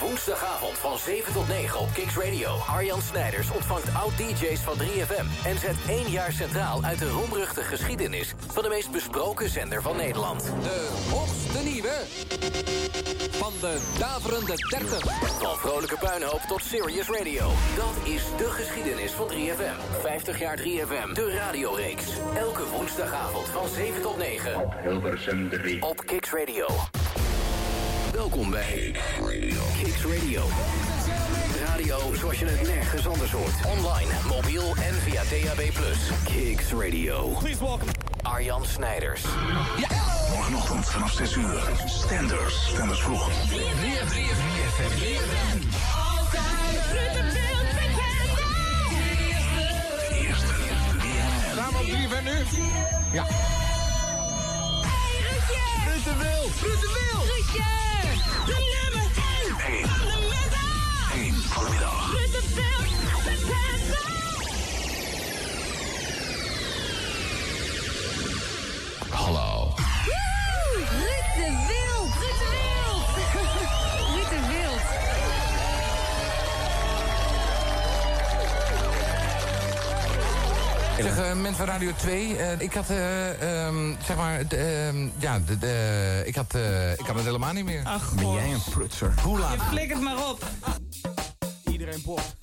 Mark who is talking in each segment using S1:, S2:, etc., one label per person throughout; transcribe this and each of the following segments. S1: woensdagavond van 7 tot 9 op Kicks Radio. Arjan Snijders ontvangt oud-DJ's van 3FM... en zet één jaar centraal uit de roemruchte geschiedenis... van de meest besproken zender van Nederland.
S2: De hoogste nieuwe van de daverende 30.
S1: Van vrolijke puinhoop tot serious radio. Dat is de geschiedenis van 3FM. 50 jaar 3FM, de radioreeks. Elke woensdagavond van 7 tot 9
S3: Hilversum 3.
S1: op Kicks Radio. Welkom bij Kicks Radio. Radio zoals je het nergens anders hoort. Online, mobiel en via DAB+. Kicks Radio. Please welcome Arjan Snijders.
S4: Morgenochtend vanaf 6 uur. Stenders. Stenders vroeg. De eerste.
S5: Samen op 3 nu? Ja.
S4: Eén voor de middag.
S2: Hallo. Zeg, eh, mensen van Radio 2, eh, ik had, eh, ehm, zeg maar, de, ehm, ja, de, de- ik, had, eh, ik had het helemaal niet meer.
S6: Ach, god.
S4: prutser? Hoe laat?
S6: Flik het maar op.
S7: Iedereen boft.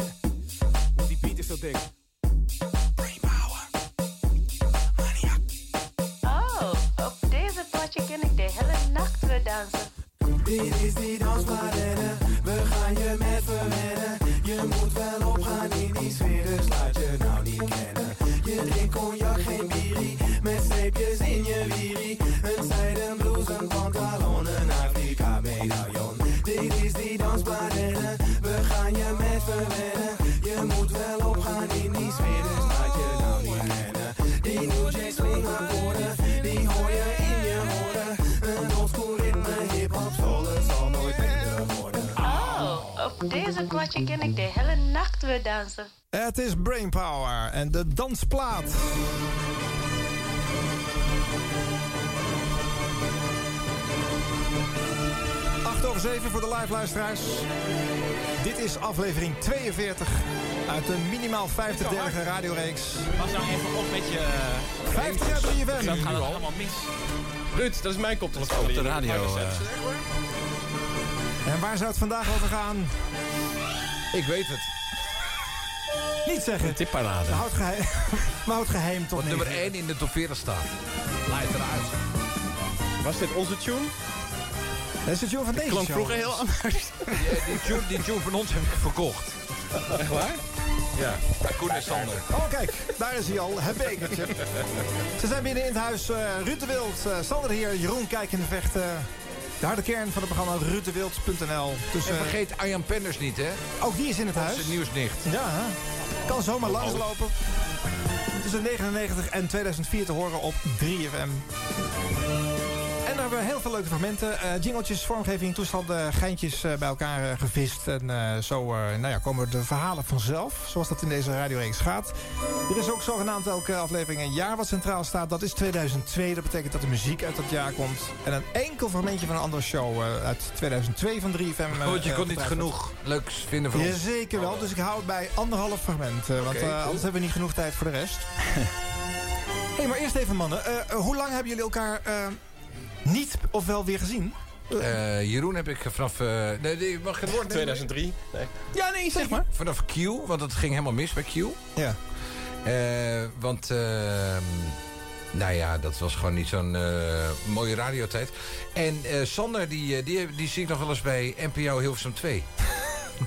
S7: Want die beat is zo dik.
S8: Oh, op deze potje ken ik de hele nacht weer dansen.
S7: Dit is die dansplannen, we gaan je met verwennen. Je moet wel opgaan in die sfeer, dus laat je nou niet kennen. Je drinkt cognac, geen bierie, met streepjes in je wierie. Een zijden blouse, een pantalon, een Afrika medaillon. Dit is die dansplannen, we gaan je met verwennen. Je moet wel opgaan in die sfeer, dus laat je nou niet kennen. Die New Jack Swing akkoorden, die hoor je in je oren. Een oldschool ritme, hip-hop, soul, het zal nooit minder worden.
S8: Oh, op deze potje ken ik de hele nacht weer dansen.
S5: Het is Brainpower en de dansplaat. Acht over zeven voor de live luisteraars. Dit is aflevering 42 uit de minimaal 50-delige radioreeks.
S9: Pas nou even op met je... eh,
S5: 50 jaar 3
S9: Dat
S5: FM.
S9: gaat allemaal mis.
S10: Ruud, dat is mijn koptelefoon.
S9: Op de radio. eh,
S5: En waar zou het vandaag over gaan? Ik weet het. Niet zeggen.
S9: tipparade.
S5: Maar houd geheim, maar houd geheim toch
S2: Op
S5: niet.
S2: nummer 1 in de top 40 staat. Leidt eruit.
S10: Was dit onze tune?
S5: Dat is het jongen van deze
S10: Klonk
S5: show.
S10: vroeger heel anders.
S2: Die, die, tune, die tune van ons heb ik verkocht.
S10: Echt waar?
S2: Ja. Bij Koen en Sander.
S5: Oh, kijk, daar is hij al, het bekertje. Ze zijn binnen in het huis. eh Ruud de Wild, eh, Sander hier, Jeroen Kijk in de Vecht. eh, de harde kern van het programma ruuddewild.nl. Dus
S2: En
S5: eh,
S2: vergeet Arjan Penders niet, hè?
S5: ook die is in het
S2: Dat
S5: huis.
S2: is het nieuwsnicht. Oh.
S5: Ja, hè? kan zomaar langslopen. Tussen 99 en 2004 te horen op 3FM. En daar hebben we heel veel leuke fragmenten. eh jingeltjes, vormgeving, toestanden, geintjes eh, bij elkaar eh, gevist. En eh, zo eh, nou ja, komen de verhalen vanzelf, zoals dat in deze radioreeks gaat. Er is ook zogenaamd elke aflevering een jaar wat centraal staat. Dat is 2002, dat betekent dat de muziek uit dat jaar komt. En een enkel fragmentje van een andere show eh, uit 2002 van 3FM. eh,
S2: Want je
S5: eh,
S2: kon niet
S5: gedraaid wordt.
S2: genoeg leuks vinden van ons.
S5: Jazeker wel, dus ik hou het bij anderhalf fragment. eh, want eh,
S2: cool.
S5: anders hebben we niet genoeg tijd voor de rest. Hé, hey, maar eerst even mannen. Eh, eh, hoe lang hebben jullie elkaar eh, niet of wel weer gezien?
S2: Eh, Jeroen heb ik vanaf... eh, nee, die mag ik het woord nemen?
S10: 2003. Nee.
S5: Ja, nee, zeg maar.
S2: Vanaf Q, want het ging helemaal mis bij Q.
S5: Ja.
S2: Eh, want, eh, nou ja, dat was gewoon niet zo'n eh, mooie radiotijd. En eh, Sander, die, eh, die, die zie ik nog wel eens bij NPO Hilversum 2.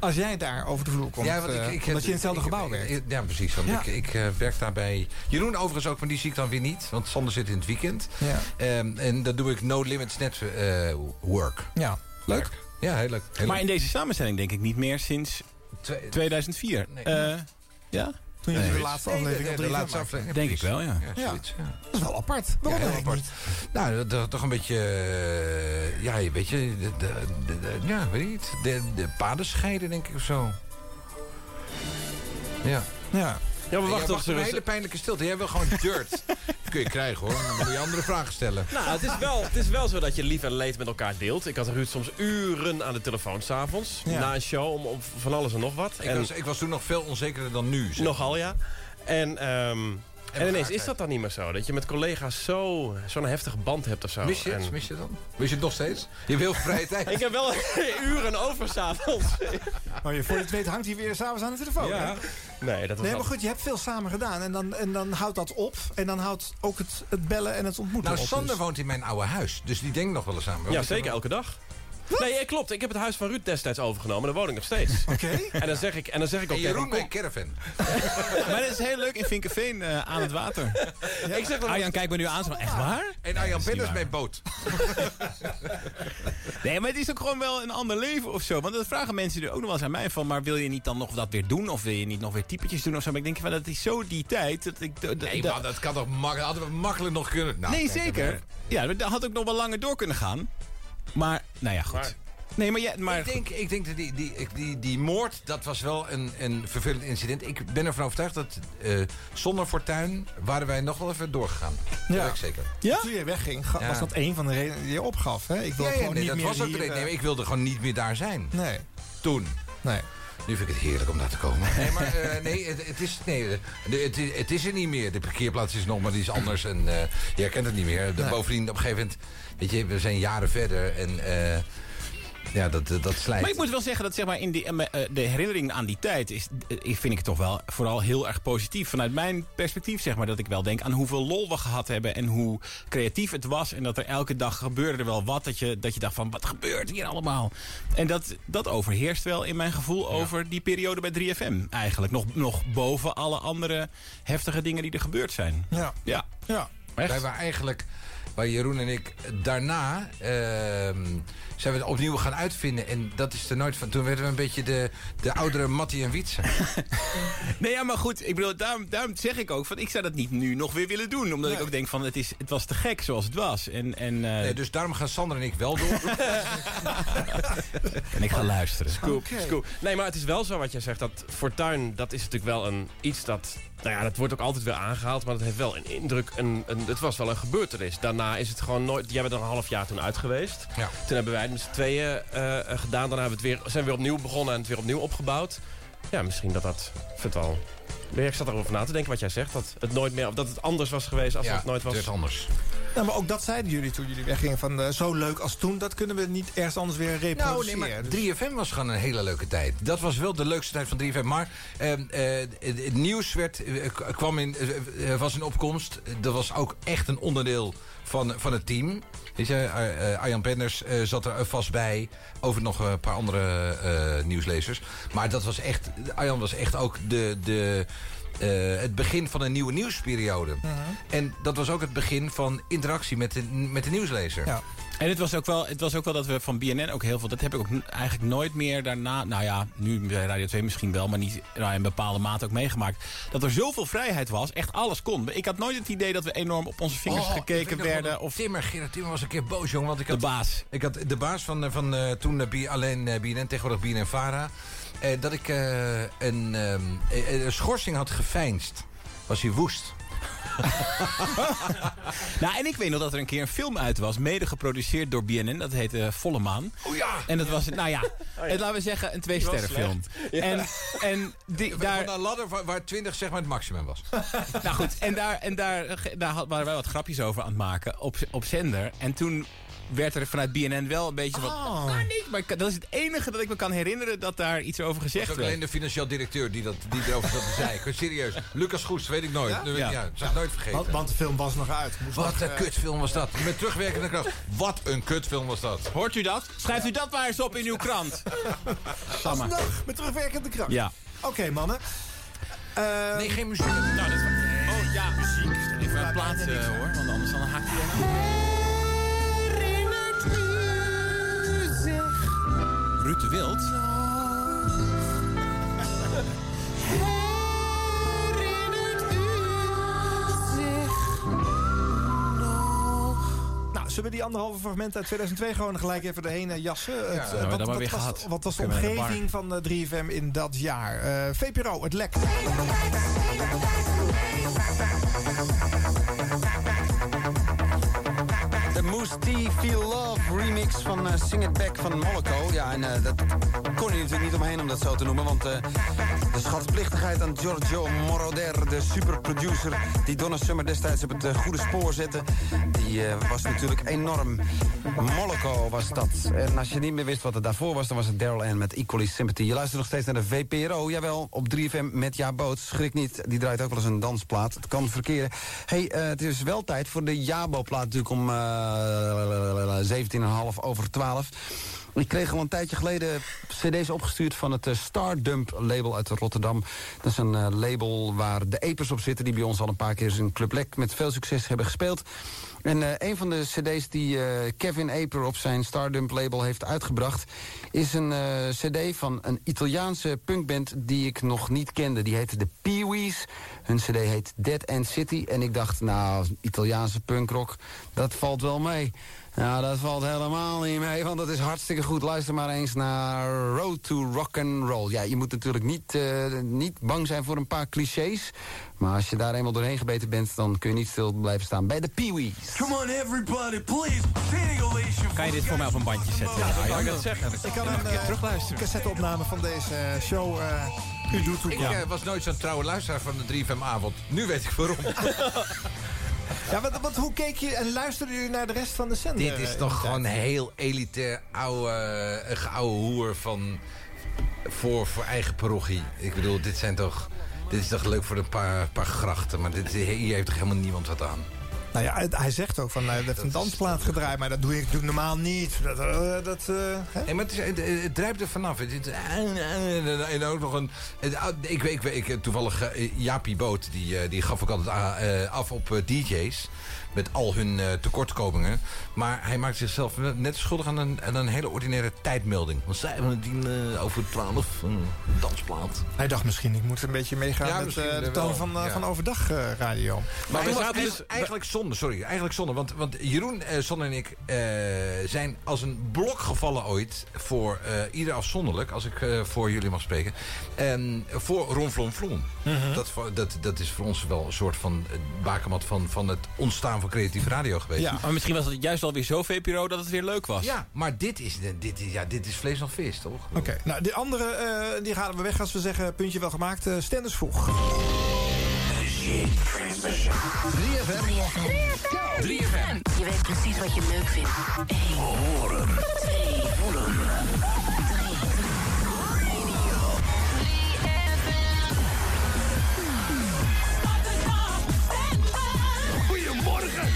S5: Als jij daar over de vloer komt, ja,
S2: want
S5: omdat je in hetzelfde
S2: ik-
S5: gebouw
S2: ik-
S5: werkt.
S2: ik- Ja, precies. Want
S5: Ja.
S2: ik, ik eh, werk daar bij Jeroen overigens ook, maar die zie ik dan weer niet. Want Sander zit in het weekend.
S5: ja.
S2: Ehm, en dat doe ik No Limits Net eh, Work.
S5: ja.
S2: Leuk. Ja, heel leuk. Heel
S10: Maar
S2: leuk.
S10: in deze samenstelling denk ik niet meer sinds
S2: Twee-
S10: 2004.
S2: Nee.
S10: Eh, ja?
S5: Toen jullie
S2: Nee.
S5: de laatste
S2: Nee,
S5: aflevering op
S2: de, de
S5: 3FM
S2: laatste
S5: maakten.
S2: aflevering.
S10: Denk ik
S2: precies.
S10: wel, ja.
S2: Ja,
S5: Ja.
S2: zoiets, ja.
S5: Dat is wel apart.
S2: Ja,
S5: Waarom
S2: heel
S5: eigenlijk
S2: apart. Nou, dat, dat- toch een beetje... eh, ja, weet je... De, de, de- de- ja, weet je niet. De, de paden scheiden, denk ik, of zo. Ja.
S5: niet? Ja.
S11: Ja, maar
S2: Jij
S11: wacht
S2: wacht
S11: toch
S2: op een hele pijnlijke stilte. Jij wil gewoon dirt. Dat kun je krijgen, hoor. Dan moet je andere vragen stellen.
S11: Nou, het is, wel, het is wel zo dat je lief en leed met elkaar deelt. Ik had Ruud soms uren aan de telefoon s'avonds.
S5: Ja.
S11: Na een show, om, om van alles en nog wat.
S2: Ik,
S11: en
S2: was, ik was toen nog veel onzekerder dan nu. zeg.
S11: nogal, ja. En, ehm, en, ineens
S2: elkaar
S11: is dat dan niet meer zo. Dat je met collega's zo- zo'n heftige band hebt of zo.
S2: Mis je het?
S11: En-
S2: Mis je het dan? Mis je het nog steeds? Je hebt heel veel vrije tijd.
S11: Ik heb wel uren over s'avonds.
S5: Maar Oh, je, voor je het weet hangt hij weer s'avonds aan de telefoon. hè?
S2: Nou,
S11: Nee, dat was
S5: Nee, maar
S11: wel-
S5: goed, je hebt veel samen gedaan. En dan, en dan houdt dat op. En dan houdt ook het, het bellen en het ontmoeten
S2: Nou,
S5: op.
S2: Sander
S5: dus.
S2: woont in mijn oude huis. Dus die denkt nog wel eens aan me.
S11: Ja,
S2: Want ik
S11: zeker
S2: heb-
S11: elke dag. Nee, ja, klopt. Ik heb het huis van Ruud destijds overgenomen. Daar woon ik nog steeds.
S5: Oké.
S11: En dan zeg ik, en dan zeg ik ook
S2: En Jeroen
S11: tegen
S2: bij
S11: hem,
S2: een caravan.
S10: Maar dat is heel leuk in Vinkenveen eh, aan het water.
S11: kom. Ik zeg dan,
S10: Arjan kijkt me nu aan. zo van, Echt waar?
S2: En Arjan
S10: niet
S2: Benners
S10: waar.
S2: bij boot.
S10: Nee, maar het is ook gewoon wel een ander leven of zo. Want dat vragen mensen er ook nog wel eens aan mij van... maar wil je niet dan nog dat weer doen? Of wil je niet nog weer typetjes doen of zo? Maar ik denk van, dat is zo die tijd. Dat ik, dat-
S2: Nee,
S10: dat-
S2: man, dat kan toch makkelijk. Hadden we makkelijk nog kunnen. Nou,
S10: nee,
S2: kijk,
S10: zeker.
S2: maar-
S10: Ja, dat had ook nog wel langer door kunnen gaan. Maar, nou ja, goed.
S11: Maar-
S10: nee, maar, ja, maar
S2: Ik denk, ik denk dat die, die, ik- die, die moord, dat was wel een, een vervelend incident. Ik ben ervan overtuigd dat eh, zonder fortuin waren wij nog wel even doorgegaan. Ja. Dat weet ik zeker.
S10: Ja?
S5: Toen je wegging, ga-
S2: Ja.
S5: was dat een van de redenen die je opgaf. Hè? Ik wil
S2: Ja, ja,
S5: gewoon
S2: nee,
S5: niet
S2: dat
S5: meer
S2: was ook de
S5: hier,
S2: reden.
S5: eh,
S2: Nee, maar ik wilde gewoon niet meer daar zijn.
S5: Nee,
S2: Toen.
S5: nee.
S2: Nu vind ik het heerlijk om daar te komen. Nee, maar eh, nee, het, het is, nee de- de- het, is- het is er niet meer. De parkeerplaats is nog, maar die is anders. En eh je herkent het niet meer. De, Bovendien, op een gegeven moment... Weet je, we zijn jaren verder en... eh, ja, dat, dat, dat slijt.
S10: Maar ik moet wel zeggen dat zeg maar, in die, eh, eh, de herinnering aan die tijd... Is, eh, ik vind ik het toch wel vooral heel erg positief. Vanuit mijn perspectief zeg maar dat ik wel denk aan hoeveel lol we gehad hebben... en hoe creatief het was. En dat er elke dag gebeurde er wel wat. Dat je, dat je dacht van, wat gebeurt hier allemaal? En dat, dat overheerst wel in mijn gevoel over die periode bij 3FM eigenlijk. Nog, nog boven alle andere heftige dingen die er gebeurd zijn.
S5: Ja.
S10: Ja,
S5: ja.
S2: Wij waren eigenlijk, waar Jeroen en ik daarna ehm, zijn we het opnieuw gaan uitvinden. En dat is er nooit van. Toen werden we een beetje de, de oudere Mattie en Wietse.
S10: Nee, ja, maar goed, ik bedoel, daarom, daarom zeg ik ook van ik zou dat niet nu nog weer willen doen. Omdat ik ook denk van het, is, het was te gek zoals het was. En, en, eh,
S2: Nee, dus daarom gaan Sander en ik wel door.
S10: en ik ga luisteren.
S11: Scoop, scoop. Nee, maar het is wel zo wat jij zegt. Dat fortuin, dat is natuurlijk wel een iets dat... Nou ja, dat wordt ook altijd weer aangehaald. Maar dat heeft wel een indruk. Een, een, het was wel een gebeurtenis. Daarna is het gewoon nooit... Jij bent er een half jaar toen uit geweest.
S2: Ja.
S11: Toen hebben wij het met z'n tweeën eh, eh, gedaan. Daarna hebben we het weer, zijn we weer opnieuw begonnen en het weer opnieuw opgebouwd. Ja, misschien dat dat... Ik vind het al... Ik zat erover na te denken wat jij zegt. Dat het nooit meer... Of dat het anders was geweest als het nooit was.
S2: dus anders.
S5: Nou, maar ook dat zeiden jullie toen jullie weggingen. Van, eh, zo leuk als toen, dat kunnen we niet ergens anders weer reproduceren.
S2: Nou, nee, maar
S5: Dus-
S2: 3FM was gewoon een hele leuke tijd. Dat was wel de leukste tijd van 3FM. Maar ehm, eh, het, het nieuws werd, eh, k- kwam in, eh, eh, was in opkomst. Dat was ook echt een onderdeel van, van het team. Weet je, Ar- eh, Arjan Penders eh, zat er eh, vast bij. Over nog een paar andere eh, nieuwslezers. Maar dat was echt, Arjan was echt ook de... de eh, het begin van een nieuwe nieuwsperiode. En dat was ook het begin van interactie met de, met de nieuwslezer.
S5: Ja.
S10: En het was, ook wel, het was ook wel dat we van BNN ook heel veel... Dat heb ik ook n- eigenlijk nooit meer daarna... Nou ja, nu bij Radio 2 misschien wel, maar niet nou, in bepaalde mate ook meegemaakt. Dat er zoveel vrijheid was, echt alles kon. Ik had nooit het idee dat we enorm op onze vingers
S2: Oh, ik weet
S10: gekeken
S2: nog wel dat
S10: werden. Of
S2: Timmer, Gerard Timmer was een keer boos, jongen. Want ik
S10: de
S2: had,
S10: baas.
S2: ik had de baas van, eh, van eh, toen eh, B- alleen eh, BNN, tegenwoordig BNN Vara... eh, dat ik eh, een, ehm, eh, eh, een schorsing had geveinsd. Was hij woest.
S10: Nou, en ik weet nog dat er een keer een film uit was, mede geproduceerd door BNN. Dat heette eh, Volle Maan.
S2: Oh ja!
S10: En dat was, nou ja, het, laten we zeggen, een twee-sterrenfilm. En, en die, daar,
S2: Van een ladder waar, waar 20 zeg maar het maximum was.
S10: nou goed, en daar, en daar, ge- daar had- waren wij wat grapjes over aan het maken op, op zender. En toen werd er vanuit BNN wel een beetje van...
S2: Ah.
S5: Oh.
S10: Maar, niet, maar ik kan- dat is het enige dat ik me kan herinneren dat daar iets over
S2: Dat
S10: gezegd
S2: was ook alleen
S10: werd.
S2: de financieel directeur die, dat, die erover zat te zeiken. Serieus. Lucas Goes, weet ik nooit. Ja?
S10: Ja.
S2: ja, zou ik nooit vergeten.
S5: nou, Want, want de film was nog uit. Moest
S2: Wat
S5: nog,
S2: een
S5: eh,
S2: kutfilm was dat. Met terugwerkende kracht.
S10: Ah,
S2: Wat een kutfilm was dat.
S10: Hoort u dat? Schrijft u dat maar eens op in uw krant. Samma.
S5: Alsnog, met terugwerkende kracht.
S2: nou-
S10: Ja.
S5: Oké, mannen. Eh,
S2: Nee, geen muziek.
S10: Nou, dat is wat- Oh ja, muziek. Even plaatsen
S2: eh,
S10: hoor, want anders dan haakt hij helemaal. Ruud de Wild.
S5: Nou, Zullen we die anderhalve fragment uit 2002 gewoon gelijk even erheen eh, jassen? Het, eh,
S10: hebben Nou, we dat maar weer
S5: was,
S10: gehad.
S5: wat was de
S10: Kunnen we naar de
S5: omgeving van eh, 3FM in dat jaar? Eh VPRO, het lek.
S12: De Moose T Feel Love remix van eh, Sing It Back van Moloko. Ja, en eh, dat kon je natuurlijk niet omheen om dat zo te noemen. Want eh, de schatplichtigheid aan Giorgio Moroder, de superproducer... die Donna Summer destijds op het eh, goede spoor zette... die eh, was natuurlijk enorm. Moloko was dat. En als je niet meer wist wat er daarvoor was... dan was het Daryl Ann met Equally Sympathy. Je luistert nog steeds naar de VPRO, jawel, op 3FM met Ja Boots. Schrik niet, die draait ook wel eens een dansplaat. Het kan verkeren. hey, eh, het is wel tijd voor de Jabo-plaat natuurlijk om eh 17,5 over 12. Ik kreeg al een tijdje geleden cd's opgestuurd van het eh, Stardump label uit Rotterdam. Dat is een eh, label waar de Epers op zitten... die bij ons al een paar keer in Club Lek met veel succes hebben gespeeld. En eh, een van de cd's die eh, Kevin Aper op zijn Stardump label heeft uitgebracht... is een eh, cd van een Italiaanse punkband die ik nog niet kende. Die heette de Peewees. Hun cd heet Dead End City. En ik dacht, nou, Italiaanse punkrock, dat valt wel mee. Nou, dat valt helemaal niet mee, want dat is hartstikke goed. Luister maar eens naar Road to Rock and Roll. Ja, je moet natuurlijk niet, eh, niet bang zijn voor een paar clichés. Maar als je daar eenmaal doorheen gebeten bent, dan kun je niet stil blijven staan bij de Peewees.
S13: Come on everybody, please. Standing ovation.
S10: Kan je dit voor mij op een bandje zetten?
S5: Ja, dat kan ik
S2: dat zeggen.
S5: Ik kan een eh, cassetteopname van deze eh, show... eh, u doet toe.
S2: Ik eh, was nooit zo'n trouwe luisteraar van de 3FM avond. Nu weet ik waarom.
S5: eh, Ja, want, want hoe keek je en luisterde u naar de rest van de zender?
S2: Dit is
S5: eh,
S2: toch
S5: in die
S2: gewoon
S5: tijd?
S2: heel elitair oude, eh, geouwe hoer van voor, voor eigen parochie. Ik bedoel, dit zijn toch. Dit is toch leuk voor een paar, paar grachten, maar dit, hier heeft toch helemaal niemand wat aan.
S5: Nou ja, hij- hij zegt ook van, hij heeft een dansplaat gedraaid... maar dat doe ik doe ik normaal niet. Dat, eh, dat, eh, hè?
S2: Nee, maar het, is, het, het drijft er vanaf. Het, het- en ook nog een. het- ah, ik, weet- ik, weet- ik, toevallig eh, Jaapie Boot, die, eh, die gaf ook altijd a- eh, af op eh, DJ's. Met al hun eh, tekortkomingen. Maar hij maakt zichzelf net schuldig aan een, aan een hele ordinaire tijdmelding. Want zij hebben het dien, eh, over 12 een dansplaat.
S5: Hij dacht misschien, ik moet een beetje meegaan
S2: Ja,
S5: met
S2: misschien
S5: eh, de
S2: wel,
S5: toon van, eh,
S2: ja.
S5: van overdag eh, radio.
S2: Maar
S5: Maar
S2: het
S5: we
S2: was
S5: zaten
S2: eigenlijk,
S5: dus-
S2: eigenlijk zonde, sorry. Eigenlijk zonde. Want, want Jeroen, eh Son en ik eh, zijn als een blok gevallen ooit... voor eh, ieder afzonderlijk, als ik eh, voor jullie mag spreken... en voor Ron Flon Flon.
S11: Mhm.
S2: dat, va- dat, dat is voor ons wel een soort van eh, bakermat... Van, van het ontstaan van creatieve radio geweest.
S10: Ja, maar misschien was het juist wel weer zo VPRO dat het weer leuk was.
S2: Ja, maar dit is, dit, is, ja, dit is vlees nog vis, toch?
S5: Oké, nou, die andere eh, die gaan we weg als we zeggen... puntje wel gemaakt, eh Stenders vroeg.
S7: 3FM. 3FM.
S14: Je weet precies wat je leuk vindt.
S7: Horen. Twee. Voelen.
S3: Goedemorgen.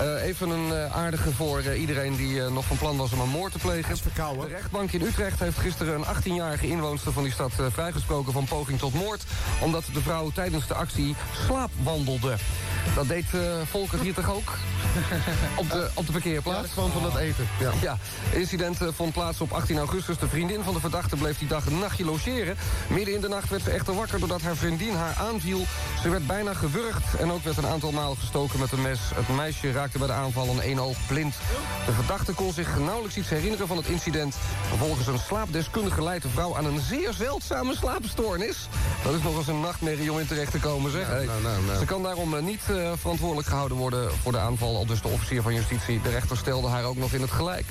S15: Eh, even een eh, aardige voor eh, iedereen die eh, nog van plan was om een moord te plegen.
S5: De
S15: rechtbank in Utrecht heeft gisteren een 18-jarige inwoonster van die stad eh, vrijgesproken van poging tot moord. Omdat de vrouw tijdens de actie slaapwandelde. Dat deed eh, Volker hier toch ook? op, de, op de parkeerplaats. gewoon van dat eten. Ja. incident eh, vond plaats op 18 augustus. De vriendin van de verdachte bleef die dag een nachtje logeren. Midden in de nacht werd ze echter wakker doordat haar vriendin haar aanviel. Ze werd bijna gewurgd en ook werd een aantal maal gestoken met een mes. Het meisje raakte bij de aanval een één oog blind. De verdachte kon zich nauwelijks iets herinneren van het incident. Volgens een slaapdeskundige leidt de vrouw aan een zeer zeldzame slaapstoornis. Dat is nog eens een nachtmerrie om in terecht te komen, zeg. Hey. Ze kan daarom eh, niet eh, verantwoordelijk gehouden worden voor de aanval. Al dus de officier van justitie. De rechter stelde haar ook nog in het gelijk.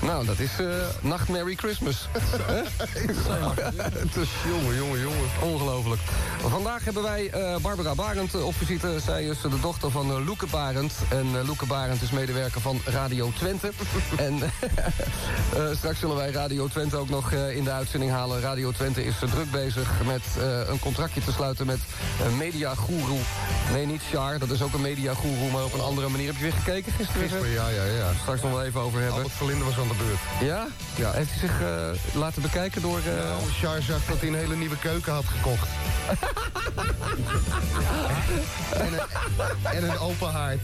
S15: Nou, dat is eh nachtmerrie Christmas. Hè? Het is jongen, jongen, jongen. Ongelooflijk. Vandaag hebben wij eh, Barbara Barend eh, op visite. Zij is eh, de dochter van eh, Loeke Barend. En eh, Loeke Barend is medewerker van Radio Twente. en eh, straks zullen wij Radio Twente ook nog eh, in de uitzending halen. Radio Twente is eh, druk bezig met eh, een contractje te sluiten met een mediagoeroe. Nee, niet Char, dat is ook een mediagoeroe, maar op een andere manier. Heb je weer gekeken gisteren?
S16: Gisteren, ja, ja, ja.
S15: Straks nog wel even over hebben.
S16: Albert Verlinde was aan de beurt.
S15: Ja? ja. Heeft hij zich eh, laten bekijken door... eh
S16: Nou, Char zag dat hij een hele nieuwe keuken had gekocht. en, een, en een open haard.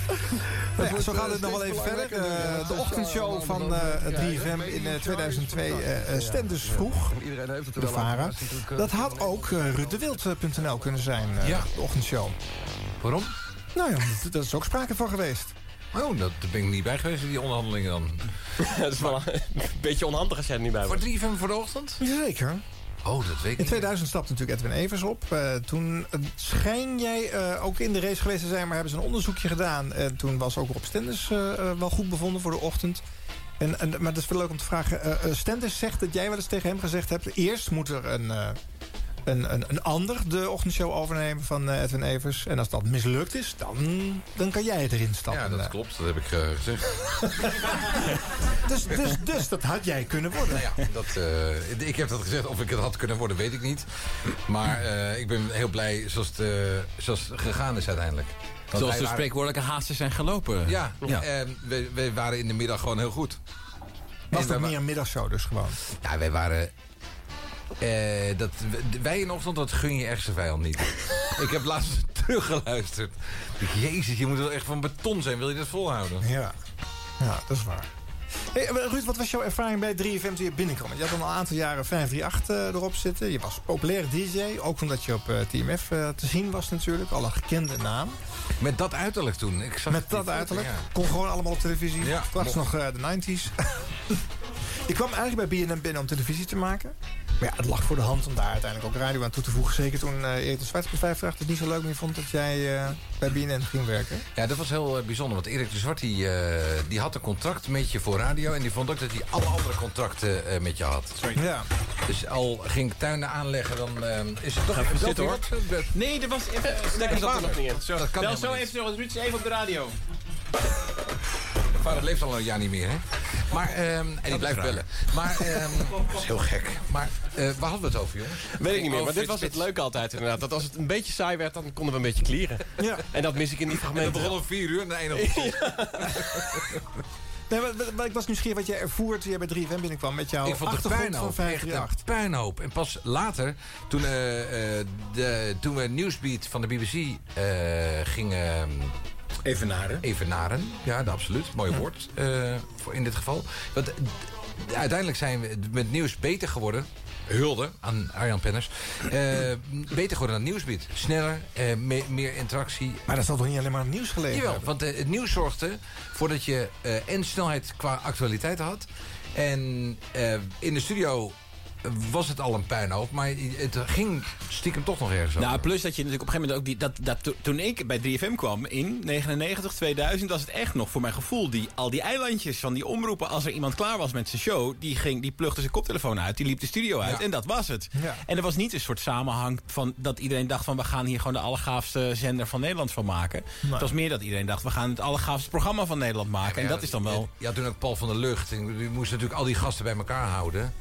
S5: Nou ja, zo gaat het nog wel even verder. Eh, de ochtendshow van eh, 3FM in eh, 2002, eh eh, Stenders vroeg.
S15: Iedereen heeft het er
S5: de
S15: wel over, maar
S5: Vara.
S15: het is natuurlijk, eh,
S5: Dat had ook eh ruttewild.nl kunnen zijn, eh,
S15: Ja.
S5: de ochtendshow.
S2: Waarom?
S5: Nou ja, dat- dat is ook sprake van geweest.
S2: Oh, dat daar ben ik niet bij geweest in die onderhandelingen dan.
S11: dat is wel een beetje onhandig als jij er niet bij
S2: Voor 3FM voor de ochtend?
S5: Zeker.
S2: Oh, dat weet ik
S5: In 2000 stapte natuurlijk Edwin Evers op. Eh, toen eh, schijn jij eh, ook in de race geweest te zijn, maar hebben ze een onderzoekje gedaan. En toen was ook Rob Stenders eh, eh, wel goed bevonden voor de ochtend. En, en, maar dat is wel leuk om te vragen. Eh, eh, Stenders zegt dat jij wel eens tegen hem gezegd hebt... eerst moet er een, eh, een, een, een ander de ochtendshow overnemen van eh, Edwin Evers. En als dat mislukt is, dan, dan kan jij erin stappen.
S2: Ja, dat klopt. Dat heb ik eh, gezegd.
S5: Dus, dus, dus dat had jij kunnen worden.
S2: Nou ja, dat, eh, ik heb dat gezegd. Of ik het had kunnen worden, weet ik niet. Maar eh, ik ben heel blij zoals het, eh, zoals het gegaan is uiteindelijk. Want
S10: Zoals
S2: wij
S10: de
S2: waren-
S10: spreekwoordelijke haasten zijn gelopen.
S2: Ja, eh, we, we waren in de middag gewoon heel goed.
S5: Was dat meer een middagshow dus gewoon?
S2: Ja, wij waren... eh, dat, wij in de ochtend, dat gun je echt zijn vijand niet. ik heb laatst teruggeluisterd. Ik, Jezus, je moet wel echt van beton zijn. Wil je dat volhouden?
S5: Ja. Ja, dat is waar. Hey, eh, Ruud, wat was jouw ervaring bij 3FM toen je binnenkwam? Je had al een aantal jaren 538 eh, erop zitten. Je was een populair DJ, ook omdat je op eh, TMF eh, te zien was natuurlijk. Al een gekende naam.
S2: Met dat uiterlijk toen. Ik zag
S5: Met dat uiterlijk.
S2: Ja.
S5: Kon gewoon allemaal op televisie.
S2: Ja,
S5: Straks
S2: mocht.
S5: nog eh, de 90s. je kwam eigenlijk bij BNM binnen om televisie te maken. Maar ja, het lag voor de hand om daar uiteindelijk ook radio aan toe te voegen. Zeker toen eh Erik de Zwart bij 538 het niet zo leuk meer vond dat jij eh, bij BNN ging werken.
S2: Ja, dat was heel eh, bijzonder. Want Erik de Zwart die, eh, die had een contract met je voor radio. En die vond ook dat hij alle andere contracten eh, met je had.
S5: Ja.
S2: Dus al ging ik tuinen aanleggen, dan eh, is het toch
S10: Ga even
S2: belt
S10: zitten,
S2: iemand? Eh,
S10: Nee, er was even...
S2: dat
S10: Daar
S2: kan
S10: zat er nog niet in.
S2: Dat kan
S10: Wel
S2: helemaal
S10: zo
S2: niet.
S10: even, zo, want Ruud is even op de radio.
S2: Mijn vader leeft al een jaar niet meer, hè? Maar, ehm, en die blijft
S11: raar.
S2: bellen. Maar, ehm, dat is heel gek. Maar eh, waar hadden we het over, jongens?
S11: Weet ik niet meer,
S2: Over
S11: maar dit was
S2: Frits
S11: het leuke altijd inderdaad. Dat als het een beetje saai werd, dan konden we een beetje klieren.
S5: Ja.
S11: En dat mis ik in die
S2: Spits. En
S11: fragmenten.
S2: dat begon om vier uur en de ene op zes.
S5: Nee, maar, maar- maar ik was nieuwsgierig wat jij ervoer toen jij bij 3FM binnenkwam met jouw
S2: Ik vond het
S5: achtergrond van
S2: puinhoop, echt een
S5: 538.
S2: puinhoop. En pas later, toen, eh, eh, de, toen we Newsbeat van de BBC eh, gingen...
S5: Evenaren.
S2: Evenaren, ja, dat absoluut. Mooi woord eh, voor in dit geval. Want eh, d- uiteindelijk zijn we met nieuws beter geworden. Hulde aan Arjan Penners. Eh, beter geworden dan Nieuwsbeat. Sneller, eh, me- meer interactie.
S5: Maar dat zal toch niet alleen maar aan het nieuws gelegen
S2: Jawel,
S5: hebben?
S2: want eh, het nieuws zorgde voor dat je eh, en snelheid qua actualiteit had. En eh, in de studio was het al een puinhoop, maar het ging stiekem toch nog ergens over.
S10: Nou, plus dat je natuurlijk op een gegeven moment ook die... Dat, dat, toen ik bij 3FM kwam in 99, 2000... was het echt nog voor mijn gevoel die, al die eilandjes van die omroepen... als er iemand klaar was met zijn show... die, ging, die plugde zijn koptelefoon uit, die liep de studio uit...
S2: Ja.
S10: en dat was het.
S5: Ja.
S10: En er was niet een soort samenhang van dat iedereen dacht... van we gaan hier gewoon de allergaafste zender van Nederland van maken.
S5: Nee.
S10: Het was meer dat iedereen dacht... we gaan het allergaafste programma van Nederland maken. en
S2: Ja,
S10: dat is dan wel...
S2: Je had toen ook Paul van der Lucht. En die moest natuurlijk al die gasten bij elkaar houden.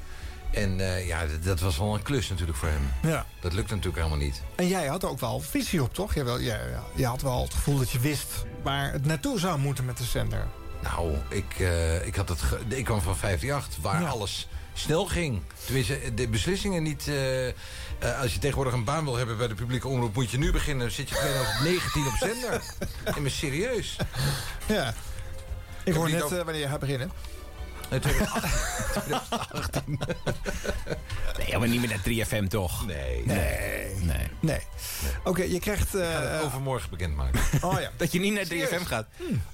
S2: En eh, ja, d- dat was wel een klus natuurlijk voor hem.
S5: Ja.
S2: Dat lukt natuurlijk helemaal niet.
S5: En jij had ook wel visie op, toch? Jij, wel, jij, jij had wel het gevoel dat je wist waar het naartoe zou moeten met de zender.
S2: Nou, ik, eh, ik, had het ge- ik kwam van 58, waar alles snel ging. Tenminste, de beslissingen niet... eh, eh, als je tegenwoordig een baan wil hebben bij de publieke omroep... moet je nu beginnen, dan zit je 2019 op zender. En maar serieus.
S5: Ja. Ik
S2: heb
S5: hoor
S2: niet
S5: net
S2: over-
S5: eh, wanneer je gaat beginnen.
S2: En 2018.
S10: Nee, maar niet meer naar 3FM toch?
S2: Nee.
S10: Nee. nee.
S5: Nee. Oké, je krijgt... eh,
S2: Overmorgen bekendmaken.
S5: oh ja.
S10: Dat je niet naar 3FM
S2: Serieus? Hm,
S10: gaat.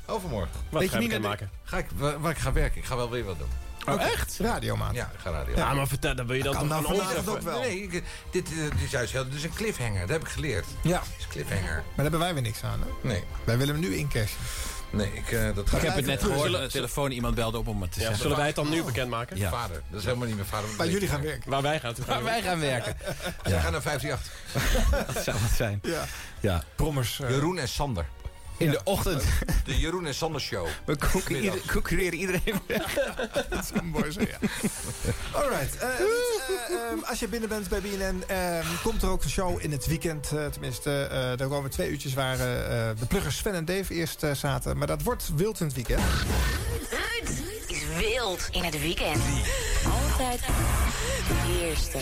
S2: Overmorgen.
S11: Wat
S10: Weet
S11: ga
S10: je
S11: je
S10: niet
S11: maken?
S2: Ga ik, waar, waar ik ga werken. Ik ga wel weer wat doen.
S10: Oh, echt?
S5: Radiomaat.
S2: Ja, ik ga radio.
S11: Ja, maar vertel, dan wil je dat
S5: Ah. Kan
S11: toch
S5: nou
S11: van ons
S5: vanavond ook
S11: hebben.
S5: wel.
S2: Nee, ik- dit, eh, dit is juist heel... Dit is een cliffhanger. Dat heb ik geleerd.
S5: Ja, maar
S2: Het is een cliffhanger.
S5: daar hebben wij weer niks aan. Hè?
S2: Nee.
S5: Wij willen hem nu incashen.
S2: Nee, ik, eh, dat ga
S10: Ik heb het net
S2: Zullen-
S10: gehoord. De telefoon iemand belde op om het te
S11: Ja,
S10: zeggen.
S11: zullen wij het dan nu bekendmaken?
S10: Ja.
S2: Vader. Dat is helemaal niet mijn vader.
S5: Maar jullie gaan werken.
S11: Waar wij gaan. toe gaan
S10: Maar
S11: we.
S10: wij gaan werken.
S2: Ze gaan naar 158.
S10: Dat zou wat zijn.
S5: Ja.
S10: Ja.
S5: Brommers. eh,
S2: Jeroen en Sander.
S10: In de ochtend.
S2: De Jeroen en Sander Show.
S10: We concurreren,
S2: Middags.
S10: concurreren iedereen weg.
S5: dat zou mooi zijn, ja. Alright. eh, Ruud, eh, ehm, als je binnen bent bij BNN, ehm, komt er ook een show in het weekend. eh, tenminste, eh, daar komen twee uurtjes waar eh, eh, de pluggers Sven en Dave eerst eh, zaten. Maar dat wordt wild in het weekend.
S17: Ruud is wild in het weekend. Altijd de eerste.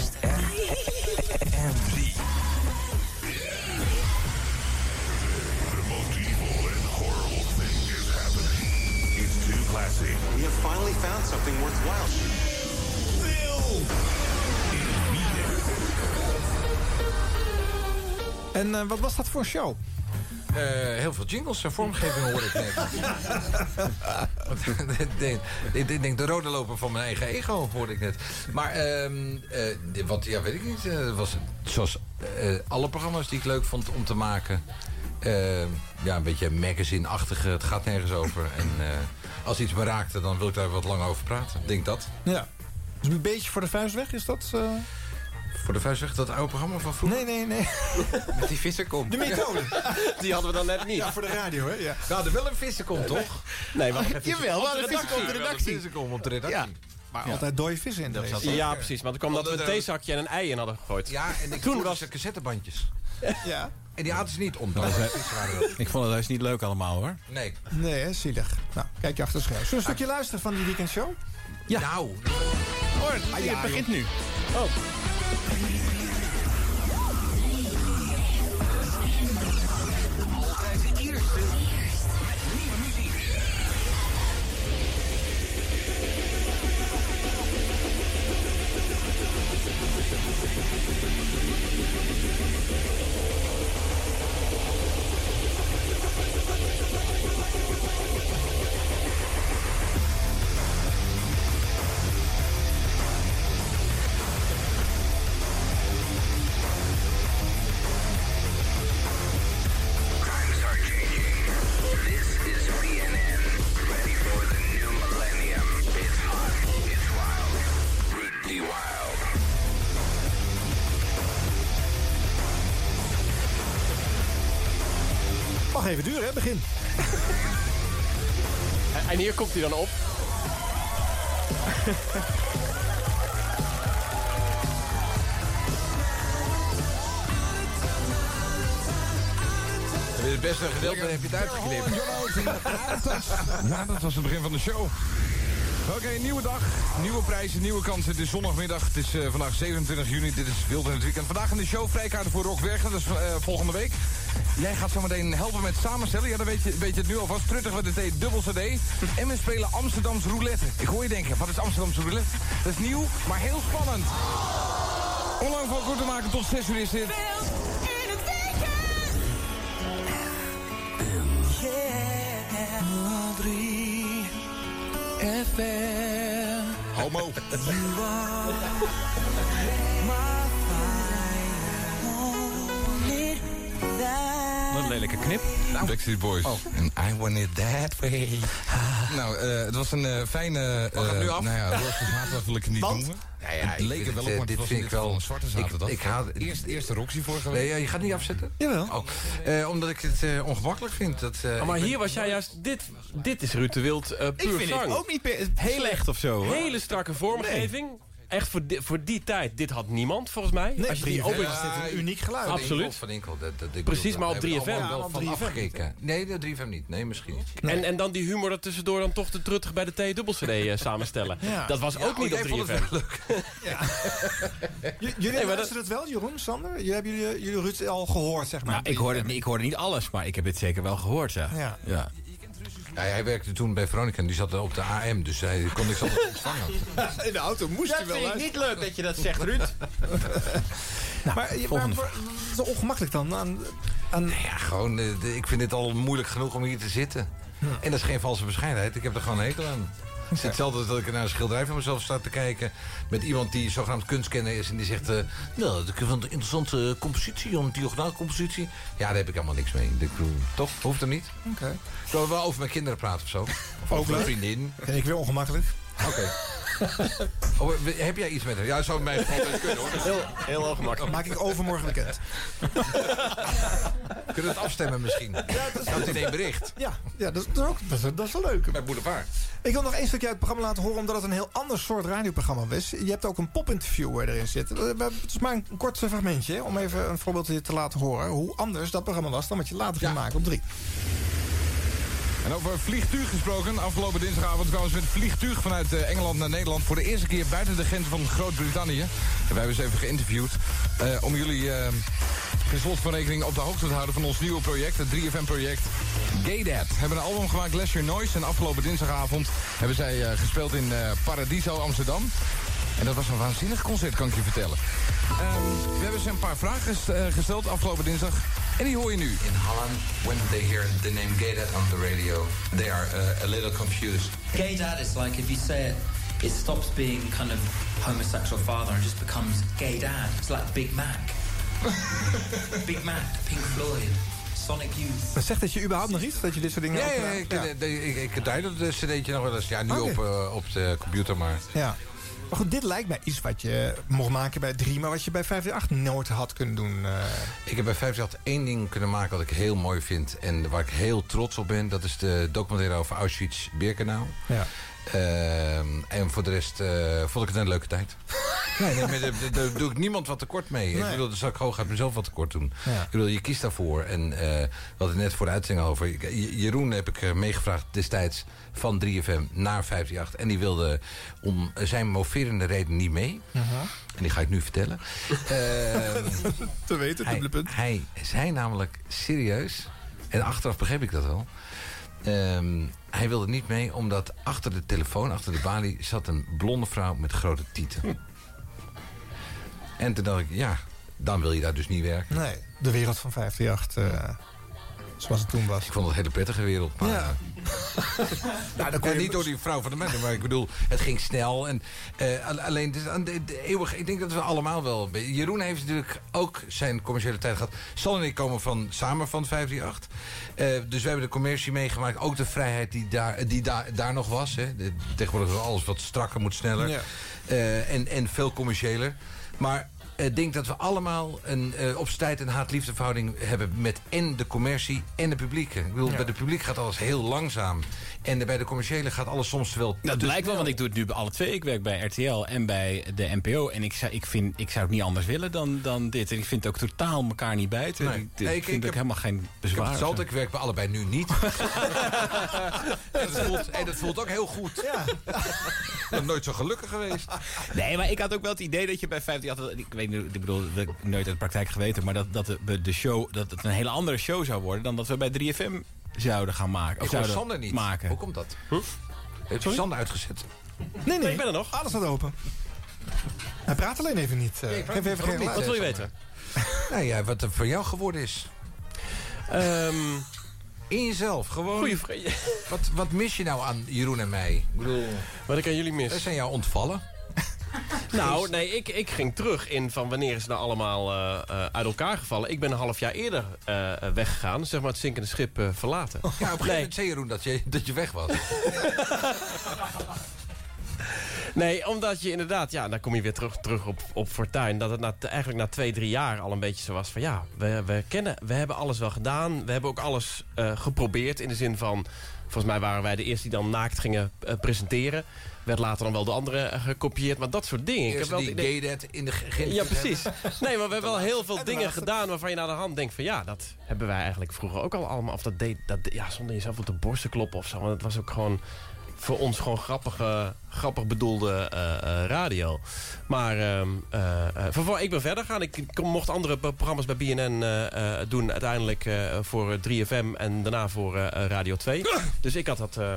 S4: It's too classic.
S18: We have finally found something worthwhile.
S5: En eh, wat was dat voor show?
S2: Eh, heel veel jingles en vormgeving hoor ik net. Want ik denk- ik denk- ik denk de rode loper van mijn eigen ego, hoorde ik net. Maar, ehm eh, want, ja, weet ik niet. eh, Het was zoals eh, alle programma's die ik leuk vond om te maken. eh, ja, een beetje magazine-achtige. Het gaat nergens over. En eh, als iets me raakte, dan wil ik daar wat langer over praten. Ik denk dat.
S5: Ja. Dus een beetje voor de vuist weg, is dat... eh?
S2: Voor de vuist zegt dat oude programma van vroeger.
S5: Nee, nee, nee.
S2: Met die vissenkom.
S5: De methode.
S2: Die hadden we dan net niet.
S5: Ja, voor de radio, hè? Ja.
S2: Nou, er wel een vissenkom, toch?
S11: Nee, wacht even.
S5: Jawel,
S11: Op
S5: maar de vissenkom op de
S11: Wel,
S5: redactie.
S2: vissenkom op de redactie.
S11: Ja.
S2: Maar
S5: Ja. Altijd dode vissen in de
S11: Ja,
S5: race.
S11: ja, precies. Maar toen kwam dat we een theezakje en een ei in hadden gegooid.
S2: Ja, en ik toen was ze cassettebandjes.
S5: Ja.
S2: En die aten ze niet om. Dat was
S10: Ik vond het juist niet leuk allemaal hoor.
S2: Nee.
S5: Nee, hè, zielig. Nou, kijk je achter de schermen. Zullen we een stukje luisteren van die weekendshow?
S2: Ja. Nou.
S10: Hoor,
S5: Ah, ja,
S10: het begint nu.
S11: Oh.
S5: Mag even duren, hè? Begin.
S11: En, en hier komt hij dan op.
S2: Het is best een gedeelte, heb je het uitgeknipt.
S15: Ja, dat was het begin van de show. Oké, nieuwe dag, nieuwe prijzen, nieuwe kansen. Het is zondagmiddag, het is eh, vandaag 27 juni, dit is Wild in het Weekend. Vandaag in de show vrijkaarten voor Rock Wergen, dat is eh, volgende week. Jij gaat zo meteen helpen met samenstellen. Ja, dan weet je, weet je het nu alvast. Truttig met de T, dubbel CD. En we spelen Amsterdamse roulette. Ik hoor je denken, wat is Amsterdamse roulette? Dat is nieuw, maar heel spannend. Om lang voor kort te maken, tot 6 uur is dit. Homo.
S10: Wat een lelijke knip.
S2: Nou.
S15: Backstreet Boys.
S2: Oh.
S15: And I want it that way. nou, eh, het was een eh, fijne... eh
S2: het Ah. nu af?
S15: Nou ja, roze zaterdag wil ik het niet
S2: Want?
S15: noemen.
S2: Ja, ja,
S15: het
S2: ik
S15: leek
S2: vind
S15: er wel
S2: het,
S15: op,
S2: eh, dit
S15: maar dit was
S2: vind
S15: in
S2: ik
S15: dit geval
S2: wel-
S15: een zwarte
S2: ik-
S15: zaterdag.
S2: ik haal-
S15: Eerst, eerste Roxy vorige week.
S2: Nee, ja, je gaat niet afzetten?
S5: Jawel.
S2: Oh. Eh, omdat ik het eh, ongemakkelijk vind. Dat, eh,
S11: Oh, maar
S2: ik ben-
S11: hier was jij juist... Dit, dit is Ruud de Wild eh, puur
S10: Ik vind het
S11: zang.
S10: ook niet pe- heel echt of zo. hoor.
S11: Hele strakke vormgeving. Echt voor, di- voor die tijd. Dit had niemand volgens mij.
S5: Nee,
S11: Als je die
S5: op
S11: open...
S5: is dit een uniek geluid.
S11: Van Absoluut. Inkel,
S2: Van Inkel, dat, dat, ik
S11: Precies, maar op 3FM.
S2: Wel
S11: Ja,
S2: wel
S11: op
S2: van
S11: 3FM.
S2: afgekeken. Nee, de 3FM niet. Nee, misschien niet.
S11: En, en dan die humor dat tussendoor dan toch de truttig bij de T-dubbel-cd eh, samenstellen.
S5: Ja.
S11: Dat was
S2: Ja,
S11: ook
S2: oh,
S11: niet op
S2: jij vond
S11: 3FM.
S2: het wel
S5: J- jullie
S11: maar dat-
S5: luisteren het wel, Jeroen, Sander? Jullie hebben jullie, jullie Ruud al gehoord, zeg maar.
S10: Nou, ik hoorde, het niet, ik hoorde niet alles, maar ik heb dit zeker wel gehoord, ja.
S5: Ja.
S10: ja.
S2: Ja, hij werkte toen bij Veronica en die zat op de AM, dus hij kon niks anders ontvangen.
S5: In de auto moest je wel luisteren.
S10: niet leuk dat je dat zegt, Ruud.
S5: Maar, je- maar
S10: Volgende
S5: voor- dat is wel ongemakkelijk dan. Aan, aan,
S2: Ja, gewoon, eh, de- ik vind het al moeilijk genoeg om hier te zitten. En dat is geen valse bescheidenheid, ik heb er gewoon een hekel aan. Het is hetzelfde als dat ik naar een schilderij van mezelf sta te kijken... met iemand die zogenaamd kunstkenner is en die zegt... eh, nou, ik vind het een interessante eh, compositie, een diagonaalcompositie. Ja, daar heb ik allemaal niks mee. Ik bedoel, toch? Hoeft hem niet?
S5: Oké.
S2: Zullen we wel over mijn kinderen praten of zo? Of over mijn
S5: leuk.
S2: vriendin?
S5: Vind ik weer ongemakkelijk.
S2: Oké. Oh, heb jij iets met hem? Ja, dat zou in mijn geval best kunnen hoor.
S11: Heel, heel ongemakkelijk.
S5: Maak ik overmorgen bekend.
S2: Kunnen we het afstemmen misschien?
S5: dat is-
S2: Houdt in één bericht.
S5: Ja, ja dat, is- dat is ook, dat, is, dat is wel leuk.
S2: Bij Boulevard.
S5: Ik wil nog één stukje uit het programma laten horen... omdat het een heel ander soort radioprogramma was. Je hebt ook een popinterview eh, erin zitten. We hebben- Het is maar een kort eh, fragmentje... hè, om even een voorbeeld te laten horen... hoe anders dat programma was dan wat je later ging maken op drie.
S15: En over vliegtuig gesproken. Afgelopen dinsdagavond kwamen ze met vliegtuig vanuit eh, Engeland naar Nederland. Voor de eerste keer buiten de grenzen van Groot-Brittannië. En wij hebben ze even geïnterviewd. eh, om jullie eh in slot van rekening op de hoogte te houden van ons nieuwe project. Het 3FM-project Gay Dad. We hebben een album gemaakt, Less Your Noise. En afgelopen dinsdagavond hebben zij eh, gespeeld in eh, Paradiso, Amsterdam. En dat was een waanzinnig concert, kan ik je vertellen. Ehm, we hebben ze een paar vragen gest- eh, gesteld afgelopen dinsdag. En die hoor je nu.
S19: In Holland, when they hear the name Gaydad on the radio, they are uh, a little confused.
S20: Gay dad is like if you say it, it stops being kind of homosexual father and just becomes gay dad. It's like Big Mac. Big Mac, Pink Floyd, Sonic Youth.
S5: Maar zegt dat je überhaupt nog iets? Dat je dit soort dingen
S2: Ja, ja,
S5: opnaamt?
S2: ik, ik, ik, ik draai dat cd'tje nog wel eens. Ja, nu
S5: Oké.
S2: op, eh, op de computer, maar...
S5: Ja. Maar goed, dit lijkt mij iets wat je mocht maken bij 3, maar wat je bij 538 nooit had kunnen doen. eh,
S2: Ik heb bij 538 één ding kunnen maken wat ik heel mooi vind... en waar ik heel trots op ben. Dat is de documentaire over Auschwitz-Birkenau.
S5: Ja.
S2: Ehm, en voor de rest eh, vond ik het een leuke tijd. Nee, nee, maar daar- daar- daar doe ik niemand wat tekort mee. Ik
S15: Nee.
S2: bedoel, dan zou ik hooguit mezelf wat tekort doen.
S15: Ja.
S2: Ik bedoel, je kiest daarvoor. En eh we hadden het net voor de uitzending over. Ik- J- Jeroen heb ik eh, meegevraagd destijds van 3FM naar 538. En die wilde om zijn moverende reden niet mee. Uh-huh. En die ga ik nu vertellen. Ehm,
S5: Te weten,
S2: hij, Hij zei namelijk serieus, en achteraf begreep ik dat wel... ehm, hij wilde niet mee omdat achter de telefoon, achter de balie... zat een blonde vrouw met grote tieten. en toen dacht ik, ja, dan wil je daar dus niet werken.
S5: Nee, de wereld van 538, eh, zoals het toen was.
S2: Ik vond het een hele prettige wereld. Maar,
S5: Ja.
S2: nou,
S5: kon
S2: ja,
S5: je-
S2: niet door die vrouw van de mensen, maar ik bedoel, het ging snel. En, eh, al- alleen, het is aan de, de eeuwige, ik denk dat we allemaal wel... een beetje- Jeroen heeft natuurlijk ook zijn commerciële tijd gehad. Sal en ik komen van, samen van 538. Eh, dus we hebben de commercie meegemaakt. Ook de vrijheid die daar, die daar daar nog was. Hè. De- tegenwoordig is alles wat strakker, moet sneller.
S15: Ja.
S2: Eh, en, en veel commerciëler. Maar eh, ik denk dat we allemaal een eh op z'n tijd een haat-liefde verhouding hebben... met en de commercie en de publieke. Ik bedoel,
S10: Ja.
S2: bij de publiek gaat alles heel langzaam. En bij de commerciële gaat alles soms wel...
S10: Dat blijkt wel, want ik doe het nu bij alle twee. Ik werk bij RTL en bij de NPO. En ik zou, ik vind, ik zou het niet anders willen dan, dan dit. En ik vind het ook totaal elkaar niet bijten.
S2: Nee.
S10: Ik, ik
S2: Nee, ik-
S10: vind
S2: ik
S10: ook
S2: heb-
S10: helemaal geen
S2: Ik heb
S10: bezwaar.
S2: het
S10: of zo.
S2: altijd, ik werk bij allebei nu niet. en, dat voelt, en dat voelt ook heel goed. Ik ben nooit zo gelukkig geweest.
S10: Nee, maar ik had ook wel het idee dat je bij 50... Ik weet niet, ik bedoel, dat heb ik nooit uit de praktijk geweten... maar dat, dat de, de show, dat het een hele andere show zou worden... dan dat we bij 3FM zouden gaan maken.
S2: Ik hoor
S10: zouden
S2: Sander niet.
S10: Maken.
S2: Hoe komt dat? Heeft u Sander uitgezet?
S5: Nee, nee, ik ben er nog. Alles staat open. Hij praat alleen even niet. eh.
S2: ik praat
S5: Geef
S2: niet.
S5: even
S2: Waarom
S5: geen geluid.
S2: niet? Wat wil je weten? Nou ja, wat er voor jou geworden is. In jezelf, gewoon.
S11: Ehm, Goeie vri-
S2: Wat, wat mis je nou aan Jeroen en mij? Ik bedoel,
S11: Wat ik aan jullie mis?
S2: wij zijn jou ontvallen.
S11: Nou, nee, ik, ik ging terug in van wanneer is het nou allemaal eh, eh, uit elkaar gevallen. Ik ben een half jaar eerder eh, weggegaan. Zeg maar het zinkende schip eh, verlaten.
S2: Ja, op een gegeven moment zei Jeroen dat je, dat je weg was.
S11: Nee, omdat je inderdaad, ja, dan kom je weer terug, terug op, op Fortuin. Dat het na, eigenlijk na twee, drie jaar al een beetje zo was van ja, we, we kennen, we hebben alles wel gedaan. We hebben ook alles eh, geprobeerd in de zin van, volgens mij waren wij de eerste die dan naakt gingen eh, presenteren. Werd later dan wel de andere eh, gekopieerd, maar dat soort dingen.
S2: Ik heb wel die
S11: idee-
S2: gay dat in de ge- ge-
S11: Ja, precies. Nee, maar we hebben wel heel veel
S2: En de
S11: dingen
S2: laatste.
S11: gedaan waarvan je naar de hand denkt van ja, dat hebben wij eigenlijk vroeger ook al allemaal. Of dat deed, dat, de- ja, zonder jezelf op de borst te kloppen of zo. Want het was ook gewoon voor ons gewoon grappige, grappig bedoelde eh, eh, radio. Maar ehm, eh, eh, vervol- ik ben verder gaan. Ik kom- mocht andere pro- programma's bij BNN eh, eh, doen uiteindelijk eh, voor 3FM en daarna voor eh, eh, Radio 2. Dus ik had dat... eh,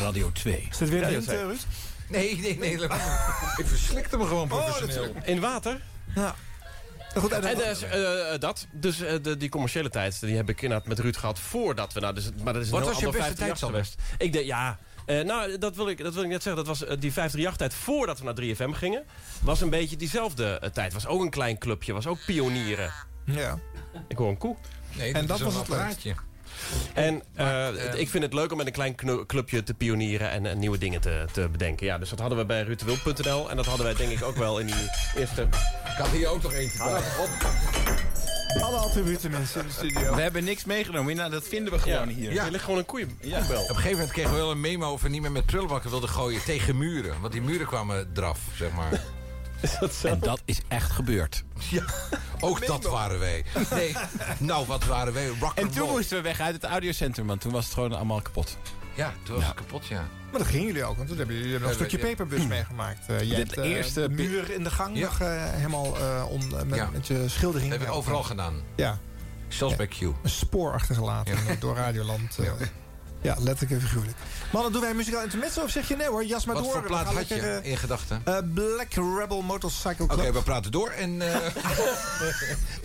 S10: Radio 2.
S5: Is het weer een
S11: Radio
S5: hint,
S11: 2.
S5: eh, Ruud?
S2: Nee, nee, nee. Oh, helemaal niet. Ik verslikte me gewoon professioneel.
S11: In water?
S5: Ja. Goed, en,
S11: en dus, eh, eh, dat, dus eh, de, die commerciële tijd, die heb ik inderdaad met Ruud gehad voordat we nou, dus, maar dat is een
S2: Wat
S11: heel
S2: was je
S11: ander
S2: beste
S11: 538
S2: tijd, Sander?
S11: Ik denk, ja, eh, nou, dat wil, ik, dat wil ik net zeggen, dat was eh, die 538-tijd voordat we naar 3FM gingen, was een beetje diezelfde eh, tijd. Was ook een klein clubje, was ook pionieren.
S5: Ja.
S11: Ik hoor een koe.
S2: Nee,
S5: En dat was het leuk.
S11: En eh, het- ik vind het leuk om met een klein kno- clubje te pionieren en eh, nieuwe dingen te, te bedenken. Ja, dus dat hadden we bij ruudwild.nl en dat hadden wij denk ik ook wel in die eerste...
S2: Ik had hier ook nog eentje
S5: Alle attributen mensen in de studio.
S10: We hebben niks meegenomen. Nou, dat vinden we gewoon hier.
S2: Ja.
S11: Er ligt gewoon een koeien, koebel.
S2: Op een gegeven moment kregen we wel een memo over niet meer met prullenbakken wilden gooien tegen muren. Want die muren kwamen draf, zeg maar.
S11: Is dat zo?
S10: En dat is echt gebeurd.
S2: Ja, ook dat waren wij. Nee, nou wat waren wij? Rock
S10: En
S2: and
S10: toen
S2: roll.
S10: moesten we weg uit het audiocentrum, want toen was het gewoon allemaal kapot.
S2: Ja, toen was het kapot, ja.
S5: Maar dat gingen jullie ook, want toen hebben jullie hebben een
S2: Hebben-
S5: stukje
S2: ja.
S5: paperbus meegemaakt. Eh, jij
S10: Dit
S5: hebt, eh,
S10: eerste
S5: de
S10: pi-
S5: muur in de gang nog eh, helemaal eh, om, eh, met,
S2: Ja.
S5: met je schildering.
S2: Dat heb ik overal gedaan.
S5: Ja,
S2: Zelfs bij Q.
S5: een spoor achtergelaten door Radioland. eh. Ja, letterlijk en figuurlijk. Mannen, doen wij een muzikaal intermezzo of zeg je nee hoor? Jas maar
S2: Wat
S5: door.
S2: voor
S5: we
S2: plaat
S5: gaan
S2: had je
S5: lekker, eh,
S2: in gedachten?
S5: eh, Black Rebel Motorcycle Club.
S2: Oké, we praten door en... eh,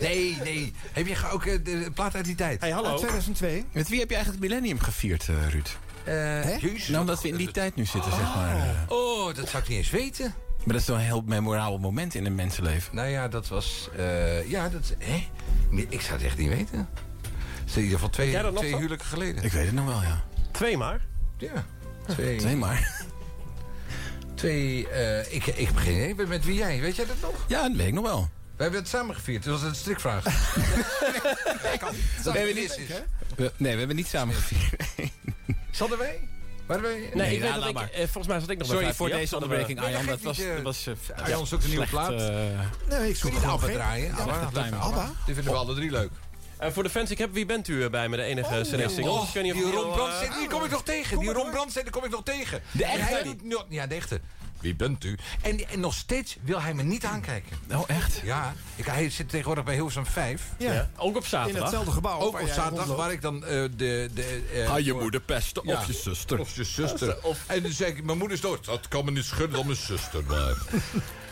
S2: nee, nee. Heb je ook eh, de plaat uit die tijd?
S10: Hey, hallo. Uit
S5: 2002.
S10: Met wie heb je eigenlijk het millennium gevierd, eh, Ruud?
S2: Eh, jezus.
S10: Nou, omdat we in die tijd nu zitten, zeg maar. eh.
S2: Oh, dat zou ik niet eens weten.
S10: Maar dat is wel een heel memorabel moment in een mensenleven.
S2: Nou ja, dat was... eh, ja, dat... Hè? Nee, ik zou het echt niet weten. Het is in ieder geval twee,
S11: jij dat nog
S2: twee
S11: zo?
S2: huwelijken geleden.
S10: Ik weet het nog wel, ja.
S11: Twee maar.
S2: Ja. Twee,
S10: Twee maar.
S2: Twee... eh, ik, ik heb geen idee. Met- Met wie jij? Weet jij dat nog?
S10: Ja, dat weet ik nog wel.
S2: We hebben het samen gevierd. dus Dat was een strikvraag. nee, kan niet. Dat
S10: Nee, we
S2: is- is.
S10: We- nee, we hebben niet samen gevierd.
S2: Zaten wij? Waren wij?
S11: Nee, ik
S10: ja,
S11: weet dat
S10: laat
S11: ik,
S10: maar.
S11: eh, volgens mij zat ik nog bij
S10: Sorry
S11: 538.
S10: voor deze
S11: Hadden we-
S10: onderbreking,
S11: Nee,
S10: Arjan.
S11: dat geeft
S10: Dat was,
S11: niet, eh,
S10: dat was eh,
S2: Arjan zoekt een nieuwe
S10: slecht,
S2: plaat.
S10: eh,
S5: Nee, ik zoek
S2: Kun je
S5: gewoon
S2: ABBA
S5: geen-
S2: draaien?
S5: Ja,
S2: ABBA,
S5: slechte
S2: leuk.
S5: timing. ABBA?
S2: Die vinden we alle drie leuk.
S11: Eh, voor de fans, ik heb Wie bent u eh, bij me, de enige CD-single.
S2: Oh, die Ron Brandstedt, die kom ik nog tegen. Die Ron Brandstedt, die kom ik nog tegen.
S10: eh, De
S2: En hij
S10: echte?
S2: doet no- Ja, de echte. Wie bent u? En, die- en nog steeds wil hij me niet aankijken.
S10: Oh, echt?
S2: Ja, ik, hij zit tegenwoordig bij Hilversum 5.
S5: Ja.
S11: Ook op
S5: In
S11: zaterdag.
S5: hetzelfde gebouw.
S2: Ook
S5: waar
S2: op
S5: jij
S2: zaterdag,
S5: rondloopt.
S2: waar ik dan eh, de... de eh,
S10: Ga je moeder pesten
S2: Ja.
S10: of je zuster.
S2: Of je zuster. En dan zei ik, mijn moeder is dood. Dat kan me niet schudden dan mijn zuster blijft.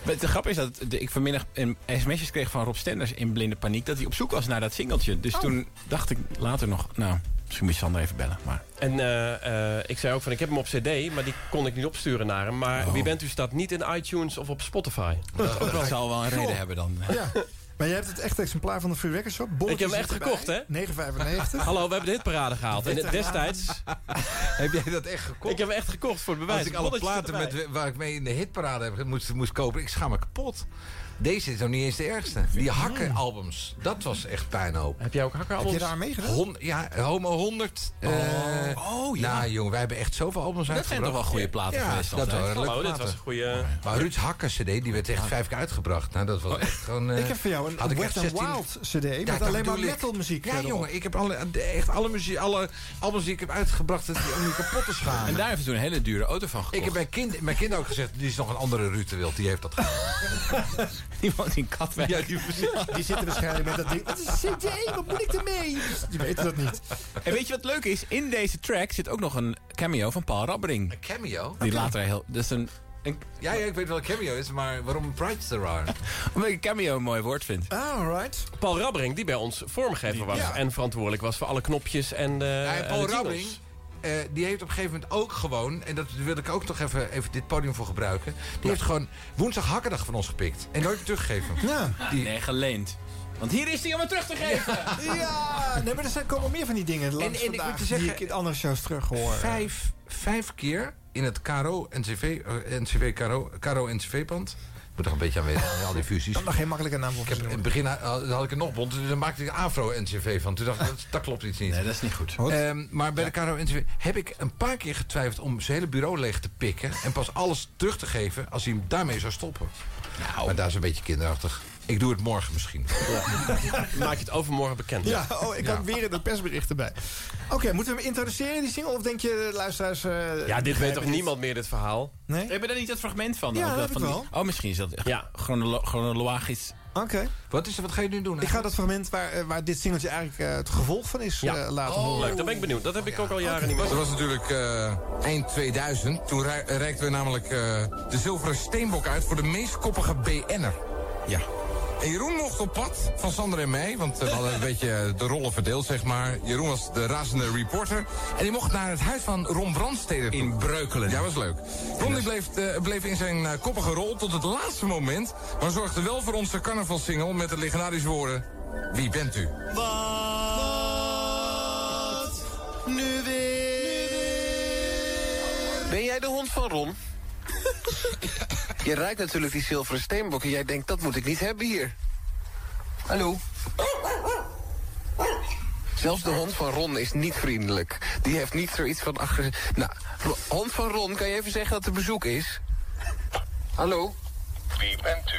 S10: Maar de grap is dat de- ik vanmiddag een sms'jes kreeg van Rob Stenders in blinde paniek... dat hij op zoek was naar dat singeltje. Dus toen dacht ik later nog, nou, misschien moet je Sander even bellen. Maar
S11: En eh, eh, ik zei ook van, ik heb hem op cd, maar die kon ik niet opsturen naar hem. Maar
S2: Oh.
S11: Wie bent u staat niet in iTunes of op Spotify.
S10: dat zal wel een reden hebben dan.
S5: Ja. Maar jij hebt het echt exemplaar van de Free Record Shop.
S11: Ik heb hem echt gekocht, hè?
S5: 9,95.
S11: Hallo, we hebben de hitparade gehaald. En destijds,
S2: Heb jij dat echt gekocht?
S11: ik heb hem echt gekocht voor het bewijs.
S2: Als ik alle
S11: Bonnetje
S2: platen
S11: erbij.
S2: met, waar ik mee in de hitparade heb, moest, moest kopen, ik schaam me kapot. Deze is nog niet eens de ergste. Die hakkenalbums, dat was echt puinhoop.
S11: Heb jij ook hakkeralbums?
S5: Heb je daar mee gedaan?
S2: Hon- ja, Homo 100. eh,
S10: Oh, ja.
S2: Nou jongen, wij hebben echt zoveel albums
S10: Dat zijn
S2: uitgebracht.
S10: toch wel goede platen
S2: ja,
S10: geweest
S2: dat
S10: altijd.
S2: waren leuke
S11: Hallo, dit
S2: platen.
S11: was een goede...
S2: Maar Ruud's Hakken CD, die werd echt vijf keer uitgebracht. Nou, dat was
S11: Oh,
S2: echt gewoon... eh,
S5: Ik heb voor jou
S2: had
S5: een
S2: ik
S5: Wet
S2: echt
S5: n
S2: 16
S5: Wild cd
S2: Ja,
S5: met
S2: dat
S5: alleen maar
S2: bedoel ik.
S5: metalmuziek.
S2: Ja,
S5: erop.
S2: jongen, ik heb alle, de- echt alle, muziek, alle albums die ik heb uitgebracht... dat die om je kapot te schamen.
S10: En daar heeft hij toen een hele dure auto van gekocht.
S2: Ah, Ik heb mijn kind, mijn kind ook gezegd, die is nog een andere Ruud de Wild. Die heeft dat gedaan.
S10: Die woont in Katwijk.
S5: Die zitten waarschijnlijk met dat ding. Wat is een cd? Wat moet ik ermee? Die weten dat niet.
S10: En weet je wat leuk is? In deze track zit ook nog een cameo van Paul Rabbering.
S2: Een cameo?
S10: Die later heel... Dat is een, een,
S2: Ja, ja, ik weet wel een cameo is, maar waarom Prides er are?
S10: omdat ik cameo een mooi woord vind.
S5: Ah, Alright.
S11: Paul Rabbering, die bij ons vormgever was.
S5: Ja.
S11: En verantwoordelijk was voor alle knopjes en de
S2: Ja,
S11: en
S2: Paul
S11: de jingles.
S2: Rabbing, eh, die heeft op een gegeven moment ook gewoon... en dat wil ik ook toch even, even dit podium voor gebruiken... die heeft gewoon woensdag hakkendag van ons gepikt. En nooit teruggegeven.
S5: Ja.
S10: Nee, geleend. Want hier is hij om het terug te geven.
S5: Ja, nee, maar er zijn- komen meer van die dingen langs
S2: En- en ik
S5: vandaag
S2: moet je
S5: die
S2: zeggen-
S5: ik in andere shows terug hoor.
S2: Vijf, vijf keer in het KRO, NCV, eh, NCV KRO, KRO NCV-pand. Ik moet toch een beetje aan weten, aan al die fusies.
S5: Dat mag geen makkelijke naam
S2: Ik
S5: voor
S2: heb, in het begin had had ik het nog bond, dus dan maakte ik Afro-NCV van. Toen dacht ik, dat, dat klopt iets niet.
S10: Nee, dat is niet goed.
S2: Ehm, maar bij de Caro NCV heb ik een paar keer getwijfeld om zijn hele bureau leeg te pikken. En pas alles terug te geven als hij hem daarmee zou stoppen. Maar daar is een beetje kinderachtig. Ik doe het morgen misschien.
S11: Maak je het overmorgen bekend.
S5: Ja, oh, ik had
S2: Ja.
S5: weer in de persbericht erbij. Oké, moeten we hem introduceren, die single? Of denk je, eh, luisteraars... eh,
S11: Ja, dit weet
S5: begrijpen
S11: toch
S5: dit?
S11: niemand meer, dit verhaal?
S5: Nee?
S10: Heb je daar niet dat fragment van?
S5: Ja,
S10: Of
S5: dat heb
S10: van
S5: ik
S10: die-
S5: wel.
S10: Oh, misschien is dat
S11: Ja.
S10: chronolo- chronologisch.
S5: Oké.
S2: Wat, is er, wat ga je nu doen?
S5: Ik ga dat fragment waar, eh, waar dit singeltje eigenlijk eh, het gevolg van is
S11: Ja.
S5: eh,
S2: Oh,
S5: laten horen.
S11: Oh. Leuk, daar ben ik benieuwd. Dat heb ik ook al jaren niet meer.
S15: Dat was natuurlijk eh, eind 2000. Toen rei- reikten we namelijk eh, de zilveren steenbok uit voor de meest koppige BN'er. Ja. En Jeroen mocht op pad van Sander en mij, want eh, we hadden een beetje eh, de rollen verdeeld, zeg maar. Jeroen was de razende reporter. En die mocht naar het huis van Ron Brandstede In Breukelen. Ja, was leuk. Ron die bleef, eh, bleef in zijn eh, koppige rol tot het laatste moment... maar zorgde wel voor onze carnavalssingle met de legendarische woorden... Wie bent u?
S1: Ben jij de hond van Ron? Je ruikt natuurlijk die zilveren steenbok en jij denkt dat moet ik niet hebben hier. Hallo? Zelfs de hond van Ron is niet vriendelijk. Die heeft niet zoiets van agressie. Nou, Ro- hond van Ron, kan je even zeggen dat er bezoek is? Hallo?
S21: Wie bent u?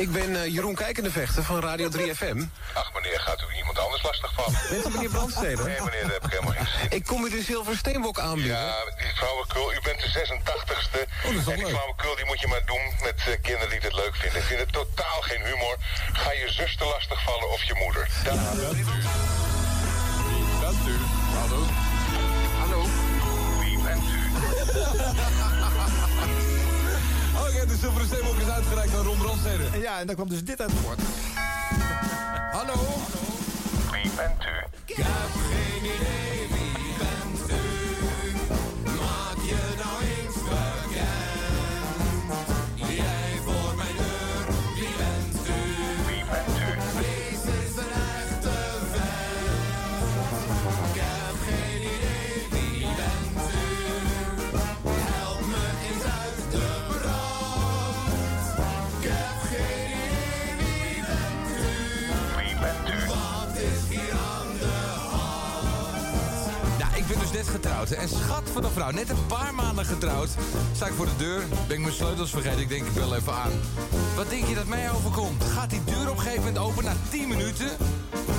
S1: Ik ben eh, Jeroen Kijkendevechter van Radio 3FM.
S21: Ach meneer, gaat u iemand anders lastigvallen?
S1: Bent u meneer Brandsteder?
S21: Nee meneer, dat heb ik helemaal geen zin.
S1: Ik kom u de zilveren steenbok dus. aanbieden.
S21: Ja, Ah, die flauwekul, u bent de 86ste. en die flauwekul die moet je maar doen met eh, kinderen die het leuk vinden. Ik vind het totaal geen humor. Ga je zuster lastigvallen of je moeder. Dat
S15: Dank u. Hallo.
S22: Hallo? Wie bent u?
S7: Oké, de zilveren steenbok is uitgereikt aan Ron Brandstede.
S5: Ja, en daar kwam dus dit uit voort.
S7: Hallo?
S22: Wie bent u?
S7: Ik heb geen idee wie bent u. Maak je nou eens bekend. Jij voor mijn deur, wie bent u? Wie bent u? Wees eens een echte fan. Ik heb geen idee wie bent u. Help me eens uit de brand. Ik heb geen idee wie bent u. Wie bent u? Wat is hier aan de nou, ik ben dus net getrouwd. hè. En schat van een vrouw, net een paar maanden getrouwd. Sta ik voor de deur, ben ik mijn sleutels vergeten. Ik denk, ik bel even aan. Wat denk je dat mij overkomt? Gaat die deur op een gegeven moment open na 10 minuten?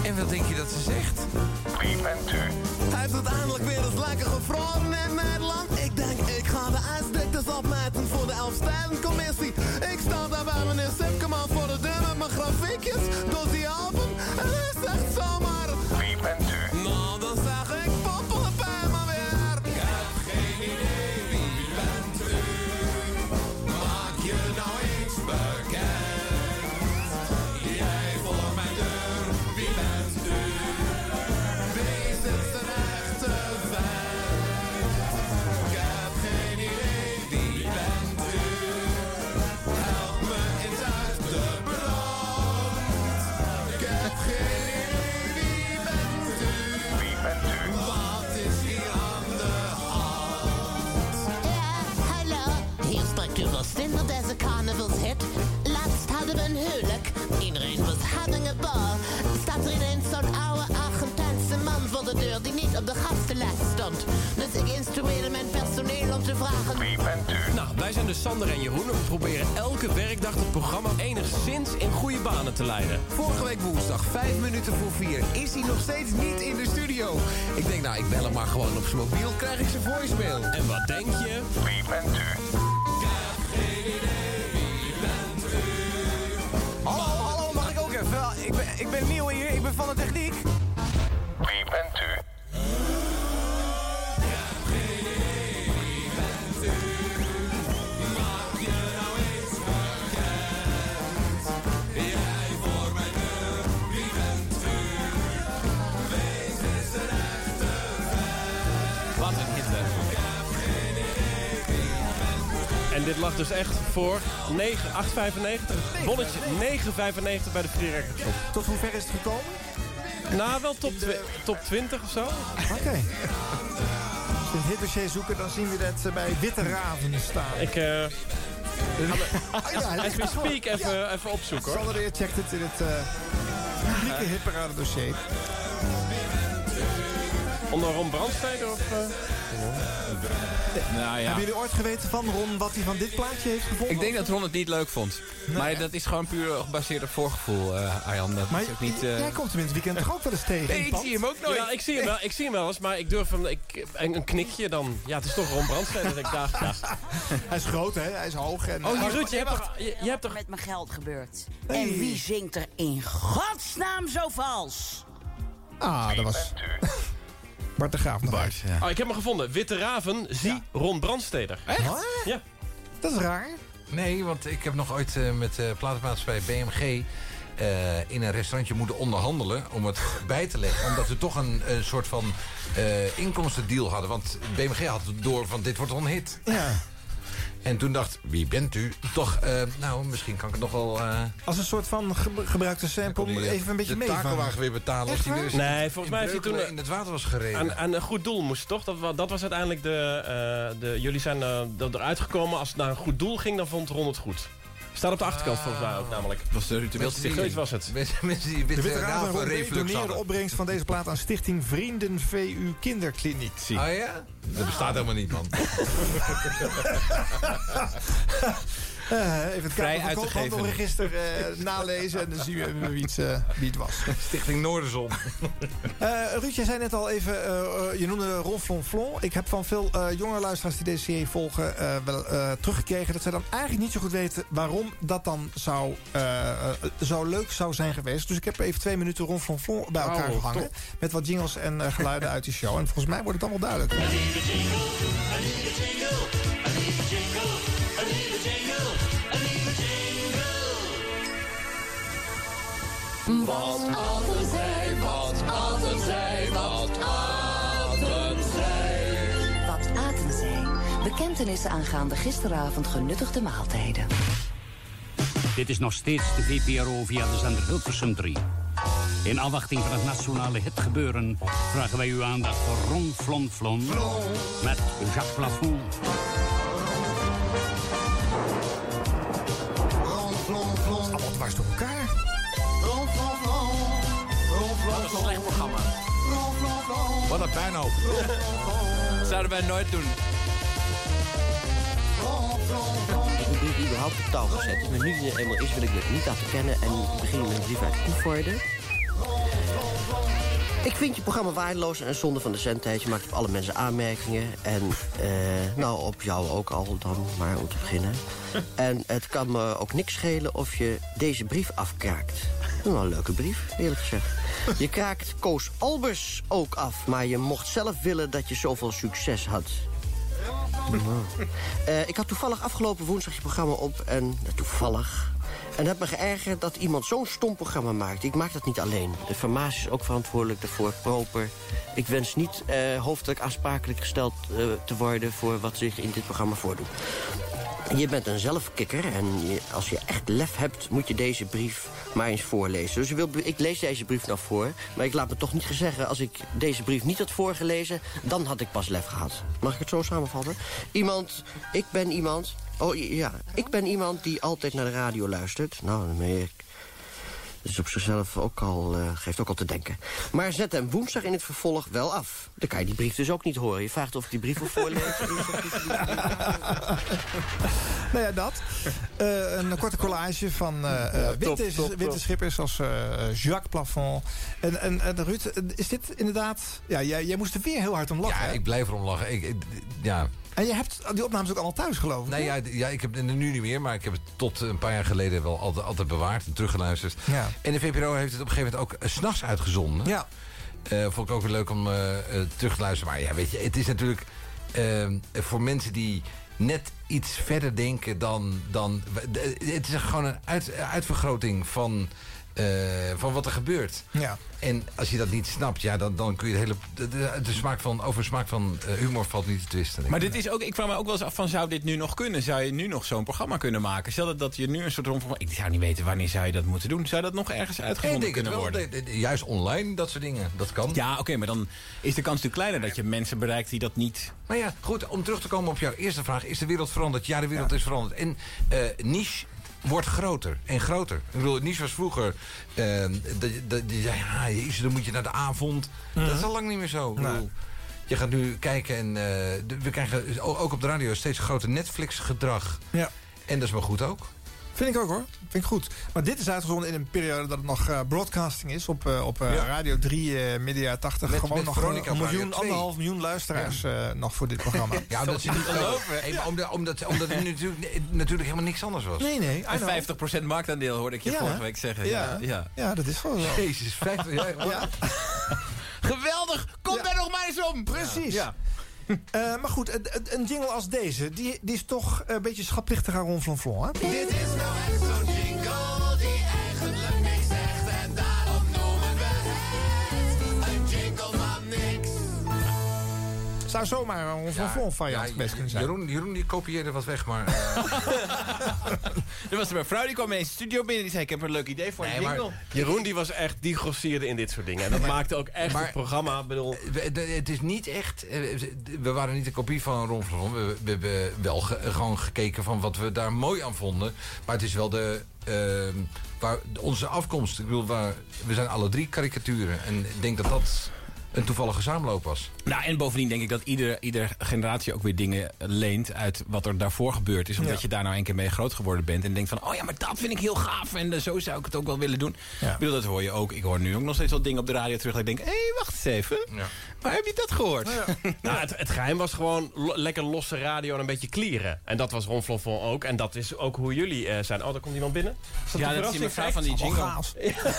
S7: En wat denk je dat ze zegt? Wie bent u?
S23: Hij heeft uiteindelijk weer eens lekker gevroren in Nederland. Ik denk, ik ga de ijsdiktes opmeten voor de Elfstedencommissie. Ik sta daar bij meneer Sipkeman voor de deur met mijn grafiekjes. Door die album. En hij zegt zomaar... Wie bent u? Nou, dan zeg ik, poppel het bij me weer. Ik heb geen idee wie bent u. Maak je nou eens bekend. Jij voor mijn deur, wie bent u? Wees het een echte fan. Ik heb geen idee wie bent u. Help me eens uit de brand. Ik heb geen idee wie bent u. Wie bent u? Wat is hier aan de hand? Ja, hallo.
S24: Hier spreekt u verstand op deze carnavalshit. Laatst hadden we een huwelijk. Iedereen was having a ball. Staat er ineens zo'n oude Argentijnse man voor de deur die niet op de gastenlijst stond. Dus ik instrueerde mijn personeel om te vragen... Wie bent u?
S10: Nou, wij zijn dus Sander en Jeroen en we proberen elke werkdag het programma enigszins in goede banen te leiden.
S25: Vorige week woensdag, vijf minuten voor vier, is hij nog steeds niet in de studio. Ik denk, nou, ik bel hem maar gewoon op zijn mobiel, krijg ik zijn voicemail. En wat denk je? Wie bent u?
S23: Hallo, hallo, mag ik ook even? Ik ben, ik ben nieuw hier, ik ben van de techniek.
S22: Wie bent u?
S11: Wat een Hitler. En dit lag dus echt voor 9, 8,95. Bonnetje 9,95 bij de Free Records Shop.
S5: Tot hoe ver is het gekomen?
S11: Nou, wel top, twi- top 20 of zo.
S5: Oké. Als we dit dossier zoeken, dan zien we dat eh, bij Witte Raven staan.
S11: Ik, eh... Ah,
S5: Oh ja,
S11: As
S5: hij
S11: we
S5: ligt voor.
S11: speak, even, even opzoeken hoor.
S5: Sander de Heer checkt het in het eh, publieke hitparade dossier.
S11: Onder Ron Brandstede of... eh?
S26: Nou ja.
S5: Hebben jullie ooit geweten van Ron wat hij van dit plaatje heeft gevonden?
S10: Ik denk dat Ron het niet leuk vond.
S5: Nou
S10: maar dat is gewoon puur gebaseerd op voorgevoel, eh Arjan. Dat
S5: Maar
S10: is ook niet... eh,
S5: Jij komt hem in het weekend toch ook wel eens tegen? in het pand?
S11: Ja, ik zie hem wel, ik zie hem wel eens, maar ik durf hem... Ik, een, een knikje dan. Ja, het is toch Ron Brandstede dat ik daar dacht.
S5: Hij is groot, hè? Hij is hoog. En,
S11: Oh, Ruud, je
S12: Hey,
S11: hebt
S12: wacht.
S11: toch... Je, je hebt toch...
S12: met mijn geld gebeurd. En wie zingt er in godsnaam zo vals?
S5: Ah, dat was... Bart de Graaf nog Bart,
S11: Oh, ik heb hem gevonden. Witte Raven, zie Ron Brandsteder.
S2: Echt?
S11: Ja.
S5: Dat is raar.
S2: Nee, want ik heb nog ooit eh, met de platenmaatschappij BMG... eh, in een restaurantje moeten onderhandelen om het bij te leggen. Omdat we toch een, eh, soort van eh, inkomstendeal hadden. Want BMG had het door van dit wordt een hit.
S5: Ja.
S2: En toen dacht, wie bent u? Toch, eh, nou, misschien kan ik het nog wel... eh,
S5: Als een soort van ge- gebruikte sample,
S2: die, eh,
S5: even een beetje
S2: de
S5: mee.
S2: takelwagen weer betalen.
S5: Echt
S2: als die weer
S5: waar?
S2: eens
S11: Nee,
S2: in-
S11: volgens
S2: in
S11: mij heeft hij
S2: Breukelen
S11: toen...
S2: in het water was gereden.
S11: Aan, aan een goed doel moest, toch? Dat, wa- dat was uiteindelijk de... eh, de jullie zijn eh, dat eruit gekomen. Als het naar een goed doel ging, dan vond Ron het goed. Staat op de achterkant volgens mij ook namelijk.
S10: Was de
S5: Wild Stichting.
S11: Zoiets was het.
S2: Mensen die
S5: De Witte Raven en Ron Bree doneren de opbrengst van deze plaat aan Stichting Vrienden VU Kinderkliniek.
S2: Oh ja? Dat bestaat helemaal niet, man.
S5: Eh, even het
S10: Vrij
S5: Kamer
S10: uit
S5: van
S10: te
S5: Koophandelregister eh, nalezen en dan zien we wie het, eh, wie het was.
S2: Stichting Noorderzon.
S5: Eh Ruud, jij zei net al even, eh, eh, je noemde Ron Flonflon. Ik heb van veel eh, jonge luisteraars die deze serie volgen eh, wel eh, teruggekregen... dat zij dan eigenlijk niet zo goed weten waarom dat dan zou, eh, eh, zo leuk zou zijn geweest. Dus ik heb even twee minuten Ron Flonflon bij elkaar
S25: Oh,
S5: gehangen.
S25: top.
S5: Met wat jingles en eh, geluiden uit die show. En volgens mij wordt het allemaal duidelijk.
S25: Wat Adam zei, wat Adam zei, wat Adam zei.
S6: Wat aten zijn. Bekentenissen aangaande gisteravond genuttigde maaltijden.
S3: Dit is nog steeds de VPRO via de zender Hilversum 3. In afwachting van het nationale hitgebeuren vragen wij uw aandacht voor Ron Flon Flon met Jacques Plafond.
S5: Allemaal dwars door elkaar.
S27: Wat een slecht programma.
S2: Wat een puinhoop.
S27: Zouden wij nooit doen.
S28: Ik ben überhaupt op touw gezet. Dus nu die er eenmaal is, wil ik het niet laten kennen. En ik begin met lief uit Koevoorde. Ik vind je programma waardeloos en zonde van de zendtijd. Je maakt op alle mensen aanmerkingen. En eh, nou, op jou ook al dan, maar om te beginnen. En het kan me ook niks schelen of je deze brief afkraakt. Nou, een leuke brief, eerlijk gezegd. Je kraakt Koos Albers ook af, maar je mocht zelf willen dat je zoveel succes had. Eh, ik had toevallig afgelopen woensdag je programma op en nou, toevallig. En heb me geërgerd dat iemand zo'n stom programma maakt. Ik maak dat niet alleen. De farmatie is ook verantwoordelijk daarvoor, proper. Ik wens niet eh, hoofdelijk aansprakelijk gesteld eh, te worden... voor wat zich in dit programma voordoet. Je bent een zelfkikker en je- als je echt lef hebt... moet je deze brief maar eens voorlezen. Dus je wil, ik lees deze brief nou voor, maar ik laat me toch niet zeggen... als ik deze brief niet had voorgelezen, dan had ik pas lef gehad. Mag ik het zo samenvatten? Iemand, ik ben iemand... Oh ja, ik ben iemand die altijd naar de radio luistert. Nou, dan ben ik dat is op zichzelf ook al, eh, geeft ook al te denken. Maar zet hem woensdag in het vervolg wel af. Dan kan je die brief dus ook niet horen. Je vraagt of ik die brief wil voorlezen.
S5: Nou ja, dat. Eh, een korte collage van eh, eh,
S28: top,
S5: witte,
S28: top, top.
S5: witte schippers als eh, Jacques Plafond. En, en, en Ruud, is dit inderdaad... Ja, jij, jij moest er weer heel hard om lachen.
S2: Ja,
S5: hè?
S2: ik blijf erom lachen. Ik, ik- ja.
S5: En je hebt die opnames ook allemaal thuis, geloof ik?
S2: Nee, ja, d- ja, ik heb het nu niet meer, maar ik heb het tot een paar jaar geleden wel altijd, altijd bewaard en teruggeluisterd.
S5: Ja.
S2: En de VPRO heeft het op een gegeven moment ook eh, 's s'nachts uitgezonden.
S5: Ja.
S2: vond ik ook weer leuk om eh, eh, terug te luisteren. Maar ja, weet je, het is natuurlijk eh, voor mensen die net iets verder denken dan... dan de- het is gewoon een uit, eh, uitvergroting van, eh, van wat er gebeurt.
S5: Ja.
S2: En als je dat niet snapt, ja, dan, dan kun je de hele... De, de- de smaak van, over de smaak van eh, humor valt niet te twisten. denk
S10: Maar
S2: ik.
S10: dit is ook, ik kwam me ook wel eens af van, zou dit nu nog kunnen? Zou je nu nog zo'n programma kunnen maken? Stel dat- dat je nu een soort rondprogramma... Ik zou niet weten wanneer zou je dat moeten doen. Zou dat nog ergens
S2: Ik
S10: uitgevonden
S2: denk het
S10: kunnen
S2: wel.
S10: worden?
S2: De- de- de- juist online, dat soort dingen. Dat kan.
S10: Ja, oké, maar dan is de kans natuurlijk kleiner dat je mensen bereikt die dat niet...
S2: Maar ja, goed, om terug te komen op jouw eerste vraag. Is de wereld veranderd? Ja, de wereld is veranderd. En eh, niche wordt groter en groter. Ik bedoel, niche was vroeger... eh, dat, je- dat, je zei, ja, jezus, dan moet je naar de avond.
S5: Mhm.
S2: Dat is al lang niet meer zo. Ik bedoel, Je gaat nu kijken en eh, de- we krijgen dus o- ook op de radio steeds groter Netflix-gedrag.
S5: Ja.
S2: En dat is maar goed ook.
S5: Vind ik ook hoor. Vind ik goed. Maar dit is uitgezonden in een periode dat het nog eh, broadcasting is. Op, eh, op eh,
S2: Ja.
S5: Radio 3, eh, media 80.
S2: Met-
S5: gewoon
S2: met
S5: nog
S2: Veronica
S5: een
S2: op Radio
S5: miljoen,
S2: 2.
S5: anderhalf miljoen luisteraars eh, nog voor dit programma.
S2: Ja, omdat ze niet geloven. Hey, maar omdat, omdat, omdat het natuurlijk, natuurlijk helemaal niks anders was.
S5: Nee, nee. I know.
S10: En 50% marktaandeel hoorde ik je
S5: Ja,
S10: vorige
S5: hè?
S10: week zeggen.
S5: Ja.
S10: Ja. ja.
S5: Ja, dat is gewoon zo.
S2: Jezus, 50 jaar.
S5: Ja.
S10: Geweldig! Kom daar nog maar eens om!
S5: Precies. Eh, maar goed, een- een- een jingle als deze, die, die is toch een beetje schatplichtig aan Ron Flonflon, hè?
S25: Dit is nou echt zo'n jingle die eigenlijk niks zegt. En daarom noemen we het een jingle van niks.
S5: Zou zomaar een Ron Flonflon variant best kunnen zijn.
S2: Jeroen, Jeroen die kopieerde wat weg, maar... eh,
S10: Er was er een vrouw die kwam in de studio binnen en die zei... ik heb een leuk idee voor een jingle.
S11: Jeroen die was echt, die grossierde in dit soort dingen. En dat maakte ook echt
S2: maar-
S11: het programma. Bedoel,
S2: We- de- Het is niet echt... eh, We waren niet een kopie van Ron van Ron. We we hebben wel ge- gewoon gekeken van wat we daar mooi aan vonden. Maar het is wel de... ehm, waar, onze afkomst. Ik bedoel, waar, we zijn alle drie karikaturen. En ik denk dat dat een toevallige saamloop was.
S10: Nou, en bovendien denk ik dat iedere ieder generatie ook weer dingen leent uit wat er daarvoor gebeurd is. Omdat
S2: Ja.
S10: je daar nou een keer mee groot geworden bent. En denkt van, oh ja, maar dat vind ik heel gaaf. En eh, zo zou ik het ook wel willen doen. Ik bedoel, dat hoor je ook. Ik hoor nu ook nog steeds wel dingen op de radio terug. Dat ik denk, hé, hey, wacht eens even. Waar heb je dat gehoord?
S11: nou, het, het geheim was gewoon lo- lekker losse radio en een beetje klieren. En dat was Ron Flonflon ook. En dat is ook hoe jullie eh, zijn. Oh, daar komt iemand binnen. dat
S10: Ja,
S11: de
S10: dat is die
S11: verrassing?
S10: mevrouw van die
S11: Allemaal
S10: jingle.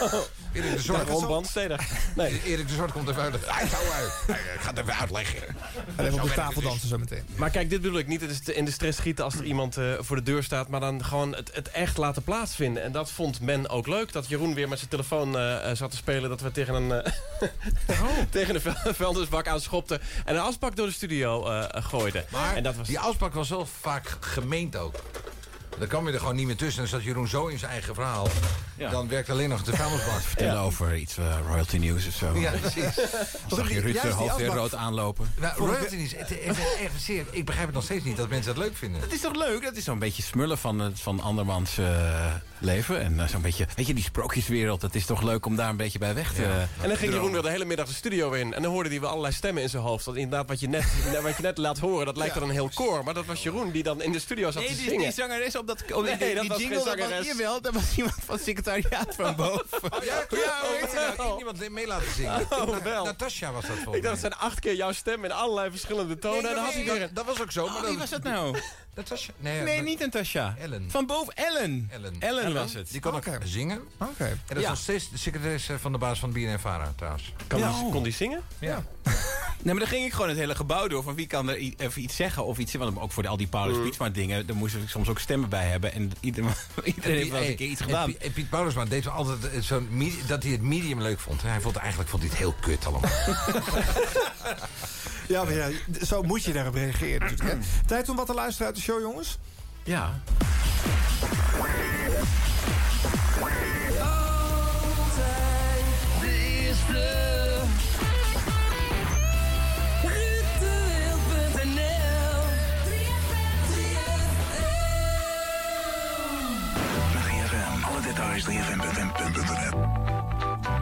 S11: Erik de Zwart. Ron Bandsteder.
S2: Erik de Zwart komt even uit. Hij zou uit. Ik ga het even uitleggen.
S5: Alleen
S11: Zo
S5: op de
S11: werkt
S5: tafel
S11: het dus.
S5: dansen zo meteen.
S11: Maar kijk, dit bedoel ik niet. Het is te- in de stress schieten als er iemand eh, voor de deur staat. Maar dan gewoon het, het echt laten plaatsvinden. En dat vond men ook leuk. Dat Jeroen weer met zijn telefoon eh, eh, zat te spelen. Dat we tegen een, eh,
S10: Oh.
S11: tegen een vuil- vuilnisbak aanschopten. En een asbak door de studio eh, gooiden.
S2: Maar
S11: en dat was...
S2: die afspraak was wel vaak gemeend ook. Dan kwam je er gewoon niet meer tussen. Dan zat Jeroen zo in zijn eigen verhaal. Dan werkt alleen nog de vuilnisbak.
S10: Vertellen over iets, eh, royalty nieuws of zo.
S2: Ja, precies.
S10: Zag je Ruud
S2: Juist
S10: zijn
S2: die
S10: hoofd weer
S2: afbak-
S10: rood aanlopen?
S2: Nou, royalty is het, het- het- echt zeer. Ik begrijp het nog steeds niet dat mensen dat leuk vinden.
S10: Dat is toch leuk? Dat is zo'n beetje smullen van, het- van andermans eh, leven. En eh, zo'n beetje, weet je, die sprookjeswereld. Dat is toch leuk om daar een beetje bij weg te...
S11: En dan ging Jeroen weer de hele middag de studio in. En dan hoorde hij weer allerlei stemmen in zijn hoofd. Dat inderdaad, wat je net, wat je net laat horen, dat lijkt dan een heel koor. Maar dat was Jeroen die dan in de studio zat
S10: Nee,
S11: te
S10: die-
S11: zingen.
S10: die zangeres op dat... op die-
S11: nee,
S10: die-
S11: dat
S10: die
S11: was
S10: jingle,
S11: geen
S10: dat was- Ah,
S11: zangeres.
S10: jawel, dat was iemand van secretariaat van boven.
S2: Ja, hoe heet ze nou? Ik
S10: Oh.
S2: heb niemand mee laten zingen.
S11: Oh,
S2: Na-
S11: wel.
S2: Natasja was dat
S11: Ik
S2: volgens
S11: dacht, het zijn acht keer jouw stem in allerlei verschillende tonen.
S2: Nee,
S11: en dan had
S2: nee,
S11: hij weer
S2: dat- dat was ook
S11: Oh,
S2: zo. maar
S10: wie was dat nou?
S2: Natasja?
S10: Nee,
S2: maar-
S10: niet Natasja.
S2: Ellen.
S10: Van boven Ellen.
S2: Ellen.
S10: was het.
S2: Die kon ook zingen.
S5: Oké.
S2: En dat is
S10: Ja.
S2: nog steeds de secretaris eh, van de baas van BNNVARA trouwens.
S11: Kan
S10: Ja.
S11: die, kon die zingen?
S5: Ja.
S10: Nou. Nee, maar dan ging ik gewoon het hele gebouw door. Van wie kan er i- even iets zeggen of iets... Want ook voor de- al die Paulus Pietsma dingen... daar moesten we soms ook stemmen bij hebben. En ieder- iedereen heeft wel eens een keer iets gedaan.
S2: En Piet, en Piet Paulusma deed wel altijd eh, zo'n me- dat hij het medium leuk vond. Hij vond eigenlijk vond hij het heel kut allemaal.
S5: Ja, maar ja, d- zo moet je daarop reageren. natuurlijk, hè. Tijd om wat te luisteren uit de show, jongens.
S10: Ja.
S4: FM. Alle details 3fm.nl.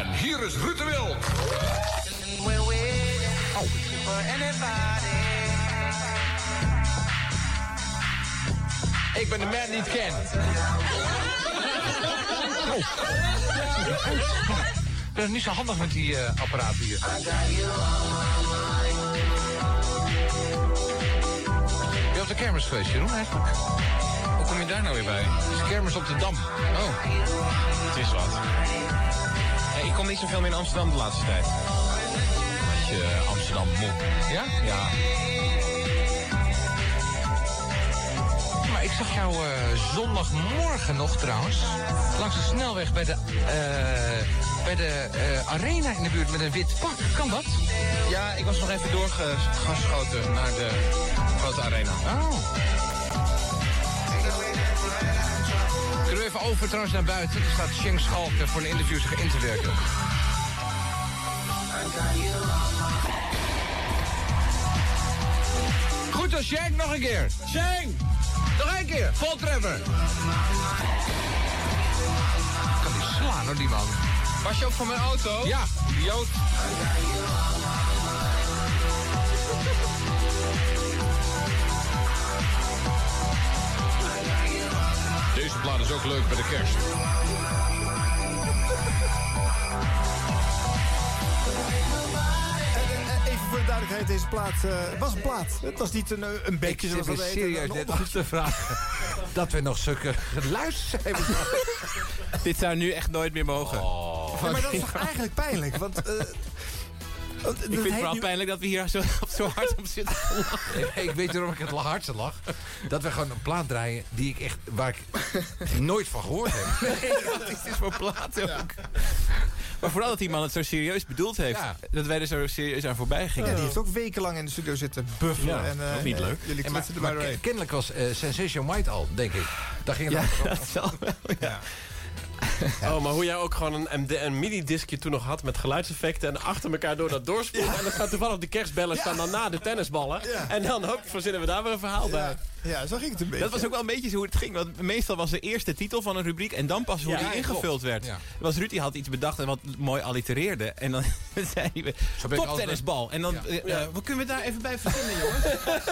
S25: En hier is Ruud de Wild. Ik ben de man die het kent.
S2: Oh. Dat is niet zo handig met die eh, apparaten hier. Je hebt de kermis geweest, Jeroen, eigenlijk? Hoe kom je daar nou weer bij? Het is kermis op de Dam. Oh.
S27: Het is wat. Hey, ik kom niet zoveel meer in Amsterdam de laatste tijd.
S10: Beetje Amsterdam moe.
S2: Ja?
S10: Ja.
S2: Maar ik zag jou eh, zondagmorgen nog trouwens. Langs de snelweg bij de, eh, bij de eh, arena in de buurt met een wit pak. Kan dat?
S27: Ja, ik was nog even doorgeschoten naar de grote arena.
S2: Oh. Kunnen we even over trouwens naar buiten? Er staat Cheng Schalken voor een interview zich in te werken. Goed dan, Shank, nog een keer. Shank! Nog een keer, voltreffer. Kan die slaan hoor, die man.
S27: Was je ook van mijn auto?
S2: Ja,
S27: Jood.
S15: Deze plaat is ook leuk bij de kerst.
S5: Eh, Even voor de duidelijkheid, deze plaat eh, was een plaat. Het was niet een, eh, een
S2: Ik
S5: beetje
S2: zit
S5: zoals
S2: me
S5: dat heet.
S2: serieus
S5: een- een
S2: net
S5: opdracht.
S2: af te vragen dat we nog zulke geluisterd hebben.
S10: Dit zou nu echt nooit meer mogen.
S11: Oh.
S5: Ja, maar dat is toch eigenlijk pijnlijk, want... eh, want
S10: Ik
S5: dat
S10: vind het
S5: heet
S10: vooral
S5: nu-
S10: pijnlijk dat we hier zo, zo hard op zitten.
S2: Ik- ik weet waarom ik het hardste lach. Dat we gewoon een plaat draaien die ik echt, waar ik nooit van gehoord heb.
S10: Het is dus voor plaat ook. Maar vooral dat die man het zo serieus bedoeld heeft.
S5: Ja.
S10: Dat wij er zo serieus aan voorbij
S5: Ja,
S10: gingen.
S5: die heeft ook wekenlang in de studio zitten buffelen.
S10: Ja,
S5: en, eh,
S10: dat is niet
S5: eh,
S10: leuk.
S5: Jullie
S2: En maar,
S5: klitsen er maar
S2: maar
S5: doorheen.
S2: kennelijk was eh, Sensation White al, denk ik. Daar ging het
S10: Ja,
S2: over.
S10: dat zal wel, ja.
S11: Oh, maar hoe jij ook gewoon een, MD een mini-discje toen nog had met geluidseffecten... en achter elkaar door dat doorspoelen. En dan staat toevallig de kerstbellen staan dan na de tennisballen. En dan hoop, verzinnen we daar weer een verhaal bij.
S5: Ja, zo ging het een beetje.
S10: Dat was ook wel een beetje hoe het ging. Want meestal was de eerste titel van een rubriek en dan pas hoe
S11: Ja,
S10: die
S11: ja,
S10: ingevuld
S11: klopt.
S10: werd.
S11: Ja.
S10: Was Ruud die had iets bedacht en wat mooi allitereerde. En dan zei hij,
S2: ben ik
S10: top tennisbal. En dan, eh, eh, wat kunnen we daar even bij verzinnen, jongens?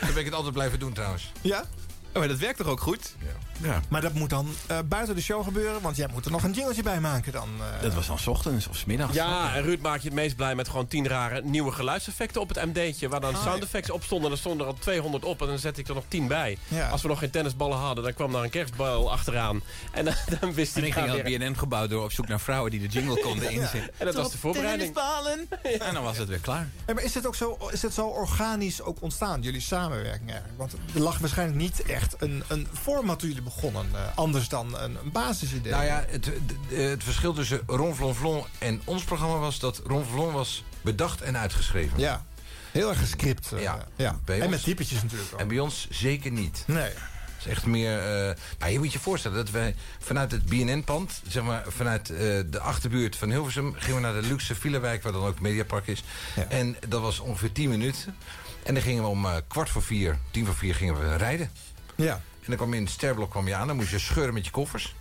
S2: Dan ben ik het altijd blijven doen trouwens.
S5: Ja?
S10: Oh, maar dat werkt toch ook goed? Ja.
S5: Maar dat moet dan eh, buiten de show gebeuren, want jij moet er nog een jingletje bij maken dan. eh.
S10: Dat was dan 's ochtends of 's middags.
S11: Ja, en Ruud maakt je het meest blij met gewoon tien rare nieuwe geluidseffecten op het MD'tje. Waar dan
S5: Ah,
S11: sound effects op stonden. En er stonden er al 200 op en dan zette ik er nog 10 bij.
S5: Ja.
S11: Als we nog geen tennisballen hadden, dan kwam daar een kerstbal achteraan. En dan, dan wist
S10: En
S11: hij
S10: ik
S11: daar
S10: ging het
S11: weer-
S10: BNN-gebouw door op zoek naar vrouwen die de jingle konden
S11: Ja.
S10: inzetten.
S11: En dat was de voorbereiding.
S10: Tennisballen. En dan was het weer klaar.
S5: Hey, maar is dit ook zo, is dit zo organisch ook ontstaan, jullie samenwerking eigenlijk? Want er lag waarschijnlijk niet echt een, een format toen jullie begonnen, eh, anders dan een, een basisidee.
S2: Nou ja, het, het- het verschil tussen Ron Flon Flon en ons programma was dat Ron Flon was bedacht en uitgeschreven.
S5: Ja, heel erg gescript. eh,
S2: ja.
S5: ja.
S2: Bij
S5: En
S2: ons-
S5: met typetjes natuurlijk ook.
S2: En bij ons zeker niet.
S5: Nee. Het
S2: is echt meer... eh, nou, je moet je voorstellen dat wij vanuit het BNN-pand... zeg maar vanuit eh, de achterbuurt van Hilversum... gingen we naar de luxe Villawijk, waar dan ook het Mediapark is. En dat was ongeveer 10 minuten. En dan gingen we om eh, kwart voor vier, tien voor vier gingen we rijden.
S5: Ja.
S2: En dan kwam je in het sterblok kwam je aan, dan moest je scheuren met je koffers.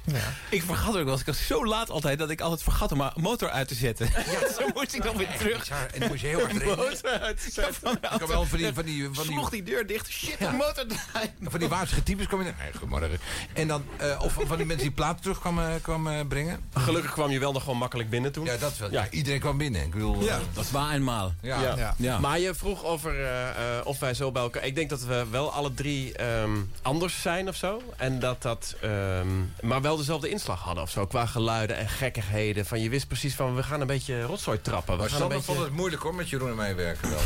S10: Ik vergat ook wel eens. Ik was zo laat altijd dat ik altijd vergat om mijn motor uit te zetten. Ja, zo moest ik dan weer terug.
S2: En dan moest je heel hard
S10: De
S2: rennen.
S10: motor uitzetten.
S2: Ik kwam wel van die, van die, van die,
S10: Sloeg die deur dicht. Shit,
S2: Ja.
S10: de motor draait.
S2: van die Waardse types kwam je... Nee, goedemorgen. En dan, eh, of van die mensen die platen terug kwamen, kwamen brengen.
S11: Gelukkig kwam je wel nog gewoon makkelijk binnen toen.
S2: Ja, dat wel. Ja, iedereen kwam binnen. Ik bedoel, eh,
S10: Dat is waar eenmaal.
S2: Ja.
S11: Ja.
S2: Ja. Ja.
S11: Maar je vroeg over eh, eh, of wij zo bij elkaar... Ik denk dat we wel alle drie ehm, anders zijn of zo. En dat dat... ehm, maar wel dezelfde inslag hadden of zo. Qua geluiden en gekkigheden. Van je wist precies van, we gaan een beetje rotzooi trappen. We
S2: Maar
S11: gaan een
S2: Sander
S11: beetje...
S2: vond het moeilijk hoor, met Jeroen en mij werken wel.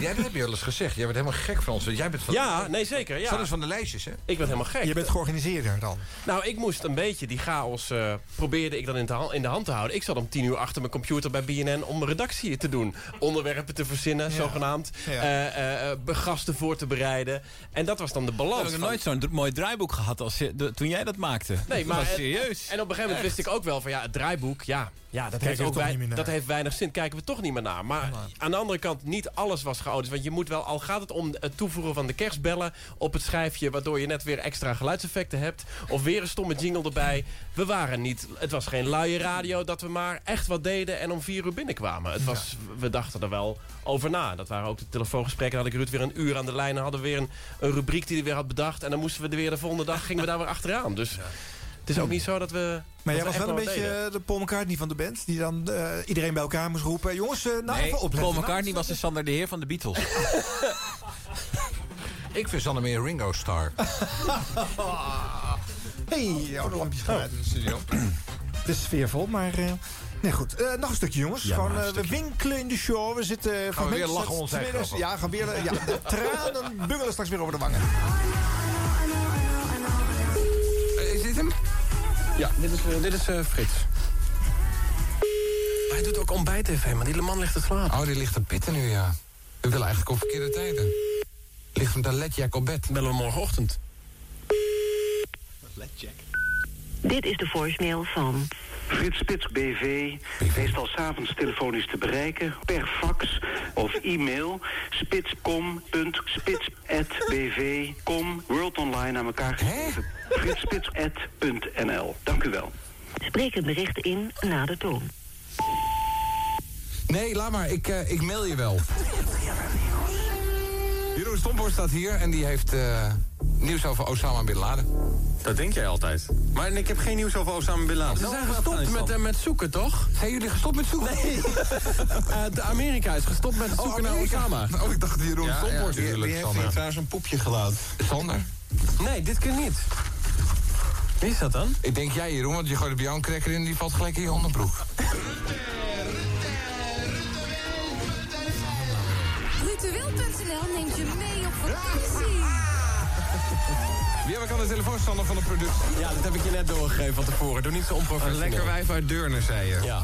S2: ja, dat heb je wel eens gezegd. Jij bent helemaal gek van ons. want Jij bent van
S11: Ja, nee zeker. Ja.
S2: Sander is van de lijstjes, hè?
S11: Ik werd helemaal gek.
S5: Je bent georganiseerder dan.
S11: Nou, ik moest een beetje die chaos... eh, probeerde ik dan in de, hand, in de hand te houden. Ik zat om tien uur achter mijn computer bij BNN... om redactie te doen. Onderwerpen te verzinnen, zogenaamd. Eh, eh, eh, gasten voor te bereiden. En dat was dan de
S10: We
S11: balans.
S10: hebben
S11: van-
S10: nooit zo'n dr- mooi draaiboek gehad als je- de- toen jij dat maakte.
S11: Nee,
S10: Dat
S11: maar
S10: was
S11: en-
S10: serieus.
S11: En, op een gegeven moment
S10: Echt.
S11: wist ik ook wel van ja, het draaiboek, ja, ja dat,
S10: Kijken
S11: heeft
S10: we
S11: ook
S10: toch
S11: wei-
S10: niet meer naar.
S11: dat heeft weinig zin. Kijken we toch niet meer naar. Maar aan de andere kant, niet alles was chaotisch. Want je moet wel, al gaat het om het toevoegen van de kerstbellen op het schijfje, waardoor je net weer extra geluidseffecten hebt. Of weer een stomme jingle erbij. We waren niet, het was geen luie radio dat we maar echt wat deden en om vier uur binnenkwamen. Het was, we dachten er wel over na. Dat waren ook de telefoongesprekken. Dan had ik Ruud weer een uur aan de lijn. Dan hadden we weer een, een rubriek die hij weer had bedacht. En dan moesten we er weer de volgende dag, gingen we daar weer achteraan. Dus het is ook niet zo dat we.
S5: Maar jij
S11: dat we
S5: was wel een
S11: echt
S5: beetje
S11: deden.
S5: eh, de Paul McCartney van de band, die dan eh, iedereen bij elkaar moest roepen. Jongens, eh, nou
S10: Nee,
S5: even opletten.
S10: Paul McCartney was de Sander de Heer van de Beatles.
S2: Ik vind Sander meer Ringo Star.
S5: hey, oude lampjes gaan uit in de studio. Het is sfeervol, maar... eh, nee, goed. Eh, nog een stukje, jongens.
S2: Ja,
S5: Gewoon,
S2: maar een
S5: eh, we winkelen in de show. We zitten... eh,
S2: weer
S5: fragmentjes
S2: lachen
S5: uit
S2: om ons eigen
S5: 2000
S2: grappen.
S5: Ja, gaan weer... eh, Ja, de tranen bungelen straks weer over de wangen. eh,
S15: Is dit hem?
S27: Ja, dit is, eh, dit is eh, Frits. Maar Hij doet ook ontbijt-tv, maar die man ligt te slapen.
S19: Oh, die ligt te pitten nu, ja. We willen eigenlijk op verkeerde tijden. Ligt hem dan letjack op bed.
S27: Bellen we morgenochtend.
S12: Dit is de voicemail van.
S17: Frits Spits BV, meestal s'avonds telefonisch te bereiken, per fax of e-mail, spitscom.spits.bv.com, World Online aan elkaar gegeven, fritspits.nl. Dank u wel.
S12: Spreek het bericht in na de toon.
S15: Nee, laat maar. Ik, eh, ik mail je wel.
S19: Jeroen Stomborst staat hier en die heeft eh, nieuws over Osama Bin Laden.
S27: Dat denk jij altijd. Maar ik heb geen nieuws over Osama Bin Laden. Ze zijn gestopt met, eh, met zoeken, toch?
S19: Zijn jullie gestopt met zoeken?
S27: Nee. Eh, de Amerika is gestopt met
S19: Oh,
S27: zoeken naar
S19: Amerika.
S27: Osama.
S19: Oh, ik dacht Jeroen
S27: Ja,
S19: Stomborst
S27: ja, die-
S19: natuurlijk,
S27: die heeft
S19: Sander.
S27: hier trouwens een poepje geluid.
S19: Sander?
S27: Nee, dit kan niet. Wie is dat dan?
S19: Ik denk jij, Jeroen, want je gooit bij jou een cracker in en die valt gelijk in je onderbroek.
S25: Ritueel.nl neemt je mee op vakantie.
S15: Wie heb ik aan de telefoon, Sander, van de productie?
S27: Ja, dat heb ik je net doorgegeven van tevoren. Doe niet zo onprofessioneel.
S15: Een lekker wijf uit Deurne, zei je.
S27: Ja.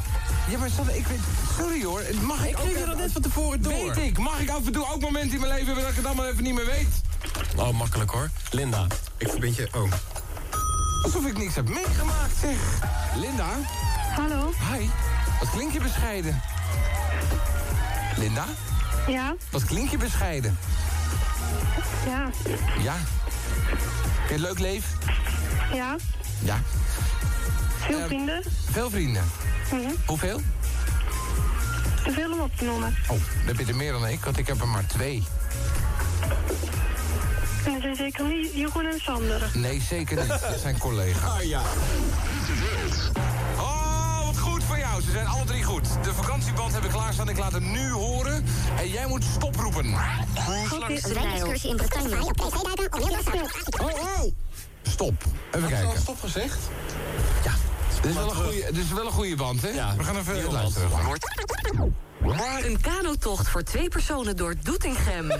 S19: Ja, maar Sander, ik weet... Sorry hoor, mag ik
S27: Ik
S19: ook
S27: kreeg je
S19: even-
S27: dat net van tevoren door.
S19: Weet ik, mag ik af en toe ook momenten in mijn leven hebben dat ik het allemaal even niet meer weet?
S27: Oh, makkelijk hoor. Linda. Ik verbind je... Oh.
S19: Alsof ik niks heb meegemaakt, zeg. Linda?
S18: Hallo?
S19: Hi. Wat klink je bescheiden? Linda?
S18: Ja?
S19: Wat klink je bescheiden?
S18: Ja?
S19: Ja. Vind je het leuk leven?
S18: Ja?
S19: Ja.
S18: Veel
S19: Ehm,
S18: vrienden?
S19: Veel vrienden.
S18: Mhm.
S19: Hoeveel?
S18: Te veel om op te noemen.
S19: Oh, dan heb je er meer dan ik, want ik heb er maar twee.
S18: En dat zijn zeker niet Jeroen en Sander.
S19: Nee, zeker niet. Dat zijn collega's.
S18: Ah,
S19: ja. Oh, wat goed van jou. Ze zijn alle drie goed. De vakantieband heb ik klaarstaan. Ik laat hem nu horen. En jij moet stoproepen.
S25: dus
S29: Rijderscursie in Bretagne. Op twee duiken, op heel
S19: Oh, oh. Stop. Even kijken. Heb stop gezegd? Ja. Dit is, wel een goeie, dit is wel een goede band, hè? We gaan even luisteren.
S16: Een kanotocht voor twee personen door Doetinchem.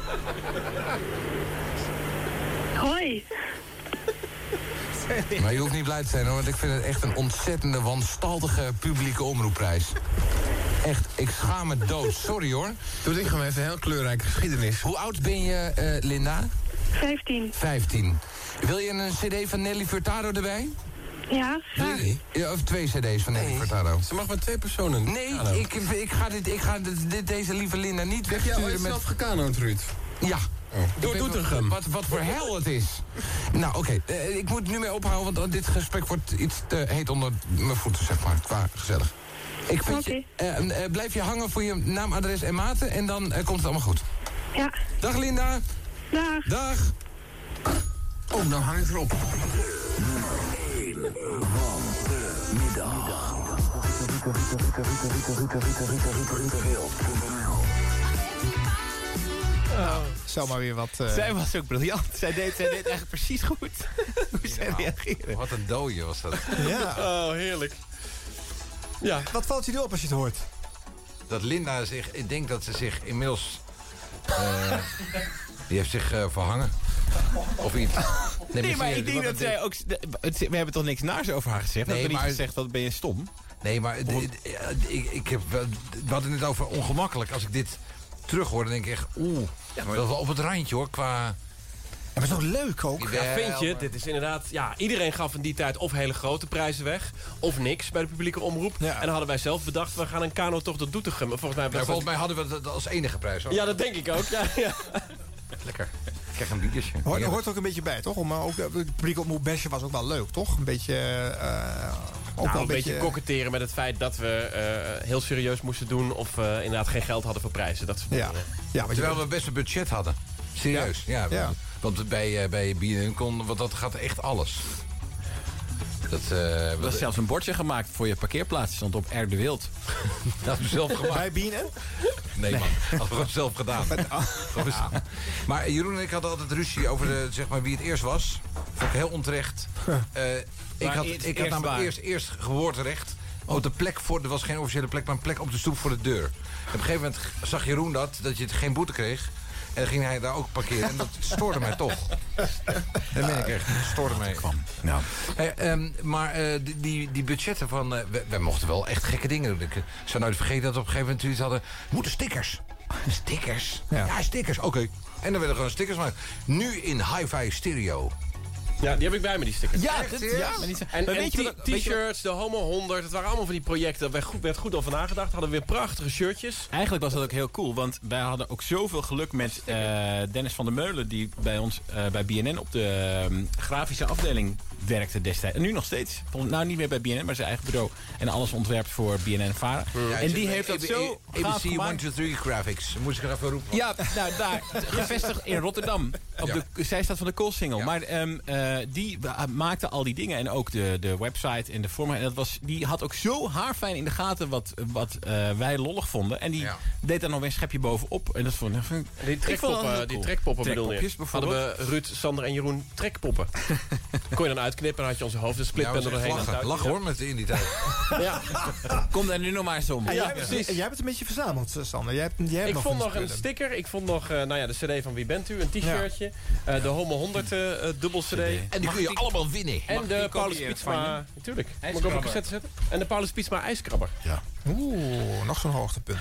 S18: Hoi.
S19: Maar je hoeft niet blij te zijn, hoor. Want ik vind het echt een ontzettende, wanstaltige publieke omroepprijs. Echt, ik schaam me dood. Sorry, hoor. Doe dit gewoon even een heel kleurrijke geschiedenis. Hoe oud ben je, eh, Linda?
S18: 15.
S19: 15. Wil je een cd van Nelly Furtado erbij?
S18: Ja?
S19: Nee. Ja, of twee cd's van Nelly Furtado. Ze mag maar twee personen. Nee,
S23: Hallo.
S19: ik, ik ga, dit, ik ga dit, dit- deze lieve Linda niet
S23: Heb jij
S19: wegsturen
S23: ooit
S19: met...
S23: zelf gekanoond, Ruud?
S19: Ja.
S23: Door
S19: Ik weet
S23: Doetinchem.
S19: Wat, wat voor hel het is. Nou, oké. eh, ik moet nu mee ophouden, want eh, dit gesprek wordt iets te heet onder mijn voeten, zeg maar. Qua gezellig. Ik vind je, eh, eh, blijf je hangen voor je naam, adres en maten en dan eh, komt het allemaal goed.
S18: Ja.
S19: Dag Linda.
S18: Dag.
S19: Dag.
S23: Oh, nou hang ik erop.
S5: Nou, zomaar weer wat... eh,
S10: Oh. Zij was ook briljant. Zij deed, zij deed eigenlijk precies goed. Hoe zij reageren.
S2: Wat een dooie was dat.
S5: Ja.
S10: Oh, heerlijk.
S5: Ja. Wat valt je nu op als je het hoort?
S2: Dat Linda zich, ik denk dat ze zich inmiddels. eh, die heeft zich eh, verhangen. Of iets.
S10: Nee, maar
S2: serieus,
S10: ik denk
S2: wat
S10: dat
S2: een
S10: zij ook... het- We hebben toch niks naars over haar gezegd?
S2: Nee,
S10: dat we
S2: maar-
S10: niet gezegd dat ben je stom?
S2: Nee, maar d- d- ja, d- ik, ik heb, wel- d- we hadden het over ongemakkelijk. Als ik dit terug hoor, dan denk ik echt, oeh.
S11: maar-
S2: dat wel op het randje hoor, qua...
S5: maar zo leuk ook.
S11: Ja, vind je, dit is inderdaad... Ja, iedereen gaf in die tijd of hele grote prijzen weg... of niks bij de publieke omroep. En dan hadden wij zelf bedacht, we gaan een kanotocht door Doetinchem. En volgens mij,
S2: Ja, volgens mij hadden we dat als enige prijs. hoor.
S11: Ja, dat denk ik ook. Ja, ja.
S2: Lekker. Ik krijg een biertje.
S5: Hoort,
S2: Ja.
S5: hoort ook een beetje bij, toch? Om, eh, ook, eh, het publiek op Besje was ook wel leuk, toch? Een beetje... eh, ook
S11: Nou,
S5: wel
S11: een beetje koketteren met het feit dat we eh, heel serieus moesten doen... of eh, inderdaad geen geld hadden voor prijzen. Dat soort
S5: Ja.
S11: dingen.
S5: Ja, want je
S2: Terwijl we best een budget hadden. Serieus, ja.
S5: Ja.
S2: Want bij, eh bij B&M kon, want dat gaat echt alles. Dat, eh,
S10: Er was zelfs een bordje gemaakt voor je parkeerplaats. Stond op R de Wild.
S2: dat is zelf gemaakt.
S5: eh, Bij Bienen?
S2: Nee, man. Had we gewoon zelf gedaan. Gewoon zelf. Maar Jeroen en ik hadden altijd ruzie over de, zeg maar, wie het eerst was. Vond ik heel onterecht. Eh, ik
S10: Maar
S2: had,
S10: eerst-
S2: ik had
S10: eerst
S2: namelijk
S10: waar.
S2: eerst, eerst gewoorterecht. Op de plek voor, er was geen officiële plek, maar een plek op de stoep voor de deur. En op een gegeven moment zag Jeroen dat, dat je het geen boete kreeg. En dan ging hij daar ook parkeren. En dat stoorde mij toch. Dat meen ik echt. Dat stoorde mij.
S10: Nou.
S2: Hey, ehm, maar eh, die- die, die budgetten van... eh, wij, wij mochten wel echt gekke dingen doen. Ik eh, zou nooit vergeten dat we op een gegeven moment iets hadden... Moeten stickers. Stickers? Ja, stickers. Oké. En dan werden gewoon stickers gemaakt. Nu in hi-fi stereo.
S11: Ja, die heb ik bij me, die stickers.
S2: Ja, Echt, dat- serieus? ja, maar niet zo-
S11: En,
S2: Maar
S11: en
S2: weet je wat-
S11: t-
S2: weet je wat-
S11: t-shirts, de Homo 100, het waren allemaal van die projecten. Daar werd goed, werd goed over nagedacht. Hadden we weer prachtige shirtjes.
S10: Eigenlijk was dat ook heel cool, want wij hadden ook zoveel geluk met eh, Dennis van der Meulen... die bij ons eh, bij BNN op de ehm, grafische afdeling werkte destijds. En nu nog steeds. Vol- Nou, niet meer bij BNN, maar zijn eigen bureau. En alles ontwerpt voor BNN Varen. en die heeft
S2: E
S10: dat zo gaaf
S2: ABC
S10: gemaakt.
S2: 123 Graphics. Moest ik er even roepen.
S10: Ja, nou daar, gevestigd in Rotterdam. Op de zijstraat van de Koolsingel. Maar ehm, eh, die wa- maakte al die dingen. En ook de, de website en de vormen. En dat was, die had ook zo haarfijn in de gaten wat, wat eh, wij lollig vonden. En die deed daar nog weer een schepje bovenop. En dat vond ik... vind ik-
S11: Die
S10: ik vond dat
S11: trekpoppen,
S10: heel
S11: die
S10: cool.
S11: trekpoppen bedoel je?
S10: Trekpopjes
S11: Hadden
S10: bijvoorbeeld.
S11: we Ruud, Sander en Jeroen trekpoppen. Kon je dan uitknippen en had je onze hoofd de
S2: Ja,
S11: splitpen
S2: was
S11: er
S2: echt
S11: doorheen.
S2: lachen. Lachen, hoor, met in die tijd.
S10: Kom daar nu nog maar eens om.
S5: En jij, precies. jij hebt het een beetje verzameld, eh, Sander. Jij hebt, jij hebt
S11: Ik
S5: nog
S11: vond
S5: van
S11: nog
S5: die
S11: een
S5: spullen.
S11: sticker, ik vond nog eh, nou ja, de cd van Wie Bent U, een t-shirtje, eh, de Homo 100 eh, eh, dubbel cd. En die kun je allemaal winnen. En
S27: Mag
S11: de
S27: ik die
S11: Paulus
S27: kopieën
S11: Pietsma...
S27: van je?
S11: Natuurlijk. Moet ik op
S27: IJskrabber.
S11: een cassette zetten? En de Paulus Pietsma ijskrabber.
S5: Ja. Oeh, nog zo'n hoogtepunt.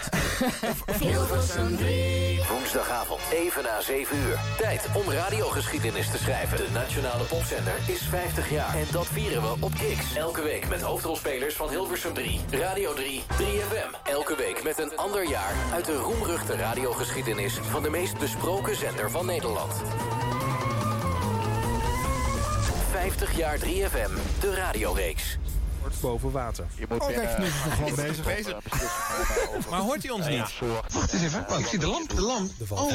S1: Woensdagavond, even na 7 uur. Tijd om radiogeschiedenis te schrijven. De nationale popzender is 50 jaar. En dat vieren we op Kicks. Elke week met hoofdrolspelers van Hilversum 3, Radio 3, 3FM. Elke week met een ander jaar uit de roemruchte radiogeschiedenis... van de meest besproken zender van Nederland. 50 jaar 3FM, de radioreeks.
S20: Wordt boven water. Je moet
S1: Oh, kijk,
S20: binnen-
S1: nu is het gewoon
S20: binnen-
S1: bezig.
S20: Maar hoort hij ons niet?
S19: Wacht eens even, oh, ik zie de lamp, de lamp. Oh,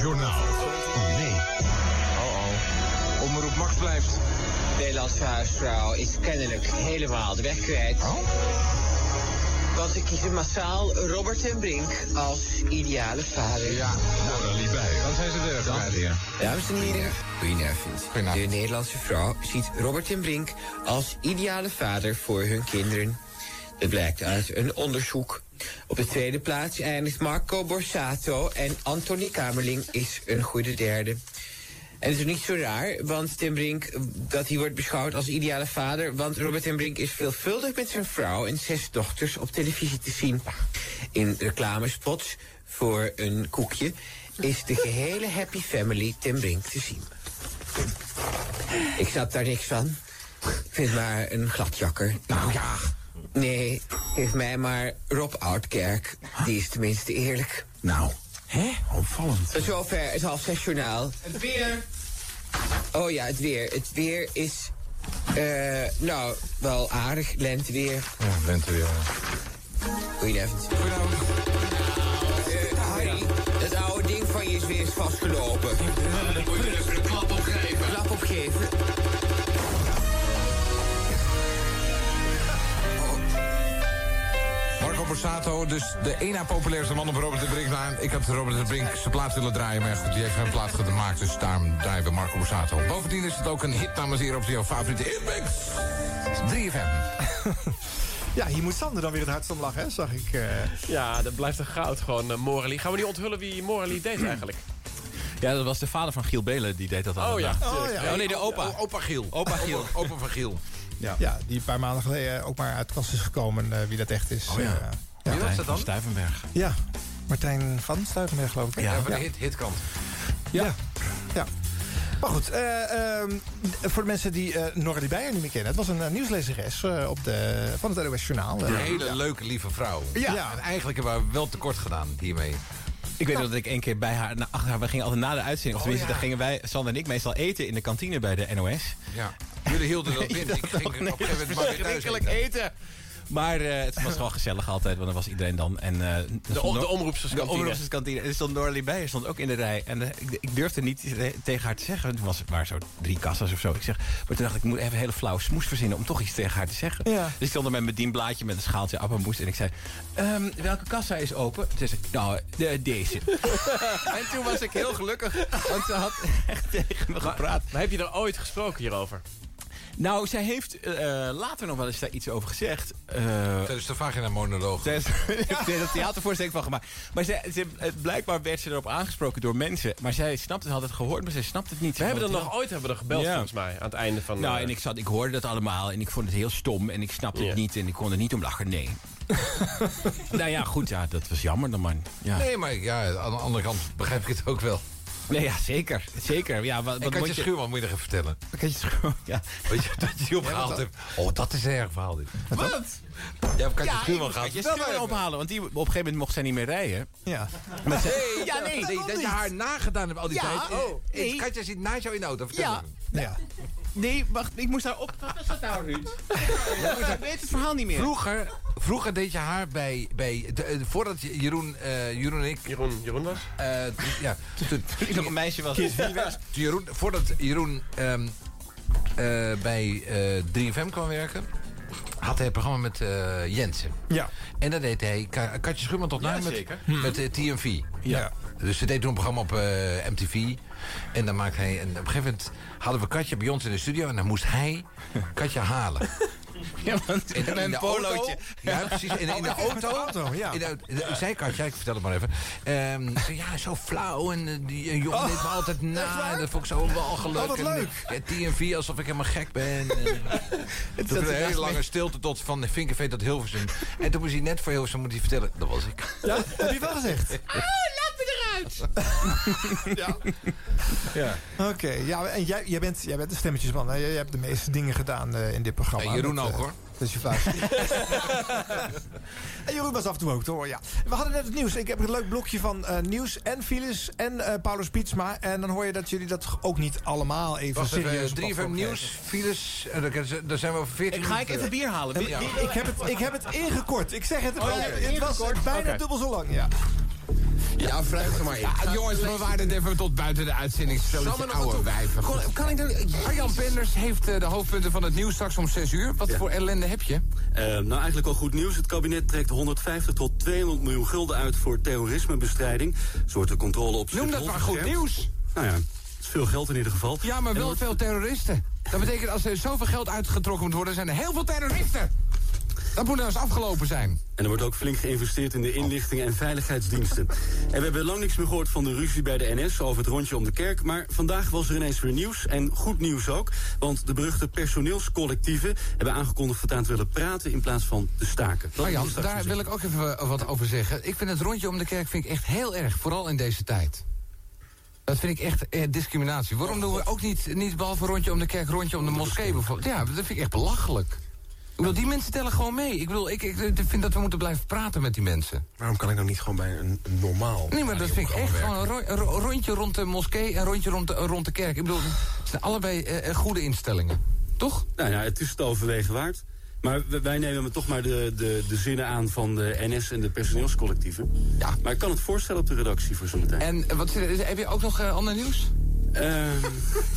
S19: journaal. Oh nee. Oh oh. Omroep Max blijft.
S21: Nederlandse huisvrouw is kennelijk helemaal de weg kwijt.
S19: Oh.
S21: Want ze kiezen massaal Robert en Brink als ideale vader. Ja,
S19: Morali bij. Dan zijn ze er.
S21: Dames en heren, goedenavond. De Nederlandse vrouw ziet Robert en Brink als ideale vader voor hun kinderen. Dat blijkt uit een onderzoek. Op de tweede plaats eindigt Marco Borsato en Anthony Kamerling is een goede derde. En het is niet zo raar, want Tim Brink, dat hij wordt beschouwd als ideale vader... want Robert Tim Brink is veelvuldig met zijn vrouw en zes dochters op televisie te zien. In reclamespots voor een koekje is de gehele happy family Tim Brink te zien. Ik snap daar niks van. Ik vind maar een gladjakker. Nou ja. Nee, geef mij maar Rob Oudkerk. Die is tenminste eerlijk. Nou, hè? Opvallend. Tot zover het half zes journaal.
S20: Het weer.
S21: Oh ja, het weer. Het weer is. eh, nou, wel aardig. Lenteweer.
S19: Ja, bent er weer.
S21: Goedenavond. Goedenavond. Harry, dat oude ding van je is weer eens vastgelopen. Moet je even een klap opgeven. Klap opgeven.
S19: Marco Borsato, dus de één na populairste man op Robert de Brink. Nou, ik had Robert de Brink zijn plaat willen draaien, maar goed, die heeft geen plaat gemaakt. Dus daarom draaien we Marco Borsato. Bovendien is het ook een hit, dames en heren, op jouw favoriete hitmix. 3FM.
S5: Ja, hier moet Sander dan weer het hardst om lachen, hè? zag ik. eh.
S11: Ja, dat blijft een goud gewoon, eh, Morley. Gaan we niet onthullen wie Morley deed eigenlijk?
S10: Ja, dat was de vader van Giel Belen, die deed dat allemaal.
S11: ja.
S5: Oh, ja.
S10: nee, de opa.
S2: opa Giel.
S10: Opa Giel.
S2: Opa van Giel.
S5: Ja. die een paar maanden geleden eh, ook maar uit de kast is gekomen eh, wie dat echt is.
S2: Oh ja.
S5: Eh,
S2: Wie was dat dan?
S10: Stuyvenberg.
S5: ja, Martijn van Stuivenberg geloof ik.
S2: Ja, van de hit, hitkant.
S5: Ja. ja. ja. Maar goed, eh, ehm, voor de mensen die eh Nora die Beijer niet meer kennen. Het was een eh, nieuwslezeres eh, op de, van het NOS Journaal. eh.
S2: Een hele leuke, lieve vrouw.
S5: Ja.
S2: En eigenlijk hebben we haar wel tekort gedaan hiermee.
S10: Ik weet nog dat ik één keer bij haar, na, achter haar, we gingen altijd na de uitzending, of tenminste, dan gingen wij, Sander en ik, meestal eten in de kantine bij de NOS.
S2: Ja. Jullie hielden dat binnen. Ik ging
S10: nee,
S2: op een gegeven moment maar weer thuis eten.
S10: Maar eh, het was gewoon gezellig altijd, want er was iedereen dan. En, eh, er stond
S11: om- de
S10: nog-
S11: omroepsterskantine.
S10: De omroepsterskantine. En er stond Norley bij, er stond ook in de rij. En eh, ik, ik durfde niet re- tegen haar te zeggen. want Toen was, waren zo drie kassas of zo. Ik zeg, maar toen dacht ik, ik moet even een hele flauw smoes verzinnen... om toch iets tegen haar te zeggen.
S5: Ja.
S10: Dus ik stond er met mijn dienblaadje met een schaaltje appelmoes. En ik zei, "Ehm, welke kassa is open? Toen zei ze, nou, de, deze. en toen was ik heel gelukkig, want ze had echt tegen me gepraat.
S11: Maar heb je er ooit gesproken hierover?
S10: Nou, zij heeft eh, eh, later nog wel eens daar iets over gezegd. Eh,
S2: Tijdens de vagina-monoloog.
S10: Tijdens tijdens een theatervoorstelling van gemaakt. Maar zij, ze, eh, blijkbaar werd ze erop aangesproken door mensen. Maar zij snapt het, had het gehoord, maar zij snapt het niet.
S11: We hebben er nog ooit hebben we er gebeld,
S10: Ja.
S11: volgens mij. Aan het einde van...
S10: Nou,
S11: eh,
S10: en ik, zat, ik hoorde dat allemaal en ik vond het heel stom. En ik snapte
S11: Ja.
S10: het niet en ik kon er niet om lachen, nee. nou ja, goed, ja, dat was jammer dan, man. Ja.
S2: Nee, maar ja, aan de andere kant begrijp ik het ook wel.
S10: Nee, ja, zeker. Zeker. Ja, wat,
S2: en
S10: wat
S2: Katje
S10: moet je-
S2: Schuurman moet je nog even vertellen.
S10: Katje Schuurman, ja.
S2: Weet je dat je die opgehaald hebt? Oh, dat is een erg verhaal dit. Wat? Ja, heb Katje
S10: ja, ik
S2: Schuurman
S10: moest
S2: gehad.
S10: Katje Schuurman ophalen, want die, op een gegeven moment mocht zij niet meer rijden.
S5: Ja.
S10: Maar zij-
S2: Nee,
S10: ja, nee,
S2: dat, je haar nagedaan hebt al
S10: Ja,
S2: die tijd.
S10: oh, nee.
S2: Katja zit naast jou in de auto. Vertel
S10: Ja.
S2: me.
S5: Ja.
S10: Nee, wacht, ik moest daar op. Wat is dat nou, Ruud? Ik weet het verhaal niet meer.
S2: Vroeger, vroeger deed je haar bij... bij de- eh, voordat Jeroen, eh, Jeroen en ik... Eh,
S11: Jeroen, Jeroen was?
S2: ja. Toen,
S10: ik nog een meisje was.
S2: Toen Jeroen, voordat Jeroen ehm, eh, bij eh 3FM kwam werken... had hij een programma met eh, Jensen.
S5: Ja.
S2: En dat deed hij Ka- Katje Schuurman tot
S5: Ja,
S2: na met,
S5: zeker.
S2: met eh, TMV.
S5: Ja.
S2: Dus ze deed toen een programma op eh, MTV. En dan maakte hij. En op een gegeven moment hadden we Katja bij ons in de studio. En dan moest hij Katja halen.
S30: Ja, want
S25: In, in
S30: een
S25: de
S30: polootje.
S25: auto. Ja, precies. In, in de
S30: Oh, met de
S25: auto.
S30: auto, ja.
S25: In de, de zijkantje, ik vertel het maar even. Ehm, ja, zo flauw. En eh, die eh, jongen
S7: Oh,
S25: deed me altijd na. En dat vond ik zo walgelijk.
S7: Oh, wat leuk.
S25: En, eh, ja, TNV, alsof ik helemaal gek ben. En, eh, dat
S7: zat
S25: was een
S7: er echt
S25: hele
S7: mee.
S25: lange stilte tot van Vinkerveen tot Hilversum. En toen moest hij net voor Hilversum moet hij vertellen. Dat was ik.
S5: Ja, heb je wel gezegd?
S7: Oh, laat me eruit!
S25: Ja.
S5: Oké, ja, en jij, jij, bent, jij bent de stemmetjesman. hè? Jij, jij hebt de meeste dingen gedaan eh, in dit programma.
S25: Ja, Jeroen
S5: Dat, eh,
S25: ook, hoor.
S5: Dat is je vraag. en Jeroen was af en toe ook, te horen, ja. We hadden net het nieuws. Ik heb een leuk blokje van eh, nieuws en files en eh Paulus Pietsma. En dan hoor je dat jullie dat ook niet allemaal even
S25: Wacht even,
S5: serieus
S2: eh,
S5: op
S25: drie
S5: afstand
S25: van nieuws,
S5: krijgen.
S25: files. En dan kan- daar zijn we over 14
S5: Ik- ga ik even bier halen? Wie- wie- ik heb het- ik heb het ingekort. Ik zeg het,
S2: Oh,
S5: het was- het was bijna dubbel zo lang, ja.
S2: Ja, vreugde maar in. jongens, we waren het even tot buiten de uitzending. Stel
S5: Zal
S2: eens
S5: we nog
S2: oude
S5: wat doen?
S2: wijven.
S5: Kon-
S2: kan ik Arjan Penders heeft eh, de hoofdpunten van het nieuws straks om 6 uur. Wat voor ellende heb je?
S6: Eh, nou, eigenlijk al goed nieuws. Het kabinet trekt 150 tot 200 miljoen gulden uit voor terrorismebestrijding. Soorten controle op
S2: Noem dat
S6: Schiphol
S2: maar goed
S6: verscherpt.
S2: nieuws.
S6: Nou ja, het is veel geld in ieder geval.
S2: Ja, maar
S6: En er
S2: wel
S6: wordt-
S2: veel terroristen. Dat betekent als er zoveel geld uitgetrokken moet worden, zijn er heel veel terroristen. Dat moet nou eens afgelopen zijn.
S6: En er wordt ook flink geïnvesteerd in de inlichtingen en veiligheidsdiensten. En we hebben lang niks meer gehoord van de ruzie bij de NS over het rondje om de kerk. Maar vandaag was er ineens weer nieuws. En goed nieuws ook. Want de beruchte personeelscollectieven hebben aangekondigd voortaan te willen praten in plaats van te staken. Dat
S2: Arjan,
S6: is dus straks
S2: Nou daar
S6: misschien.
S2: wil ik ook even eh, wat over zeggen. Ik vind het rondje om de kerk vind ik echt heel erg, vooral in deze tijd. Dat vind ik echt eh, discriminatie. Waarom doen we ook niet, niet behalve rondje om de kerk, rondje om de moskee bijvoorbeeld? Ja, dat vind ik echt belachelijk. Ik bedoel, die mensen tellen gewoon mee. Ik bedoel, ik, ik eh, vind dat we moeten blijven praten met die mensen.
S20: Waarom kan ik nou niet gewoon bij een een normaal...
S2: Nee, maar dat vind ik echt gewoon een ro- een ro- rondje rond de moskee en rondje rond de, rond de kerk. Ik bedoel, het zijn allebei eh, eh, goede instellingen. Toch?
S6: Nou ja, het is het overwegen waard. Maar w- wij nemen me toch maar de, de, de zinnen aan van de NS en de personeelscollectieven.
S2: Ja.
S6: Maar ik kan het voorstellen op de redactie voor zometeen.
S2: En eh, wat, zit er- heb je ook nog eh, ander nieuws?
S6: Ehm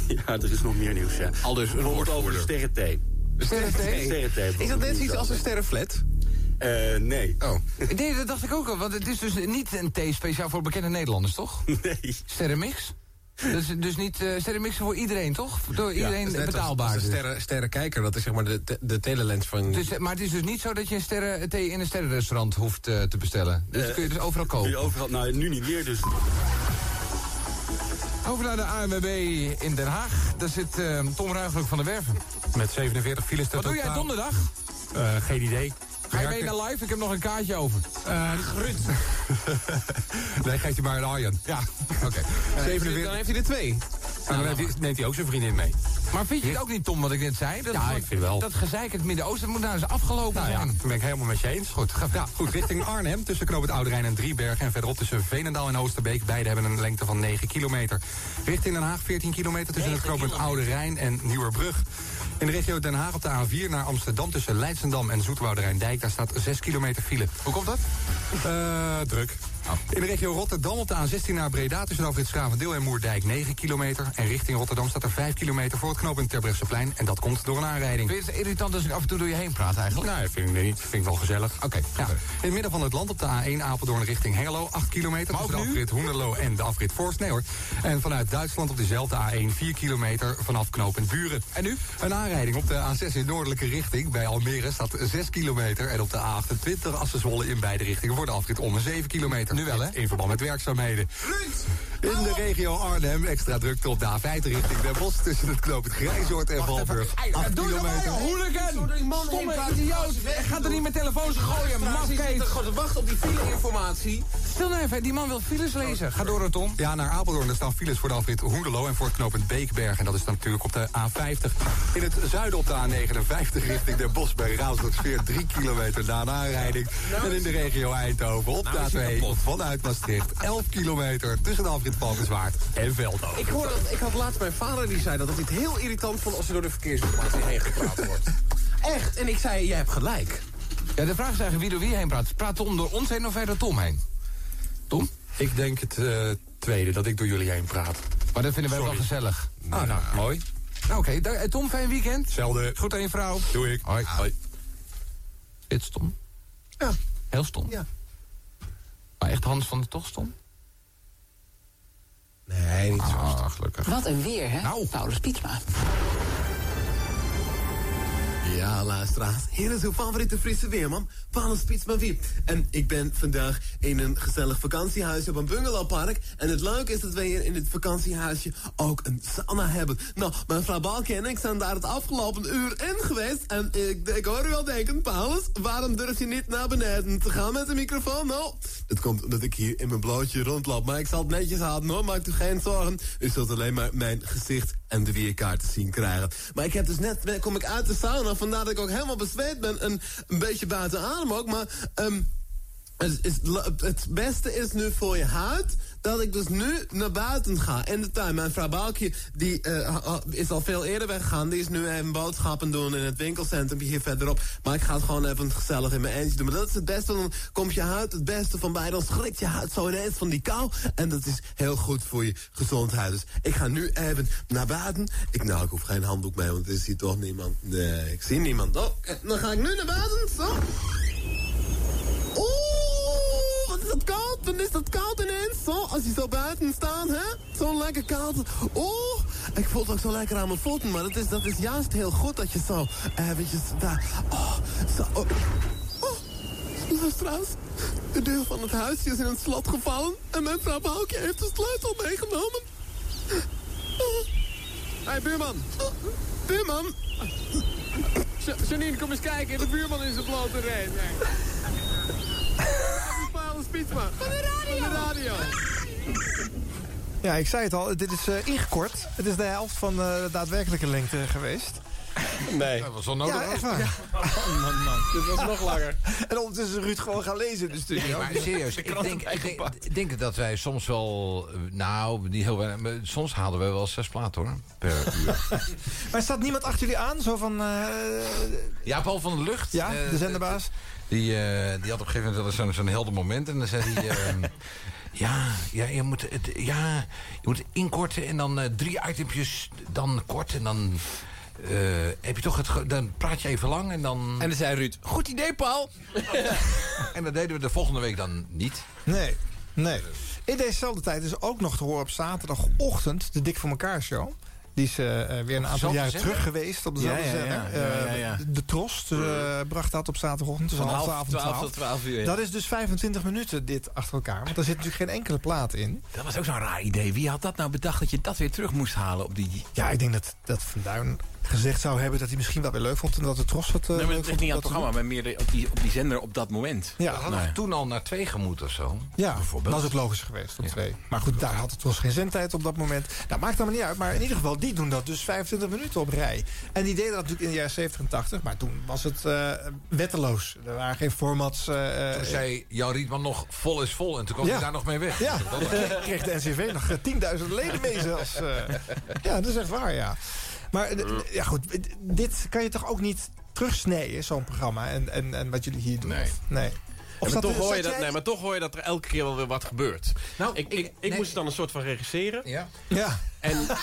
S6: ja, er is nog meer nieuws, ja. Al dus een woord over de sterren thee.
S2: Sterrenthee?
S6: Is dat net iets als een sterrenflat? Eh, nee.
S2: Oh. Nee, dat dacht ik ook al. Want het is dus niet een thee speciaal voor bekende Nederlanders, toch?
S6: Nee.
S2: Sterrenmix? Dus, dus niet eh sterrenmixen voor iedereen, toch? Door Oh, iedereen betaalbaar.
S10: Als, als
S2: dus.
S10: een sterren, sterrenkijker, dat is zeg maar de, de, de telelens van...
S2: Dus, eh, maar het is dus niet zo dat je een sterren thee in een sterrenrestaurant hoeft eh, te bestellen. Dus dat kun je dus overal kopen.
S6: Kun je overal, nou, nu niet meer, dus...
S2: Over naar de ANWB in Den Haag. Daar zit eh, Tom Ruigelijk van de Werven.
S20: Met 47 files
S2: Wat doe jij donderdag? Eh,
S20: geen idee.
S2: Ga je mee naar live? Ik heb nog een kaartje over.
S20: Grut.
S2: nee, geef je maar een Arjan. Ja, oké. Eh,
S20: Dan heeft hij er twee. En dan neemt hij- neemt hij ook zijn vriendin mee.
S2: Maar vind je het ook niet, Tom, wat ik net zei? Dat
S20: Ja,
S2: gewoon-
S20: ik vind wel.
S2: Dat gezeik in het Midden-Oosten dat moet nou eens afgelopen
S20: Nou ja,
S2: zijn.
S20: dat ben ik helemaal met je eens. Goed, gaaf. Ja, goed, richting Arnhem, tussen Knoop het Oude Rijn en Driebergen... en verderop tussen Veenendaal en Oosterbeek. Beide hebben een lengte van 9 kilometer. Richting Den Haag 14 kilometer tussen het Knoop het Oude Rijn en Nieuwerbrug. In de regio Den Haag op de A4 naar Amsterdam... tussen Leidsendam en Zoetwoude Rijndijk. Daar staat 6 kilometer file. Hoe komt dat? Eh, druk.
S2: Nou.
S20: In de regio Rotterdam op de A16 naar Breda... tussen Afrit Schavendeel en Moerdijk 9 kilometer. En richting Rotterdam staat er 5 kilometer voor het knooppunt Terbrechtseplein. En dat komt door een aanrijding.
S2: Vind je het irritant als ik af en toe door je heen praat eigenlijk?
S20: Nou, dat vind ik niet. Vind ik wel gezellig. Oké. ja. In het midden van het land op de A1 Apeldoorn richting Hengelo. 8 kilometer tussen de afrit Hoenderloo en de afrit Forst. Nee hoor. En vanuit Duitsland op dezelfde A1 4 kilometer vanaf knooppunt Buren. En nu? Een aanrijding op de A6 in noordelijke richting. Bij Almere staat 6 kilometer. En op de A28 assen Zwolle in beide richtingen voor de afrit om 7 kilometer. Nu wel hè? In verband met werkzaamheden. In de regio Arnhem extra drukte op de A50 richting Den Bosch... tussen het knooppunt Grijzoord en Valburg. Acht
S2: Doe
S20: kilometer.
S2: normaal, hooligan! Stomme idioot! Ik ga er niet met telefoons gooien, mafkeet!
S10: gewoon te wachten op die fileinformatie.
S2: Stil nou even, die man wil files lezen. Ga door, Tom.
S20: Ja, naar Apeldoorn. Er staan files voor de afrit Hoenderloo en voor het knooppunt Beekberg. En dat is dan natuurlijk op de A50. In het zuiden op de A59 richting Den Bosch bij Raasdorpsveer. Drie kilometer na de aanrijding. en in de regio Eindhoven op
S10: Nou is hij
S20: de A2
S10: kapot.
S20: vanuit Maastricht. Elf kilometer tussen de afrit Valkenswaard en Veldhoven.
S10: Ik, hoor dat, ik had laatst mijn vader die zei dat dat dit heel irritant vond als er door de verkeersinformatie heen gepraat wordt. Echt, en ik zei, jij hebt gelijk.
S2: Ja, de vraag is eigenlijk wie door wie heen praat. Praat Tom door ons heen of wij door Tom heen? Tom?
S20: Ik denk het eh, tweede, dat ik door jullie heen praat.
S2: Maar dat vinden wij wel gezellig.
S20: Ah, nou, mooi.
S2: Nou, oké. da- eh, Tom, fijn weekend.
S20: Zelfde.
S2: Goed aan je vrouw.
S20: Doe ik. Hoi. Hoi.
S2: Dit stom.
S10: Ja.
S2: Heel stom.
S10: Ja.
S2: Maar echt Hans van der Toch stom?
S10: Nee, niet zo.
S2: Ah, gelukkig.
S23: Wat een weer, hè? Nou. Paulus Pietma. Ja, luisteraars. Hier is uw favoriete Friese weerman, Paulus Spitsman Wiep. En ik ben vandaag in een gezellig vakantiehuis op een bungalowpark. En het leuke is dat wij hier in het vakantiehuisje ook een sauna hebben. Nou, mijn vrouw Balken en ik zijn daar het afgelopen uur in geweest. En ik, ik hoor u wel denken, Paulus, waarom durf je niet naar beneden te gaan met de microfoon? Nou, dat komt omdat ik hier in mijn blootje rondloop. Maar ik zal het netjes houden hoor, maakt u geen zorgen. U zult alleen maar mijn gezicht en de weerkaart te zien krijgen. Maar ik heb dus net, kom ik uit de sauna, vandaar dat ik ook helemaal bezweet ben. En een beetje buiten adem ook, maar... ehm, het, is, het beste is nu voor je huid dat ik dus nu naar buiten ga in de tuin. Mijn vrouw Balkje die, eh, ha- ha- is al veel eerder weggegaan. Die is nu eh, even boodschappen doen in het winkelcentrum hier verderop. Maar ik ga het gewoon even gezellig in mijn eentje doen. Maar dat is het beste, want dan komt je huid het beste van bij. Dan schrikt je huid zo ineens van die kou. En dat is heel goed voor je gezondheid. Dus ik ga nu even naar buiten. Ik, nou, ik hoef geen handdoek mee, want er is hier toch niemand. Nee, ik zie niemand. Oh, eh, dan ga ik nu naar buiten. Zo. Oeh, wat is dat koud? Dan is dat koud ineens. Zo, als je zo buiten staat, hè? Zo lekker koud. Oeh, ik voel het ook zo lekker aan mijn voeten. Maar dat is, dat is juist heel goed dat je zo eventjes daar... Oh, zo... Oh, oh, luisteraars. De deur van het huisje is in het slot gevallen. En mijn vrouw Boukje heeft de sleutel meegenomen. Oh.
S11: Hé, buurman.
S23: Buurman.
S11: Ja- Janine, kom eens kijken. De buurman is een blote reet. Paulus Pietsma. Van de radio. Van de radio.
S5: Ja, ik zei het al, dit is eh, ingekort. Het is de helft van eh, de daadwerkelijke lengte geweest.
S10: Nee.
S2: Dat was
S25: Oh,
S5: onnodig. Ja, echt waar.
S7: Oh,
S19: Oh,
S10: man, man. Dit was nog langer.
S5: En ondertussen Ruud gewoon gaan lezen in de studio.
S2: Nee, maar serieus, ik denk, ik denk, ik denk dat wij soms wel... eh, Nou, niet heel weinig, maar soms halen we wel zes platen, hoor. Per uur.
S5: Maar staat niemand achter jullie aan? Zo van... eh,
S2: Ja, Paul van de Lucht.
S5: Ja,
S2: eh,
S5: de zenderbaas.
S2: Die, eh, die had op een gegeven moment wel eens zo'n zo'n helder moment. En dan zei hij... ehm, ja, ja, je moet het, ja, je moet inkorten en dan eh, drie itempjes dan kort. En dan eh, heb je toch het... ge- Dan praat je even lang en dan... En
S27: dan zei Ruud, goed idee, Paul.
S2: en dat deden we de volgende week dan niet.
S5: Nee, nee. In dezezelfde tijd is ook nog te horen op zaterdagochtend de Dik voor elkaar show. Die is eh, eh, weer een aantal
S2: Dezelfde
S5: jaren
S2: zender?
S5: terug geweest op dezelfde
S27: Ja, ja, ja.
S5: zender.
S27: Ja, ja,
S5: Eh,
S27: ja. Mm.
S5: De, de Trost eh, bracht dat op zaterdagochtend tussen
S27: Van
S5: half
S27: half
S5: twaalf en
S27: twaalf
S5: twaalf.
S27: tot twaalf uur, ja.
S5: Dat is dus 25 minuten dit achter elkaar. Want daar zit natuurlijk geen enkele plaat in.
S27: Dat was ook zo'n raar idee. Wie had dat nou bedacht dat je dat weer terug moest halen op die...
S5: Ja, ik denk dat, dat Van Duin gezegd zou hebben dat hij misschien wel weer leuk vond. En dat de Trost wat... eh,
S10: Nee, maar
S5: leuk
S10: het ligt niet aan het
S5: vond om dat te
S10: programma, maar meer de- op die, op die zender op dat moment.
S5: Ja. Dat hadden
S3: Nou
S5: we
S2: toen al naar twee gemoet of zo.
S5: Ja, dat is ook logisch geweest, tot twee. Maar goed, daar had het was geen zendtijd op dat moment. Nou, maakt allemaal niet uit. Maar in ieder geval, die doen dat dus 25 minuten op rij. En die deden dat natuurlijk in de jaren 70 en 80. Maar toen was het eh, wetteloos. Er waren geen formats. eh, eh,
S2: Toen zei Jan Rietman nog vol is vol en toen kwam
S5: Ja.
S2: hij daar nog mee weg.
S5: Ja,
S2: Dat was-
S5: kreeg- kreeg de NCV nog eh, 10.000 leden mee zelfs. eh. ja, dat is echt waar, ja. Maar eh, d- ja, goed, d- dit kan je toch ook niet terugsnijden, zo'n programma. En, en, en wat jullie hier doen. Nee. nee.
S11: Ja, maar,
S5: staat-
S11: toch hoor je
S5: staat
S11: dat,
S5: jij-
S11: nee, maar toch hoor je dat er elke keer wel weer wat gebeurt.
S2: Nou,
S11: ik ik, ik moest het dan een soort van regisseren.
S2: Ja.
S5: Ja.
S11: En, en
S27: doe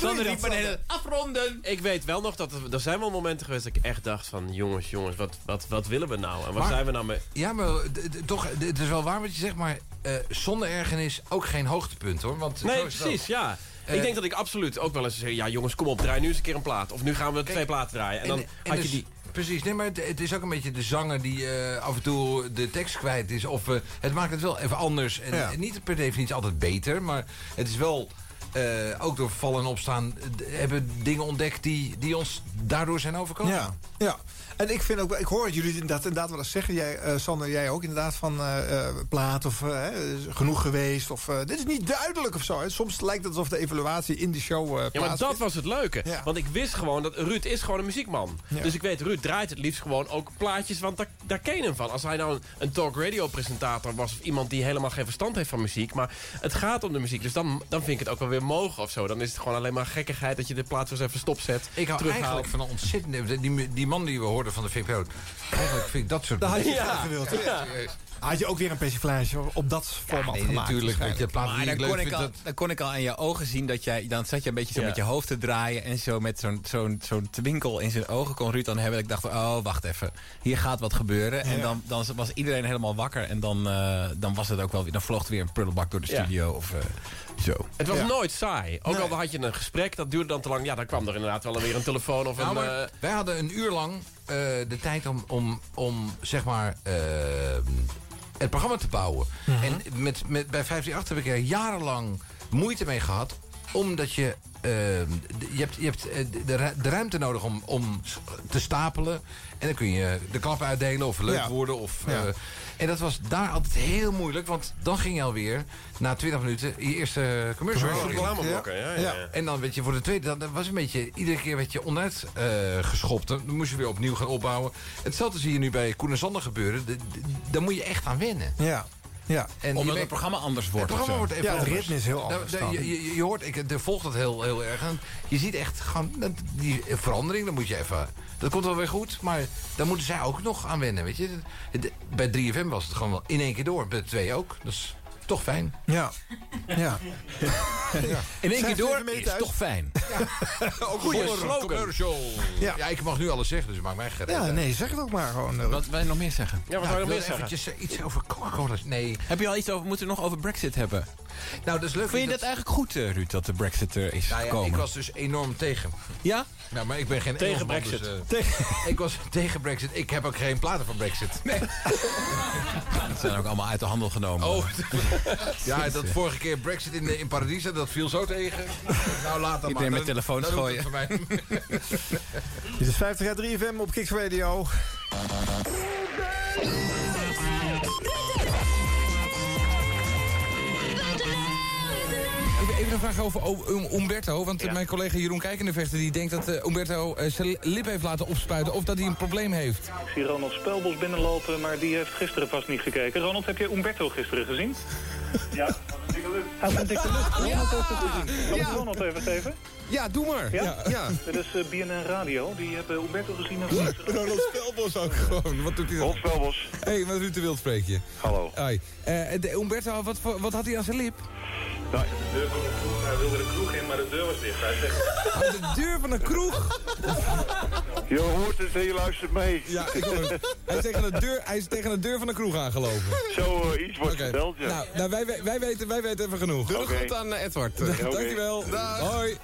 S27: je
S11: Sander
S27: dat,
S11: riep me de hele-
S27: Sander?
S11: afronden. Ik weet wel nog dat er, er zijn wel momenten geweest dat ik echt dacht van... jongens, jongens, wat, wat, wat willen we nou? En wat
S2: Maar-
S11: zijn we nou mee...
S2: Ja, maar eh, d- d- toch, d- het is wel waar wat je zegt, maar eh, zonder ergernis ook geen hoogtepunt hoor. Want
S11: Nee,
S2: zo is het
S11: precies,
S2: ook.
S11: ja.
S2: Eh,
S11: ik denk dat ik absoluut ook wel eens zeg... ja jongens, kom op, draai nu eens een keer een plaat. Of nu gaan we twee platen draaien. En, dan had je
S2: dus-
S11: die...
S2: Precies, nee, maar het, het is ook een beetje de zanger die eh, af en toe de tekst kwijt is. Of eh, het maakt het wel even anders. En,
S5: Ja.
S2: en niet per definitie altijd beter, maar het is wel... eh, ook door vallen en opstaan eh, d- hebben dingen ontdekt die, die ons daardoor zijn overkomen.
S5: Ja, ja. En ik vind ook, wel- ik hoor jullie inderdaad, inderdaad wel eens zeggen, jij, eh, Sander, jij ook inderdaad van eh, eh, plaat of eh, eh, genoeg geweest of eh, dit is niet duidelijk of zo. Hè. Soms lijkt het alsof de evaluatie in de show eh
S11: Ja, maar dat was het leuke.
S5: Ja.
S11: Want ik wist gewoon dat Ruud is gewoon een muziekman.
S5: Ja.
S11: Dus ik weet, Ruud draait het liefst gewoon ook plaatjes, want daar, daar ken je hem van. Als hij nou een, een talk radio presentator was of iemand die helemaal geen verstand heeft van muziek, maar het gaat om de muziek, dus dan, dan vind ik het ook wel weer mogen of zo. Dan is het gewoon alleen maar gekkigheid dat je de plaat zo eens even stopzet,
S2: Ik hou
S11: terughaalt.
S2: eigenlijk van een ontzettende... Die, die man die we hoorden van de VPRO... Eigenlijk vind ik dat soort...
S5: Daar had je het graag gewild, hè?
S11: Ja.
S5: Had je ook weer een persiflage op dat format gemaakt?
S3: Maar dan kon, ik al, dan kon ik al aan je ogen zien dat jij... Dan zat je een beetje zo
S5: Ja.
S3: met je hoofd te draaien... en zo met zo'n zo'n zo'n twinkel in zijn ogen kon Ruud dan hebben. Ik dacht, oh, wacht even. Hier gaat wat gebeuren. En
S10: Ja.
S3: dan, dan was iedereen helemaal wakker. En dan, eh, dan was het ook wel weer... Dan vloog er weer een prullenbak door de
S11: Ja.
S3: studio of eh, zo.
S11: Het was
S3: Ja.
S11: nooit saai. Ook al had je een gesprek, dat duurde dan te lang. Ja, dan kwam er inderdaad wel weer een telefoon of
S2: Nou,
S11: een...
S2: maar
S11: eh,
S2: wij hadden een uur lang eh, de tijd om, om, om zeg maar, eh, het programma te bouwen.
S15: Mhm.
S2: En met, met, bij 158 heb ik er jarenlang moeite mee gehad. Omdat je... eh, d- je hebt, je hebt eh, de- de, ru- de ruimte nodig om, om s- te stapelen. En dan kun je de klap uitdelen of leuk
S15: Ja.
S2: worden. Of, eh,
S15: Ja.
S2: en dat was daar altijd heel moeilijk. Want dan ging je alweer na 20 minuten je eerste commercial.
S15: Commercial,
S2: in.
S15: reclameblokken, ja, ja, ja.
S2: En dan werd je voor de tweede, dan- dat was een beetje, iedere keer werd je onderuit eh, geschopt. Dan moest je weer opnieuw gaan opbouwen. Hetzelfde zie je nu bij Koen en Sander gebeuren. De- de- Daar moet je echt aan wennen.
S5: Ja. Ja.
S2: En je
S3: Omdat het
S2: merkt-
S3: programma anders wordt.
S2: Het programma
S3: of
S2: wordt
S3: zo.
S2: even anders. Nou, nou, je, je, je hoort, ik de, volgt het heel, heel erg. En je ziet echt gewoon dat- die verandering, dan moet je even... Dat komt wel weer goed, maar daar moeten zij ook nog aan wennen, weet je. Het- Bij 3FM was het gewoon wel in één keer door. Bij 2 ook, dat is toch fijn.
S5: Ja. ja.
S3: In één
S2: Zijn
S3: keer
S2: jullie
S3: door
S2: mee
S3: is
S2: thuis?
S3: toch fijn.
S2: Ook
S3: Goeie slogan.
S2: Ja. ik mag nu alles zeggen, dus maak mij gereden.
S5: Ja, nee, zeg het ook maar gewoon. eh,
S3: Wat wil je nog meer zeggen?
S2: Ja, wat Nou, zou je nog ik wilde meer zeggen? eventjes, eh, iets over Coca-Cola. Nee.
S3: Heb je al iets over, moeten we nog over Brexit hebben?
S2: Nou, dat is leuk.
S3: Vind je dat,
S2: Dat-
S3: eigenlijk goed, eh, Ruud, dat de Brexit er is
S2: Nou ja,
S3: gekomen?
S2: ik was dus enorm tegen.
S3: Ja?
S2: Nou, maar ik ben geen
S3: Tegen
S2: Engelsman,
S3: Brexit.
S2: dus, eh, ik was tegen Brexit. Ik heb ook geen platen van Brexit. Nee.
S3: Het zijn ook allemaal uit de handel genomen. Oh,
S2: Ja, dat vorige keer Brexit in, eh, in Paradiso, dat viel zo tegen. Nou, laat dat
S3: Iedereen
S2: maar.
S3: met
S2: Dan-
S3: telefoons
S2: dan hoeft
S3: gooien.
S2: het voor mij.
S5: Dit is 50 jaar 3FM op Kicks Radio.
S19: Even een vraag over O- Um- Umberto. Want eh, mijn collega Jeroen Kijkendevechter die denkt dat eh, Umberto eh, zijn lip heeft laten opspuiten. Of dat hij een probleem heeft.
S7: Ik zie Ronald Spelbos binnenlopen, maar die heeft gisteren vast niet gekeken. Ronald, heb je Umberto gisteren gezien? Ja, van de dikke lucht. Hij van dikke lucht. Ronald heeft het gezien. Kan ik Ronald even geven?
S19: Ja, doe maar.
S7: Ja?
S19: Ja, ja.
S7: Dit is eh, BNN Radio. Die hebben Umberto gezien. En
S19: Ronald Spelbos ook gewoon. Wat doet hij dan? Ronald Spelbos. Hé, hey, met Ruud de Wild spreek je. Hallo. Hoi. Eh, de- Umberto, wat, voor- wat had hij aan zijn lip?
S7: de deur van de kroeg. Hij wilde de kroeg in, maar de deur was dicht. Hij zegt...
S19: Aan de deur van een kroeg.
S7: Je hoort het en Dus, eh, je luistert mee.
S19: Ja, ik hoor hem. Hij is tegen de deur, hij is tegen de deur van de kroeg aangelopen.
S7: Zo eh, iets wordt
S19: Oké.
S7: verteld, ja.
S19: Nou, nou wij, wij, wij weten, wij weten even genoeg.
S7: Doe de Oké. groet aan, eh,
S19: Edward.
S7: Oké.
S19: Dankjewel. Hoi.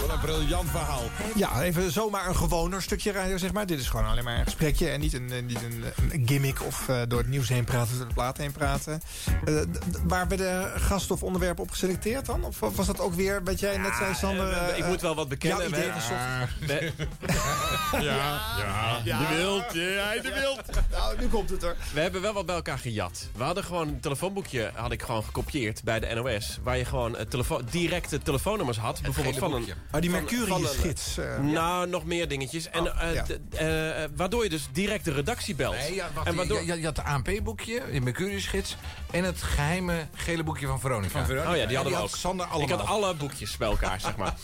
S19: Wat een briljant verhaal.
S5: Ja, even zomaar een gewoner stukje radio, zeg maar. Dit is gewoon alleen maar een gesprekje en niet een, eh, niet een, een gimmick of eh, door het nieuws heen praten, door de plaat heen praten. Eh, d- d- waar werden gasten of onderwerpen op geselecteerd dan? Of was dat ook weer, wat jij net zei, Sander?
S11: eh,
S5: eh,
S11: ik moet wel wat bekennen. Ah.
S5: Jouw idee was toch-
S11: we, ja, ja,
S5: Ja.
S11: de wild. Ja, hij de wild.
S5: Nou, nu komt het er.
S11: We hebben wel wat bij elkaar gejat. We hadden gewoon een telefoonboekje had ik gewoon gekopieerd bij de NOS. Waar je gewoon eh, telefo directe telefoonnummers had. bijvoorbeeld
S5: gele
S11: van een,
S5: boekje. Ah, die
S11: van- van een-
S5: Mercurius-gids. eh,
S11: nou, nog meer dingetjes. En, eh,
S2: ja.
S11: d- eh, eh, waardoor je dus direct de redactie belt.
S2: Nee, ja, wacht,
S11: en waardoor...
S2: je, je- je had de ANP-boekje, de Mercurius-gids... en het geheime gele boekje van Veronica.
S11: Oh ja, die hadden we ook.
S2: had Sander
S11: ik
S2: allemaal.
S11: had alle boekjes bij elkaar, zeg maar.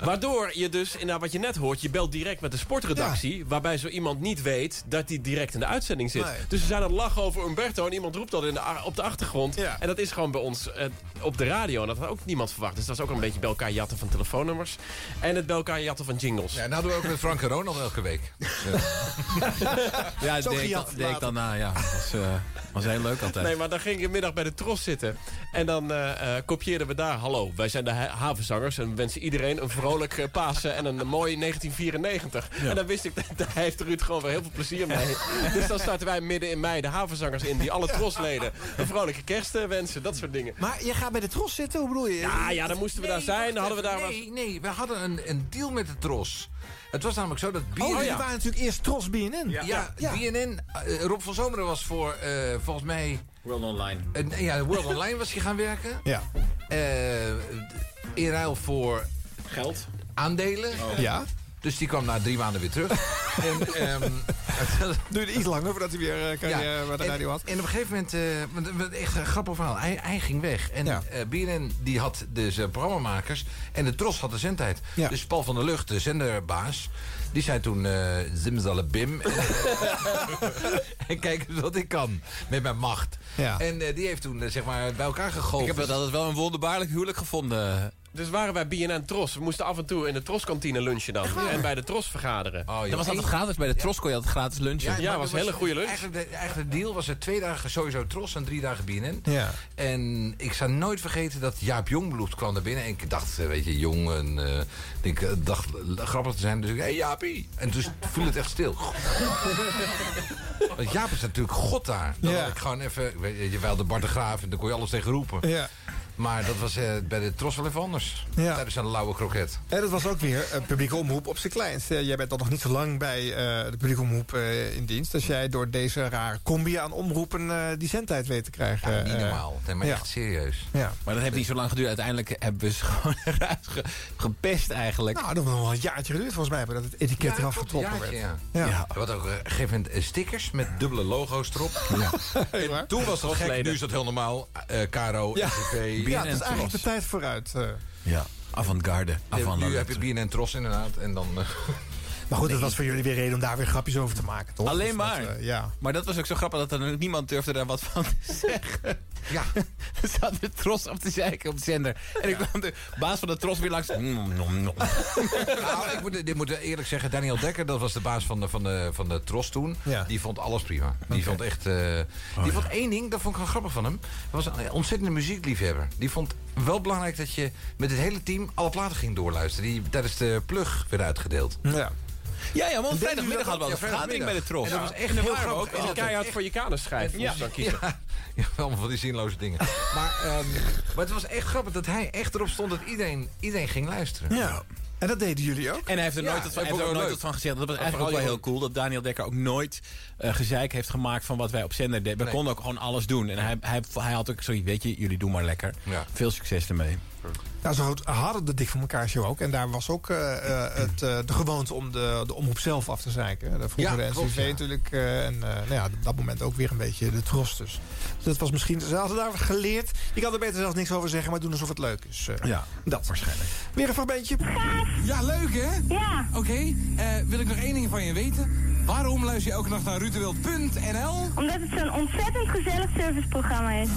S11: Waardoor je dus, inderdaad wat je net hoort... je belt direct met de sportredactie... waarbij zo iemand niet weet dat hij direct in de uitzending zit.
S5: Nee.
S11: Dus we zijn aan het lachen over Umberto... en iemand roept dat in de, a- op de achtergrond. En dat is gewoon bij ons eh, op de radio. En dat had ook niemand verwacht. Dus dat is ook een beetje bij elkaar jatten van telefoonnummers... en het bij elkaar jatten van jingles.
S2: Ja, nou hadden we ook met Frank en Ronald elke week.
S3: Ja, dat deed, ik
S11: Zo
S3: dan-
S11: gejat
S3: deed ik dan na, ja. Dat was, eh, was heel leuk altijd.
S11: Nee, maar dan ging ik een middag bij de Tros zitten. En dan eh, eh, kopieerden we daar. Hallo, wij zijn de ha- havenzangers. En we wensen iedereen een vrolijk eh, Pasen en een mooi 1994. En dan wist ik, dat daar heeft Ruud gewoon weer heel veel plezier mee. dus dan starten wij midden in mei de havenzangers in. Die alle Trosleden een vrolijke kerst eh, wensen. Dat soort dingen.
S5: Maar je gaat bij de tros zitten, hoe bedoel je?
S11: Ja, ja, dan moesten we daar zijn. Dan hadden we daar
S2: nee, nee, we hadden een, een deal met de Tros. Het was namelijk zo dat BNN...
S5: Oh, jullie waren natuurlijk eerst Tros BNN.
S2: Ja, BNN... eh, Rob van Zomeren was voor, eh, volgens mij...
S3: World Online.
S2: Eh, ja, World Online was hij gaan werken.
S5: Ja.
S2: Eh, in ruil voor...
S11: Geld.
S2: Aandelen.
S5: Ja.
S2: Dus die kwam na drie maanden weer terug. en, ehm,
S5: Duurde iets langer voordat hij weer eh, carrière bij de
S2: en-
S5: radio had.
S2: En op een gegeven moment, eh, want- want echt een grappig verhaal. Hij, hij ging weg. En eh, BNN die had de zijn programmamakers. En de Tros had de zendtijd. Dus Paul van der Lucht, de zenderbaas. Die zei toen eh zimzalabim. En, en kijk eens wat ik kan. Met mijn macht.
S10: Ja.
S2: En eh, die heeft toen eh, zeg maar bij elkaar gegooid.
S10: Ik heb dat altijd wel een wonderbaarlijk huwelijk gevonden.
S11: Dus waren wij BNN Tros. We moesten af en toe in de Troskantine lunchen dan. En bij de Tros vergaderen.
S2: Oh,
S10: Dat was altijd gratis. Bij de Tros kon je altijd gratis lunchen.
S11: Ja,
S2: maar
S11: was
S2: er
S11: een hele goede lunch.
S2: Eigenlijk de, eigenlijk de deal was er twee dagen sowieso Tros en drie dagen BNN.
S5: Ja.
S2: En ik zou nooit vergeten dat Jaap Jongbloed kwam naar binnen. En ik dacht, eh, weet je, jong en eh, ik denk, eh, dacht l- grappig te zijn. Dus ik, hé hey, Jaapie. En toen viel het echt stil. Want Jaap is natuurlijk god daar. Dan had ik gewoon even, weet je, je wel de Bart de Graaf en daar kon je alles tegen roepen.
S5: Ja.
S2: Maar dat was eh, bij de Tros wel even anders.
S5: Ja.
S2: Tijdens een lauwe kroket.
S5: En dat was ook weer een publieke omroep op zijn kleinst. Eh, Jij bent al nog niet zo lang bij eh, de publieke omroep eh, in dienst. Dus jij door deze rare combi aan omroepen eh, die zendtijd weet te krijgen.
S2: niet
S5: eh,
S2: normaal. Nee, maar
S5: ja.
S2: echt serieus.
S5: Ja.
S10: Maar dat heeft niet zo lang geduurd. Uiteindelijk hebben we ze gewoon eruit ge- gepest eigenlijk.
S5: Nou, dat heeft nog wel een jaartje geduurd volgens mij. Voordat het etiket eraf getrokken
S2: jaartje,
S5: werd.
S2: ja. Wat ook, eh, op een gegeven moment eh, stickers met dubbele logo's erop. En toen was dat gek, nu is dat heel normaal. Eh Caro,
S5: Ja.
S2: SCP,
S5: Ja, het is eigenlijk de tijd vooruit. eh.
S10: Ja, avant-garde.
S2: Ja,
S10: avant
S2: nu heb je BNN Tros inderdaad. En dan, eh,
S5: Maar goed, dat was voor jullie weer reden om daar weer grapjes over te maken, toch?
S10: Alleen
S5: Dus dat,
S10: maar.
S5: eh, ja.
S10: Maar dat was ook zo grappig dat er niemand durfde daar wat van te zeggen.
S2: Ja.
S10: Er zat de tros op te zeiken op de zender. En ik kwam de baas van de tros weer langs. Mm, Nom, nom, nom.
S2: nou, ik moet, dit moet eerlijk zeggen, Daniel Dekker, dat was de baas van de, van de, van de Tros toen. Die vond alles prima. Die vond echt. eh, die vond één ding, dat vond ik wel grappig van hem. Hij was een ontzettende muziekliefhebber. Die vond wel belangrijk dat je met het hele team alle platen ging doorluisteren. Die tijdens de plug werd uitgedeeld.
S5: Ja.
S10: Ja, ja, want
S2: Deden
S10: vrijdagmiddag
S2: jullie dat
S10: hadden we
S2: ook?
S10: een vergadering
S2: vrijdagmiddag.
S10: bij de Tros.
S2: En dat was echt
S10: En dan
S2: heel
S10: waren we
S2: grappig.
S10: ook
S2: En
S10: altijd.
S2: keihard
S11: voor je kanus schrijven.
S2: Ja.
S11: moest je dan kiezen.
S2: Ja. Ja, wel van die zinloze dingen. maar, ehm, maar het was echt grappig dat hij echt erop stond dat iedereen, iedereen ging luisteren.
S5: Ja. En dat deden jullie ook?
S10: En hij heeft er
S2: Ja,
S10: nooit, wat van, hij
S2: dat
S10: heeft
S2: vond
S10: er
S2: ik
S10: ook
S2: ook
S10: nooit
S2: leuk.
S10: wat van gezegd. Dat was
S2: Dat
S10: eigenlijk wel
S2: vooral
S10: heel cool dat Daniel Dekker ook nooit eh, gezeik heeft gemaakt van wat wij op zender deden. We
S2: Nee.
S10: konden ook gewoon alles doen. En hij, hij, hij had ook zoiets, weet je, jullie doen maar lekker. Veel succes ermee.
S5: Nou, ze had- hadden de Dik voor elkaar show ook. En daar was ook eh, eh, het, eh, de gewoonte om de, de omroep zelf af te zeiken. De vroeger
S2: Ja,
S5: de
S2: klopt,
S5: NCV
S2: ja.
S5: natuurlijk. eh, en eh, nou ja, op dat moment ook weer een beetje de trost dus. Dus Dat was misschien... Ze hadden daar geleerd. Je kan er beter zelfs niks over zeggen, maar doen alsof het leuk is. eh.
S10: Ja,
S5: dat waarschijnlijk. Weer een fragmentje.
S31: Ja, leuk hè?
S5: Ja.
S31: Oké, eh, wil ik nog één ding van je weten? Waarom luister je elke nacht naar rutewild.nl?
S25: Omdat het zo'n ontzettend gezellig serviceprogramma is.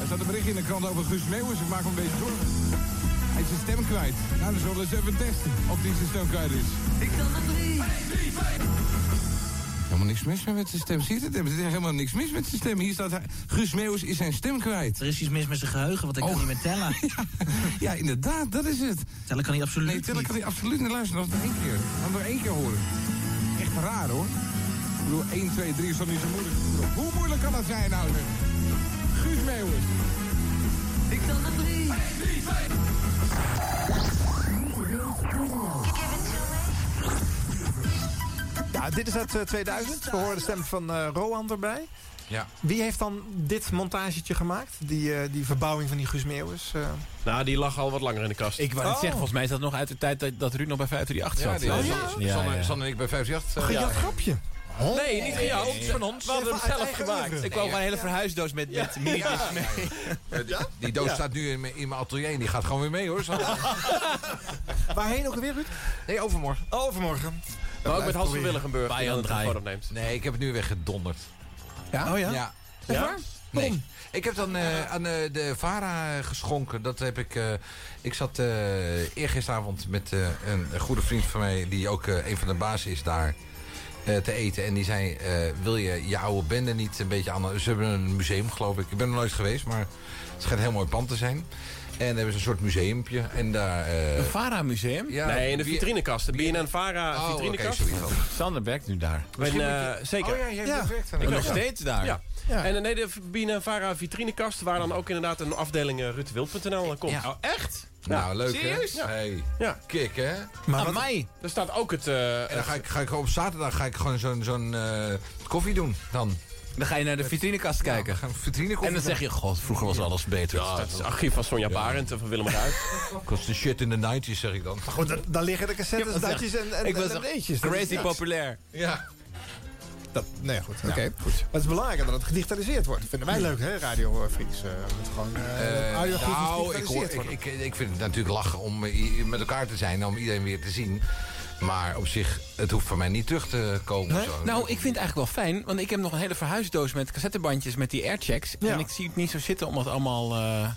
S7: Er staat een berichtje in de krant over Guus Meeuwis. Ik maak me een beetje zorgen. Hij is zijn stem kwijt. Nou, dan zullen we eens even testen of hij zijn stem kwijt is. Ik kan het
S31: Helemaal niks mis meer met zijn stem. Ziet het? Er is helemaal niks mis met zijn stem. Hier staat hij. Guus Meeuwis is zijn stem kwijt. Er is iets mis met zijn geheugen, want ik kan niet meer tellen. ja, ja, inderdaad, dat is het. Tellen kan hij absoluut Nee, tellen kan hij absoluut niet. Luister, nog één keer. Nog maar één keer horen.
S7: Echt raar hoor. Ik bedoel, 1, 2, 3 is dan niet zo moeilijk. Hoe moeilijk kan dat zijn nou? zeg? Guus Meeuwis. Ik kan het niet.
S5: Ja, dit is uit eh, 2000. We horen de stem van eh Roan erbij.
S2: Ja.
S5: Wie heeft dan dit montagetje gemaakt? Die, eh, die verbouwing van die Guus Meeuwis? eh?
S11: Nou, die lag al wat langer in de kast.
S10: Ik wou net zeggen, volgens mij is dat nog uit de tijd dat, dat Ruud nog bij 538
S11: Ja,
S10: zat.
S11: die-
S10: Ja,
S11: Sanne- Sanne-
S2: Sanne en ik bij 538.
S10: eh,
S5: Gejat grapje.
S11: Nee, niet gejat. Van ons. We hadden hem zelf gemaakt.
S10: Ik wou gewoon een hele verhuisdoos met, met minietjes mee.
S2: Die doos
S10: Ja.
S2: staat nu in mijn, in mijn atelier en die gaat gewoon weer mee hoor. Zo.
S5: Waarheen ook weer, Ruud?
S2: Nee, overmorgen.
S5: Overmorgen.
S11: Maar ook met Hans van Willigenburg.
S2: Bij
S11: die
S2: aan
S11: dan de
S2: draaien.
S11: telefoon opneemt.
S2: Nee, ik heb het nu weer gedonderd.
S5: Ja? Oh ja?
S2: Ja.
S5: Echt waar?
S2: Nee. Ik heb dan eh, aan eh, de VARA geschonken. Dat heb ik. eh, ik zat eh eergisteravond met eh, een, een goede vriend van mij, die ook eh, een van de bazen is daar. eh, Te eten en die zei: eh, Wil je je oude bende niet een beetje aan? Ze hebben een museum, geloof ik. Ik ben er nooit geweest, maar het schijnt een heel mooi pand te zijn. En hebben ze een soort museumpje. En daar. eh,
S10: Een VARA-museum?
S2: Ja,
S11: nee, in de
S2: wie-
S11: vitrinekast. De BNN Vara
S2: Oh,
S11: vitrinekast.
S2: oké, sorry.
S10: Sander werkt nu daar.
S11: Ik ben, eh,
S10: Misschien moet je-
S11: zeker.
S2: Oh ja, jij hebt gewerkt aan
S11: Ik
S2: de
S11: ook,
S2: kast.
S11: ja.
S10: steeds daar.
S11: Ja. En eh, nee, eh, de BNN Vara vitrinekast, waar dan ook inderdaad een afdeling uh, rutewild.nl komt.
S2: Ja.
S11: echt?
S2: Nou, leuk
S11: Serieus?
S2: hè?
S11: Ja.
S2: Hey.
S11: Ja.
S2: Kik hè?
S11: Maar Aan wat- mij. Er staat ook het... eh,
S2: En dan ga ik, ga ik op zaterdag ga ik gewoon zo'n zo'n eh, koffie doen dan.
S10: Dan ga je naar de vitrinekast kijken.
S2: vitrinekoffie
S10: en dan zeg je, god, vroeger was alles beter.
S11: Ja, dat is het archief van Sonja Barend en van Willem Ruijf.
S2: Kost de shit in de 90s, zeg ik dan.
S5: Goed, dan, dan Eh, liggen de cassettes,
S2: Ja, wat
S5: datjes
S2: zeg-
S5: en, en,
S2: ik
S5: en,
S2: was
S5: en
S2: echt
S5: eetjes. Dat is
S2: crazy
S5: niks.
S2: populair. Ja.
S5: Dat, nee, goed. Oké.
S2: Ja,
S5: Maar het is belangrijk dat het gedigitaliseerd wordt. Vinden wij leuk, hè, radiofreaks. Uh, gewoon
S2: Eh,
S5: uh, audioarchief
S2: nou, ik, hoor,
S5: gedigitaliseerd
S2: ik,
S5: worden.
S2: ik, ik vind het natuurlijk lachen om eh, i- met elkaar te zijn, om iedereen weer te zien. Maar op zich, het hoeft van mij niet terug te komen. of Zo.
S10: Nou, ik vind het eigenlijk wel fijn, want ik heb nog een hele verhuisdoos met cassettebandjes met die airchecks. En ik zie het niet zo zitten om dat allemaal eh,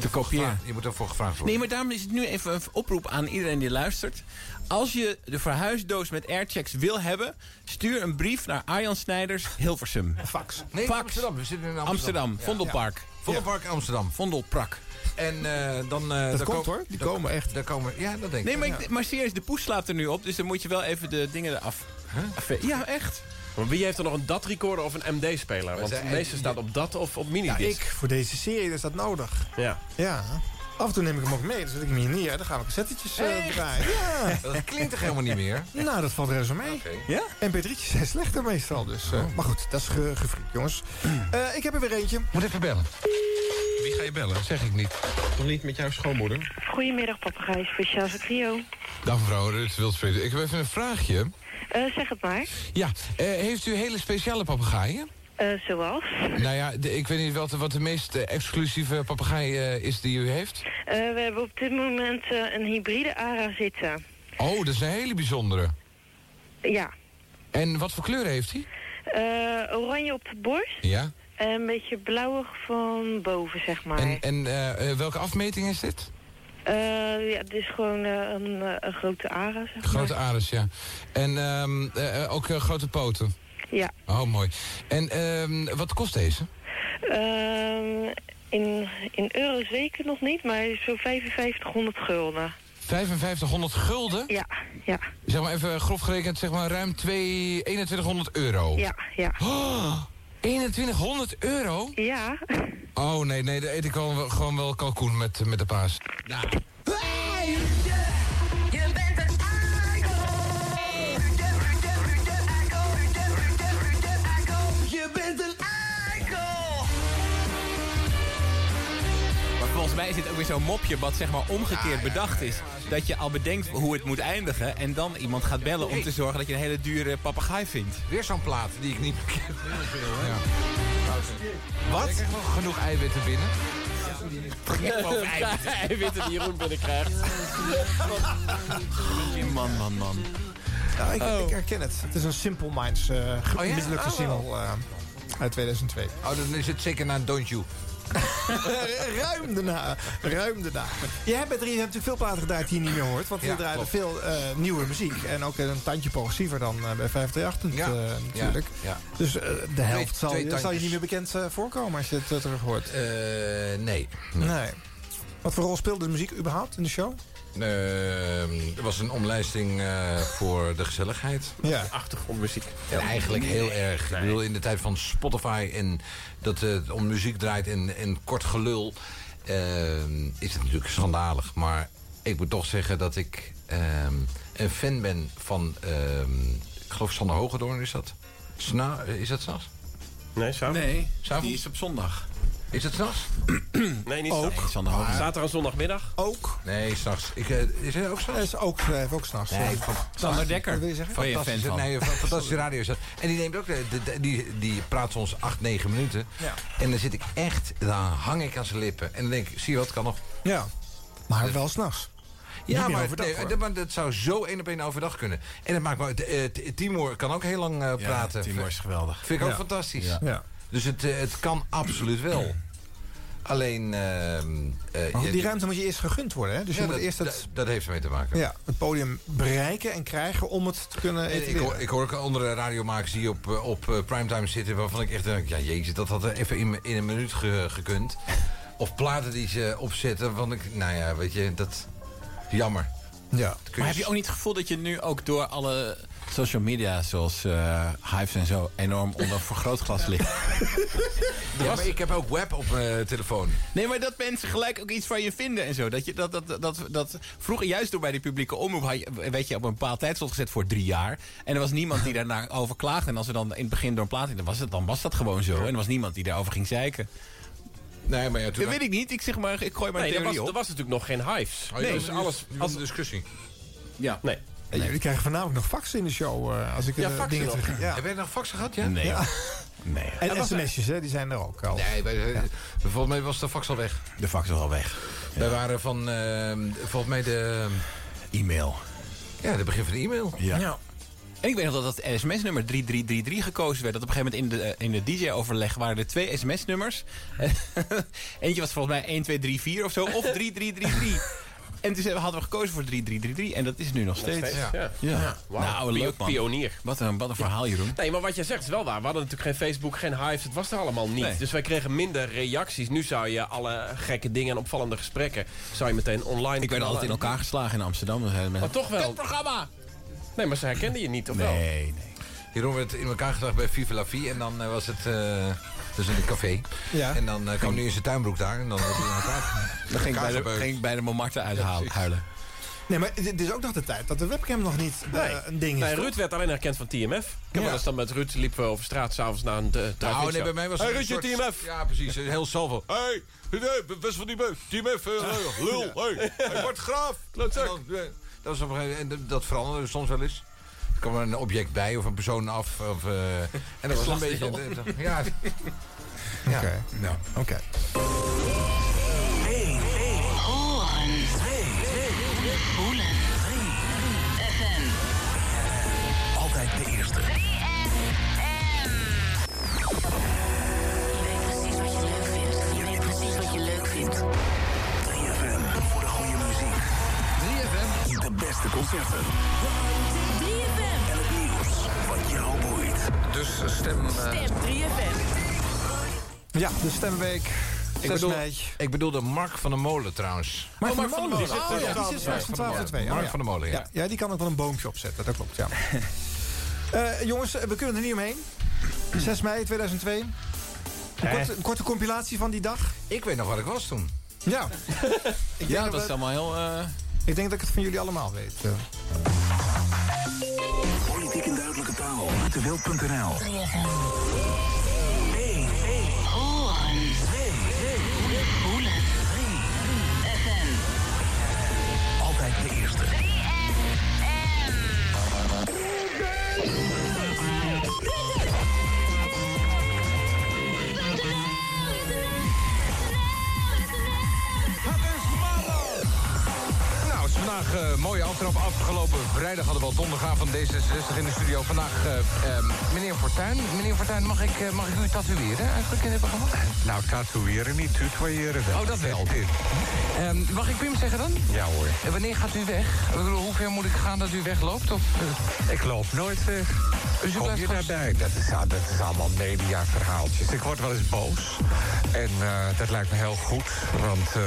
S10: te kopiëren.
S2: Je moet ervoor gevraagd worden.
S10: Nee, maar daarom is het nu even een oproep aan iedereen die luistert. Als je de verhuisdoos met airchecks wil hebben, stuur een brief naar Arjan Snijders Hilversum.
S5: Fax.
S2: Nee,
S10: Fax.
S2: Amsterdam. We zitten in Amsterdam.
S10: Amsterdam,
S2: Ja.
S10: Vondelpark.
S2: Ja. Vondelpark Amsterdam.
S10: Vondelprak.
S2: En eh, dan... eh,
S5: Dat
S2: dan
S5: komt,
S2: ko-
S5: hoor. Die
S2: dan-
S5: komen echt.
S2: Daar komen, ja, dat denk
S10: Nee,
S2: ik.
S10: maar,
S2: Ja.
S10: ik, maar serieus, de poes slaapt er nu op, dus dan moet je wel even de dingen eraf. af- Ja, echt.
S11: Maar wie heeft er nog een DAT-recorder of een MD-speler? Want de
S5: zijn-
S11: meeste staat op DAT of op
S5: Ja,
S11: minidisc.
S5: ik, voor deze serie is dat nodig.
S11: Ja.
S5: Ja. Af en toe neem ik hem ook mee, dan zet ik hem hier neer. Dan gaan we cassettetjes eh
S2: Echt?
S5: draaien. Ja.
S2: Dat klinkt toch helemaal niet meer?
S5: Nou, dat valt reuze mee.
S10: Ja?
S5: MP3'tjes zijn slechter meestal, dus... eh,
S2: Oh.
S5: Maar goed, dat is ge gefrikt, jongens. Eh, ik heb er weer eentje.
S25: Moet even bellen. Wie ga je bellen? Dat zeg ik niet. Nog niet met jouw schoonmoeder?
S32: Goedemiddag, papagijs, voor Charles het Trio.
S25: Dag mevrouw, dit is Wilsfried. Ik heb even een vraagje.
S32: Eh, zeg het maar.
S25: Ja, eh, heeft u hele speciale papegaaien?
S32: Eh, zoals?
S25: Nou ja, de- ik weet niet wat, wat de meest eh, exclusieve papegaai eh, is die u heeft.
S32: Eh, we hebben op dit moment eh, een hybride ARA zitten.
S25: Oh, dat is een hele bijzondere.
S32: Ja.
S25: En wat voor kleur heeft hij?
S32: Eh, oranje op de borst
S25: Ja.
S32: en een beetje blauwig van boven, zeg maar.
S25: En, en eh, eh, welke afmeting is dit?
S32: Eh, ja, het is gewoon eh, een, eh, een grote ARA, zeg
S25: Grote ares, ja. En ehm, eh, eh, ook eh, grote poten.
S32: Ja.
S25: Oh, mooi. En ehm, wat kost deze?
S32: Ehm, in, in euro's weken nog niet, maar zo'n 5500 gulden.
S25: 5500 gulden?
S32: Ja, ja,
S25: Zeg maar even grof gerekend, zeg maar ruim 2, 2100 euro.
S32: ja, ja.
S25: Oh, 2100 euro?
S32: Ja.
S25: Oh nee, nee, daar eet ik gewoon wel, gewoon wel kalkoen met, met de paas. Nou.
S7: Je bent een
S10: Je bent een Maar volgens mij is dit ook weer zo'n mopje wat zeg maar omgekeerd bedacht is. Dat je al bedenkt hoe het moet eindigen en dan iemand gaat bellen om te zorgen dat je een hele dure papegaai vindt.
S2: Weer zo'n plaat die ik niet ken.
S25: Wat? Ik krijg wel genoeg eiwitten binnen.
S11: Hij weet dat Jeroen binnenkrijgt.
S10: Man, man, man.
S5: Nou, ik,
S10: Oh.
S5: ik herken het. Het is een Simple Minds eh ge-
S2: Oh ja?
S5: mislukte
S2: Oh.
S5: single eh, uit 2002.
S2: Oh, dan is het zeker naar Don't You.
S5: ruim daarna. Ruim daarna. Jij hebt bij 3 natuurlijk veel platen gedraaid die je niet meer hoort. Want
S2: Ja,
S5: we draaiden
S2: klopt.
S5: veel eh, nieuwe muziek. En ook eh, een tandje progressiever dan eh, bij 538
S2: Ja,
S5: eh, natuurlijk.
S2: ja,
S5: Dus eh, de helft zal,
S2: twee
S5: zal je
S2: tandjes.
S5: niet meer bekend eh, voorkomen als je het eh, terug hoort.
S2: Eh, nee.
S5: Nee. Wat voor rol speelde de muziek überhaupt in de show?
S2: Eh, er was een omlijsting eh, voor de gezelligheid.
S5: Ja.
S11: Achtergrondmuziek.
S2: En eigenlijk heel erg. Ik bedoel, in de tijd van Spotify en dat eh, het om muziek draait en, en kort gelul... eh, is het natuurlijk schandalig. Maar ik moet toch zeggen dat ik eh, een fan ben van... eh, ik geloof Sander Hogedoorn is dat. Sna is dat s'nachts?
S11: Nee, s'avonds.
S10: Nee,
S2: S'avonds?
S10: die is op zondag.
S2: Is het s'nachts?
S11: Nee, niet
S5: Ook.
S11: s'nachts.
S10: Sander Hoogte.
S11: Zaterdag en zondagmiddag.
S5: Ook.
S2: Nee, s'nachts. Ik, eh, is hij ook s'nachts?
S5: Dat is ook, eh, ook s'nachts.
S2: Nee,
S10: Sander Dekker.
S5: Wat wil je zeggen?
S10: Ben je fan
S2: Fantastische,
S10: van?
S2: nee, een fantastische radio. is dat. En die neemt ook, eh, de, de- de- die, die praat soms 8, 9 minuten.
S5: Ja.
S2: En dan zit ik echt, dan hang ik aan zijn lippen. En dan denk ik, zie je wat, kan nog.
S5: Ja. Maar wel s'nachts.
S2: Ja,
S5: meer
S2: maar,
S5: overdag,
S2: nee,
S5: hoor.
S2: dat- maar dat zou zo één op één overdag kunnen. En dat maakt me uit. eh, T- Timur kan ook heel lang eh, praten.
S10: Timur is geweldig.
S2: Vind ik ook
S5: Ja.
S2: fantastisch.
S10: Ja.
S5: Ja.
S2: Dus het, eh, het kan absoluut wel. Alleen... ehm,
S5: Maar
S2: eh,
S5: goed,
S2: je-
S5: Oh, die ruimte moet je eerst gegund worden. Hè? Dus
S2: ja,
S5: je moet
S2: dat,
S5: eerst het...
S2: dat, dat heeft ermee te maken.
S5: Ja, het podium bereiken en krijgen om het te kunnen
S2: En Ik
S5: etaleren.
S2: hoor, ik hoor ook andere radiomakers die op, eh, op eh, primetime zitten... waarvan ik echt denk, ja jezus, dat had er even in, in een minuut ge- gekund. Of platen die ze opzetten, want ik... Nou ja, weet je, dat... Jammer.
S5: Ja.
S2: Dat kun
S10: Maar heb je ook niet het gevoel dat je nu ook door alle social media zoals eh, Hives en zo enorm onder een vergrootglas ligt.
S2: Ja, maar ik heb ook web op mijn telefoon.
S10: Nee, maar dat mensen gelijk ook iets van je vinden en zo. Dat je, dat, dat, dat, dat, vroeger juist door bij die publieke omroep... Had je, weet je, op een bepaald tijdslot gezet voor drie jaar. En er was niemand die daarna over klaagde. En als er dan in het begin door een plaat ging, dan was, het, dan was dat gewoon zo. En er was niemand die daarover ging zeiken.
S2: Nee, maar ja,
S10: Dat weet ik niet. Ik, zeg maar, ik gooi maar
S11: Nee,
S10: een
S11: er
S10: theorie
S11: was,
S10: op.
S11: er was natuurlijk nog geen hives.
S10: Oh, ja,
S11: nee,
S10: dat
S11: dus
S10: is-
S11: alles...
S10: dat is
S11: Als,
S2: een discussie.
S10: Ja. Nee.
S5: Jullie krijgen voornamelijk nog faxen in de show. eh, als ik
S2: Ja,
S5: eh,
S2: faxen
S5: dingen
S2: nog.
S5: terug...
S2: Heb jij nog faxen gehad? Ja?
S5: Nee.
S2: Ja.
S10: Nee.
S2: Dat
S5: En
S2: was-
S5: sms'jes, hè, die zijn er ook al.
S2: Nee, wij, eh, volgens mij was de fax al weg.
S10: De fax was al weg.
S2: Wij waren van, eh, volgens mij de...
S10: E-mail.
S2: Ja, de begin van de e-mail.
S10: Ja. En ik weet nog dat dat sms-nummer 3333 gekozen werd. Dat op een gegeven moment in de, eh, in de DJ-overleg waren er twee sms-nummers. Eentje was volgens mij 1234 of zo, of 3333. En toen hebben- hadden we gekozen voor 3333 en dat is nu nog
S11: Nog
S10: steeds.
S11: steeds, ja.
S10: ja.
S11: Ja. Wauw.
S10: Nou, leuk man.
S11: Pionier.
S10: Wat een, wat een verhaal, Jeroen.
S11: Nee, maar wat jij zegt is wel waar. We hadden natuurlijk geen Facebook, geen Hives. Het was er allemaal niet.
S10: Nee.
S11: Dus wij kregen minder reacties. Nu zou je alle gekke dingen en opvallende gesprekken... zou je meteen online...
S10: Ik werd
S11: knallen.
S10: altijd in elkaar geslagen in Amsterdam. Dan zeiden
S11: Maar
S10: mensen,
S11: toch wel.
S10: "Kut programma!
S11: Nee, maar ze herkenden je niet, of wel?
S10: Nee, nee.
S2: Jeroen werd in elkaar gedacht bij Viva La Vie. En dan eh, was het... eh, dus in een café. En dan eh, kwam nu in zijn tuinbroek daar. En dan werd hij in elkaar
S10: Dan ging ik bij de,
S2: elkaar
S10: ging ik bij de Montmartre uithalen, huilen.
S5: Nee, maar het is ook nog de tijd dat de webcam nog niet eh, een ding is.
S11: Nee,
S5: toch?
S11: Ruud werd alleen herkend van TMF. Ik heb wel eens dan met Ruud liepen we over straat s'avonds naar een eh,
S2: Nou,
S11: drive-in
S2: nee,
S11: show.
S2: bij mij was
S11: hey,
S2: het
S11: Ruudje,
S2: een soort-
S11: TMF!
S2: Ja, precies. Een Heel salvo. Hé, hey, nee, best van die beuk. Team F, eh, lul. Hey, hey, Bart Graaf. En dan, eh, Dat, was op een gegeven moment, en dat veranderde soms wel eens. Er kwam een object bij of een persoon af. Of, eh, en dat was een beetje... eh, ja,
S5: Oké. Nou, oké.
S7: Altijd de eerste.
S25: De beste concerten. 3FM. En het nieuws wat jou boeit.
S15: eh,
S25: Dus stem...
S7: Stem 3FM.
S5: Ja, de stemweek.
S2: Ik bedoel, ik bedoelde Mark van der Molen trouwens.
S5: Mark van der Molen.
S2: Die zit
S5: Oh, ja, die zit straks van 12 tot 2. Oh,
S2: Mark
S5: ja.
S2: van der Molen, ja.
S5: ja. Ja, die kan ook wel een boompje opzetten, dat klopt, ja. Eh, jongens, eh, we kunnen er niet omheen. 6 mei 2002. Een korte, een korte compilatie van die dag.
S2: Ik weet nog waar ik was toen.
S5: Ja.
S10: Ja, dat is allemaal heel...
S5: eh, Ik denk dat ik het van jullie allemaal weet. eh.
S25: Politiek in duidelijke taal. Uit de wild.nl.
S7: 3FM.
S25: Altijd de eerste.
S16: Nou, het is vandaag eh, mooie aftrap. Afgelopen vrijdag hadden we al donderdag van D66 in de studio. Vandaag eh, ehm, meneer Fortuyn. Meneer Fortuyn, mag ik, eh, mag ik u tatoeëren eigenlijk in dit programma?
S20: Nou, tatoeëren niet, tutoyeren wel.
S16: Oh, dat wel.
S20: Dit.
S16: Ehm, mag ik Pim zeggen dan?
S20: Ja hoor.
S16: En wanneer gaat u weg? Ik bedoel, hoe ver moet ik gaan dat u wegloopt? Of, eh,
S20: Ik loop nooit weg.
S16: Dus je
S20: Kom
S16: blijft
S20: je
S16: gewoon-
S20: daarbij? Dat is, dat is allemaal mediaverhaaltjes. Ik word wel eens boos. En eh, dat lijkt me heel goed. Want eh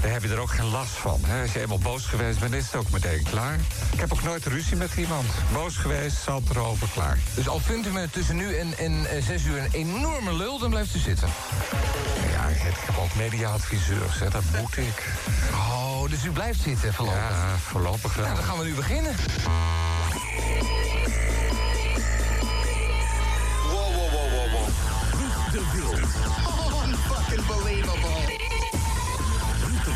S20: daar heb je er ook geen last van. Hè? Als je eenmaal boos geweest bent, is het ook meteen klaar. Ik heb ook nooit ruzie met iemand. Boos geweest, zand erover, klaar.
S16: Dus al vindt u me tussen nu en, en eh, zes uur een enorme lul, dan blijft u zitten.
S20: Ja, ik heb- ik heb ook mediaadviseurs. Hè? Dat moet ik.
S16: Oh, dus u blijft zitten voorlopig.
S20: Ja, voorlopig wel.
S16: Nou, dan gaan we nu beginnen.
S7: Wow, wow, wow, wow, wow. Roep de Wild. Unfucking believable.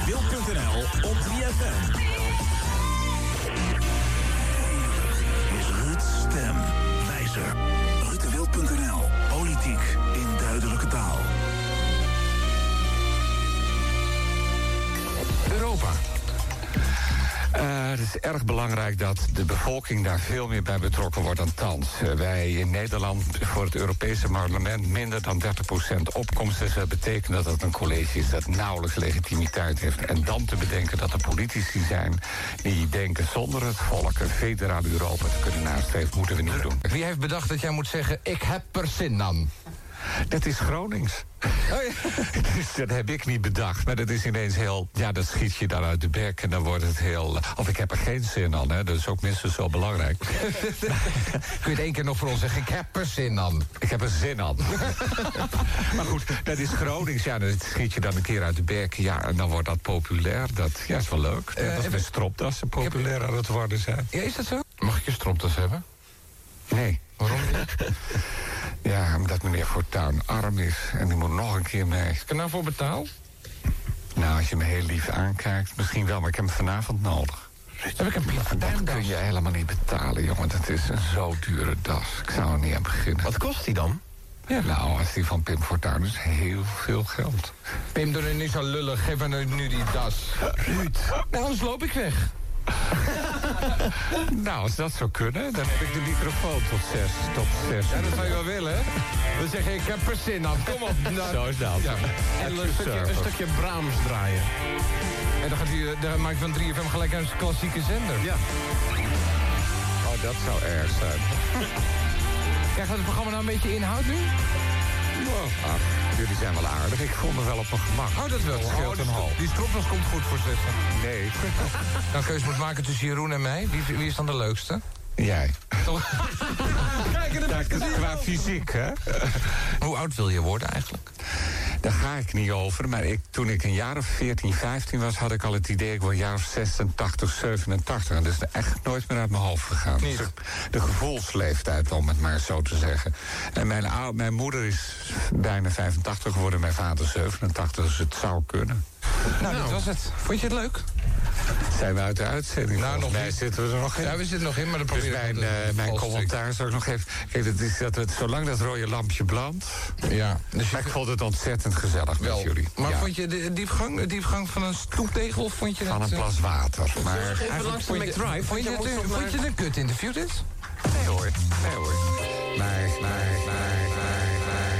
S25: Wild.nl op 3FM. Is Ruud Stem. Wijzer. Ruuddewild.nl. Politiek in duidelijke taal.
S20: Europa. Eh, het is erg belangrijk dat de bevolking daar veel meer bij betrokken wordt dan thans. Eh, wij in Nederland voor het Europese parlement minder dan 30% opkomst. Dus dat betekent dat het een college is dat nauwelijks legitimiteit heeft. En dan te bedenken dat er politici zijn die denken zonder het volk een federaal Europa te kunnen nastreven, moeten we niet doen.
S16: Wie heeft bedacht dat jij moet zeggen, ik heb er zin aan? Oh
S20: Dat is Gronings. dus dat heb ik niet bedacht. Maar dat is ineens heel... Ja, dat schiet je dan uit de bek en dan wordt het heel... Of ik heb er geen zin aan, hè. Dat is ook minstens zo belangrijk. Kun je het één keer nog voor ons zeggen? Ik heb er zin aan. Ik heb er zin aan. maar goed, dat is Gronings. Ja, dat schiet je dan een keer uit de bek. Ja, en dan wordt dat populair. Dat ja, is wel leuk. Net als bij stropdassen populair aan het worden zijn.
S7: Ja, is dat zo?
S20: Mag ik je stropdas hebben? Nee. Waarom niet? ja, omdat meneer Fortuin arm is en die moet nog een keer mee. Is ik er nou voor betaal? Nou, als je me heel lief aankijkt, misschien wel, maar ik heb hem vanavond nodig. Heb ik een Dat kun je helemaal niet betalen, jongen. Dat is een zo dure das. Ik zou er niet aan beginnen. Wat kost die dan? Ja, nou, als die van Pim Fortuyn is, heel veel geld.
S7: Pim, doe nu niet zo lullig. Geef me nu die das. Ruud. Nou, anders loop ik weg.
S20: Nou, als dat zou kunnen, dan heb ik de microfoon tot zes. Tot zes.
S7: Ja, dat zou je wel willen, hè? We zeggen, ik heb er zin aan. Kom op. nou.
S20: Zo is dat.
S7: Ja.
S20: En
S7: En een stukje, een stukje Brahms draaien. En dan, gaat u, dan maakt van 3FM gelijk een klassieke zender. Ja.
S20: Oh, dat zou erg zijn.
S7: Krijgt het programma nou een beetje inhoud nu?
S20: Wow. Ach, Ah, jullie zijn wel aardig. Ik voel me wel op mijn gemak.
S7: Oh, dat wel.
S20: scheelt een half.
S7: Die stropdas komt goed voor zessen.
S20: Nee.
S7: Dan Nou, keus moet maken tussen Jeroen en mij. Wie, wie is dan de leukste?
S20: Jij.
S7: Kijk, en
S20: Ja, qua fysiek, hè?
S7: Hoe oud wil je worden eigenlijk?
S20: Daar ga ik niet over, maar ik, toen ik een jaar of 14, 15 was... had ik al het idee, ik word een jaar of 86, 87. En dat is echt nooit meer uit mijn hoofd gegaan. Dus ik- de gevoelsleeftijd, om het maar zo te zeggen. En mijn, ou- mijn moeder is bijna 85 geworden, mijn vader 87, dus het zou kunnen.
S7: Nou, dat was het. Vond je het leuk?
S20: Zijn we uit de uitzending?
S7: Nou,
S20: Volgens
S7: nog
S20: mij
S7: niet.
S20: zitten we er nog in.
S7: Ja, we zitten nog in, maar dan
S20: Dus
S7: proberen we
S20: mijn,
S7: het
S20: eh, mijn
S7: vals te
S20: commentaar zou ik nog even... Kijk, dat is dat het, zolang dat rode lampje brandt... Ja. maar ik vond het ontzettend gezellig met jullie.
S7: Maar
S20: Ja.
S7: vond je de diepgang, de diepgang van een stoeptegel of vond je
S20: Van
S7: dat,
S20: een
S7: eh,
S20: plas water. Maar
S7: Eigenlijk vond je- Vond je, het een- vond je het een kut interview dit?
S20: Nee hoor, nee hoor. Maar, maar, maar, maar, maar,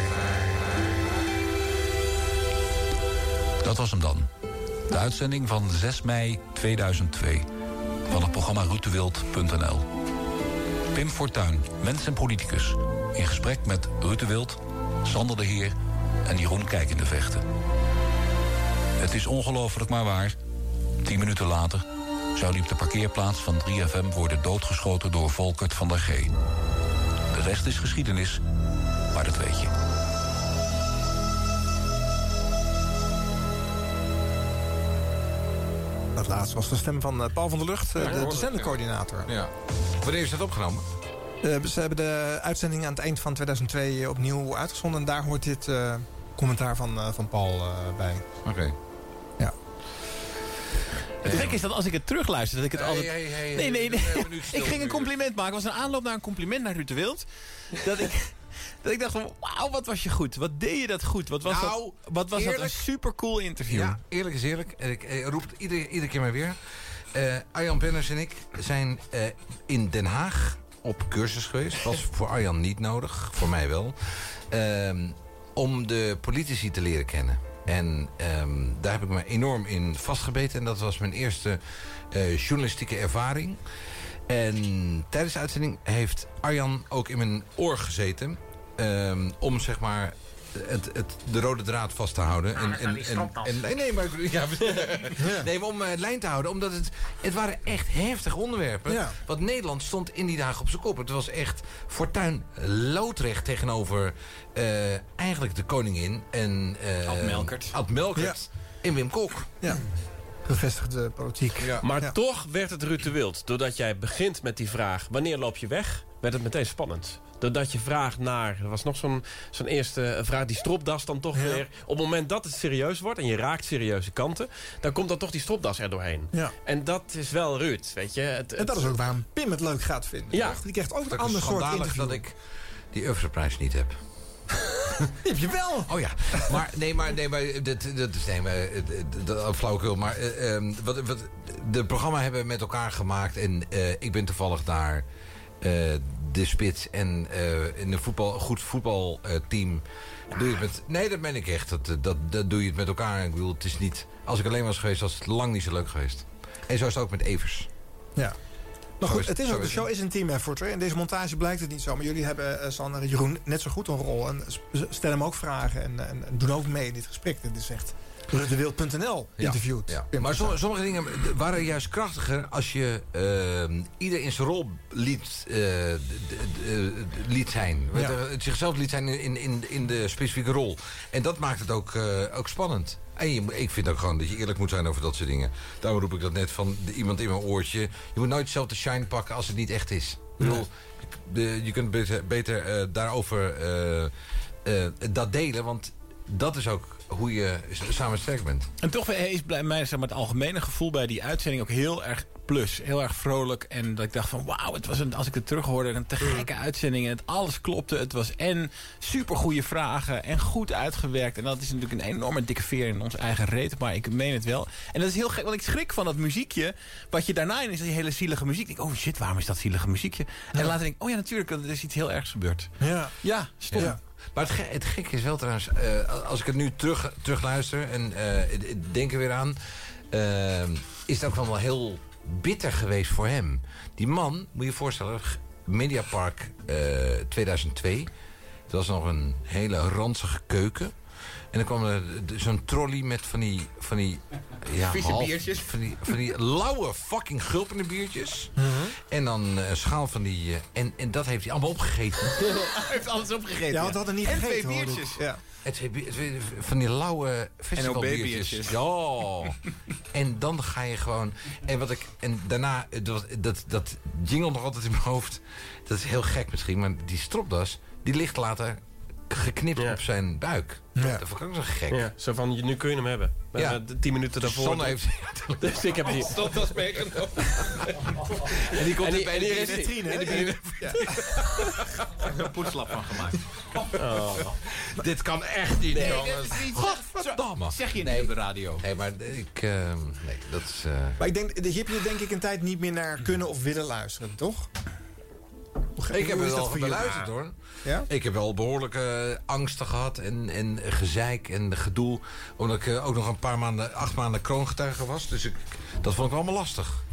S6: Dat was hem dan. De uitzending van 6 mei 2002 van het programma RuteWild.nl. Pim Fortuyn, mens en politicus, in gesprek met Ruud de Wild, Sander de Heer en Jeroen Kijk in de Vechten. Het is ongelooflijk maar waar. Tien minuten later zou hij op de parkeerplaats van 3FM worden doodgeschoten door Volkert van der G. De rest is geschiedenis, maar dat weet je.
S5: Dat laatste was de stem van eh, Paul van der Lucht, eh,
S2: Ja,
S5: de,
S2: hoor
S5: de
S2: ik,
S5: zendercoördinator.
S2: Ja. Wanneer is dat opgenomen?
S5: Eh, ze hebben de uitzending aan het eind van 2002 opnieuw uitgezonden. En daar hoort dit eh, commentaar van, eh, van Paul eh, bij.
S2: Oké.
S10: Het gek is dat als ik het terugluister, dat ik het
S33: Hey,
S10: altijd...
S33: hey, hey,
S10: nee, nee, nee.
S33: hey, een minuut stil
S10: ik ging een
S33: nu.
S10: compliment maken. Het was een aanloop naar een compliment naar Ruud de Wild. Dat ik, dat ik dacht van, wauw, wat was je goed. Wat deed je dat goed. Wat was
S2: Nou,
S10: dat, wat was dat een
S2: eerlijk-
S10: supercool interview.
S2: Ja, eerlijk is eerlijk. En Ik eh, roep het iedere, iedere keer maar weer. Eh Arjan Penners en ik zijn eh, in Den Haag op cursus geweest. Was voor Arjan niet nodig, voor mij wel. Ehm, om de politici te leren kennen. En ehm, daar heb ik me enorm in vastgebeten. En dat was mijn eerste eh, journalistieke ervaring. En tijdens de uitzending heeft Arjan ook in mijn oor gezeten. ehm, om zeg maar het, het, de rode draad vast te houden.
S25: Ah, dat is aan die stropdas.
S2: nee, nee, maar, ik- ja, nee, maar om eh, lijn te houden. Omdat het, het waren echt heftige onderwerpen.
S5: Ja.
S2: Want Nederland stond in die dagen op zijn kop. Het was echt Fortuin loodrecht tegenover eh, eigenlijk de koningin. En, eh,
S10: Ad Melkert.
S2: Ad Melkert. En Wim Kok.
S5: Ja. Gevestigde politiek.
S11: Maar
S5: Ja.
S11: toch werd het Ruud de Wild. Doordat jij begint met die vraag, wanneer loop je weg? Werd het meteen spannend. Doordat je vraagt naar, er was nog zo'n zo'n eerste vraag, die stropdas dan toch weer. Op het moment dat het serieus wordt en je raakt serieuze kanten... dan komt dan toch die stropdas er doorheen.
S5: Ja.
S11: En dat is wel Ruud, weet je. Het,
S5: En dat is ook waarom Pim het leuk gaat vinden.
S11: Ja.
S5: toch? Die krijgt ook een
S2: Het
S5: ander
S2: is
S5: soort
S2: schandalig
S5: interview.
S2: dat ik die Ufferprijs niet heb.
S5: Die heb je wel.
S2: Oh ja. Maar nee, maar nee, maar dat, dat is nee, maar eh, dat- dat flauwekul. Maar eh, ehm, wat, wat de programma hebben we met elkaar gemaakt en eh, ik ben toevallig daar eh, de spits en eh, in een voetbal een goed voetbalteam. Doe je het met, nee, dat ben ik echt. Dat, eh, dat, dat doe je het met elkaar. Ik bedoel, het is niet. Als ik alleen was geweest, was het lang niet zo leuk geweest. En zo is het ook met Evers.
S5: Ja. Maar
S2: Zo
S5: goed, het is
S2: zo
S5: ook, de show is een team effort. hè. In deze montage blijkt het niet zo. Maar jullie hebben, eh, Sander en Jeroen, net zo goed een rol. En s- stellen hem ook vragen en, en, en doen ook mee in dit gesprek. Dit is echt ruttewild.nl
S2: Ja,
S5: interviewd.
S2: ja.
S5: Pim
S2: Maar som-
S5: Fortuyn.
S2: sommige dingen waren juist krachtiger als je ehm, ieder in zijn rol liet, eh, d- d- d- liet zijn.
S5: Ja.
S2: Het, eh, het zichzelf liet zijn in, in, in de specifieke rol. En dat maakt het ook, eh, ook spannend. En je, moet- ik vind ook gewoon dat je eerlijk moet zijn over dat soort dingen. Daarom roep ik dat net van de- iemand in mijn oortje. Je moet nooit zelf de shine pakken als het niet echt is. Ik bedoel, de- je kunt beter, beter eh, daarover eh, eh, dat delen. Want dat is ook hoe je s- samen sterk bent.
S10: En toch eh, is bij mij zeg maar, het algemene gevoel bij die uitzending ook heel erg plus. Heel erg vrolijk. En dat ik dacht van wauw, het was een, als ik het terug hoorde, een te
S2: Mm.
S10: gekke uitzending. En het alles klopte. Het was en supergoeie vragen en goed uitgewerkt. En dat is natuurlijk een enorme dikke veer in ons eigen reet. Maar ik meen het wel. En dat is heel gek, want ik schrik van dat muziekje. Wat je daarna in is, die hele zielige muziek. Ik denk, oh shit, waarom is dat zielige muziekje? En later denk ik, oh ja, natuurlijk, er is iets heel ergs gebeurd.
S5: Ja.
S10: Ja, stom.
S2: Ja. Maar het, ge- het gekke is wel trouwens, eh, als ik het nu terug, terugluister en eh, ik- ik denk er weer aan, eh, is het ook wel heel bitter geweest voor hem. Die man, moet je je voorstellen, g- Mediapark eh 2002. Het was nog een hele ranzige keuken. En dan kwam er d- zo'n trolley met van die... Van die ja,
S3: Vieze
S2: half-
S3: biertjes.
S2: Van die, van die lauwe fucking gulpende biertjes.
S3: Mhm.
S2: En dan eh, een schaal van die... eh, en, en dat heeft hij allemaal opgegeten.
S10: Hij heeft alles opgegeten.
S5: Ja,
S10: ja.
S5: want we hadden niet
S10: en
S5: gegeten,
S10: twee
S5: hoorde ik.
S10: biertjes.
S5: Ja.
S2: Het, twee bier- twee- van die lauwe festivalbiertjes. Ja. en dan ga je gewoon... En, wat ik, en daarna, eh, dat, dat, dat jingle nog altijd in mijn hoofd. Dat is heel gek misschien, maar die stropdas... die ligt later geknipt op zijn buik. Dat vond ik ook zo gek.
S11: Ja, zo van, je- nu kun je hem hebben. We
S2: Ja.
S11: hebben tien minuten
S2: Dus
S11: daarvoor.
S2: Sander heeft-
S11: Dus ik heb die...
S2: Stropdas
S11: meegenomen.
S2: En die komt
S11: En
S2: in
S11: die-
S2: bij
S11: en die
S2: de
S11: is-
S2: vitrine,
S11: en die-
S2: hè?
S11: Ja.
S10: Ik heb er een poetslap van gemaakt.
S11: Oh.
S2: Dit kan echt niet,
S10: Nee,
S2: jongens.
S10: dat is niet-
S2: Godverdamme.
S10: Zeg je niet
S2: nee.
S10: op de radio.
S2: Nee, maar ik... eh, nee, dat is... eh,
S5: Maar ik denk, hier heb je denk ik een tijd niet meer naar kunnen of willen luisteren, toch?
S2: Ik
S5: Hoe
S2: heb
S5: is
S2: het
S5: dat
S2: wel
S5: voor jullie?
S2: beluisterd hoor.
S5: Ja?
S2: Ik heb wel behoorlijke eh, angsten gehad en, en gezeik en gedoe. Omdat ik eh, ook nog een paar maanden, acht maanden kroongetuige was. Dus ik, dat vond ik allemaal lastig.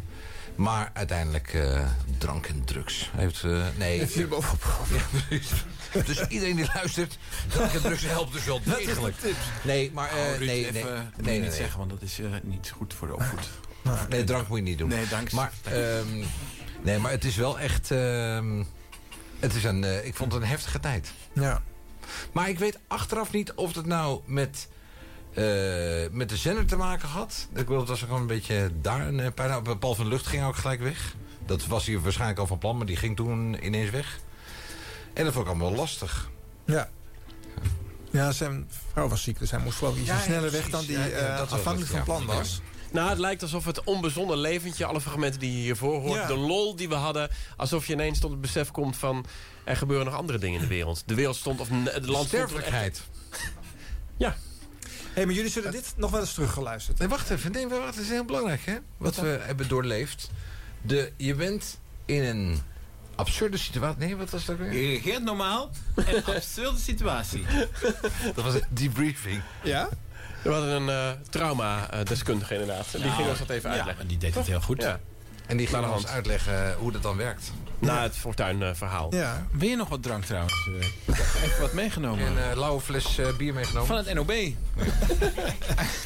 S2: Maar uiteindelijk eh, drank en drugs. Heeft, eh, nee.
S5: Heeft hier bovenop
S2: Ja, precies. Dus iedereen die luistert, drank en drugs helpt dus wel
S10: Dat is de
S2: degelijk.
S10: tip.
S2: Nee, maar eh,
S10: Oh, Ruud,
S2: nee, nee,
S10: even,
S2: nee,
S10: moet je
S2: nee,
S10: niet
S2: nee.
S10: zeggen, want dat is eh, niet goed voor de opvoed.
S2: Nee, drank moet je niet doen.
S10: Nee, dank je.
S2: Maar, ehm, nee, maar het is wel echt. ehm, het is een, eh, ik vond het een heftige tijd.
S5: Ja.
S2: Maar ik weet achteraf niet of het nou met, eh, met de zender te maken had. Ik bedoel, het was ook wel een beetje daar een eh, paar nou, Paul van Lucht ging ook gelijk weg. Dat was hij waarschijnlijk al van plan, maar die ging toen ineens weg. En dat vond ik allemaal lastig.
S5: Ja. Ja, zijn vrouw was ziek, dus hij moest geloof ik iets
S11: Ja, ja,
S5: sneller weg
S11: precies.
S5: dan die
S11: Ja, ja,
S5: eh,
S11: dat was het,
S5: afhankelijk van
S11: ja.
S5: plan was.
S11: Nou, het lijkt alsof het onbezonnen leventje, alle fragmenten die je hiervoor hoort,
S5: Ja.
S11: de lol die we hadden, alsof je ineens tot het besef komt van er gebeuren nog andere dingen in de wereld. De wereld stond of n- het land
S2: Sterfelijkheid.
S11: Ja.
S5: Hé, maar jullie zullen dit nog wel eens teruggeluisterd.
S2: Nee, wacht even. Nee, wacht, het is heel belangrijk, hè? Wat we hebben doorleefd. De, je bent in een absurde situatie. Nee, wat was dat weer?
S10: Je reageert normaal en een absurde situatie.
S2: Dat was een debriefing.
S5: Ja?
S11: We hadden een eh, trauma-deskundige inderdaad. Die
S10: Nou,
S11: ging ons dat even
S10: ja,
S11: uitleggen.
S10: en die deed het
S11: Toch?
S10: heel goed.
S11: Ja.
S2: En die ging
S11: Naar de
S2: ons
S11: hand.
S2: uitleggen hoe dat dan werkt.
S11: Na het fortuinverhaal.
S5: Ja.
S10: Wil je nog wat drank trouwens? Eh, Even wat meegenomen.
S2: Een eh, lauwe fles eh, bier meegenomen.
S10: Van het NOB.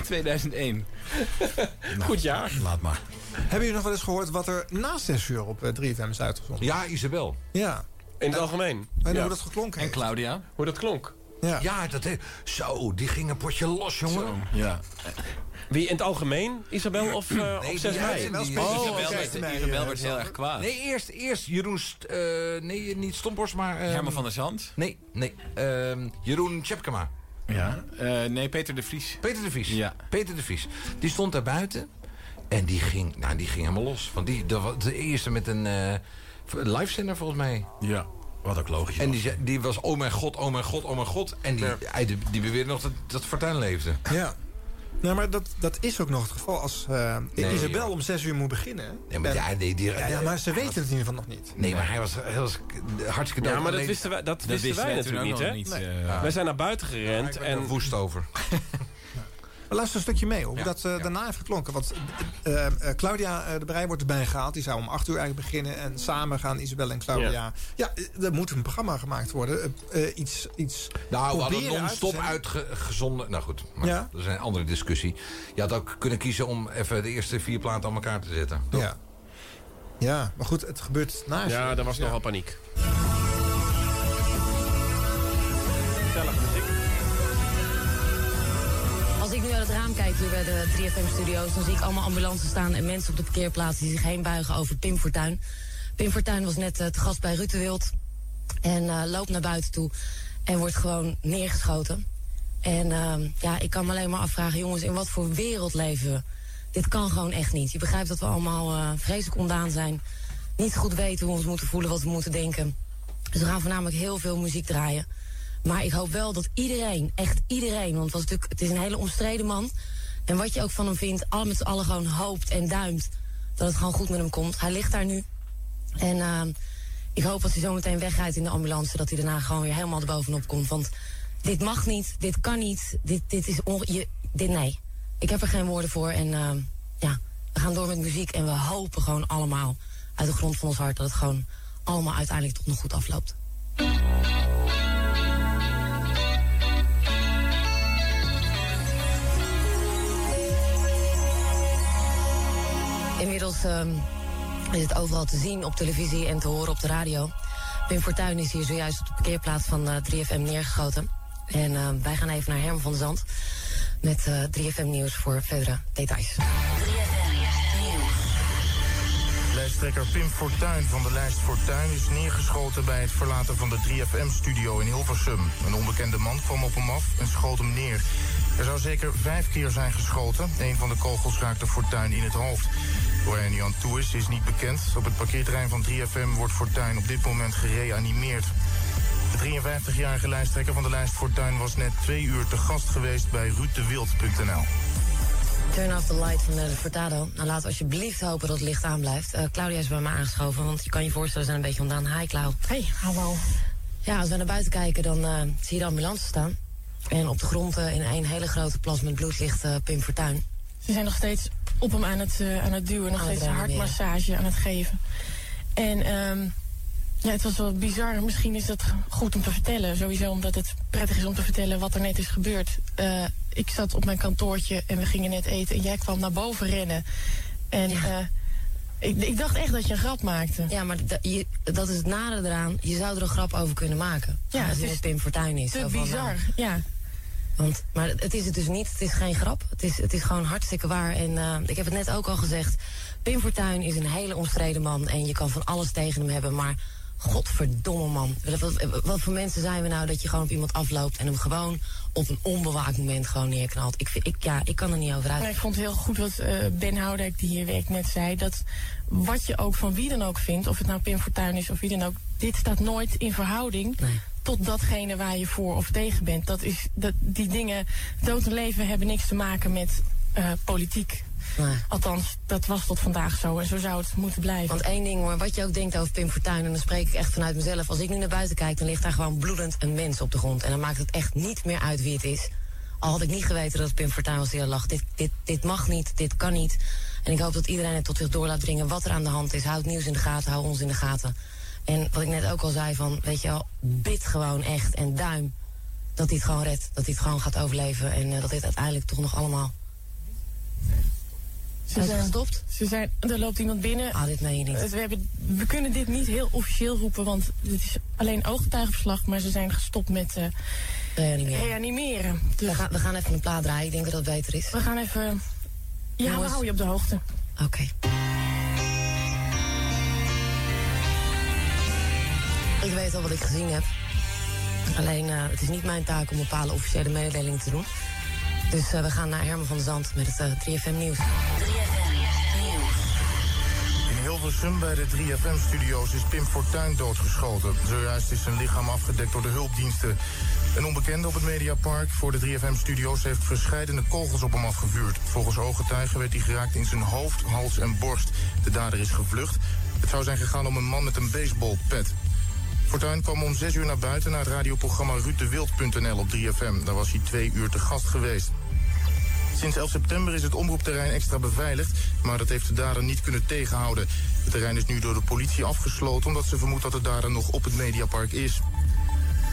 S10: 2001.
S2: Nou,
S11: Goed jaar.
S10: Laat maar.
S5: Hebben jullie nog wel eens gehoord wat er na 6 uur op eh, 3FM is uitgezonden?
S2: Ja, Isabel.
S5: Ja.
S11: In het algemeen.
S5: En
S11: Ja.
S5: hoe dat geklonken heeft.
S10: Claudia.
S11: Hoe dat klonk.
S5: Ja,
S2: dat he- Zo, die ging een potje los, jongen.
S10: Ja.
S11: Wie in het algemeen? Isabel of, eh
S2: Nee,
S11: of 6
S2: die-
S11: mei?
S2: die- die-
S11: Oh,
S2: Isabel
S11: oké.
S2: werd-
S10: Isabel wordt heel erg kwaad.
S2: eh, Nee, eerst, eerst Jeroen... St- eh, nee, niet Stompors, maar... ehm,
S10: Herman van der Zand.
S2: Nee, nee. ehm, Jeroen Tjepkema.
S10: Ja. Eh, nee, Peter de Vries.
S2: Peter de Vries.
S10: Ja.
S2: Peter de Vries. Die stond daar buiten. En die ging, nou, die ging helemaal los. Want die, dat was de eerste met een eh live zender volgens mij.
S10: Ja. Wat ook logisch
S2: En die, zei- die was, oh mijn god, oh mijn god, oh mijn god. En die, hij, die, die beweerde nog dat, dat Fortuin leefde.
S5: Ja. Nou, maar dat, dat is ook nog het geval als eh,
S2: Nee,
S5: Isabel
S2: joh.
S5: om 6 uur moet beginnen.
S2: Nee, maar,
S5: En-
S2: ja, nee, die,
S5: ja, ja, maar ze weten het in ieder geval nog niet.
S2: nee, maar hij was, hij was hartstikke dood.
S11: Ja, maar dat
S2: Alleen-
S11: wisten wij, dat
S10: Dat
S11: wisten
S10: wisten
S11: wij
S10: wij
S11: natuurlijk niet, hè?
S10: toen ook nog niet, Nee. eh,
S2: Nou,
S11: Wij zijn naar buiten gerend
S2: Ik ben er
S11: en
S2: woest over.
S5: Maar luister een stukje mee hoe dat eh, daarna heeft geklonken. Want eh, eh, Claudia eh, de Breij wordt erbij gehaald. Die zou om acht uur eigenlijk beginnen. En samen gaan Isabel en Claudia. Ja,
S2: Ja.
S5: eh, er moet een programma gemaakt worden. Eh, eh, iets, iets
S2: Nou, we hadden
S5: proberen uit te
S2: non-stop
S5: zenden.
S2: uitgezonden. Nou goed, maar
S5: Ja.
S2: dat is een andere discussie. Je had ook kunnen kiezen om even de eerste vier platen aan elkaar te zetten.
S5: Ja. Ja, maar goed, het gebeurt naast.
S11: Ja, daar was nogal paniek.
S29: Als ik nu uit het raam kijk hier bij de 3FM-studio's... dan zie ik allemaal ambulances staan en mensen op de parkeerplaats... die zich heen buigen over Pim Fortuyn. Pim Fortuyn was net eh, te gast bij Ruud de Wild... en eh, loopt naar buiten toe en wordt gewoon neergeschoten. En ehm, ja, ik kan me alleen maar afvragen... jongens, in wat voor wereld leven we? Dit kan gewoon echt niet. Je begrijpt dat we allemaal eh, vreselijk ondaan zijn. Niet goed weten hoe we ons moeten voelen, wat we moeten denken. Dus we gaan voornamelijk heel veel muziek draaien. Maar ik hoop wel dat iedereen, echt iedereen... want het, was natuurlijk, het is een hele omstreden man. En wat je ook van hem vindt, al met z'n allen gewoon hoopt en duimt... dat het gewoon goed met hem komt. Hij ligt daar nu. En ehm, ik hoop dat hij zo meteen wegrijdt in de ambulance... dat hij daarna gewoon weer helemaal erbovenop komt. Want dit mag niet, dit kan niet, dit, dit is onge... je- dit, nee, ik heb er geen woorden voor. En ehm, ja, we gaan door met muziek en we hopen gewoon allemaal... uit de grond van ons hart dat het gewoon allemaal uiteindelijk toch nog goed afloopt. Inmiddels ehm, is het overal te zien op televisie en te horen op de radio. Pim Fortuyn is hier zojuist op de parkeerplaats van eh, 3FM neergeschoten. En ehm, wij gaan even naar Herman van der Zand met eh, 3FM Nieuws voor verdere details.
S16: Lijsttrekker Pim Fortuyn van de lijst Fortuyn is neergeschoten bij het verlaten van de 3FM-studio in Hilversum. Een onbekende man kwam op hem af en schoot hem neer. Er zou zeker vijf keer zijn geschoten. Een van de kogels raakte Fortuyn in het hoofd. Hoe hij er nu aan toe is, is niet bekend. Op het parkeerterrein van 3FM wordt Fortuyn op dit moment gereanimeerd. De 53-jarige lijsttrekker van de lijst Fortuyn was net twee uur te gast geweest bij ruuddewild.nl.
S29: Turn off the light van de Fortado. Nou, laten we alsjeblieft hopen dat het licht aan blijft. Eh, Claudia is bij me aangeschoven, want je kan je voorstellen, we zijn een beetje ondaan. Hi, Clau. Hey, hallo. Ja, als we naar buiten kijken, dan eh, zie je de ambulance staan. En op de grond eh, in één hele grote plas met bloed ligt eh, Pim Fortuyn.
S32: Ze zijn nog steeds op hem aan het, eh, aan het duwen, nog
S29: Aan het
S32: steeds een
S29: reanimeren.
S32: hartmassage aan het geven. En ehm, ja, het was wel bizar. Misschien is dat goed om te vertellen. Sowieso omdat het prettig is om te vertellen wat er net is gebeurd. Eh, ik zat op mijn kantoortje en we gingen net eten. En jij kwam naar boven rennen. En eh, ik, ik dacht echt dat je een grap maakte.
S29: Ja, maar da- je- dat is het nare eraan. Je zou er een grap over kunnen maken.
S32: Ja,
S29: als
S32: het
S29: het
S32: is
S29: met Pim Fortuyn is.
S32: Te
S29: Zo van, nou,
S32: bizar, ja.
S29: Want, maar het is het dus niet. Het is geen grap. Het is, het is gewoon hartstikke waar. En eh, ik heb het net ook al gezegd. Pim Fortuyn is een hele omstreden man. En je kan van alles tegen hem hebben. Maar godverdomme man. Wat, wat voor mensen zijn we nou dat je gewoon op iemand afloopt... en hem gewoon op een onbewaakt moment gewoon neerknalt. Ik, vind- ik, ja, ik kan er niet over uit.
S32: Maar ik vond heel goed wat eh, Ben Houdijk, die hier werkt, net zei. Dat wat je ook van wie dan ook vindt, of het nou Pim Fortuyn is of wie dan ook... dit staat nooit in verhouding tot datgene waar je voor of tegen bent. Dat is, dat, die dingen, dood en leven, hebben niks te maken met eh, politiek. Althans, dat was tot vandaag zo en zo zou het moeten blijven.
S29: Want één ding hoor, wat je ook denkt over Pim Fortuyn... en dan spreek ik echt vanuit mezelf. Als ik nu naar buiten kijk, dan ligt daar gewoon bloedend een mens op de grond. En dan maakt het echt niet meer uit wie het is. Al had ik niet geweten dat het Pim Fortuyn was die er lag. Dit, dit, dit mag niet, dit kan niet. En ik hoop dat iedereen het tot zich door laat dringen wat er aan de hand is. Houd het nieuws in de gaten, hou ons in de gaten. En wat ik net ook al zei van, weet je wel, bid gewoon echt en duim. Dat hij het gewoon redt, dat hij het gewoon gaat overleven. En eh, dat dit uiteindelijk toch nog allemaal... Zijn ze gestopt?
S32: Ze zijn, er loopt iemand binnen.
S29: Ah, dit meen je niet.
S32: Het- We, hebben, we kunnen dit niet heel officieel roepen, want het is alleen ooggetuigenverslag. Maar ze zijn gestopt met eh,
S29: Reanimeren.
S32: reanimeren.
S29: We gaan, we gaan even een plaat draaien, ik denk dat dat beter is.
S32: We gaan even... Ja, we
S29: Jongens.
S32: houden je op de hoogte.
S29: Oké. Ik weet al wat ik gezien heb. Alleen, eh, het is niet mijn taak om bepaalde officiële mededelingen te doen. Dus eh, we gaan naar Herman van der Zand met het eh, 3FM Nieuws.
S16: In Hilversum bij de 3FM-studio's is Pim Fortuyn doodgeschoten. Zojuist is zijn lichaam afgedekt door de hulpdiensten. Een onbekende op het Mediapark voor de 3FM-studio's heeft verscheidene kogels op hem afgevuurd. Volgens ooggetuigen werd hij geraakt in zijn hoofd, hals en borst. De dader is gevlucht. Het zou zijn gegaan om een man met een baseballpet. Fortuyn kwam om 6 uur naar buiten naar het radioprogramma ruuddewild.nl op 3FM. Daar was hij twee uur te gast geweest. Sinds 11 september is het omroepterrein extra beveiligd, maar dat heeft de dader niet kunnen tegenhouden. Het terrein is nu door de politie afgesloten omdat ze vermoedt dat de dader nog op het Mediapark is.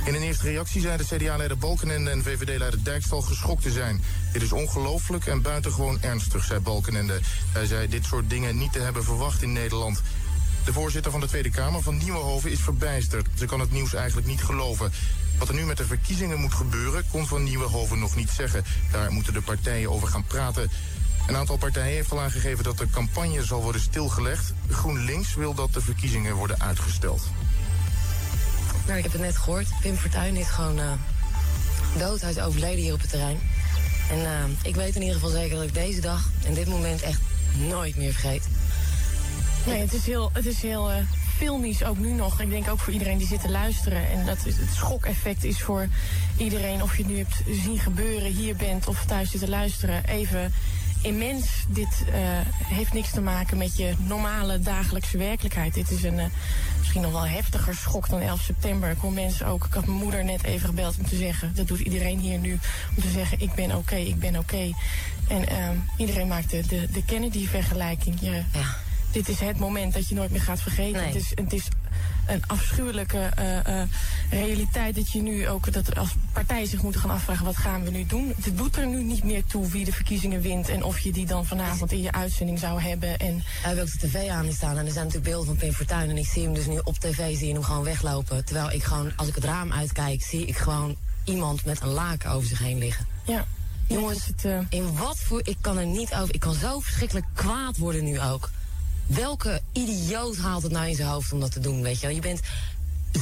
S16: In een eerste reactie zeiden CDA-leider Balkenende en VVD-leider Dijkstal geschokt te zijn. Dit is ongelooflijk en buitengewoon ernstig, zei Balkenende. Hij zei dit soort dingen niet te hebben verwacht in Nederland. De voorzitter van de Tweede Kamer van Nieuwenhoven is verbijsterd. Ze kan het nieuws eigenlijk niet geloven. Wat er nu met de verkiezingen moet gebeuren, kon van Nieuwenhoven nog niet zeggen. Daar moeten de partijen over gaan praten. Een aantal partijen heeft al aangegeven dat de campagne zal worden stilgelegd. GroenLinks wil dat de verkiezingen worden uitgesteld.
S29: Nou, ik heb het net gehoord. Pim Fortuyn is gewoon eh, dood. Hij is overleden hier op het terrein. En eh, ik weet in ieder geval zeker dat ik deze dag en dit moment echt nooit meer vergeet.
S32: Nee, het is heel, het is heel eh, filmisch ook nu nog. Ik denk ook voor iedereen die zit te luisteren. En dat is, het schokeffect is voor iedereen, of je het nu hebt zien gebeuren, hier bent of thuis zit te luisteren, even immens. Dit eh, heeft niks te maken met je normale dagelijkse werkelijkheid. Dit is een eh, misschien nog wel heftiger schok dan 11 september. Ik hoor mensen ook, ik had mijn moeder net even gebeld om te zeggen, dat doet iedereen hier nu, om te zeggen ik ben oké, ik ben oké. En ehm, iedereen maakt de, de, de Kennedy-vergelijking. Je- dit is het moment dat je nooit meer gaat vergeten. Het, is, het is een afschuwelijke eh, eh, realiteit dat je nu ook dat als partijen zich moeten gaan afvragen wat gaan we nu doen. Het doet er nu niet meer toe wie de verkiezingen wint en of je die dan vanavond in je uitzending zou hebben. En
S29: Hij heeft ook de tv aan staan en er zijn natuurlijk beelden van Pim Fortuyn. En ik zie hem dus nu op tv, zie je hem gewoon weglopen. Terwijl ik gewoon, als ik het raam uitkijk, zie ik gewoon iemand met een laken over zich heen liggen.
S32: Ja. eh,
S29: Jongens, in wat voor... Ik kan er niet over... Ik kan zo verschrikkelijk kwaad worden nu ook. Welke idioot haalt het nou in zijn hoofd om dat te doen, weet je wel? Je bent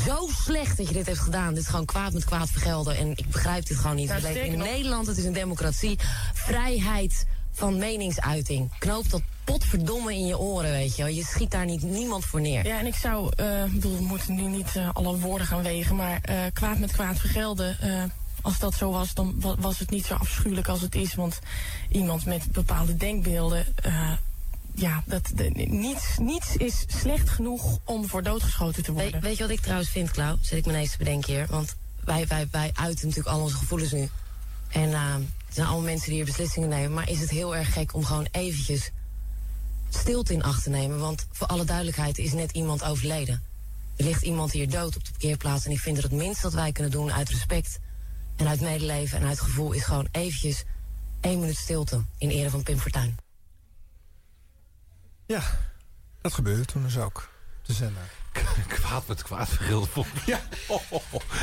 S29: zo slecht dat je dit hebt gedaan. Dit is gewoon kwaad met kwaad vergelden. En ik begrijp dit gewoon niet.
S32: Nou,
S29: We leven in
S32: sterker nog-
S29: Nederland, het is een democratie. Vrijheid van meningsuiting. Knoop dat potverdomme in je oren, weet je wel. Je schiet daar niet niemand voor neer.
S32: Ja, en ik zou, eh, ik bedoel, we moeten nu niet eh, alle woorden gaan wegen, maar eh, kwaad met kwaad vergelden. eh, als dat zo was, dan wa- was het niet zo afschuwelijk als het is. Want iemand met bepaalde denkbeelden. eh, ja, dat, de- niets, niets is slecht genoeg om voor doodgeschoten te worden.
S29: Weet, weet je wat ik trouwens vind, Klauw? Zit ik me ineens te bedenken hier. Want wij, wij, wij uiten natuurlijk al onze gevoelens nu. En ehm het zijn allemaal mensen die hier beslissingen nemen. Maar is het heel erg gek om gewoon eventjes stilte in acht te nemen? Want voor alle duidelijkheid is net iemand overleden. Er ligt iemand hier dood op de parkeerplaats. En ik vind dat het minste dat wij kunnen doen uit respect en uit medeleven en uit gevoel... is gewoon eventjes één minuut stilte in ere van Pim Fortuyn.
S5: Ja, dat gebeurde toen dus ook. De zender.
S2: Kwaad met kwaad vergelden. Ja.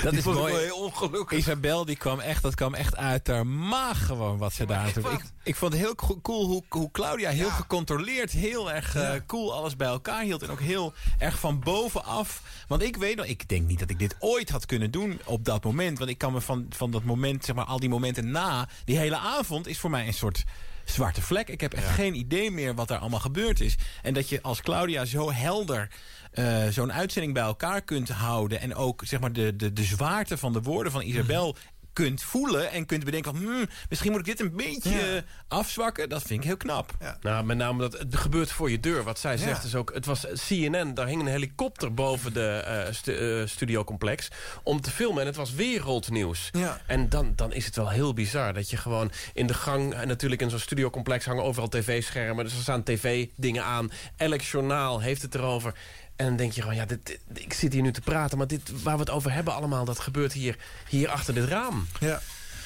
S10: Dat is
S2: vond ik
S10: mooi.
S2: wel heel ongelukkig.
S10: Isabel, die kwam echt, dat kwam echt uit haar maag gewoon wat ze daar doet. Ik, ik vond het heel co- cool hoe, hoe Claudia heel gecontroleerd, heel erg eh, cool alles bij elkaar hield. En ook heel erg van bovenaf. Want ik weet nog, ik denk niet dat ik dit ooit had kunnen doen op dat moment. Want ik kan me van, van dat moment, zeg maar al die momenten na, die hele avond is voor mij een soort zwarte vlek. Ik heb echt geen idee meer wat er allemaal gebeurd is. En dat je als Claudia zo helder eh, zo'n uitzending bij elkaar kunt houden... en ook zeg maar, de, de, de zwaarte van de woorden van Isabel kunt voelen... en kunt bedenken van, hmm, misschien moet ik dit een beetje afzwakken. Dat vind ik heel knap.
S11: Nou, met name dat het gebeurt voor je deur. Wat zij zegt is ook, het was CNN, daar hing een helikopter boven de eh, stu- eh, studiocomplex om te filmen en het was wereldnieuws.
S5: Ja.
S11: En dan, dan is het wel heel bizar dat je gewoon in de gang, en natuurlijk in zo'n studiocomplex hangen overal tv-schermen, dus er staan tv-dingen aan. Elk journaal heeft het erover. En dan denk je gewoon, ja, dit, dit- ik zit hier nu te praten, maar dit, waar we het over hebben allemaal, dat gebeurt hier, hier achter dit raam.
S5: Ja.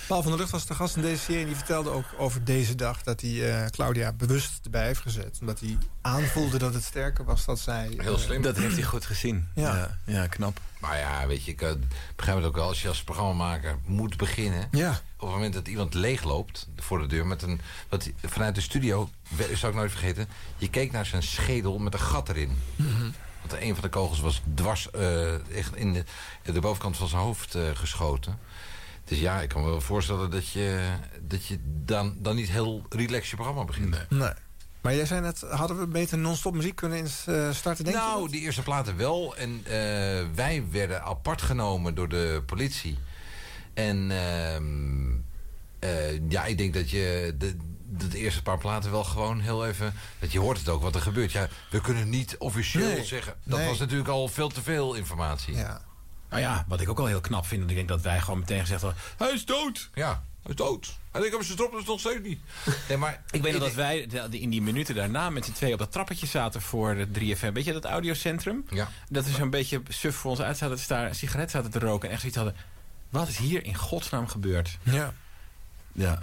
S5: Paul van der Lucht was de gast in deze serie. En die vertelde ook over deze dag dat hij eh, Claudia bewust erbij heeft gezet. Omdat hij aanvoelde dat het sterker was dat zij... eh,
S10: Dat heeft hij goed gezien.
S5: Ja.
S10: Ja, ja, knap.
S2: Maar ja, weet je, ik eh, begrijp het ook wel. Als je als programmamaker moet beginnen...
S5: Ja.
S2: op het moment dat iemand leegloopt voor de deur... Met een, wat, vanuit de studio, we- zou ik nooit vergeten... je keek naar zijn schedel met een gat erin. Want een van de kogels was dwars eh, echt in de, de bovenkant van zijn hoofd eh, geschoten. Dus ja, ik kan me wel voorstellen dat je, dat je dan, dan niet heel relaxed je programma begint.
S5: Nee. Maar jij zei net, hadden we beter non-stop muziek kunnen ins- eh, starten, denk je?
S2: Nou, die eerste platen wel. En eh, wij werden apart genomen door de politie. En ehm, eh, ja, ik denk dat je de, dat de eerste paar platen wel gewoon heel even... Dat je hoort het ook wat er gebeurt. Ja, we kunnen niet officieel
S10: Nee.
S2: zeggen. Dat
S10: Nee.
S2: was natuurlijk al veel te veel informatie.
S5: Ja.
S10: Nou ja, wat ik ook al heel knap vind. want Ik denk dat wij gewoon meteen gezegd hebben... Hij is dood!
S2: Ja.
S16: Hij is dood. Hij denkt, op zijn drop, dat
S34: dus
S16: is nog steeds niet. Nee, maar
S34: Ik weet nog dat wij de- in die minuten daarna met z'n tweeën op dat trappetje zaten voor het 3FM. Weet je dat audiocentrum?
S16: Ja.
S34: Dat we zo'n beetje suf voor ons uit zaten te staren, een sigaret zaten te roken en echt zoiets hadden. Wat is hier in godsnaam gebeurd?
S5: Ja. Nou.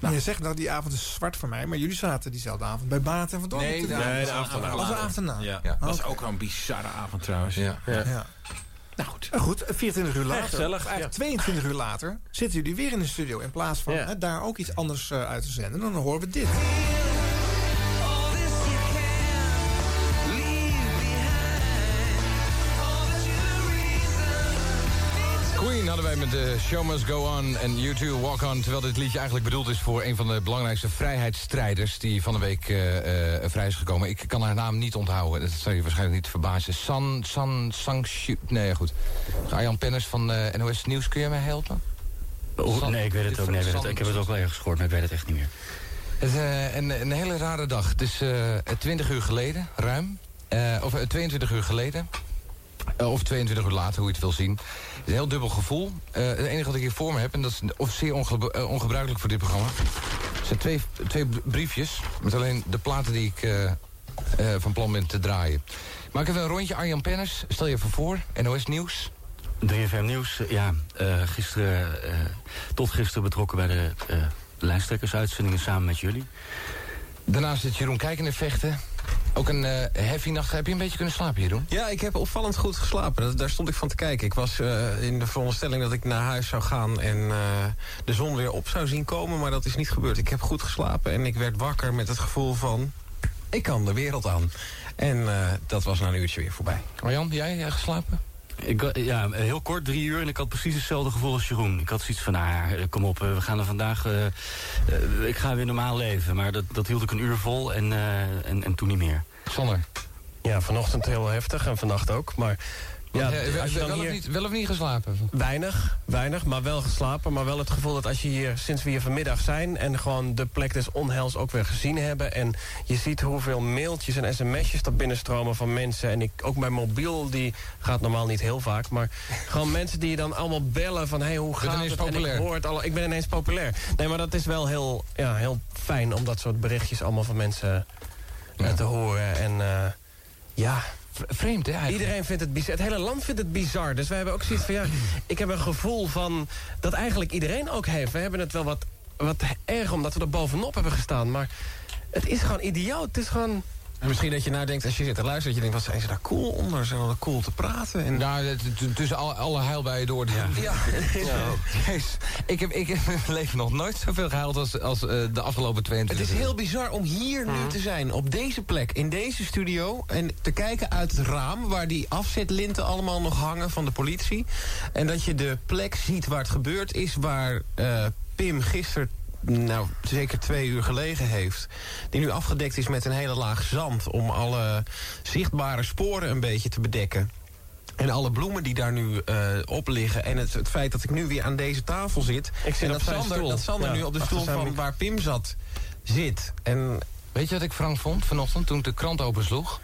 S34: Ja.
S5: je zegt dat die avond is zwart voor mij, maar jullie zaten diezelfde avond bij Baat en Van Dam.
S34: Nee,
S5: natuurlijk.
S34: de- nee, de avond erna.
S5: Was de avond erna.
S34: Ja.
S5: Oh,
S34: Dat was
S5: oké.
S34: ook wel een bizarre avond trouwens.
S16: Ja.
S5: Ja.
S34: Nou goed.
S5: Nou goed, 24 uur
S34: Echt
S5: later,
S34: gezellig,
S5: of eigenlijk
S34: ja.
S5: 22 uur later, zitten jullie weer in de studio. In plaats van
S34: Ja.
S5: hè, daar ook iets anders eh, uit te zenden, dan horen we dit.
S2: Queen hadden wij met de Show Must Go On en You Too Walk On. Terwijl dit liedje eigenlijk bedoeld is voor een van de belangrijkste vrijheidsstrijders... die van de week eh, eh, vrij is gekomen. Ik kan haar naam niet onthouden. Dat zou je waarschijnlijk niet verbazen. San, San, Sang, Nee, ja, goed. Arjan Penners van eh, NOS Nieuws, kun jij mij helpen?
S6: Oh,
S2: San-
S6: nee, ik weet het ook. Nee, ik weet het- ik heb het ook wel ergens gehoord, maar ik weet het echt niet meer.
S2: Het is eh, een, een hele rare dag. Het is eh, 20 uur geleden, ruim. Eh, of eh, 22 uur geleden. Eh, of 22 uur later, hoe je het wil zien. Het is een heel dubbel gevoel. Eh, het enige wat ik hier voor me heb, en dat is of zeer onge- eh, ongebruikelijk voor dit programma... zijn twee, twee b- briefjes met alleen de platen die ik eh, eh, van plan ben te draaien. Maak even een rondje, Arjan Penners. Stel je even voor, NOS Nieuws.
S6: 3FM Nieuws, eh, ja, eh, gisteren, eh, tot gisteren betrokken bij de eh lijsttrekkersuitzendingen samen met jullie.
S2: Daarnaast zit Jeroen Kijken en Vechten. Ook een eh, heavy nacht. Heb je een beetje kunnen slapen, Jeroen?
S10: Ja, ik heb opvallend goed geslapen. Dat- daar stond ik van te kijken. Ik was eh, in de veronderstelling dat ik naar huis zou gaan en eh, de zon weer op zou zien komen. Maar dat is niet gebeurd. Ik heb goed geslapen en ik werd wakker met het gevoel van. Ik kan de wereld aan. En eh, dat was na een uurtje weer voorbij.
S2: Marjan, jij eh, geslapen?
S6: Ik, wa- ja, heel kort, drie uur. En ik had precies hetzelfde gevoel als Jeroen. Ik had zoiets van, nou ja, eh, kom op, eh, we gaan er vandaag... eh, eh, ik ga weer normaal leven. Maar dat, dat hield ik een uur vol en, eh, en, en toen niet meer.
S2: Sander?
S10: Ja, vanochtend heel heftig en vannacht ook. Maar ja,
S2: Want, eh,
S10: als je
S2: wel,
S10: dan
S2: of
S10: hier...
S2: niet, wel of niet geslapen?
S10: Weinig, weinig, maar wel geslapen. Maar wel het gevoel dat als je hier, sinds we hier vanmiddag zijn... en gewoon de plek des onheils ook weer gezien hebben... en je ziet hoeveel mailtjes en sms'jes er binnenstromen van mensen... en ik, ook mijn mobiel, die gaat normaal niet heel vaak... maar gewoon mensen die je dan allemaal bellen van... hé, hey, hoe
S2: bent
S10: gaat
S2: ineens
S10: het? En ik,
S2: populair.
S10: hoor het alle, ik ben ineens populair. Nee, maar dat is wel heel, ja, heel fijn om dat soort berichtjes allemaal van mensen eh, te horen. En eh, ja...
S2: Vreemd, hè? eigenlijk?
S10: Iedereen vindt het bizar. Het hele land vindt het bizar. Dus wij hebben ook zoiets van, ja, ik heb een gevoel van... dat eigenlijk iedereen ook heeft. We hebben het wel wat, wat erg omdat we er bovenop hebben gestaan. Maar het is gewoon idioot. Het is gewoon... En misschien dat je nadenkt, als je zit te luisteren... dat je denkt, wat zijn ze daar cool onder? Zijn wel cool te praten? En...
S2: Nou, tussen alle, alle huilbuien door. Ja. Ja. Jezus. Ik heb, ik heb in mijn leven nog nooit zoveel gehuild als, als eh, de afgelopen 22
S10: Het is
S2: uur.
S10: heel bizar om hier nu te zijn, op deze plek, in deze studio... en te kijken uit het raam waar die afzetlinten allemaal nog hangen van de politie. En dat je de plek ziet waar het gebeurd is, waar eh, Pim gisteren... Nou, zeker twee uur gelegen heeft. Die nu afgedekt is met een hele laag zand. om alle zichtbare sporen een beetje te bedekken. En alle bloemen die daar nu eh, op liggen. En het, het feit dat ik nu weer aan deze tafel zit. Ik zit en op dat zijn Sander, stoel. Dat Sander Ja, nu op de achter stoel zijn van mic- waar Pim zat zit. En
S2: Weet je wat ik Frank vond vanochtend toen ik de krant opensloeg?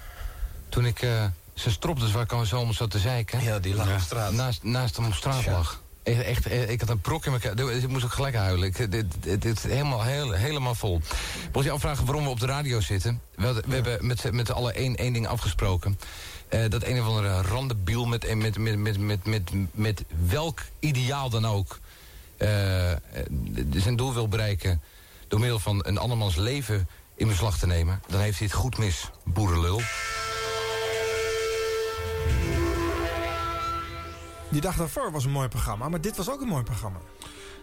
S2: Toen ik eh, zijn strop dus waar ik al zo om zat te zeiken. Ja, die
S10: lag op straat.
S2: Naast, naast hem op straat lag. Echt, echt, eh, ik had een brok in mijn ka- Ik moest ook gelijk huilen. Ik, dit, dit, dit is helemaal, heel, helemaal vol. Mocht je afvragen waarom we op de radio zitten? We, hadden- we hebben met, z'n- met z'n allen één, één ding afgesproken. Eh, dat een of andere randebiel met, eh, met, met, met, met, met, met welk ideaal dan ook... eh, eh, zijn doel wil bereiken door middel van een andermans leven in beslag te nemen... dan heeft hij het goed mis, boerenlul.
S5: Die dag daarvoor was een mooi programma, maar dit was ook een mooi programma.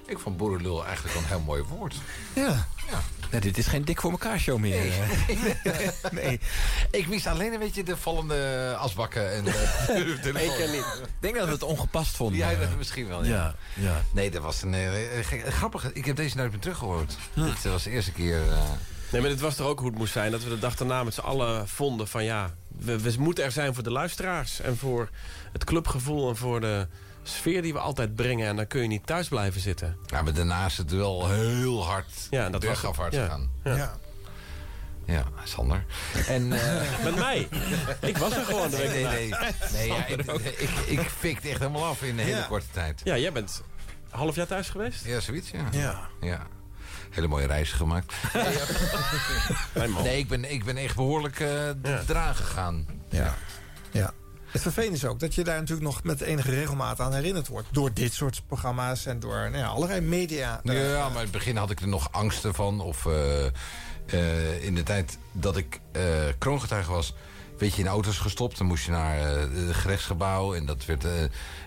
S16: Ik vond boerenlul eigenlijk een heel mooi woord.
S5: Ja.
S34: Nou, dit is geen dik voor elkaar show meer. eh.
S16: nee. Ik mis alleen een beetje de vallende asbakken. En, ik
S34: Ik niet. denk dat we het ongepast vonden.
S16: Ja, dat misschien wel. Ja.
S34: Ja, ja.
S16: Nee, dat was een eh, eh, gek- grappig. Ik heb deze nooit meer teruggehoord. Dit was de eerste keer. eh,
S11: Nee, maar dit was toch ook hoe het moest zijn. Dat we de dag daarna met z'n allen vonden van ja... We, we moeten er zijn voor de luisteraars. En voor het clubgevoel en voor de sfeer die we altijd brengen. En dan kun je niet thuis blijven zitten.
S16: Ja, maar nou, daarna is het wel heel hard.
S11: Ja, en dat was
S16: bergafwaarts
S11: het. Ja.
S16: gegaan.
S11: Ja.
S16: Ja, Sander. En, eh,
S11: Met mij? Ik was er gewoon de week
S16: Nee, nee,
S11: daarna.
S16: nee. nee ja, ik, ik, ik fikte echt helemaal af in een hele
S11: Ja.
S16: korte tijd.
S11: Ja, jij bent half jaar thuis geweest?
S2: Ja, zoiets, ja. Ja. ja. Hele mooie reizen gemaakt. nee, ik ben, ik ben echt behoorlijk eh eraan gegaan.
S5: Ja. ja. Het vervelende is ook dat je daar natuurlijk nog met enige regelmaat aan herinnerd wordt. Door dit soort programma's en door nou ja, allerlei media.
S2: Ja, maar in het begin had ik er nog angsten van. Of eh, eh, in de tijd dat ik eh kroongetuige was... Weet je, in auto's gestopt. Dan moest je naar eh, het gerechtsgebouw. En dat werd eh,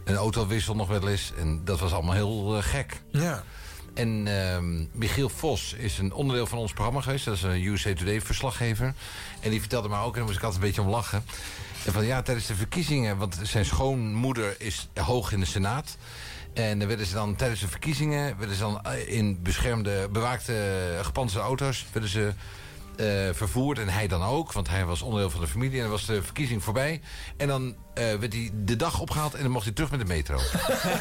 S2: een autowissel nog wel eens. En dat was allemaal heel eh, gek.
S5: Ja.
S2: En ehm, Michiel Vos is een onderdeel van ons programma geweest. Dat is een USA Today-verslaggever. En die vertelde mij ook, en daar moest ik altijd een beetje om lachen... En van ja, tijdens de verkiezingen, want zijn schoonmoeder is hoog in de Senaat... En dan werden ze dan tijdens de verkiezingen... werden ze dan eh, in beschermde, bewaakte, eh, gepantserde auto's... werden ze eh, vervoerd. En hij dan ook, want hij was onderdeel van de familie. En dan was de verkiezing voorbij. En dan eh, werd hij de dag opgehaald en dan mocht hij terug met de metro.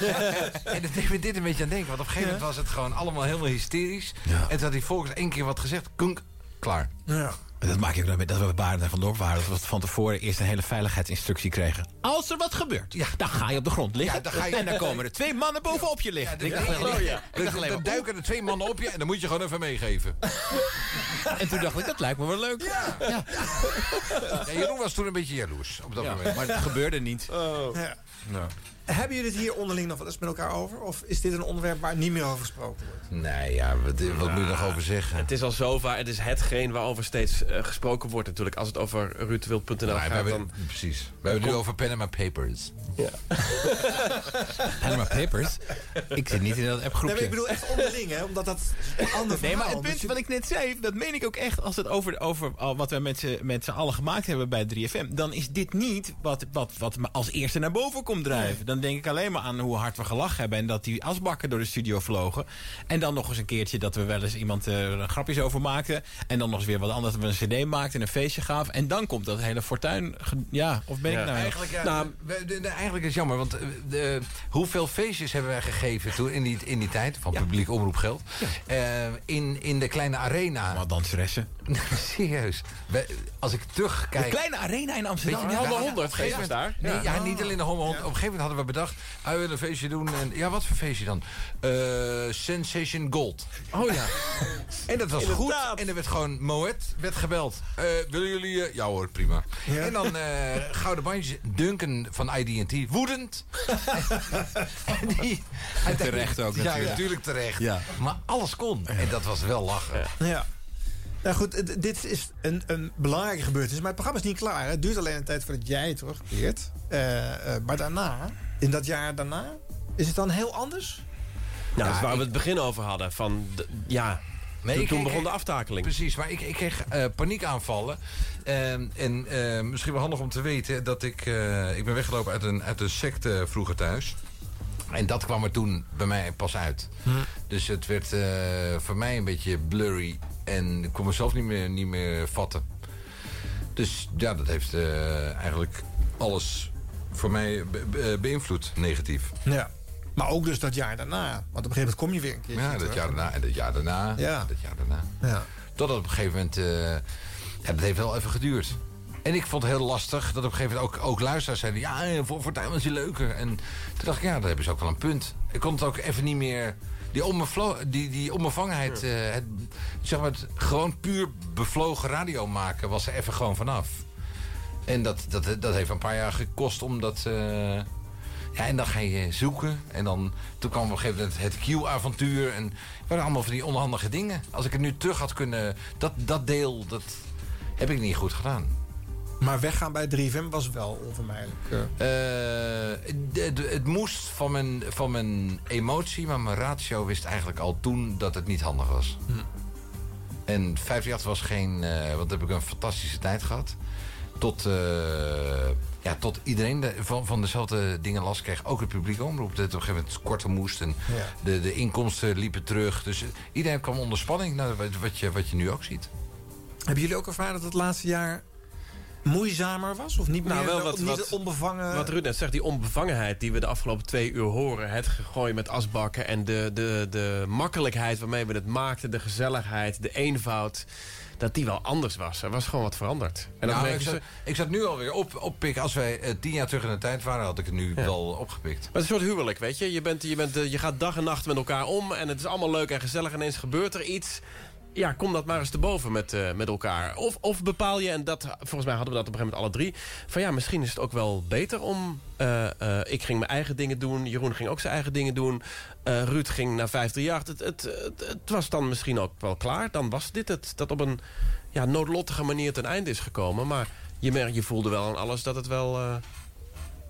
S2: en dat deed me dit een beetje aan denken. Want op een gegeven moment was het gewoon allemaal helemaal hysterisch. En toen had hij volgens één keer wat gezegd. Kunk, klaar.
S5: Ja.
S10: Dat maak ik ook nog mee. Dat we bij Barend en Van Dorp waren. Dat we van tevoren eerst een hele veiligheidsinstructie kregen. Als er wat gebeurt, dan ga je op de grond liggen.
S2: Ja, dan ga je-
S10: En dan komen er twee mannen bovenop je liggen. ik dacht alleen, ik dacht alleen
S2: Dan
S10: maar,
S2: duiken er twee mannen op je en dan moet je gewoon even meegeven.
S10: En toen dacht ik, dat lijkt me wel leuk.
S2: Ja, Jeroen was toen een beetje jaloers op dat
S10: Ja,
S2: moment.
S10: maar het gebeurde niet.
S5: Oh. Ja. Hebben jullie het hier onderling nog wel eens met elkaar over? Of is dit een onderwerp waar niet meer over gesproken wordt?
S2: Nee, ja, wat, wat moet je nog over zeggen?
S11: Het is al zo waar. Het is hetgeen waarover steeds eh, gesproken wordt natuurlijk. Als het over ruudwild.nl
S2: Nou, we
S11: gaat,
S2: hebben-
S11: dan...
S2: Precies. We hebben het nu over Panama Papers.
S10: Panama Papers? Ik zit niet in dat
S5: Nee, maar
S10: appgroepje.
S5: ik bedoel echt onderling, hè? Omdat dat een ander
S10: Nee, maar
S5: verhaal.
S10: het
S2: dus
S10: punt wat ik net zei, dat meen ik ook echt. Als het over, over al wat we met z'n- met z'n allen gemaakt hebben bij 3FM... dan is dit niet wat, wat, wat me als eerste naar boven komt drijven. Dan denk ik alleen maar aan hoe hard we gelachen hebben... en dat die asbakken door de studio vlogen. En dan nog eens een keertje dat we wel eens iemand eh, er grapjes over maakten. En dan nog eens weer wat anders. Dat we een cd maakten en een feestje gaven. En dan komt dat hele fortuin... ge- Ja, of ben ik nou...
S2: Eigenlijk, ja,
S10: Nou,
S2: we- de- de- eigenlijk is het jammer, want eh, de- hoeveel feestjes hebben wij gegeven toen in die, in die tijd, van publiek omroep geld, eh, in, in de kleine arena.
S10: Wat danseressen.
S2: Serieus. Wij- als ik terugkijk...
S10: De kleine arena in Amsterdam.
S2: Weet je,
S10: Homo
S2: ja,
S10: 100
S2: op een gegeven
S10: geeft
S2: moment-
S10: daar.
S2: Nee, ja.
S10: Ja.
S2: niet alleen de Homo 100. Op een gegeven moment hadden we bedacht... ah, we willen een feestje doen. En, ja, wat voor feestje dan? Eh, Sensation Gold. Oh ja. en dat was goed. En er werd gewoon... Moet werd gebeld. Eh, willen jullie... eh, ja hoor, prima. En dan eh, Gouden Bandje. Duncan van ID&T. Woedend. en die,
S10: Terecht ook
S2: Ja,
S10: natuurlijk.
S2: natuurlijk terecht.
S10: Ja.
S2: Maar alles kon. En dat was wel lachen.
S5: Ja. Nou goed, het- dit is een, een belangrijke gebeurtenis. Maar het programma is niet klaar. hè. Het duurt alleen een tijd voordat jij terugkeert. Eh, eh, maar daarna, in dat jaar daarna, is het dan heel anders?
S11: Nou, dat is waar we het begin over hadden. Van, de- ja,
S2: Nee,
S11: toen,
S2: ik-
S11: toen
S2: ik-
S11: begon de aftakeling.
S2: Precies, maar ik, ik kreeg eh, paniekaanvallen. Ehm, en eh, misschien wel handig om te weten dat ik... eh, ik ben weggelopen uit een, uit een secte vroeger thuis. En dat kwam er toen bij mij pas uit.
S11: Hm.
S2: Dus het werd eh, voor mij een beetje blurry. En ik kon mezelf niet meer, niet meer vatten. Dus ja, dat heeft eh, eigenlijk alles voor mij be- be- beïnvloed, negatief.
S5: Ja. Maar ook dus dat jaar daarna. Want op een gegeven moment kom je weer een keer.
S2: Ja, dat jaar daarna en dat jaar daarna.
S5: Ja.
S2: en Dat jaar daarna.
S5: Ja.
S2: Totdat op een gegeven moment... eh, ja, dat heeft wel even geduurd. En ik vond het heel lastig dat op een gegeven moment ook, ook luisteraars zeiden... ja, eh, voor Fortuyn was hij leuker. En toen dacht ik, ja, daar hebben ze ook wel een punt. Ik kon het ook even niet meer... Die, onbevlo- die, die onbevangenheid, eh, het, zeg maar, het gewoon puur bevlogen radio maken... was er even gewoon vanaf. En dat, dat, dat heeft een paar jaar gekost omdat... eh, ja, en dan ga je zoeken. En dan, toen kwam op een gegeven moment het Q-avontuur. En het waren allemaal van die onhandige dingen. Als ik het nu terug had kunnen... Dat, dat deel, dat heb ik niet goed gedaan.
S5: Maar weggaan bij 3FM was wel onvermijdelijk.
S2: Eh, de- de- het moest van mijn, van mijn emotie, maar mijn ratio wist eigenlijk al toen dat het niet handig was. En 538 was geen... eh want dan heb ik een fantastische tijd gehad. Tot, eh, ja, tot iedereen de- van, van dezelfde dingen last kreeg. Ook het publieke omroep. Dat het op een gegeven moment korter moest. En
S5: Ja.
S2: de, de inkomsten liepen terug. Dus eh, iedereen kwam onder spanning. Nou, wat, wat, je, wat je nu ook ziet.
S5: Hebben jullie ook ervaren dat het laatste jaar moeizamer was? Of niet
S11: Nou,
S5: meer
S11: wel
S5: zo-
S11: wat-
S5: niet
S11: wat-
S5: onbevangen...
S11: Wat Ruud net zegt, die onbevangenheid die we de afgelopen twee uur horen. Het gegooi met asbakken en de, de, de makkelijkheid waarmee we het maakten. De gezelligheid, de eenvoud. Dat die wel anders was. Er was gewoon wat veranderd. En dat
S2: Nou,
S11: merken
S2: ik,
S11: ze-
S2: zat, ik zat nu alweer op, oppikken. Als wij eh, tien jaar terug in de tijd waren, had ik het nu wel opgepikt.
S11: Maar het is een soort huwelijk, weet je. Je, bent, je, bent, eh, je gaat dag en nacht met elkaar om en het is allemaal leuk en gezellig. En ineens gebeurt er iets. Ja, kom dat maar eens te boven met, eh, met elkaar. Of, of bepaal je, en dat, volgens mij hadden we dat op een gegeven moment alle drie... van ja, misschien is het ook wel beter om... eh, eh, ik ging mijn eigen dingen doen, Jeroen ging ook zijn eigen dingen doen... eh, Ruud ging naar 538. Het, het, het, het was dan misschien ook wel klaar. Dan was dit het, dat op een ja, noodlottige manier ten einde is gekomen. Maar je, merkt, je voelde wel aan alles dat het wel... eh,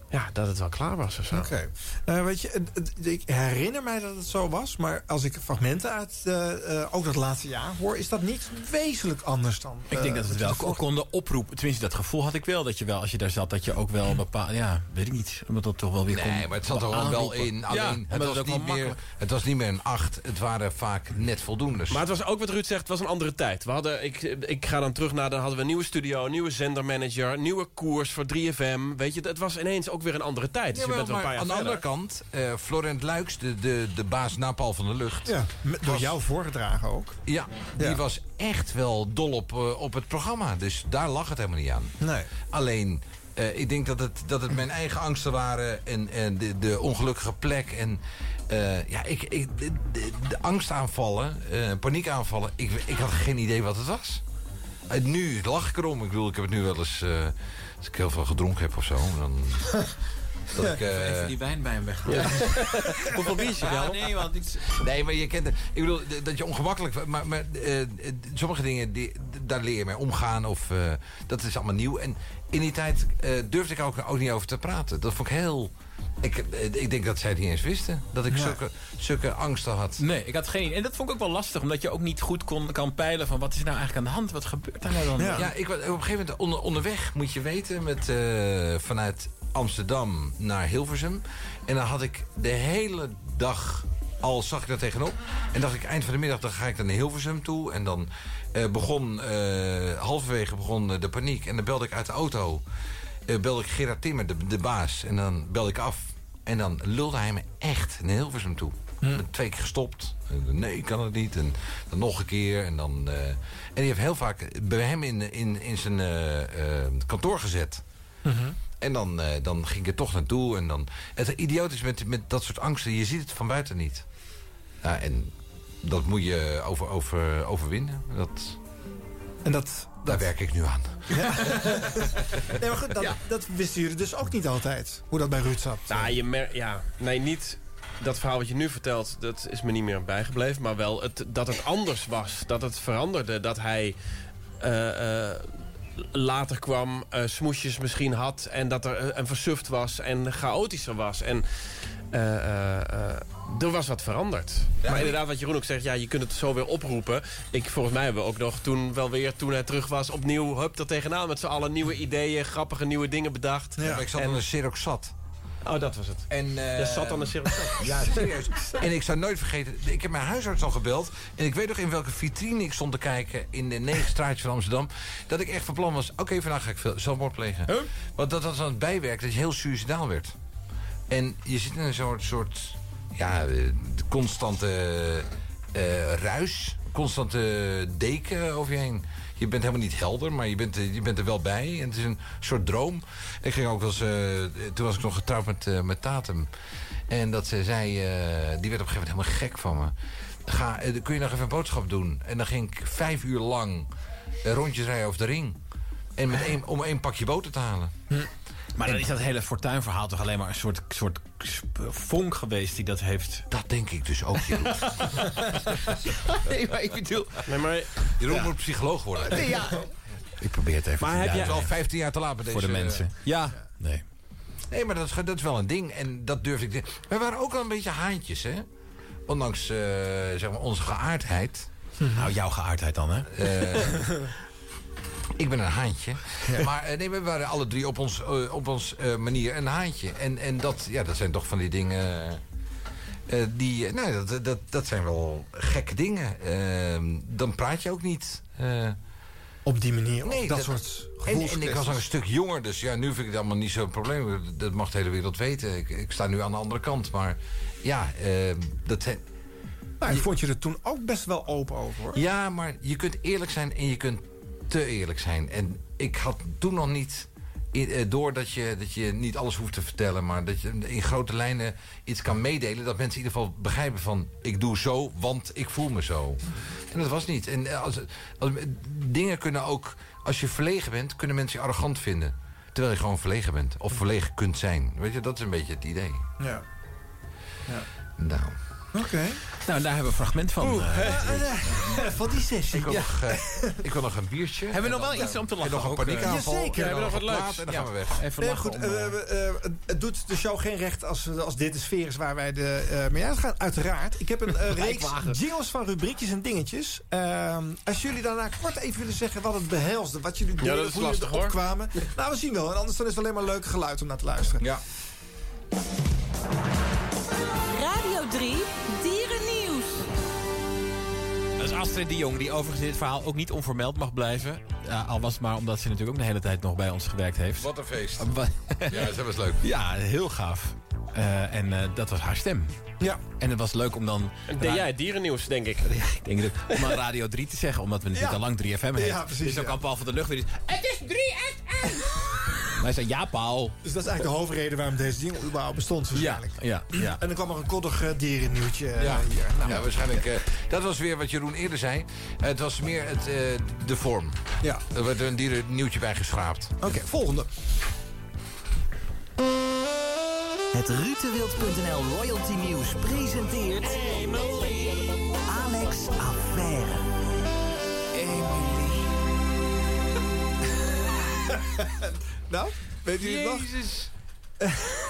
S11: ja, dat het wel klaar was of zo.
S5: Oké. Nou, weet je, het- het- ik herinner mij dat het zo was, maar als ik fragmenten uit eh, eh, ook dat laatste jaar hoor, is dat niet wezenlijk anders dan.
S10: Ik denk
S5: eh,
S10: dat we het wel kon- konden oproepen. Tenminste, dat gevoel had ik wel. Dat je wel, als je daar zat, dat je ook wel bepaalde... Ja, weet ik niet. Omdat dat toch wel weer kon
S2: Nee, maar het zat er ook wel
S10: aanroepen.
S2: in. Alleen,
S10: Ja,
S2: het,
S10: omdat
S2: was
S10: ook wel
S2: niet meer,
S10: makkelijk-
S2: het was niet meer een acht. Het waren vaak net voldoendes.
S11: Maar het was ook wat Ruud zegt, het was een andere tijd. We hadden, ik, ik ga dan terug naar, dan hadden we een nieuwe studio, een nieuwe zendermanager, een nieuwe koers voor 3FM. Weet je, het was ineens ook weer een andere tijd. Dus je
S2: Jawel,
S11: bent wel een paar
S2: maar
S11: jaar
S2: aan de
S11: verder.
S2: andere kant, eh, Florent Luiks, de, de, de baas Napal van de Lucht.
S5: Ja, met- door jou voorgedragen ook.
S2: Ja, die was echt wel dol op, eh, op het programma. Dus daar lag het helemaal niet aan.
S5: Nee.
S2: Alleen, eh, ik denk dat het, dat het mijn eigen angsten waren en, en de, de ongelukkige plek. En eh, ja, ik, ik, de, de- de angstaanvallen, eh, paniekaanvallen, ik, ik had geen idee wat het was. En nu lach ik erom. Ik bedoel, ik heb het nu wel eens. eh, als ik heel veel gedronken heb of zo, dan. dat ik, eh,
S3: Even die wijn bij hem weg.
S2: Ja.
S3: Hoeveel biertje wel?
S2: nee, want ik... Nee, maar je kent het. Ik bedoel, d- dat je ongemakkelijk... Maar, maar eh, eh, sommige dingen, die, d- daar leer je mee omgaan. Of, eh, dat is allemaal nieuw. En in die tijd eh, durfde ik ook, ook niet over te praten. Dat vond ik heel... Ik, eh, ik denk dat zij het niet eens wisten. Dat ik
S10: Ja.
S2: zulke, zulke angsten had.
S10: Nee, ik had geen idee. En dat vond ik ook wel lastig. Omdat je ook niet goed kon, kan peilen van... wat is nou eigenlijk aan de hand? Wat gebeurt daar nou dan?
S2: Ja, ik, wa- op een gegeven moment onder, onderweg moet je weten... Met, eh, vanuit Amsterdam naar Hilversum. En dan had ik de hele dag... Al zag ik daar tegenop. En dacht ik, eind van de middag dan ga ik dan naar Hilversum toe. En dan eh, begon, eh, halverwege begon eh, de paniek. En dan belde ik uit de auto. eh, belde ik Gerard Timmer, de, de baas. En dan belde ik af. En dan lulde hij me echt naar Hilversum toe. Met Twee keer gestopt. En Nee, kan het niet. En dan nog een keer. En, dan, eh, en die heeft heel vaak bij hem in, in, in zijn eh, eh, kantoor gezet.
S5: Mhm.
S2: En dan, eh, dan ging ik er toch naartoe. En dan, het idioot is met, met dat soort angsten. Je ziet het van buiten niet. Ja, en dat moet je over, over, overwinnen. Dat,
S5: en dat,
S2: daar werk ik nu aan.
S5: Nee, maar goed, dat, dat wisten jullie dus ook niet altijd. Hoe dat bij Ruud zat.
S11: Nou, je mer ja, nee, niet dat verhaal wat je nu vertelt, dat is me niet meer bijgebleven. Maar wel het, dat het anders was, dat het veranderde, dat hij eh, eh, later kwam, eh, smoesjes misschien had... en dat er eh, een versuft was en chaotischer was. En eh, eh, eh, er was wat veranderd. maar inderdaad, wat Jeroen ook zegt, ja, je kunt het zo weer oproepen. Ik, volgens mij hebben we ook nog toen wel weer, toen hij terug was... opnieuw, hup, er tegenaan met z'n allen nieuwe ideeën... grappige nieuwe dingen bedacht.
S2: Ja, maar ik zat aan de Xerox zat.
S11: Oh, dat was het.
S2: En, eh,
S11: Je zat aan de Xerox zat.
S2: Ja, serieus. En ik zou nooit vergeten, ik heb mijn huisarts al gebeld. En ik weet nog in welke vitrine ik stond te kijken in de negen straatje van Amsterdam. Dat ik echt van plan was, oké, vandaag ga ik veel- zelfmoord plegen. Want dat was aan het bijwerk, dat je heel suicidaal werd. En je zit in een soort, soort ja, eh, constante eh, ruis, constante deken over je heen. Je bent helemaal niet helder, maar je bent, eh, je bent er wel bij. En het is een soort droom. Ik ging ook wel eens, eh, eh, toen was ik nog getrouwd met, eh, met Tatum. En dat ze zei, eh, die werd op een gegeven moment helemaal gek van me. Ga, eh, kun je nog even een boodschap doen? En dan ging ik vijf uur lang eh, rondjes rijden over de ring. En met één, om één pakje boter te halen.
S10: Maar dan is dat hele fortuinverhaal toch alleen maar een soort, soort sp- vonk geweest die dat heeft.
S2: Dat denk ik dus ook, Jeroen.
S10: nee, maar ik bedoel...
S11: Nee, maar...
S2: Jeroen moet psycholoog worden.
S10: Ja.
S2: Ik probeer het even
S10: Maar te heb jij-
S2: Het is al 15 jaar te laat met deze... eh,
S10: Voor de mensen. Ja. Nee.
S2: Nee, maar dat is, dat is wel een ding. En dat durf ik... te- Wij waren ook wel een beetje haantjes, hè? Ondanks, eh, zeg maar, onze geaardheid.
S10: Nou, jouw geaardheid dan, hè?
S2: Eh, ik ben een haantje. Maar eh, nee, we waren alle drie op ons, eh, op ons eh, manier een haantje. En, en dat, ja, dat zijn toch van die dingen... eh, eh, die, eh, nou, dat, dat, dat zijn wel gekke dingen. Ehm, dan praat je ook niet. Eh,
S5: op die manier. of
S2: Nee,
S5: dat, soort
S2: en, en ik was nog een
S5: gevoelskwesties.
S2: stuk jonger, dus ja, nu vind ik het allemaal niet zo'n probleem. Dat mag de hele wereld weten. Ik, ik sta nu aan de andere kant. Maar ja, eh, dat zijn...
S5: Nou, ik vond je er toen ook best wel open over, hoor.
S2: Ja, maar je kunt eerlijk zijn en je kunt te eerlijk zijn. En ik had toen nog niet i- eh, door dat je, dat je niet alles hoeft te vertellen... maar dat je in grote lijnen iets kan meedelen... dat mensen in ieder geval begrijpen van... ik doe zo, want ik voel me zo. En dat was niet. En eh, als, als, dingen kunnen ook... als je verlegen bent, kunnen mensen je arrogant vinden... terwijl je gewoon verlegen bent of verlegen kunt zijn. Weet je, dat is een beetje het idee.
S5: Ja.
S2: Nou...
S5: Oké.
S10: Nou, daar hebben we een fragment van.
S2: Oeh,
S10: eh,
S5: Van die sessie.
S2: Ik wil, nog, eh, ik wil nog een biertje.
S10: Hebben we nog
S2: En dan-
S10: wel iets om te lachen
S2: En nog een
S10: ook,
S2: paniekaanval.
S5: eh? Jazeker.
S2: En dan
S5: Hebben we
S2: nog
S5: nog
S2: wat
S5: wat
S2: leuks.
S5: leuks?
S2: En dan gaan we
S5: Ja.
S2: weg.
S5: Nee, goed, eh, we- we, eh, het doet de show geen recht als, we- als dit de sfeer is waar wij de, eh mee uitgaan. Uiteraard. Ik heb een eh, reeks
S10: Wijkwagen.
S5: jingles van rubriekjes en dingetjes. Ehm, als jullie daarna kort even willen zeggen wat het behelsde. Wat jullie
S11: Ja,
S5: deden,
S11: dat is
S5: hoe jullie
S11: lastig, hoor.
S5: erop kwamen. Nou, we zien wel. En anders dan is het alleen maar leuk geluid om naar te luisteren.
S2: Ja.
S21: Radio 3 Dierennieuws.
S10: Dat is Astrid de Jong, die overigens in dit verhaal ook niet onvermeld mag blijven. Ja, al was het maar omdat ze natuurlijk ook de hele tijd nog bij ons gewerkt heeft.
S2: Wat een feest.
S10: Wa-
S2: Ja, dat was leuk.
S10: Ja, heel gaaf. Eh, en eh, dat was haar stem.
S5: Ja.
S10: En het was leuk om dan...
S11: En deed jij het dierennieuws, denk ik.
S10: Ik denk dat om aan Radio 3 te zeggen, omdat we natuurlijk
S11: Ja.
S10: al lang 3FM hebben.
S11: Ja, precies,
S10: Dus dan
S11: ja.
S10: kan Paul van de Lucht weer iets... Het is 3FM! Maar hij zei, ja Paul.
S5: Dus dat is eigenlijk de hoofdreden waarom deze jingle überhaupt bestond waarschijnlijk.
S10: Ja, ja.
S5: En er kwam nog een koddig eh, dierennieuwtje eh,
S2: Ja,
S5: hier. Nou,
S2: ja, waarschijnlijk. eh, dat was weer wat Jeroen eerder zei. Het was meer het, eh, de vorm.
S5: Ja.
S2: Er werd een dieren nieuwtje bij geschraapt.
S5: Oké, volgende.
S27: Het Rutewild.nl Royalty Nieuws presenteert... Alex Affaire.
S5: nou, weet
S2: jullie het nog? Jezus.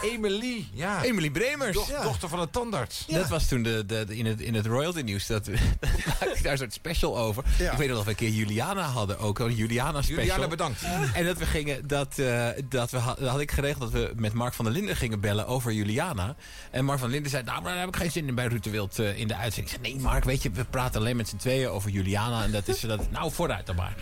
S2: Emily. Ja.
S10: Emily Bremers.
S2: Doch-
S10: Ja.
S2: Dochter van een tandarts.
S10: Dat was toen de, de, de- in, het, in het royalty nieuws. Dat, maakte ik daar een soort special over.
S2: Ja.
S10: Ik weet nog dat we een keer Juliana hadden ook. Een Juliana special.
S2: Juliana, bedankt.
S10: En dat we gingen, dat, eh, dat we had, had ik geregeld dat we met Mark van der Linden gingen bellen over Juliana. En Mark van der Linden zei, nou, maar daar heb ik geen zin in bij Ruud de Wild eh, in de uitzending. Ik zei, nee Mark, weet je, we praten alleen met z'n tweeën over Juliana. En dat is dat, nou vooruit dan maar.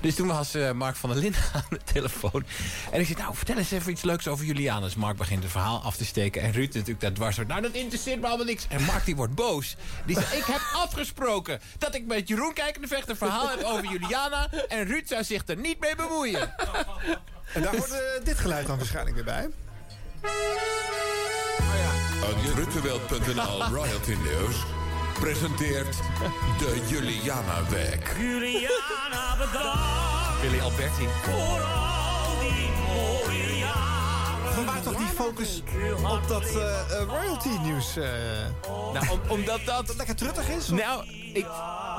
S10: Dus toen was eh, Mark van der Linden aan de telefoon. En ik zei, nou, vertel eens even iets leuks over Juliana. Dus Mark begint het verhaal af te steken. En Ruud natuurlijk daar dwars wordt, nou, dat interesseert me allemaal niks. En Mark die wordt boos. Die zegt, ik heb afgesproken dat ik met Jeroen Kijkende Vecht een verhaal heb over Juliana. En Ruud zou zich er niet mee bemoeien.
S5: En daar hoort eh, dit geluid dan waarschijnlijk weer bij.
S23: Het Rutteweld.nl Royalty News presenteert de Juliana Week.
S25: Juliana, bedankt
S10: Willy Alberti.
S25: voor
S5: Oh,
S25: al die mooie jaren.
S5: Van waar toch die focus op dat eh, eh, royalty nieuws?
S10: Nou, om- omdat dat...
S5: lekker truttig is? of-
S10: Nou, ik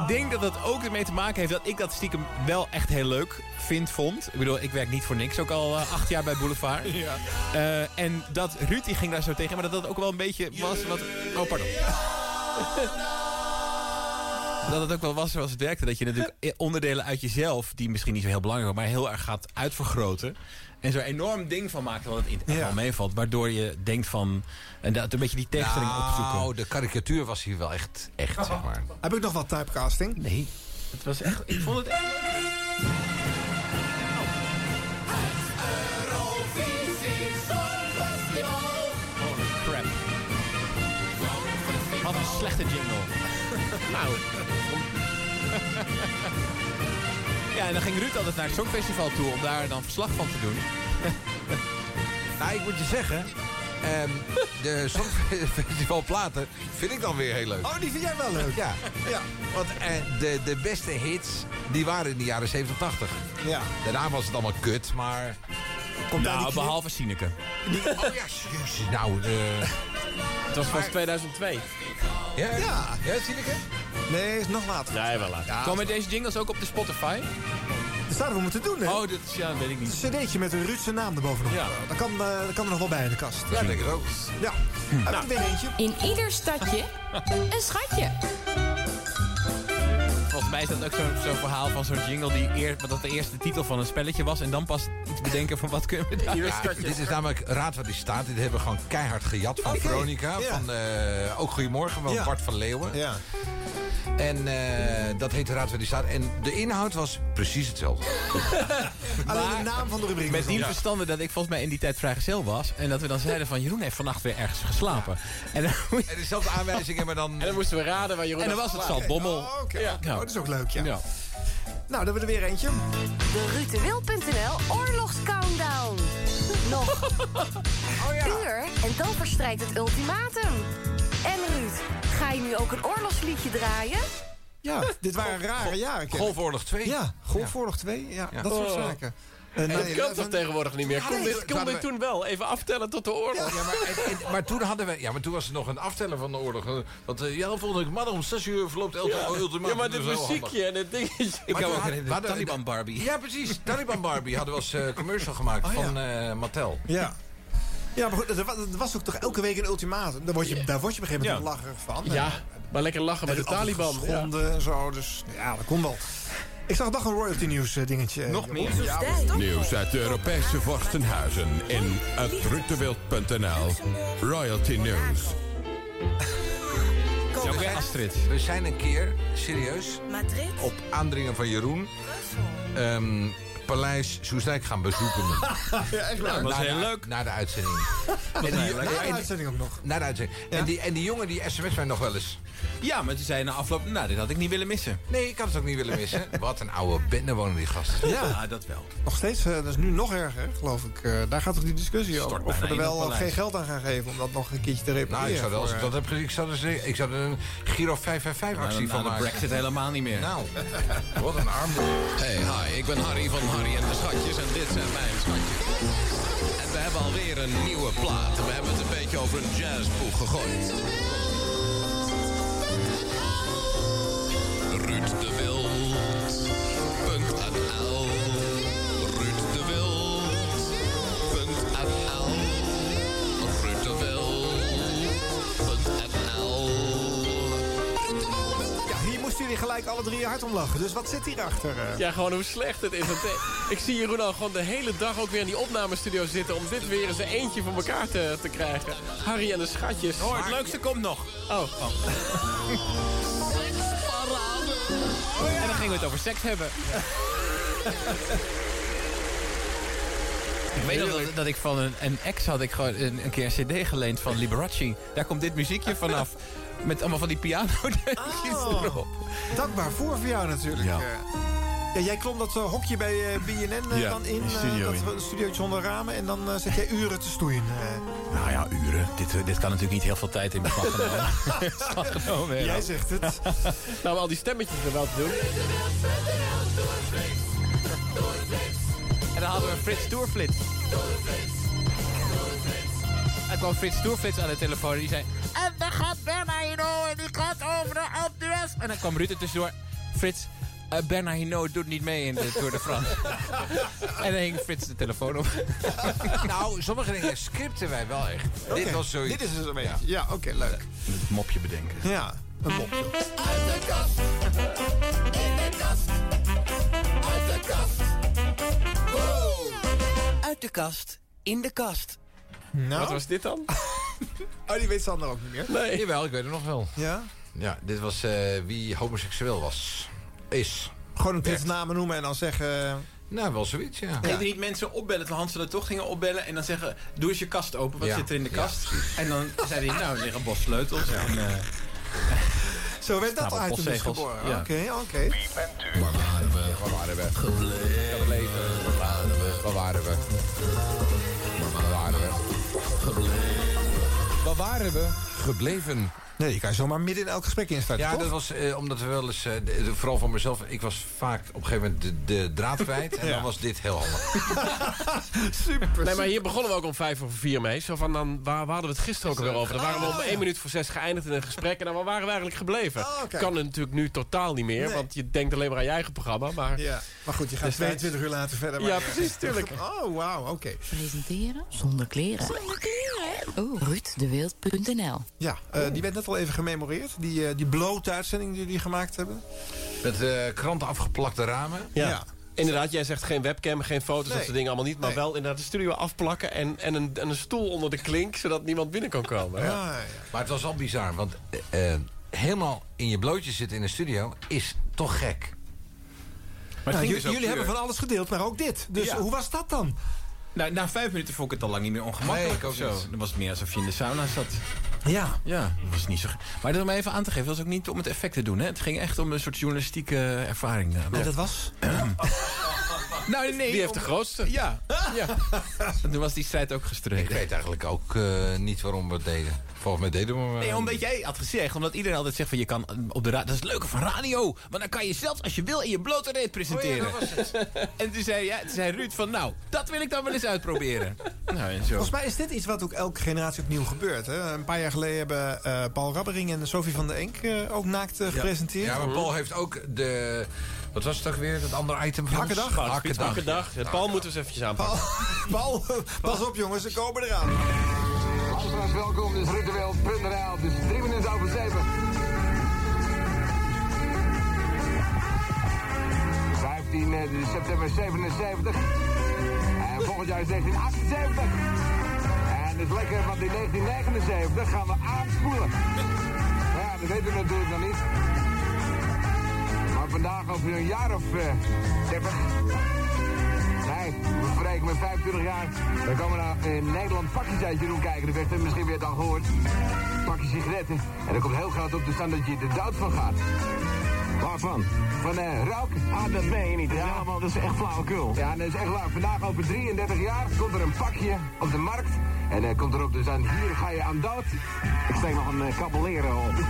S10: denk dat dat ook ermee te maken heeft dat ik dat stiekem wel echt heel leuk vind, vond. Ik bedoel, ik werk niet voor niks, ook al eh, acht jaar bij Boulevard.
S25: Ja.
S10: Eh, en dat Ruud die ging daar zo tegen, maar dat dat ook wel een beetje was wat... Oh, pardon. Dat het ook wel was zoals het werkte. Dat je natuurlijk i- onderdelen uit jezelf, die misschien niet zo heel belangrijk waren, maar heel erg gaat uitvergroten. En zo'n enorm ding van maakt wat het in het wel meevalt. Waardoor je denkt van, en dat een beetje die tegenstelling opzoeken.
S2: Nou, de karikatuur was hier wel echt, echt zeg maar.
S5: Heb ik nog wat typecasting?
S10: Nee. Het was echt... Ik vond het Holy crap. Wat een slechte jingle. nou. ja, en dan ging Ruud altijd naar het Songfestival toe om daar dan verslag van te doen.
S2: Nou, ik moet je zeggen... ehm, de Songfestival platen vind ik dan weer heel leuk.
S5: Oh, die vind jij wel leuk?
S2: Ja. ja. Want eh, de, de beste hits, die waren in de jaren 70, 80.
S5: Ja.
S2: Daarna was het allemaal kut, maar...
S10: Komt nou, behalve Sineke.
S2: Oh ja, jezus, nou... eh,
S11: Het was pas
S2: maar-
S11: 2002.
S2: Ja, ja. ja Sineke?
S5: Nee, is nog later.
S11: Ja, wel later.
S10: Komen deze jingles ook op de Spotify?
S5: Dat zouden we moeten doen, hè?
S10: Oh, dat is, ja, dat weet ik niet.
S5: Een cd'tje met een Ruudse naam erbovenop.
S10: Ja.
S5: Dat, kan, eh, dat kan er nog wel bij in de kast.
S2: Ja, denk ik ook.
S5: Ja.
S10: Hm.
S5: Heb
S10: Nou.
S5: ik er weer eentje?
S21: In ieder stadje een schatje.
S10: Volgens mij is dat ook zo'n zo'n verhaal van zo'n jingle die eer, wat dat de eerste titel van een spelletje was. En dan pas iets bedenken van wat kunnen we daar
S2: Ja, dit is namelijk Raad waar die staat. Dit hebben we gewoon keihard gejat van
S10: Oké.
S2: Veronica.
S10: Ja.
S2: Van, eh, ook Goedemorgen van
S10: Ja.
S2: Bart van Leeuwen.
S5: Ja.
S2: En eh, dat heet de Raad van de Staat. En de inhoud was precies hetzelfde.
S10: Alleen
S5: de naam van de rubriek.
S10: Met
S5: was
S10: die
S5: anders.
S10: verstande dat ik volgens mij in die tijd vrijgezel was. En dat we dan zeiden van Jeroen heeft vannacht weer ergens geslapen. En, dan, en
S2: dezelfde aanwijzingen, maar dan...
S10: En dan moesten we raden waar
S5: Jeroen
S10: En dan was
S5: had
S10: het
S5: geslapen.
S10: Zaltbommel.
S5: Oh, oké. Oh, dat is ook leuk, ja.
S10: ja.
S5: Nou, dan hebben we er weer eentje.
S4: De Rutenwil.nl oorlogscountdown. Nog een uur en dan verstrijkt het ultimatum. En Ruud, ga je nu ook een oorlogsliedje draaien?
S5: Ja, dit waren rare jaren. Kenneth.
S2: Golfoorlog 2.
S5: Ja, Golfoorlog 2. Ja, dat soort
S11: Oh.
S5: zaken.
S11: En
S5: Eh,
S11: dat
S5: nee,
S11: kan
S5: laten
S11: toch
S5: we-
S11: tegenwoordig niet meer?
S5: Ja,
S11: Kon
S5: nee,
S11: dit, kon
S5: laten
S11: dit
S5: we-
S11: toen wel? Even aftellen tot de oorlog.
S2: Ja, maar, en- en- maar toen hadden we, ja, maar toen was er nog een aftellen van de oorlog. Eh, Want eh, ja, volgende week maandag om 6 uur verloopt elke
S11: Ja.
S2: ultimatum.
S11: Ja, maar dit
S2: Dat is wel
S11: muziekje
S2: handig.
S11: en dit dingetje. Ik kan
S2: Maar toen
S11: me
S2: had-
S11: herinneren,
S2: hadden we-
S11: Taliban Barbie.
S2: Ja, precies. Taliban Barbie hadden we als eh, commercial gemaakt
S5: Oh, ja.
S2: van eh, Mattel.
S5: Ja. Ja, maar goed, er wa- er was ook toch elke week een ultimatum. Daar word je, daar word je op een gegeven moment
S11: Ja.
S5: lacherig van.
S11: Ja,
S5: En-
S11: maar lekker lachen met
S5: en
S11: de
S5: altijd
S11: Taliban.
S5: geschonden en zo, dus ja, dat kon wel. Ik zag nog een royalty nieuws eh, dingetje. eh, Jeroen. Ja,
S23: Nieuws uit de Europese vorstenhuizen in het Ruttewild.nl. Royalty News.
S2: we, zijn, we zijn een keer, serieus, op aandringen van Jeroen... ehm, Paleis Soestdijk gaan bezoeken.
S5: ja, echt waar.
S2: Nou, na- Na de uitzending.
S5: En
S2: die-
S5: die,
S2: en die-
S5: uitzending ook nog.
S2: Na de uitzending. En, die, en die jongen die sms mij nog wel eens.
S10: Ja, maar ze zei na afloop, nou, dit had ik niet willen missen.
S2: Nee, ik had het ook niet willen missen. Wat een oude bende wonen die gasten.
S5: Ja.
S10: dat wel.
S5: Nog steeds, eh, dat is nu nog erger, geloof ik. Eh, daar gaat toch die discussie over. Of we
S2: bijna
S5: er
S2: in dat
S5: wel eh,
S2: paleis.
S5: geen geld aan gaan geven om dat nog een keertje te repareren.
S2: Nou, ik zou wel, als ik
S5: voor, eh,
S2: dat heb gezien, ik zou, dus, ik zou er een Giro 555
S10: Nou,
S2: actie
S10: dan- nou,
S2: van
S10: de
S2: maken.
S10: Brexit helemaal niet meer.
S2: Nou, wat een arm.
S3: Hey, hi, ik ben Harry van Harry en de Schatjes en dit zijn mijn schatjes. En we hebben alweer een nieuwe plaat. We hebben het een beetje over een jazzboeg gegooid. Ruud de Wild. Punt en L. Ruud de Wild. Punt en L. Ruud de Wild. Punt en L.
S5: eh, Ja, hier moesten jullie gelijk alle drie hard om lachen. Dus wat zit hierachter? eh?
S11: Ja, gewoon hoe slecht het is. Want, eh, ik zie Jeroen al gewoon de hele dag ook weer in die opnamestudio zitten... om dit weer eens een eentje voor elkaar te, te krijgen. Harry en de schatjes.
S10: Oh, het leukste komt nog.
S11: Oh.
S10: En dan gingen we het over seks hebben. Ik weet nog dat, dat ik van een, een ex had ik gewoon een, een keer een cd geleend van Liberace. Daar komt dit muziekje vanaf. Met allemaal van die piano
S5: Oh. Dankbaar voor voor jou natuurlijk.
S10: Ja.
S5: Ja. Ja, jij klom dat eh, hokje bij eh, BNN eh,
S10: Ja,
S5: dan in.
S10: die
S5: eh,
S10: studio
S5: dat
S10: in.
S5: we- studiootje zonder ramen. En dan eh, zet jij uren te stoeien. eh.
S10: Nou ja, uren. Dit, eh, dit kan natuurlijk niet heel veel tijd in beslag genomen.
S5: jij zegt het.
S11: nou, om al die stemmetjes er wel te doen.
S10: En dan hadden we Oh, Frits Toerflits. En kwam Frits Toerflits aan de telefoon en die zei... En dan gaat Berna Hino en die gaat over de Alpe d'Huez. En dan kwam Ruud er tussendoor. Frits, eh, Berna Hino doet niet mee in de Tour de France. en dan hing Frits de telefoon op.
S2: nou, sommige dingen scripten wij wel echt.
S5: Oké,
S2: Dit was zoiets.
S5: Dit is het ermee. Ja, ja oké, leuk.
S10: Het mopje bedenken.
S5: Ja, een mopje.
S25: Uit de kast. In de kast. Uit de kast.
S27: Uit de kast, in de kast.
S5: Nou?
S11: Wat was dit dan?
S5: Oh, die weet Sander ook niet meer.
S11: Nee.
S2: Jawel, ik weet het nog wel.
S5: Ja?
S2: Ja, dit was eh, wie homoseksueel was. Is.
S5: Gewoon een
S2: Werd.
S5: prins namen noemen en dan zeggen...
S2: Nou, wel zoiets, ja.
S10: Kun je niet mensen opbellen, toen Hans van der Tocht gingen opbellen... en dan zeggen, doe eens je kast open, wat
S2: Ja.
S10: zit er in de
S2: Ja,
S10: kast? en dan zei hij, nou, er liggen een bos sleutels. En, eh,
S5: Zo werd dat
S10: stapel
S5: item dus
S10: postzegels.
S5: geboren. Oké,
S10: Ja.
S5: oké.
S2: Waar waren we? Waar waren we? Gebleven. Waar waren we? Waar waren we? Waar waren we? Waar waren we? Gebleven.
S5: Nee, je kan zomaar midden in elk gesprek instarten,
S2: Ja,
S5: toch?
S2: dat was eh, omdat we wel eens, eh, de- de- vooral voor mezelf, ik was vaak op een gegeven moment de, de draad kwijt. En
S5: Ja.
S2: dan was dit heel handig.
S5: Super.
S11: Nee, maar hier begonnen we ook om vijf over vier mee. Zo van, dan, waar, waar hadden we het gisteren ook alweer over? Dan waren we om één minuut voor zes geëindigd in een gesprek. En dan waar waren we eigenlijk gebleven?
S5: oké.
S11: Kan het natuurlijk nu totaal niet meer.
S5: Nee.
S11: Want je denkt alleen maar aan je eigen programma. Maar
S5: Ja, maar goed, je gaat
S11: Dus dat-
S5: 22 uur later verder. maar
S11: Ja,
S5: je-
S11: precies, tuurlijk.
S5: Oh, wauw, oké.
S18: Presenteren zonder kleren. Zonder kleren? Oh. Ruuddewild.nl
S5: Ja, eh, die werd net al even gememoreerd. Die, eh, die blote uitzending die jullie gemaakt hebben.
S2: Met eh, kranten afgeplakte ramen.
S11: Ja. Inderdaad, jij zegt geen webcam, geen foto's,
S5: Nee.
S11: dat soort dingen allemaal niet. Maar
S5: Nee.
S11: wel inderdaad de studio afplakken en, en, een,
S2: Ah,
S11: en een stoel onder de klink... zodat niemand binnen kan komen.
S5: Ja, ja.
S2: Maar het was al bizar, want eh, eh, helemaal in je blootje zitten in de studio is toch gek.
S5: Nou, j-
S2: dus
S5: jullie hebben van alles gedeeld, maar ook dit. Dus
S10: Ja.
S5: hoe was dat dan?
S10: Nou, na vijf minuten vond ik het al lang niet meer ongemakkelijk.
S5: Nee, ik ook
S10: of zo.
S5: niet.
S10: Dan was het meer alsof je in de sauna zat.
S5: Ja.
S10: Ja, dat was niet zo... ge- Maar dat om even aan te geven, dat was ook niet om het effect te doen. Hè? Het ging echt om een soort journalistieke ervaring. En
S5: dat was?
S10: nou, nee.
S11: Wie heeft de grootste?
S10: Ja. ja. Toen was die strijd ook gestreden.
S2: Ah. Ik weet eigenlijk ook eh, niet waarom we het deden. Volgens mij deden we hem, eh,
S10: Nee, omdat jij had gezegd, omdat iedereen altijd zegt van je kan eh, op de radio. Dat is het leuke van radio. Want dan kan je zelfs als je wil in je blote reet presenteren.
S2: Oh
S10: en toen zei, ja, toen zei Ruud van nou, dat wil ik dan wel eens uitproberen. nou en zo.
S5: Volgens mij is dit iets wat ook elke generatie opnieuw gebeurt. Hè? Een paar jaar geleden hebben eh, Paul Rabbering en Sophie van der Enk eh, ook naakt eh, gepresenteerd.
S2: Ja, maar Paul heeft ook de... Wat was het toch weer? Dat andere item van
S5: Hakkendag.
S2: ons?
S5: Hakkendag.
S11: Hakkendag. Ja, Paul moeten we eens eventjes aanpakken.
S5: Paul, pas op jongens, ze komen eraan.
S25: Luisteraars, welkom. Dit is ritueel.nl. Het is drie minuten over zeven. Vijftien eh, september 77. En volgend jaar is 1978. En het is lekker, want in 1979 gaan we aanspoelen. Ja, dat weten we natuurlijk nog niet. Maar vandaag over een jaar of eh 30. Nee, we spreken met 25 jaar. Dan komen naar in Nederland pakjes uit Jeroen kijken. Dat werd er misschien weer dan gehoord. Pakjes sigaretten. En er komt heel groot op te staan dat je er dood van gaat. Waarvan? Van eh rook. Ah, dat ben je niet. Dat is, helemaal, dat is echt flauwekul. Ja, dat is echt waar. Vandaag over 33 jaar komt er een pakje op de markt. En eh, komt erop dus aan, hier ga je aan dood. Ik steek nog een uh, op.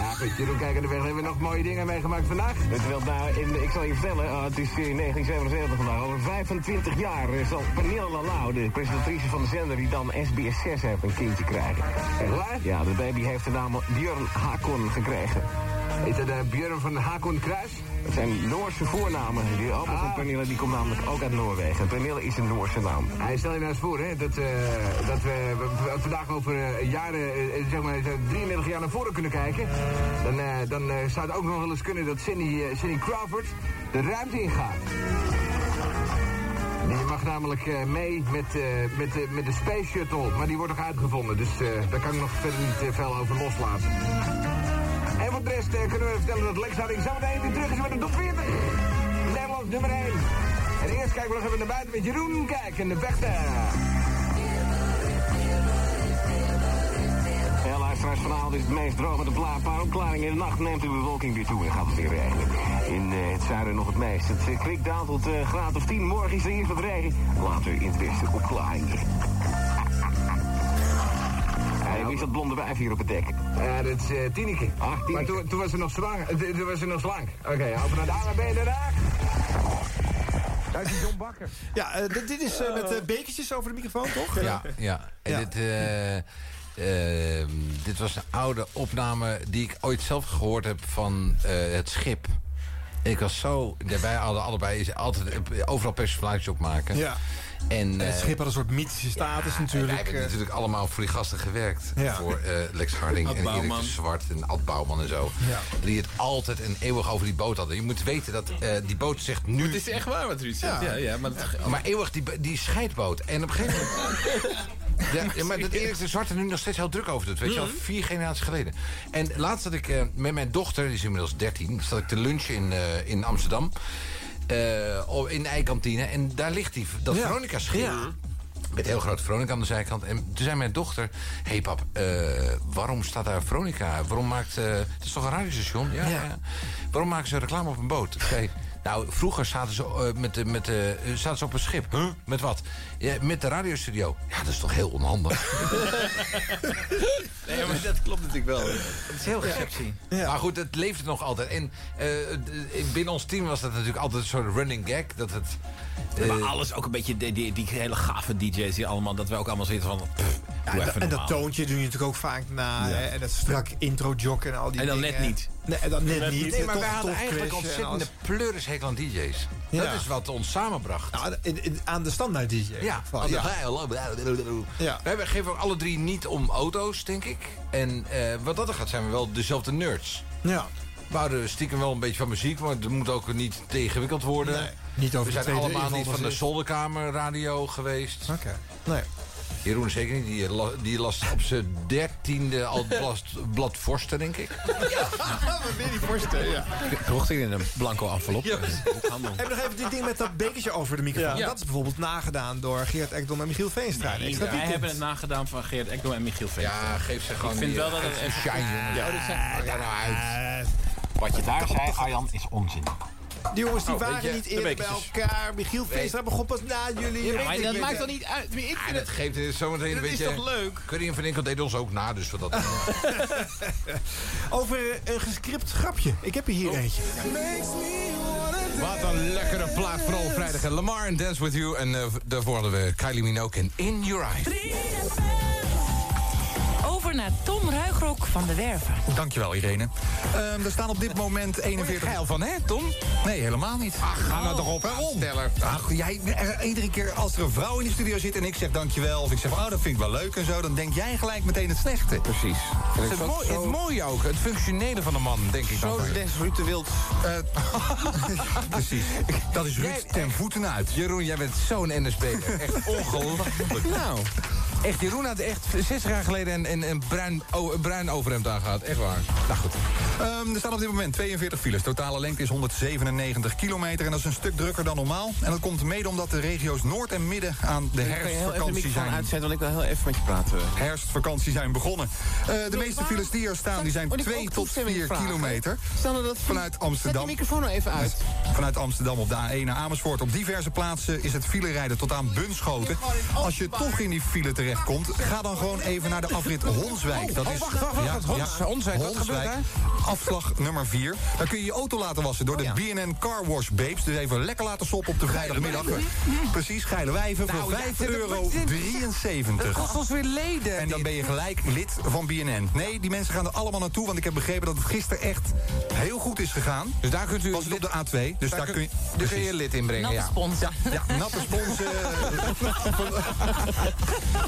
S25: Ja, goed, Jeroen Kijk aan de Weg hebben we nog mooie dingen meegemaakt vandaag. Het wil nou, in, ik zal je vertellen, eh, het is in 1977 vandaag. Over 25 jaar eh, zal Pernille Lalau, de presentatrice van de zender die dan SBS 6 heeft, een kindje krijgen. Ja, de baby heeft de naam Björn Hakon gekregen. Is dat Björn van Hakon Kruis? Dat zijn Noorse voornamen. Die opa van Pernille die komt namelijk ook uit Noorwegen. Pernille is een Noorse naam. Hij stel je nou eens voor hè, dat, eh, dat we, we- we vandaag over eh, jaren, eh, zeg maar eh, 33 jaar naar voren kunnen kijken. Dan, eh, dan eh, zou het ook nog wel eens kunnen dat Cindy, eh, Cindy Crawford de ruimte ingaat. Je mag namelijk eh, mee met, eh, met, eh, met de Space Shuttle, maar die wordt nog uitgevonden. Dus eh, daar kan ik nog verder niet eh, veel over loslaten. En voor de rest eh, kunnen we vertellen dat Lex Harding zometeen weer terug is met de top 40. Nederland nummer 1. En eerst kijken we nog even naar buiten met Jeroen. Kijk, en de vechten. Ja, luisteraars, vanavond is het meest droog met een pla- paar opklaringen. In de nacht neemt de bewolking weer toe en gaat het weer regenen. In eh, het zuiden nog het meest. Het eh, krikt daalt tot eh graad of 10. Morgen is er hier wat regen. Later in het westen opklaringen. Hé, wie is dat blonde wijf hier op het dek? Ja, dat is eh, Tineke. Ach, Maar toen, was ze nog slank. Toen was ze nog slank. Oké, over naar de AWB in Den Haag. Daar is John Bakker.
S5: Ja, eh, dit, dit is eh, met eh, bekertjes over de microfoon, toch?
S2: Ja, ja. En Dit, eh, eh, dit was een oude opname die ik ooit zelf gehoord heb van eh, het schip. Ik was zo... Wij hadden allebei is altijd eh, overal persiflages op maken.
S5: Ja.
S2: En,
S5: En het
S2: eh,
S5: schip had een soort mythische status natuurlijk.
S2: Wij hebben
S5: eh.
S2: natuurlijk allemaal voor die gasten gewerkt.
S5: Ja.
S2: Voor eh, Lex Harding
S5: Ad
S2: en Erik
S5: Bouwman.
S2: de Zwart en Ad Bouwman en zo. Die het altijd en eeuwig over die boot hadden. Je moet weten dat eh, die boot zegt nu...
S10: Het is echt waar wat Ruud zegt. Ja, ja, maar dat...
S2: Maar eeuwig die, die scheidboot. En op een gegeven moment... Ja, ja, maar dat Erik de Zwart er nu nog steeds heel druk over doet. Weet je
S5: Mhm.
S2: al, vier generaties geleden. En laatst zat ik eh, met mijn dochter, die is inmiddels 13... zat ik te lunchen in, eh, in Amsterdam. eh, op- in de eikantine. En daar ligt die, dat
S5: Ja.
S2: Veronica-schip.
S5: Ja.
S2: Met heel groot Veronica aan de zijkant. En toen zei mijn dochter... Hé hey pap, eh, waarom staat daar Veronica? Waarom maakt... eh, het is toch een radiostation? Ja, ja. Waarom maken ze reclame op een boot? Ik zei, nou, vroeger zaten ze, eh, met, de- met, de- zaten ze op een schip. Huh? Met wat? Ja, met de radiostudio. Ja, dat is toch heel onhandig.
S10: Nee, maar dat klopt natuurlijk wel. Het is heel gek.
S2: Maar goed, het leeft nog altijd. En eh, d- binnen ons team was dat natuurlijk altijd een soort running gag. Dat het... eh,
S10: maar alles ook een beetje, die, die, die hele gave DJ's die allemaal, dat we ook allemaal zitten van... pff,
S5: Ja,
S10: doe
S5: en,
S10: even
S5: dat- en dat
S10: normaal.
S5: toontje doe je natuurlijk ook vaak na.
S10: Ja.
S5: hè, En dat strak intro-jog en al die
S10: En dan
S5: dingen.
S10: net niet.
S5: Nee, en dan net,
S10: Net
S5: niet.
S10: niet.
S2: Nee, maar
S5: Tof-
S2: wij hadden
S5: tof
S2: eigenlijk
S5: quiz en
S2: ontzettende
S5: alles.
S2: pleurishekel aan DJ's. Dat
S5: Ja.
S2: is wat ons samenbracht.
S5: Nou, in- in- aan de standaard DJ.
S2: Ja,
S5: Van, ja.
S3: Oh,
S5: Ja.
S2: Wij hebben- geven ook alle drie niet om auto's, denk ik. En eh, wat dat er gaat, zijn we wel dezelfde nerds.
S5: Ja.
S2: We houden stiekem wel een beetje van muziek, maar het moet ook niet te ingewikkeld worden.
S5: niet over
S2: we
S5: de
S2: zijn
S5: tweede
S2: allemaal niet
S5: inval
S2: van de
S5: precies.
S2: zolderkamer radio geweest.
S5: Oké. Nee.
S2: Jeroen zeker niet. Die, la- die las op zijn dertiende al blad, blad vorsten, denk ik.
S5: Weer die vorsten, ja.
S10: Kocht in een blanco envelop.
S5: En nog even dit ding met dat bekertje over de microfoon.
S10: Ja.
S5: Dat is bijvoorbeeld nagedaan door Geert Ekdom en Michiel Veenstra.
S10: Nee,
S5: Ik
S10: wij
S5: snap niet
S10: hebben het nagedaan van Geert Ekdom en Michiel Veenstra. Ja,
S2: geef ze gewoon
S10: Ik vind
S2: die,
S10: wel dat
S2: eh,
S10: het
S2: even
S10: echt...
S2: shine, jongen. nou
S10: Ja, dat zijn-
S1: Eh, Wat je daar zei, Arjan, is onzin.
S5: Die jongens die
S10: Oh,
S5: waren
S10: weet je,
S5: niet
S10: de
S5: eerder bij
S10: bekertjes.
S5: elkaar. Michiel Veenstra begon pas na jullie.
S10: Ja,
S5: Ik
S10: maar
S5: weet
S10: dat
S5: het
S10: maakt toch niet uit? Ik
S25: Ah,
S10: vind
S2: En
S10: het-
S2: dat geeft het zometeen een
S10: Dat is
S2: beetje...
S10: toch leuk?
S2: Curry en Van Inkel deden ons ook na, dus wat dat...
S5: Over een gescript grapje. Ik heb er hier eentje.
S12: Wat
S2: Wat een lekkere plaat, vooral vrijdag. En Lamar en Dance With You. En eh, daarvoor hadden we Kylie Minogue en In Your Eyes.
S28: Over naar Tom Ruigrok van de Werven.
S17: Dankjewel, Irene. Ehm, er staan op dit moment 41... Geil
S2: van, hè, Tom?
S17: Nee, helemaal niet.
S2: Ach, ga nou toch op,
S17: Waarom?
S2: aansteller.
S17: Ach, jij, er- iedere keer als er een vrouw in de studio zit en ik zeg dankjewel... of ik zeg, oh, dat vind ik wel leuk en zo... dan denk jij gelijk meteen het slechte. Precies.
S2: Het, is mooi, het mooie ook, het functionele van de man, denk ik.
S17: Zo
S2: dan.
S17: des Ruud de Wild. Eh, precies. Dat is Ruud ten voeten uit.
S2: Jeroen, jij bent zo'n NSP'er. Echt ongelooflijk.
S17: Nou.
S2: Echt, Jeroen had echt 60 jaar geleden een, een, een, bruin, oh, een bruin overhemd aangehad. Echt waar.
S17: Nou goed. Ehm, er staan op dit moment 42 files. Totale lengte is 197 kilometer. En dat is een stuk drukker dan normaal. En dat komt mede omdat de regio's Noord en Midden aan de
S3: Kan je heel even de
S17: herfstvakantie
S3: microfoon
S17: zijn.
S3: uitzetten, want ik wil heel even met je praten.
S17: Herfstvakantie zijn begonnen. Eh, de meeste files die er staan, die zijn
S3: Moet ik ook
S17: 2 tot
S3: Oh, toestemming
S17: 4
S3: vragen?
S17: kilometer.
S3: Stel dat
S17: Vanuit Amsterdam.
S3: Zet die microfoon nou even uit.
S17: Vanuit Amsterdam op de A1 naar Amersfoort. Op diverse plaatsen is het file rijden tot aan Bunschoten. Als je toch in die file terechtkomt, ga dan gewoon even naar de afrit Honswijk.
S2: Oh, oh, wacht, wacht, wacht. Hons- Honswijk, wat gebeurt daar?
S17: Afslag nummer 4. Daar kun je je auto laten wassen door de BNN Car Wash Babes. Dus even lekker laten soppen op de vrijdagmiddag. Precies, geile wijven voor
S2: Nou, ja,
S17: 5,73
S2: dit-
S17: euro.
S2: dit- Dat kost ons weer leden.
S17: En dan ben je gelijk lid van BNN. Nee, die mensen gaan er allemaal naartoe, want ik heb begrepen dat het gisteren echt heel goed is gegaan. Dus
S2: daar kunt u
S17: Was het op de A2, dus daar, kun je...
S2: Dus kun je lid inbrengen, ja.
S17: Ja, ja, nappe spons. eh, van,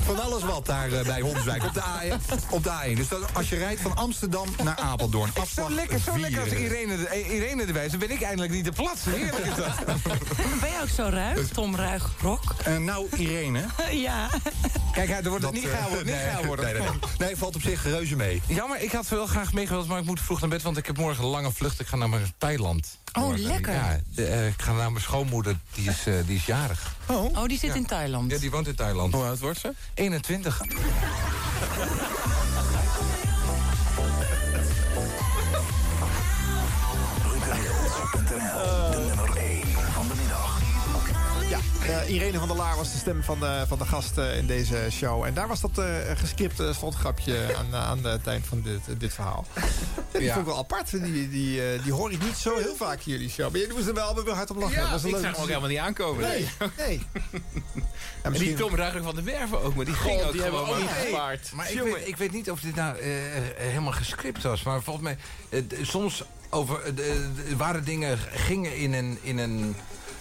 S17: van alles wat daar eh, bij Honswijk op de, A, op de A1. Dus dat, als je rijdt van Amsterdam naar Apeldoorn. Afslag
S2: Zo lekker, zo lekker als
S17: vier.
S2: Irene, de- eh, Irene erbij is. Dan ben ik eindelijk niet de plat. Heerlijk is dat.
S28: Ben je ook zo ruig, Tom Ruigrok?
S17: Dus- Eh, nou, Irene.
S28: ja.
S2: Kijk, uit, er wordt het
S17: dat,
S2: niet
S17: eh,
S2: geil worden. Niet
S17: nee,
S2: geil worden.
S17: Nee, nee, nee. nee, valt op zich reuze mee.
S2: Jammer, ik had wel graag meegewild, maar ik moet vroeg naar bed... want ik heb morgen een lange vlucht. Ik ga naar mijn Thailand.
S28: Oh,
S2: Morgen.
S28: lekker.
S2: Ja, de, eh, ik ga naar mijn schoonmoeder. Die is, eh, die is jarig.
S28: Oh, die zit
S2: Ja.
S28: in Thailand.
S2: Ja, die woont in Thailand. Hoe oud wordt ze? 21.
S5: De nummer 1 van de middag. Ja, eh, Irene van der Laar was de stem van de, van de gast eh, in deze show. En daar was dat eh geskipt eh, slotgrapje aan, aan het eind van dit, dit verhaal. Ja, die
S2: Ja.
S5: vond ik wel apart. Die, die, eh, die hoor ik niet zo heel vaak in jullie show. Maar jullie moesten er wel weer hard op lachen. dat was
S10: ik
S5: leuk
S10: zag hem
S5: om
S10: ook
S5: te zien.
S10: helemaal niet aankomen.
S5: Nee, nee.
S10: En
S5: misschien-
S10: die Tom Ruigrok van de Werven ook, maar die
S2: God,
S10: ging ook
S2: die hebben
S10: gewoon.
S2: we ook
S10: maar-
S2: niet gespaard. Maar ik weet, ik weet niet of dit nou eh, eh, helemaal gescript was. Maar volgens mij, eh, d- soms over, eh, d- waren dingen gingen in een... In een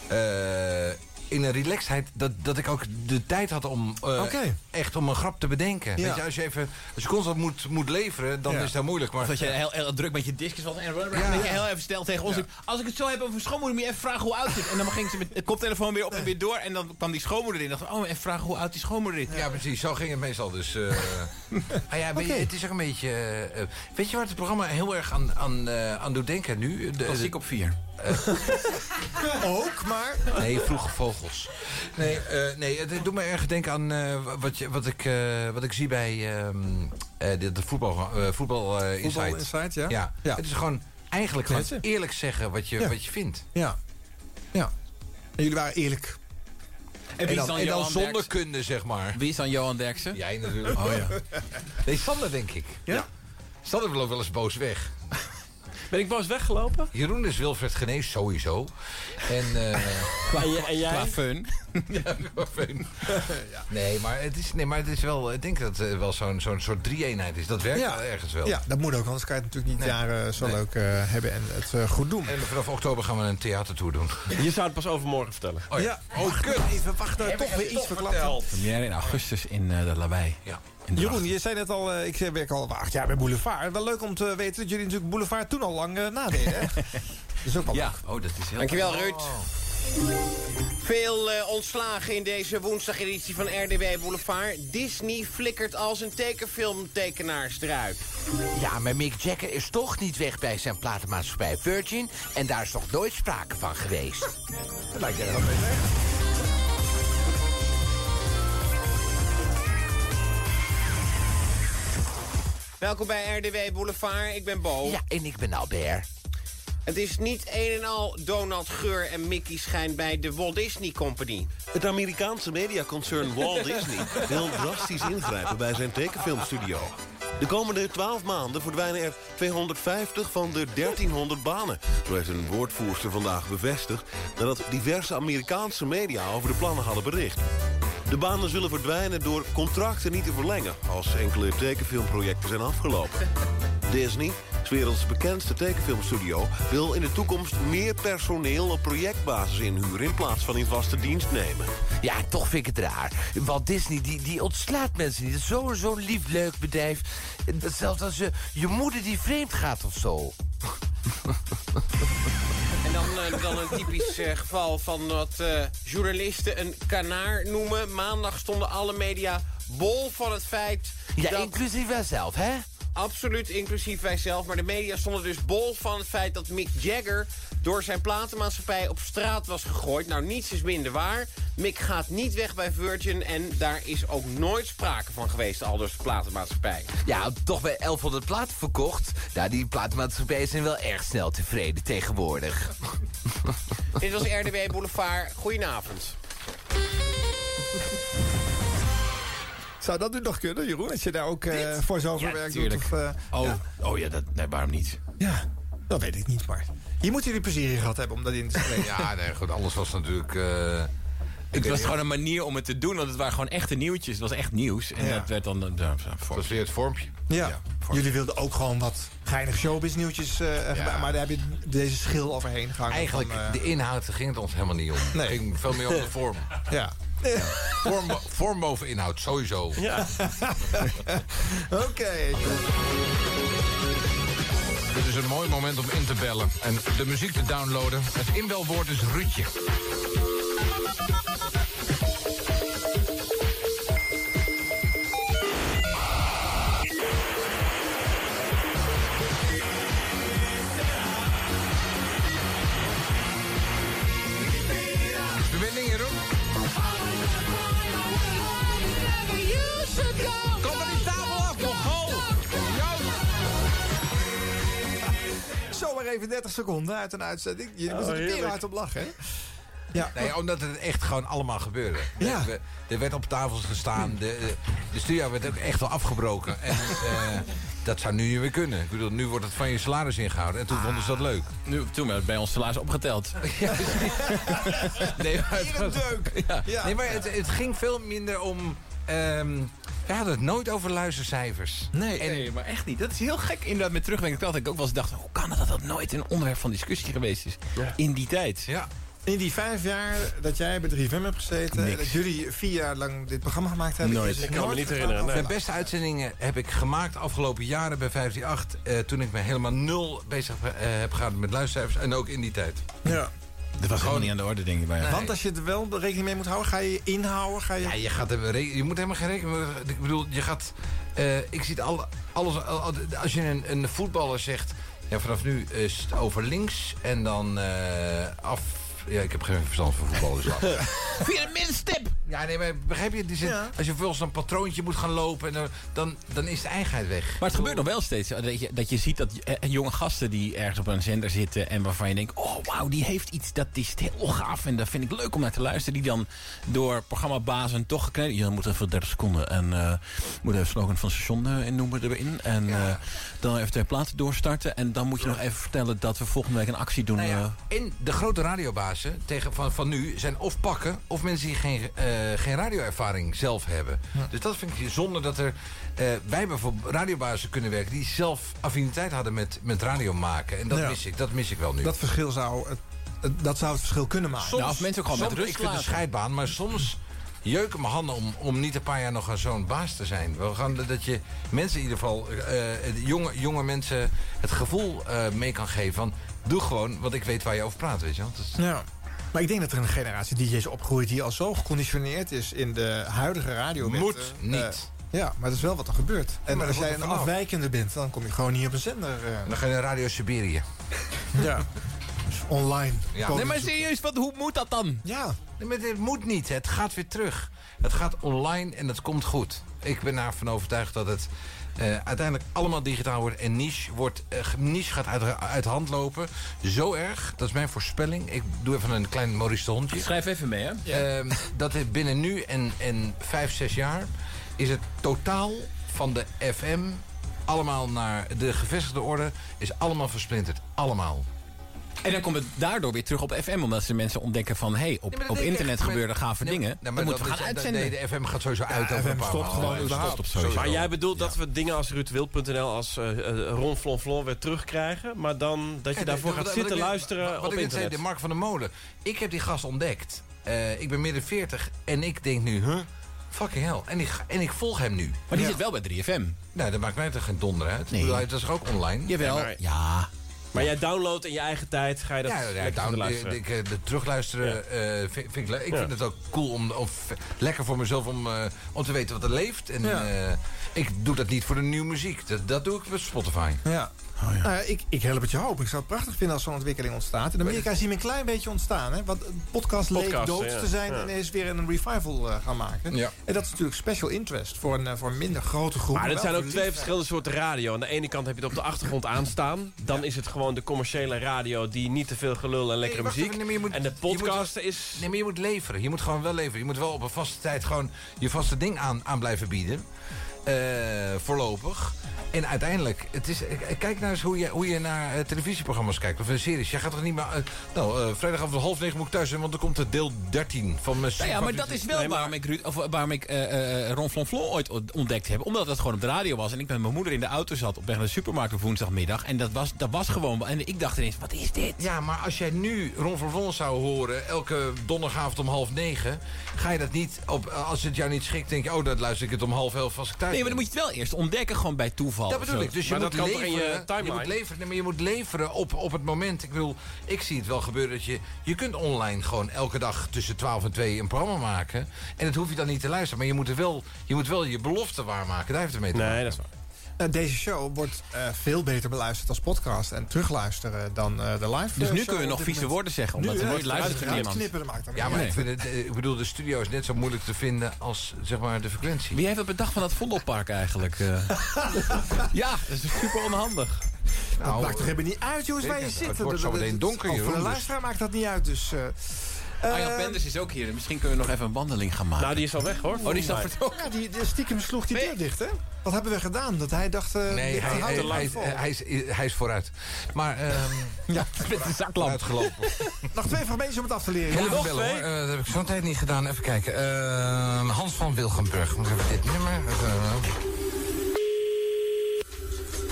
S2: eh, in een relaxedheid dat, dat ik ook de tijd had om eh,
S5: Oké.
S2: echt om een grap te bedenken.
S5: Ja.
S2: Weet je, als je even als je constant moet, moet leveren, dan
S5: Ja.
S2: is dat moeilijk. Maar
S10: Of dat je heel, heel druk met je discus was. En
S2: Ja.
S10: dat je heel even snel tegen ons riep, Als ik het zo heb over mijn schoonmoeder, moet je even vragen hoe oud ze is. En dan ging ze met de koptelefoon weer op en weer door. En dan kwam die schoonmoeder in. En dacht, oh, even vragen hoe oud die schoonmoeder is.
S2: Ja, precies. Zo ging het meestal. Dus, eh, ah ja, weet je, het is ook een beetje... eh, eh, weet je waar het programma heel erg aan, aan, eh, aan doet denken nu? De, Eh,
S10: Klassiek op vier.
S5: Ook, maar...
S2: Nee, vroege vogels. Nee, eh, nee het, het doet me erg denken aan eh, wat, je, wat, ik, eh, wat ik zie bij ehm, eh, de, de voetbal, eh, voetbal, eh, Insight.
S5: Voetbal Insight, ja.
S2: Ja.
S5: Ja.
S2: Het is gewoon eigenlijk gewoon
S5: Mensen.
S2: eerlijk zeggen wat je,
S5: Ja.
S2: wat je vindt.
S5: Ja. Ja. En jullie waren eerlijk.
S10: En wie is dan
S2: en dan
S10: Johan
S2: zonder
S10: Derksen?
S2: kunde, zeg maar.
S10: Wie is dan Johan Derksen?
S2: Jij natuurlijk.
S10: Oh ja.
S2: Nee, Sander, denk ik.
S5: Ja.
S2: Sander loopt wel eens boos weg.
S11: Ben ik boos weggelopen?
S2: Jeroen is Wilfred Genees, sowieso. En, eh
S11: En, j- en jij?
S10: Qua fun.
S2: ja, nee, maar het is, nee, maar het is wel... Ik denk dat het eh, wel zo'n zo'n soort drie-eenheid is. Dat werkt wel ergens wel.
S5: Ja, dat moet ook. Anders kan je het natuurlijk niet
S2: Nee.
S5: jaren zo leuk eh, hebben en het eh, goed doen.
S2: En vanaf oktober gaan we een theatertour doen.
S11: Je zou het pas overmorgen vertellen.
S2: Oh ja. Oh, kut.
S5: Even wachten,
S2: Heb
S5: toch
S2: ik
S5: weer
S2: het
S5: iets
S2: toch
S5: verklapt.
S2: verteld?
S10: Première in augustus in eh, de Lawaai.
S2: Ja.
S10: In de
S5: Jeroen, je zei net al, eh, ik werk al acht jaar bij Boulevard. Wel leuk om te weten dat jullie natuurlijk Boulevard toen al lang eh, nadeden. hè? dat is ook wel
S10: Ja,
S5: leuk.
S10: oh, dat is heel
S3: Dankjewel, Ruud.
S10: Veel eh, ontslagen in deze woensdageditie van RDW Boulevard. Disney flikkert als een tekenfilmtekenaars eruit.
S25: Ja, maar Mick Jagger is toch niet weg bij zijn platenmaatschappij Virgin... en daar is nog nooit sprake van geweest.
S2: Dat lijkt er wel mee weg.
S10: Welkom bij RDW Boulevard, ik ben Bo.
S25: Ja, en ik ben Albert.
S10: Het is niet een en al Donald Geur en Mickey Schijn bij de Walt Disney Company.
S21: Het Amerikaanse mediaconcern Walt Disney wil drastisch ingrijpen bij zijn tekenfilmstudio. De komende 12 maanden verdwijnen er 250 van de 1300 banen. Dat heeft een woordvoerster vandaag bevestigd... nadat diverse Amerikaanse media over de plannen hadden bericht. De banen zullen verdwijnen door contracten niet te verlengen... als enkele tekenfilmprojecten zijn afgelopen. Disney, 's werelds bekendste tekenfilmstudio... wil in de toekomst meer personeel op projectbasis inhuren... in plaats van in vaste dienst nemen.
S25: Ja, toch vind ik het raar. Want Disney die, die ontslaat mensen niet. Het is zo- zo'n lief, leuk bedrijf. Dat Zelfs als je, je moeder die vreemd gaat of zo.
S10: En dan, eh, dan een typisch eh, geval van wat eh, journalisten een kanaar noemen. Maandag stonden alle media bol van het feit...
S25: Ja,
S10: dat...
S25: inclusief wij zelf, hè?
S10: Absoluut, inclusief wij zelf. Maar de media stonden dus bol van het feit dat Mick Jagger... door zijn platenmaatschappij op straat was gegooid. Nou, niets is minder waar. Mick gaat niet weg bij Virgin... en daar is ook nooit sprake van geweest, al dus de platenmaatschappij.
S25: Ja, toch bij 1100 platen verkocht. Nou, die platenmaatschappijen zijn wel erg snel tevreden tegenwoordig.
S10: Dit was RDW Boulevard. Goedenavond.
S5: Zou dat nu nog kunnen, Jeroen? Als je daar ook eh voor zover werkt doet? Of, eh,
S35: oh,
S5: ja.
S35: oh ja, dat, nee, waarom niet?
S5: Ja, dat weet ik niet, maar... Hier moeten jullie plezier in gehad hebben om dat in te spreken.
S2: Ja, nee, goed, alles was natuurlijk... eh,
S35: Het
S2: weet
S35: was
S2: niet.
S35: gewoon een manier om het te doen, want het waren gewoon echte nieuwtjes. Het was echt nieuws. En
S5: Ja.
S35: dat werd dan... dan- dan- dan-
S2: Dat is weer het vormpje.
S5: Ja. Jullie wilden ook gewoon wat geinig showbiz nieuwtjes. eh, Maar daar heb je deze schil overheen gehangen.
S2: Eigenlijk,
S5: van, eh,
S2: de inhoud daar ging het ons helemaal niet om. Het ging veel meer om de vorm.
S5: Ja.
S2: Vorm, bo- vorm boven inhoud, sowieso.
S5: Ja. Oké.
S2: Dit is een mooi moment om in te bellen en de muziek te downloaden. Het inbelwoord is Rutje. Is de wending, Jeroen? Kom van die tafel af, Mongool! Joost!
S5: Zomaar even 30 seconden uit een uitzending. Jullie moeten er weer hard op lachen, hè? Ja.
S2: Nee, omdat het echt gewoon allemaal gebeurde.
S5: Ja.
S2: We- Er werd op tafels gestaan. De, de, de studio werd ook echt wel afgebroken. En eh, dat zou nu niet meer kunnen. Ik bedoel, nu wordt het van je salaris ingehouden. En toen vonden ze dat leuk.
S35: Nu, toen werd het bij ons salaris opgeteld.
S2: Nee, maar het, was- Ja.
S5: Ja.
S2: Nee, maar het, het ging veel minder om... ehm we hadden het nooit over luistercijfers.
S35: Nee, nee, maar echt niet. Dat is heel gek inderdaad met terugdenken. Dat ik ook wel eens dacht, hoe kan het dat dat nooit een onderwerp van discussie geweest is? In die tijd.
S2: Ja.
S5: In die vijf jaar dat jij bij 3FM hebt gezeten... dat jullie vier jaar lang dit programma gemaakt hebben...
S2: Nooit.
S5: is
S2: Ik kan me
S5: nooit
S2: niet
S5: gepraat
S2: De
S5: over-
S2: beste uitzendingen heb ik gemaakt afgelopen jaren bij 158. eh toen ik me helemaal nul bezig eh, heb gehouden met luistercijfers. En ook in die tijd.
S5: Ja.
S35: Dat was gewoon niet aan de orde, denk ik. Bij
S5: Want als je er wel rekening mee moet houden, ga je je inhouden? Ga je...
S2: Ja, je, gaat er, je moet helemaal geen rekening mee- Ik bedoel, je gaat... eh, ik zie het al, alles... al- al- als je een, een voetballer zegt... Ja, vanaf nu is het over links en dan eh, af... Ja, ik heb geen verstand van voetbal, dus laat.
S10: Via de middenstip!
S2: Ja, nee, maar begrijp je? Die zin, Als je volgens een patroontje moet gaan lopen, en dan, dan, dan is de eigenheid weg.
S35: Maar het gebeurt nog wel steeds. eh, Dat je, dat je ziet dat eh, jonge gasten die ergens op een zender zitten... en waarvan je denkt, oh wauw, die heeft iets, dat is heel gaaf... en dat vind ik leuk om naar te luisteren... die dan door programmabazen toch gekneden... je moet even 30 seconden en eh, moet even slogan van het station eh, in noemen erin... en eh, dan even twee platen doorstarten... en dan moet je nog even vertellen dat we volgende week een actie doen...
S2: Nou
S35: eh,
S2: ja, en de grote radiobazen tegen, van, van nu zijn of pakken... of mensen die geen, eh, geen radioervaring zelf hebben. Dus dat vind ik zonde dat er... eh, wij hebben voor radiobazen kunnen werken... die zelf affiniteit hadden met, met radio maken. En dat,
S5: Ja.
S2: mis ik, dat mis ik wel nu.
S5: Dat verschil zou het, het- dat zou het verschil kunnen maken.
S2: Soms- soms- Ik vind het een scheidbaan, maar soms jeuken mijn handen om, om niet een paar jaar nog aan zo'n baas te zijn. We gaan dat je mensen in ieder geval, eh, eh, jonge, jonge mensen, het gevoel eh, mee kan geven van... Doe gewoon, want ik weet waar je over praat, weet je wel. Dat is-
S5: Ja. Maar ik denk dat er een generatie DJ's opgroeit die al zo geconditioneerd is in de huidige radio. eh,
S2: Moet niet.
S5: ja, maar dat is wel wat er gebeurt. En
S2: maar
S5: als
S2: dat
S5: jij
S2: wordt
S5: een
S2: er vanaf.
S5: afwijkende bent, dan kom je gewoon niet op een zender. eh.
S2: Dan ga je naar Radio Siberië.
S5: Ja. Dus online.
S2: Ja.
S5: Komen
S2: Nee, maar
S5: zoeken.
S2: serieus, wat, hoe moet dat dan?
S5: Ja.
S2: Nee, maar dit moet niet. Het gaat weer terug. Het gaat online en het komt goed. Ik ben ervan overtuigd dat het eh, uiteindelijk allemaal digitaal wordt. En niche, wordt, eh, niche gaat uit, uit hand lopen. Zo erg, dat is mijn voorspelling. Ik doe even een klein Maurice de Hondje.
S3: Schrijf even mee, hè?
S2: Ehm, dat het binnen nu en, en vijf, zes jaar is het totaal van de FM allemaal naar de gevestigde orde is allemaal versplinterd. Allemaal.
S3: En dan komt het daardoor weer terug op FM, omdat ze mensen ontdekken van... hé, hey, op,
S2: maar dat
S3: op
S2: denk ik
S3: internet
S2: echt, maar-
S3: gebeuren gave
S2: Nee,
S3: dingen.
S2: maar- nee,
S3: dan
S2: maar
S3: moeten we
S2: dat
S3: gaan
S2: is-
S3: uitzenden.
S2: nee, de FM gaat sowieso uit over een paar maanden. Ja, het stopt op sowieso.
S11: Maar jij bedoelt dat we dingen als ruudwild.nl als eh eh, Ron Flonflon weer terugkrijgen... maar dan dat je
S2: Ja,
S11: daarvoor
S2: nee,
S11: gaat
S2: wat-
S11: zitten
S2: wat ik net-
S11: luisteren
S2: wat
S11: op
S2: ik net
S11: internet.
S2: Zei, de Mark van der Molen. Ik heb die gast ontdekt. Eh, ik ben midden 40 en ik denk nu, huh? Fucking hell. En ik, ga- en ik volg hem nu.
S3: Maar die zit wel bij 3FM.
S2: Nou, dat maakt mij toch geen donder uit.
S3: Nee.
S2: Ik bedoel, Dat is ook online.
S3: Jawel.
S11: Ja, maar-
S3: Ja.
S11: Maar jij downloadt in je eigen tijd, ga je dat
S2: ja,
S11: lekker
S2: ja,
S11: zitten
S2: down,
S11: luisteren.
S2: ik, eh, de terugluisteren eh, vind, vind ik leuk. Ik
S11: Ja.
S2: vind het ook cool om, of lekker voor mezelf om, eh, om te weten wat er leeft. En,
S5: Ja.
S2: eh, ik doe dat niet voor de nieuwe muziek. Dat, dat doe ik met Spotify.
S5: Ja. Nou ja, ik, ik help het je hoop. Ik zou het prachtig vinden als zo'n ontwikkeling ontstaat. In Amerika zien we een klein beetje ontstaan. Hè? Want een podcast leek
S11: Podcasten,
S5: dood
S11: ja.
S5: te zijn
S11: Ja.
S5: en is weer een revival eh, gaan maken.
S2: Ja.
S5: En dat is natuurlijk special interest voor een, eh, voor een minder grote groep.
S11: Maar dat
S5: wel
S11: zijn ook
S5: voor
S11: twee
S5: liefde.
S11: verschillende soorten radio. Aan de ene kant heb je het op de achtergrond aanstaan. Dan is het gewoon de commerciële radio die niet te veel gelul en lekkere
S2: Nee, wacht
S11: muziek.
S2: even, nee, maar je moet-
S11: en de
S2: je moet-
S11: podcasten is...
S2: Nee, maar je moet leveren. Je moet gewoon wel leveren. Je moet wel op een vaste tijd gewoon je vaste ding aan, aan blijven bieden. Eh, voorlopig. En uiteindelijk, het is, eh, kijk nou eens hoe je, hoe je naar eh, televisieprogramma's kijkt. Of een series. Je gaat toch niet meer... eh, nou, eh, vrijdagavond half negen moet ik thuis zijn, want dan komt het deel 13 van mijn...
S3: Nou ja, maar dat is wel waarom ik, Ruud, of waarom ik eh, eh, Ron Flonflon ooit o- ontdekt heb. Omdat dat gewoon op de radio was. En ik met mijn moeder in de auto zat op weg naar de supermarkt op woensdagmiddag. En dat was, dat was gewoon... En ik dacht ineens, wat is dit?
S2: Ja, maar als jij nu Ron van Vlon zou horen... elke donderdagavond om half negen... ga je dat niet... Op, eh, als het jou niet schikt, denk je... oh, dan luister ik het om half elf als ik thuis
S3: Nee, maar
S2: ben.
S3: dan moet je het wel eerst ontdekken, gewoon bij toeval.
S2: Dat
S3: of
S2: bedoel
S3: zo.
S2: ik. Dus je
S11: Maar
S2: moet,
S11: dat kan toch
S2: leveren,
S11: in je
S2: je
S11: timeline?
S2: moet leveren. Nee, maar je moet leveren op, op het moment. Ik bedoel, ik zie het wel gebeuren dat je... Je kunt online gewoon elke dag tussen 12 en 2 een programma maken. En dat hoef je dan niet te luisteren. Maar je moet, er wel, je, moet wel je belofte waarmaken. Daar heeft het mee te maken.
S11: Nee, dat is waar.
S5: Nou, deze show wordt eh, veel beter beluisterd als podcast en terugluisteren dan eh, de live.
S3: Dus
S5: eh,
S3: nu
S5: show
S3: kunnen we
S5: op
S3: nog
S5: dit
S3: vieze
S5: moment.
S3: woorden zeggen, omdat
S5: Nu,
S3: we
S5: eh,
S3: nooit luisteren naar iemand.
S5: uiteraard knippen, dat maakt dan
S2: Ja, maar
S3: Nee.
S2: ik, vind het, eh, ik bedoel, de studio is net zo moeilijk te vinden als zeg maar, de frequentie.
S3: Wie heeft het bedacht van dat Vondelpark eigenlijk? eh? ja, dat is super onhandig.
S5: Dat
S2: Nou,
S5: maakt toch helemaal niet uit, jongens,
S2: weet
S5: waar je
S2: het.
S5: zit.
S2: Het wordt
S5: Dat-
S2: zo
S5: dat-
S2: meteen
S5: dat-
S2: donker,
S5: oh, Voor de
S2: Jeroen, dus-
S5: luisteraar maakt dat niet uit, dus... eh,
S10: Ah,
S3: Arjan
S5: eh,
S3: Penders Ah is ook hier. Misschien kunnen we nog even een wandeling gaan maken.
S11: Nou, die is al weg hoor.
S3: oh, die is al
S11: volgens mij.
S3: vertrokken.
S5: Ja, die, die stiekem sloeg die deur dicht, hè? Wat hebben we gedaan? Dat hij dacht... eh,
S2: Nee,
S5: dit
S2: hij,
S5: houdt
S2: hij,
S5: er lang
S2: hij,
S5: vol.
S2: hij is, hij is vooruit. Maar ehm
S3: Ja, met de zaklamp.
S2: uitgelopen.
S5: Nog twee fragmentjes om het af te leren.
S2: Heel
S5: Ja.
S2: even bellen, hoor. Eh, dat heb ik zo'n tijd niet gedaan. Even kijken. Eh, Hans van Wilgenburg. Moet even dit nummer. Even,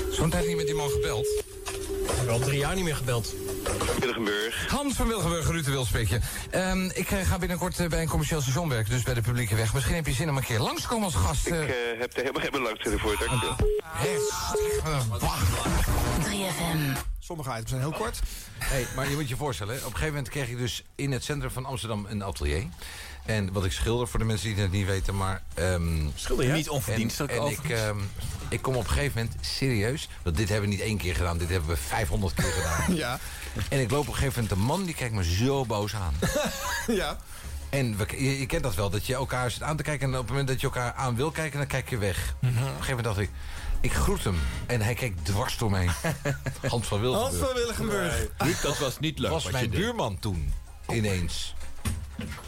S2: eh. Zo'n tijd niet met die man gebeld.
S11: Ik heb al drie jaar niet meer gebeld.
S20: Burgenburg.
S2: Hans van Wilgenburg, Ruud de Wil spreek je. Ehm, ik eh, ga binnenkort eh, bij een commercieel station werken, dus bij de publieke weg. Misschien heb je zin om een keer langs te komen als gast. eh.
S20: Ik heb er helemaal geen belangstelling voor, dankjewel.
S2: Hè, eh, bah.
S18: 3FM.
S5: Sommige items zijn heel
S2: Oh.
S5: kort.
S2: Hey, maar je moet je voorstellen, hè, op een gegeven moment kreeg ik dus in het centrum van Amsterdam een atelier. En wat ik schilder, voor de mensen die het niet weten, maar... ehm,
S11: Schilder,
S3: Niet onverdienstelijk
S2: en, en ik,
S3: overigens.
S2: ehm, ik kom op een gegeven moment serieus. Want dit hebben we niet één keer gedaan, dit hebben we 500 keer gedaan.
S5: Ja,
S2: En ik loop op een gegeven moment een man die kijkt me zo boos aan.
S5: ja.
S2: En we, je, je kent dat wel, dat je elkaar zit aan te kijken. En op het moment dat je elkaar aan wil kijken, dan kijk je weg.
S5: Mhm.
S2: Op een gegeven moment dacht ik, ik groet hem. En hij keek dwars door me heen. Hans van Wilgen.
S5: Hans van Willigenburg.
S3: Ruud, dat was niet leuk.
S2: was
S3: wat je
S2: mijn
S3: deed.
S2: buurman toen, ineens.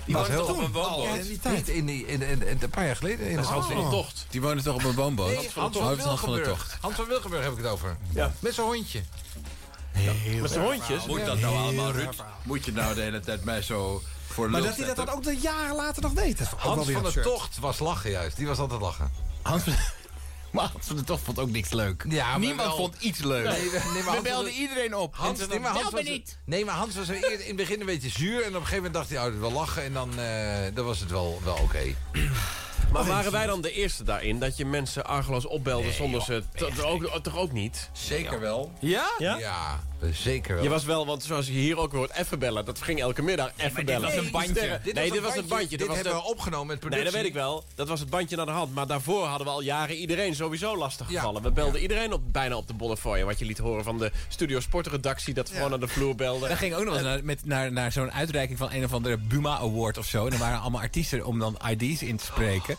S2: Die was heel
S3: op een woonboot?
S2: Ja, Niet in die, in, in, in- een paar jaar geleden. In de Hans van Tocht.
S3: Oh. Die woonde toch op een woonboot?
S2: Nee, Hans van,
S3: Oh, Hans van de
S2: Wilgenburg.
S3: Tocht.
S2: Hans van Wilgenburg heb ik het over.
S11: Ja.
S2: Met zijn hondje.
S11: Met zijn hondjes.
S3: Moet dat nou allemaal, Ruud? Moet je nou de hele tijd mij zo voor
S5: Maar dat hij dat dan ook de jaren later nog deed. dat is ook wel
S2: Hans
S5: weer
S2: van de
S5: absurd.
S2: Tocht was lachen juist. Die was altijd lachen.
S3: Hans van... Maar Hans van de Tocht vond ook niks leuk.
S2: Ja, maar
S3: Niemand
S2: wel-
S3: vond iets leuk.
S2: Nee, nee, maar Hans
S3: We
S2: van
S3: belden
S2: de-
S3: iedereen op.
S2: Hans,
S3: En ze
S2: nee, maar
S3: dachten,
S2: Hans
S3: bel
S2: was,
S3: me niet.
S2: nee, maar Hans was er eer- in het begin een beetje zuur. En op een gegeven moment dacht hij, oh, wel lachen. En dan, eh, dan was het wel, wel oké.
S11: Maar waren wij dan de eerste daarin dat je mensen argeloos opbelde zonder ze... t- ook- Toch ook niet?
S2: Zeker wel.
S3: Ja?
S11: Ja?
S2: Ja. Zeker wel.
S11: Je was wel, want zoals je hier ook hoort, even bellen. Dat ging elke middag even
S2: dit
S11: bellen.
S2: was een bandje.
S11: Sterren.
S2: Dit
S11: nee,
S2: was
S11: dit
S2: een
S11: was het
S2: bandje.
S11: bandje.
S2: Dit
S11: was
S2: hebben
S11: de-
S2: we opgenomen met productie.
S11: Nee, dat weet ik wel. Dat was het bandje naar de hand. Maar daarvoor hadden we al jaren iedereen sowieso lastig gevallen. We belden iedereen op, bijna op de bonnefoy. Wat je liet horen van de Studio Sportredactie, dat we gewoon naar de vloer belden.
S10: Daar ging ook nog eens naar, met- naar, naar zo'n uitreiking van een of andere Buma Award of zo. En er waren allemaal artiesten om dan ID's in te spreken.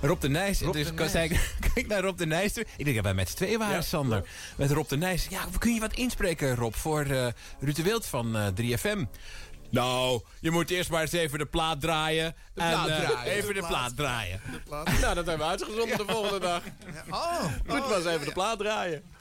S10: Rob de Nijs. en dus kan- zei ik, kijk naar Rob de Nijs. toe. Ik denk dat wij met z'n tweeën waren, Sander. Met Rob de Nijs. Ja, kun je wat inspreken, Rob, voor eh Ruud de Wild van eh, 3FM? Nou, je moet eerst maar eens even de plaat draaien. en,
S11: plaat
S10: eh,
S11: draaien.
S10: Even
S11: De
S10: de
S11: plaat.
S10: plaat draaien.
S11: Nou, dat hebben we uitgezonden de volgende dag.
S5: Oh,
S11: Goed was even de plaat draaien.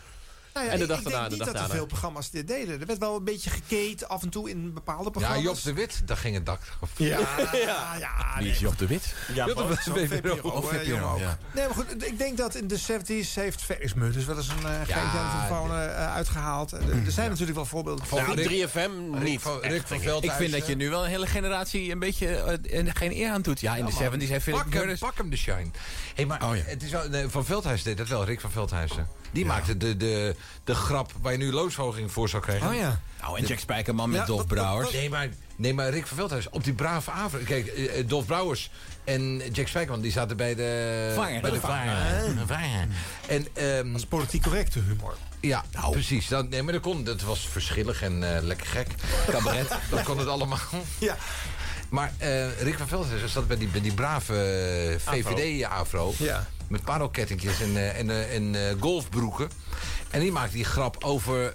S5: Nou ja,
S11: En de
S5: ik-
S11: dag
S5: ik
S11: daarna,
S5: denk
S11: de
S5: niet
S11: dag
S5: dat er
S11: daarna.
S5: veel programma's dit deden. Er werd wel een beetje gekeken af en toe in bepaalde programma's.
S2: Job de Wit, daar ging het dak.
S5: Ja,
S2: ja,
S5: ja.
S10: Wie is Job de Wit?
S2: Ja, dat was
S5: Zo'n VPRO,
S2: VPRO. Of
S5: eh,
S2: VPRO.
S5: jongen ook.
S2: Ja.
S5: Nee, maar goed, ik denk dat in de 70s heeft Felix Meurders wel eens een eh geintje aan de telefoon eh, uitgehaald. Eh, Er zijn natuurlijk wel voorbeelden van.
S11: Nou, 3FM niet. echt, denk ik.
S10: Ik vind dat je nu wel een hele generatie een beetje eh, en geen eer aan doet. Ja, in de 70s heeft Philip Oh,
S2: Pak hem,
S10: Meurders...
S2: pak hem de shine. Hey, maar het is wel, nee, van Veldhuizen deed dat wel, Rick van Veldhuizen. Die maakte de, de, de grap waar je nu loonsverhoging voor zou krijgen.
S10: Oh ja. Nou, en Jack Spijkerman met Dolf Brouwers.
S2: Nee maar, nee, maar Rick van Veldhuizen, op die brave avond. Kijk, eh, eh, Dolf Brouwers en Jack Spijkerman, die zaten bij de...
S10: Vanger.
S2: Bij de
S10: Vanger.
S2: vanger. Vanger. En, ehm,
S5: Politiek correcte humor.
S2: ja,
S5: Nou.
S2: precies. Dat, nee, maar dat kon. Dat was verschillig en eh, lekker gek. Cabaret. dat kon het allemaal.
S5: Ja.
S2: Maar eh, Rick van Veldhuizen zat bij die, bij die brave eh, VVD-afro.
S5: Ja.
S2: Met parelkettingjes en, eh, en, eh, en eh, golfbroeken. En die maakte die grap over eh,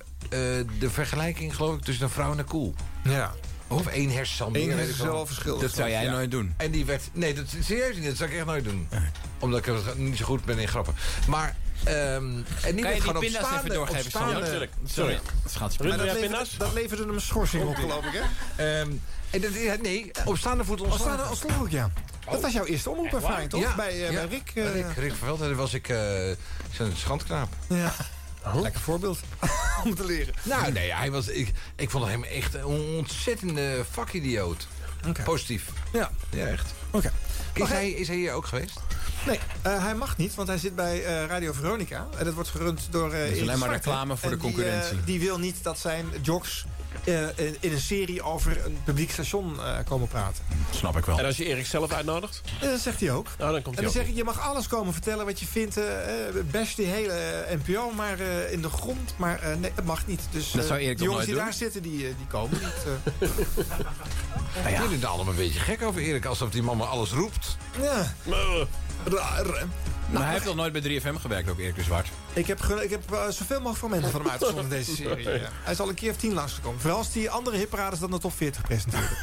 S2: de vergelijking, geloof ik, tussen een vrouw en een koe.
S5: Ja.
S2: Of één hersensam.
S5: Eén
S2: meer, weet ik
S5: hersenzaal
S2: wel.
S5: verschil.
S10: Dat zou jij
S2: Ja.
S10: nooit doen.
S2: En die werd... Nee, dat, serieus niet. Dat zou ik echt nooit doen. Omdat ik er niet zo goed ben in grappen. Maar... ehm, en die
S10: Kan
S2: werd
S10: je die
S2: gewoon op
S10: pinda's
S2: staande-
S10: even
S2: op
S10: doorgeven?
S2: staande-
S10: Sander? Sorry. Schat,
S5: Maar dat, leverde, dat leverde hem een schorsing op, geloof ik, hè?
S2: Ehm, en dat, ja, nee, op staande voet
S5: Als
S2: ontslagen.
S5: vader, als sloeg ik, ja. Dat was jouw eerste omroepervaring, toch?
S2: Ja,
S5: Bij, eh, bij
S2: ja.
S5: Rick. eh,
S2: Rick, Rick van Velden was ik eh, zijn schandknaap. Oh.
S5: Ja. Lekker voorbeeld om te leren.
S2: Nou, nee, hij was, ik, ik vond hem echt een ontzettende vakidioot.
S5: Oké.
S2: Positief.
S5: Ja.
S2: Ja, echt.
S5: Oké.
S2: Is hij, is hij hier ook geweest?
S5: Nee, eh, hij mag niet, want hij zit bij eh, Radio Veronica. En dat wordt gerund door... eh
S10: is
S5: Erik
S10: alleen maar
S5: Zwart, hè?
S10: reclame voor
S5: En
S10: de
S5: die,
S10: concurrentie.
S5: eh, Die, wil niet dat zijn jocks eh, in, in een serie over een publiek station eh, komen praten.
S10: Snap ik wel.
S11: En als je Erik zelf uitnodigt,
S5: En dat zegt hij ook.
S11: nou, dan komt
S5: En
S11: hij
S5: dan
S11: ook.
S5: zeg ik, je mag alles komen vertellen wat je vindt. eh, eh, bash die hele eh, NPO maar eh, in de grond. Maar eh, nee, dat mag niet. Dus
S10: Dat
S5: eh,
S10: zou Erik
S5: de
S10: toch
S5: jongens die
S10: nooit doen?
S5: daar zitten, die, eh, die komen niet. eh. Nou
S2: Jullie zijn allemaal een beetje gek over Erik, alsof die man maar alles roept.
S5: ja,
S11: Eh,
S5: raar.
S10: Maar hij heeft nog nooit bij 3FM gewerkt, ook Erik de Zwart.
S5: Ik heb, ge- ik heb eh, zoveel mogelijk fragmenten van hem uitgezonden in deze serie. ja. Hij is al een keer of tien langsgekomen. Vooral als die andere hipparaders dan de top 40 presenteren.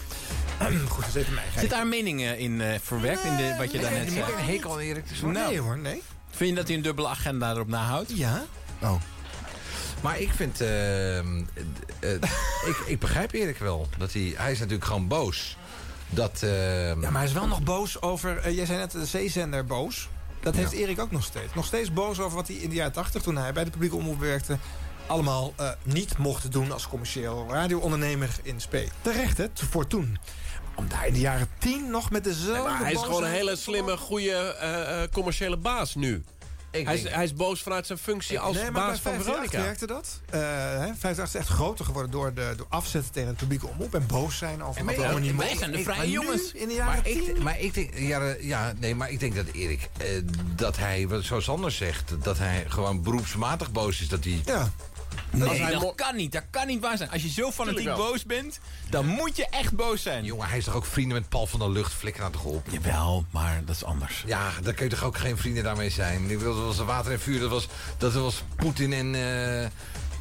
S5: Goed, dat is even mijn
S10: Zit
S5: geintje.
S10: daar meningen in eh, verwerkt, in de, wat je daarnet
S2: Ik
S10: zei?
S2: heb een hekel aan Erik. Dus
S10: Nou.
S5: Nee hoor, nee.
S10: Vind je dat hij een dubbele agenda erop nahoudt? Oh.
S5: Ja?
S2: Maar ik vind... eh, eh, ik, ik begrijp Erik wel. Dat hij, hij is natuurlijk gewoon boos. Dat... eh,
S5: Ja, maar hij is wel nog boos over... eh, jij zei net de zeezender boos. Dat heeft Erik ook nog steeds. Nog steeds boos over wat hij in de jaren 80, toen hij bij de publieke omroep werkte... allemaal eh, niet mocht doen als commercieel radioondernemer in SP. Terecht, hè? t- Voor toen. Om daar in de jaren 10 nog met dezelfde...
S11: maar hij is gewoon een
S5: boosheid-
S11: hele slimme, goede eh, eh, commerciële baas nu.
S2: ik
S11: Hij
S2: denk-
S11: is, hij is boos vanuit zijn functie als
S5: nee, maar
S11: baas
S5: bij
S11: van
S5: 538
S11: Veronica.
S5: werkte dat. Eh, hè, 538 is echt groter geworden door, de, door afzetten tegen het publieke omroep... en boos zijn over wat
S2: maar
S5: we allemaal niet
S10: Wij
S5: mogen.
S10: zijn de
S2: maar
S10: vrije
S2: nu-
S10: jongens.
S5: In de
S2: Maar
S5: jaren 10...
S2: ik, maar ik denk, ja, eh, ja, nee, maar ik denk dat Erik, eh, dat hij, wat- zoals Sander zegt, dat hij gewoon beroepsmatig boos is. Dat hij,
S5: Ja,
S11: Als hij
S10: Nee,
S11: mo-
S10: dat kan niet. Dat kan niet waar zijn. Als je zo fanatiek
S11: Tuurlijk wel.
S10: boos bent, dan moet je echt boos zijn.
S2: jongen, hij is toch ook vrienden met Paul van der Lucht, flikker aan de golf.
S10: Jawel, maar dat is anders.
S2: Ja, daar kun je toch ook geen vrienden daarmee zijn. Ik bedoel, dat was water en vuur, dat was, dat was Poetin en, eh,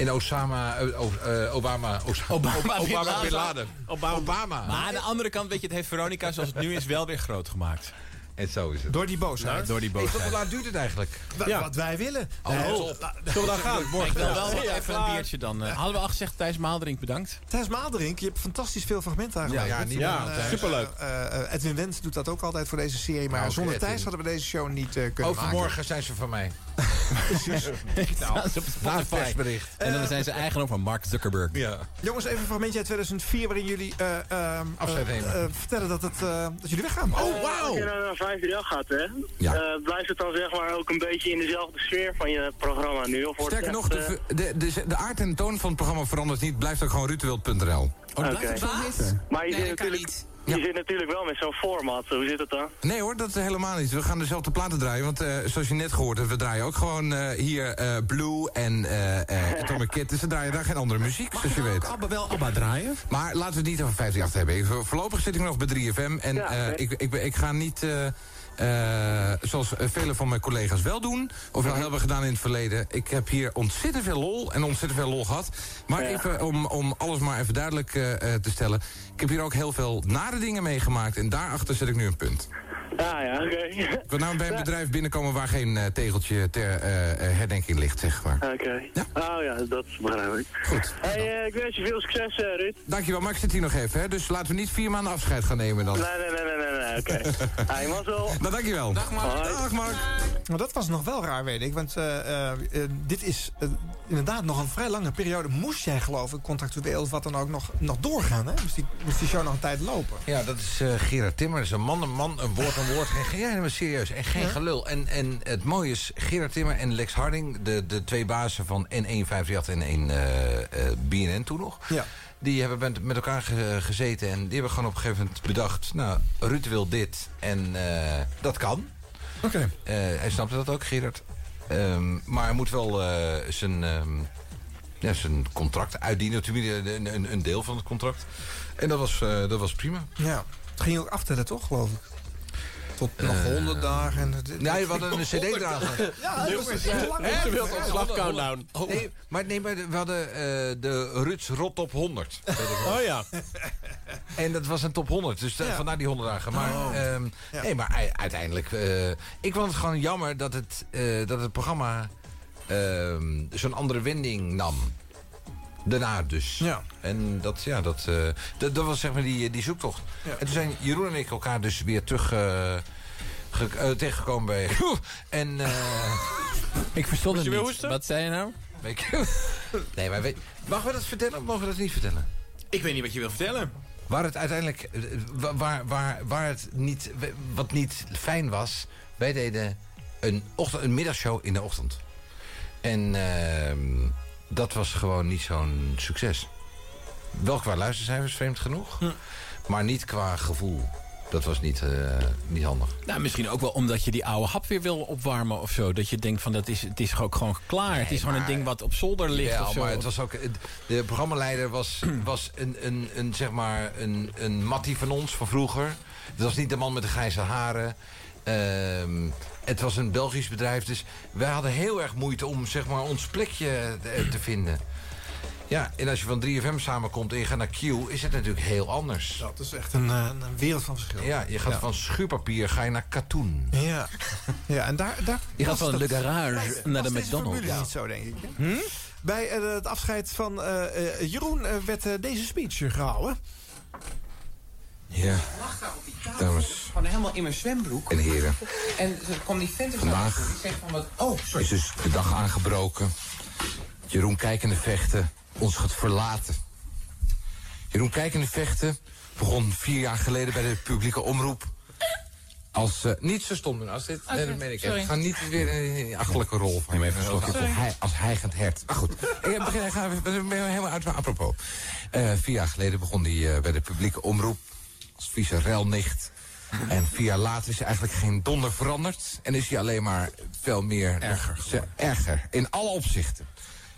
S2: en Osama, eh, O- eh, Obama, Osa-
S10: Obama Bin
S2: Obama
S10: Laden.
S2: Bin Laden. Obama.
S10: Maar aan de andere kant, weet je, het heeft Veronica zoals het nu is wel weer groot gemaakt.
S2: En zo is het.
S5: door die boosheid.
S10: Door die
S2: Hey, tot hoe
S10: boosheid. Oh,
S2: laat duurt het eigenlijk?
S5: Wa- Wat wij willen. Nee,
S2: Alles op.
S11: Zullen we dan gaan?
S10: Ik wil wel
S11: Ja,
S10: even een
S11: klaar.
S10: biertje dan. eh, hadden we al gezegd, Thijs Maaldrink, bedankt.
S5: Thijs Maalderink, je hebt fantastisch veel fragmenten aangeleverd.
S2: Ja, ja, niet normaal,
S5: eh,
S2: Thijs.
S11: Superleuk.
S5: eh, eh, Edwin Wendt doet dat ook altijd voor deze serie. Maar
S2: Nou,
S5: zonder
S2: Edwin.
S5: Thijs hadden we deze show niet eh, kunnen
S2: Overmorgen zijn ze van mij.
S5: maken.
S10: Precies.
S2: Digitaal.
S10: Staan ze op
S2: Nou, Na het
S10: Spotify.
S2: persbericht.
S10: En dan zijn ze eigenaar van Mark Zuckerberg.
S2: Ja.
S5: Jongens, even een fragmentje uit 2004 waarin jullie eh, ehm,
S2: Afscheid
S5: eh,
S2: nemen. Oh,
S5: eh, vertellen dat, het, eh, dat jullie weggaan.
S16: Eh, Als je naar een 5 gaat, hè, eh, blijft het dan zeg maar ook een beetje in dezelfde sfeer van je programma nu? Of wordt
S15: Sterker
S16: het
S15: nog,
S16: echt,
S15: de,
S16: eh,
S15: de, de, de aard en toon van het programma verandert niet. Blijft ook gewoon
S10: Oh,
S15: rutewild.nl.
S2: Oh,
S16: oké. Maar je, zit natuurlijk, je zit natuurlijk wel met zo'n format, hoe zit het dan?
S15: Nee hoor, dat is helemaal niet. We gaan dezelfde platen draaien. Want eh, zoals je net gehoord hebt, we draaien ook gewoon eh, hier eh, Blue en eh eh Atomic Kid. Dus we draaien daar geen andere muziek, zoals je weet.
S10: Abba wel Abba draaien?
S15: Maar laten we het niet over 538 hebben. Ik- voor- voorlopig zit ik nog bij 3FM. En eh, ik, ik, ben- ik ga niet... eh, eh, zoals eh, vele van mijn collega's wel doen, of
S16: Mhm.
S15: wel hebben gedaan in het verleden. Ik heb hier ontzettend veel lol en ontzettend veel lol gehad. Maar even om, om alles maar even duidelijk eh, eh, te stellen. Ik heb hier ook heel veel nare dingen meegemaakt en daarachter zet ik nu een punt.
S16: Ah ja, oké.
S15: Ik wil nou bij een bedrijf binnenkomen waar geen eh, tegeltje ter eh, eh, herdenking ligt, zeg maar.
S16: Oké. Oh ja, dat begrijp ik.
S15: Goed.
S16: Hey, eh, ik wens je veel succes, eh, Ruud.
S15: Dankjewel, maar ik zit hier nog even, hè, dus laten we niet vier maanden afscheid gaan nemen dan.
S16: Nee, nee, nee, nee, nee, nee, oké. Hey, mazzel.
S15: Nou, dankjewel. Dag,
S16: Hoi.
S15: Dag, Mark.
S5: Maar Nou, dat was nog wel raar, weet ik. Want eh, eh, eh, dit is eh, inderdaad nog een vrij lange periode. Moest jij geloven, contractueel of wat dan ook, nog, nog doorgaan. Hè? Moest, die, moest die show nog een tijd lopen.
S2: Ja, dat is eh, Gerard Timmer. een man, een man, een woord, een woord. Geen, geen, ja, maar serieus. En geen
S5: Ja.
S2: gelul. En, en het mooie is, Gerard Timmer en Lex Harding... de, de twee bazen van N158 en 1 eh, eh, BNN toen nog...
S5: Ja.
S2: die hebben met, met elkaar ge- eh, gezeten... en die hebben gewoon op een gegeven moment bedacht... nou, Ruud wil dit en eh, dat kan.
S5: Oké.
S2: Eh, hij snapte dat ook, Gerard. Ehm, maar hij moet wel eh, zijn, ehm, ja, zijn contract uitdienen. Tenminste, een, een, een deel van het contract. En dat was, eh, dat was prima.
S5: Ja, het ging je ook aftellen, toch, geloof ik? Tot nog
S2: Eh,
S5: honderd dagen. En, het-
S2: Nee, we hadden een cd-drager.
S5: Ja, dat was heel lang.
S2: Hè?
S5: Ze wilden
S2: Ja,
S5: ontslag
S2: we hadden-
S5: countdown.
S2: Oh. Nee, maar, nee, maar we hadden eh, de Ruts Rot op 100. weet ik nog.
S10: Oh ja.
S2: En dat was een top 100, dus eh,
S15: Ja.
S2: vandaar die 100 dagen. Maar,
S15: Oh.
S2: ehm, nee, maar ei- uiteindelijk... eh, ik vond het gewoon jammer dat het, eh, dat het programma ehm, zo'n andere wending nam. Daarna dus. Ja. En dat, ja, dat, eh, dat, dat was zeg maar die, die zoektocht. En toen zijn Jeroen en ik elkaar dus weer terug... eh, ge- eh, tegengekomen bij... En... eh,
S10: ik
S2: verstond
S10: Moet je het weer niet. hoesten? Wat zei je nou?
S2: nee, maar weet, mogen we dat vertellen of mogen we dat niet vertellen?
S10: Ik weet niet wat je wil vertellen.
S2: Waar het uiteindelijk... eh, wa- Waar, waar, waar het niet, wat niet fijn was... Wij deden een, ochtend, een middagshow in de ochtend. En ehm, dat was gewoon niet zo'n succes. Wel qua luistercijfers vreemd genoeg. Maar niet qua gevoel. Dat was niet, eh, niet handig.
S10: Nou, misschien ook wel omdat je die oude hap weer wil opwarmen of zo. Dat je denkt van, dat is, het is ook gewoon klaar. het is gewoon een ding wat op zolder ligt
S2: Ja,
S10: of zo.
S2: maar het was ook... het- De programmaleider was, was een, een, een, zeg maar, een, een mattie van ons van vroeger. Het was niet de man met de grijze haren. Ehm, het was een Belgisch bedrijf. Dus wij hadden heel erg moeite om zeg maar, ons plekje eh, te, te vinden. Ja, en als je van 3FM samenkomt en je gaat naar Q... is het natuurlijk heel anders.
S5: Dat is echt een, eh, een wereld van verschil.
S2: Ja, je gaat
S5: Ja.
S2: van schuurpapier ga je naar katoen.
S5: Ja. ja, en daar... daar
S2: Je gaat
S5: was
S2: van
S5: dat-
S2: Le Garage
S5: was-
S2: naar de
S5: was deze
S2: McDonald's.
S5: formule
S2: Ja. Hm?
S5: niet zo, denk ik. hè? Bij eh, het afscheid van eh, eh, Jeroen eh, werd eh, deze speech eh, gehouden.
S2: Ja, dames
S7: Gewoon helemaal in mijn zwembroek.
S2: en heren.
S7: En er kwam die vent ervan
S2: Vandaag
S7: die zegt van wat... Oh, sorry.
S2: is dus de dag aangebroken. Jeroen Kijkende Vechten ons gaat verlaten. Jeroen Kijkende Vechten begon vier jaar geleden bij de publieke omroep. Als, eh, niet zo stom doen als dit.
S15: Oké,
S2: nee, dat meen ik. echt.
S15: sorry.
S2: Ik ga niet weer in die achterlijke rol van
S15: Neem even een slokje. Sorry.
S2: Hij, als hijgend hert. Maar goed, ik begin, ik ga, ik ben helemaal uit mijn apropos. Eh, vier jaar geleden begon hij eh, bij de publieke omroep. Als vieze relnicht. En vier jaar later is er eigenlijk geen donder veranderd. En is hij alleen maar veel meer... Erger. erger. In alle opzichten.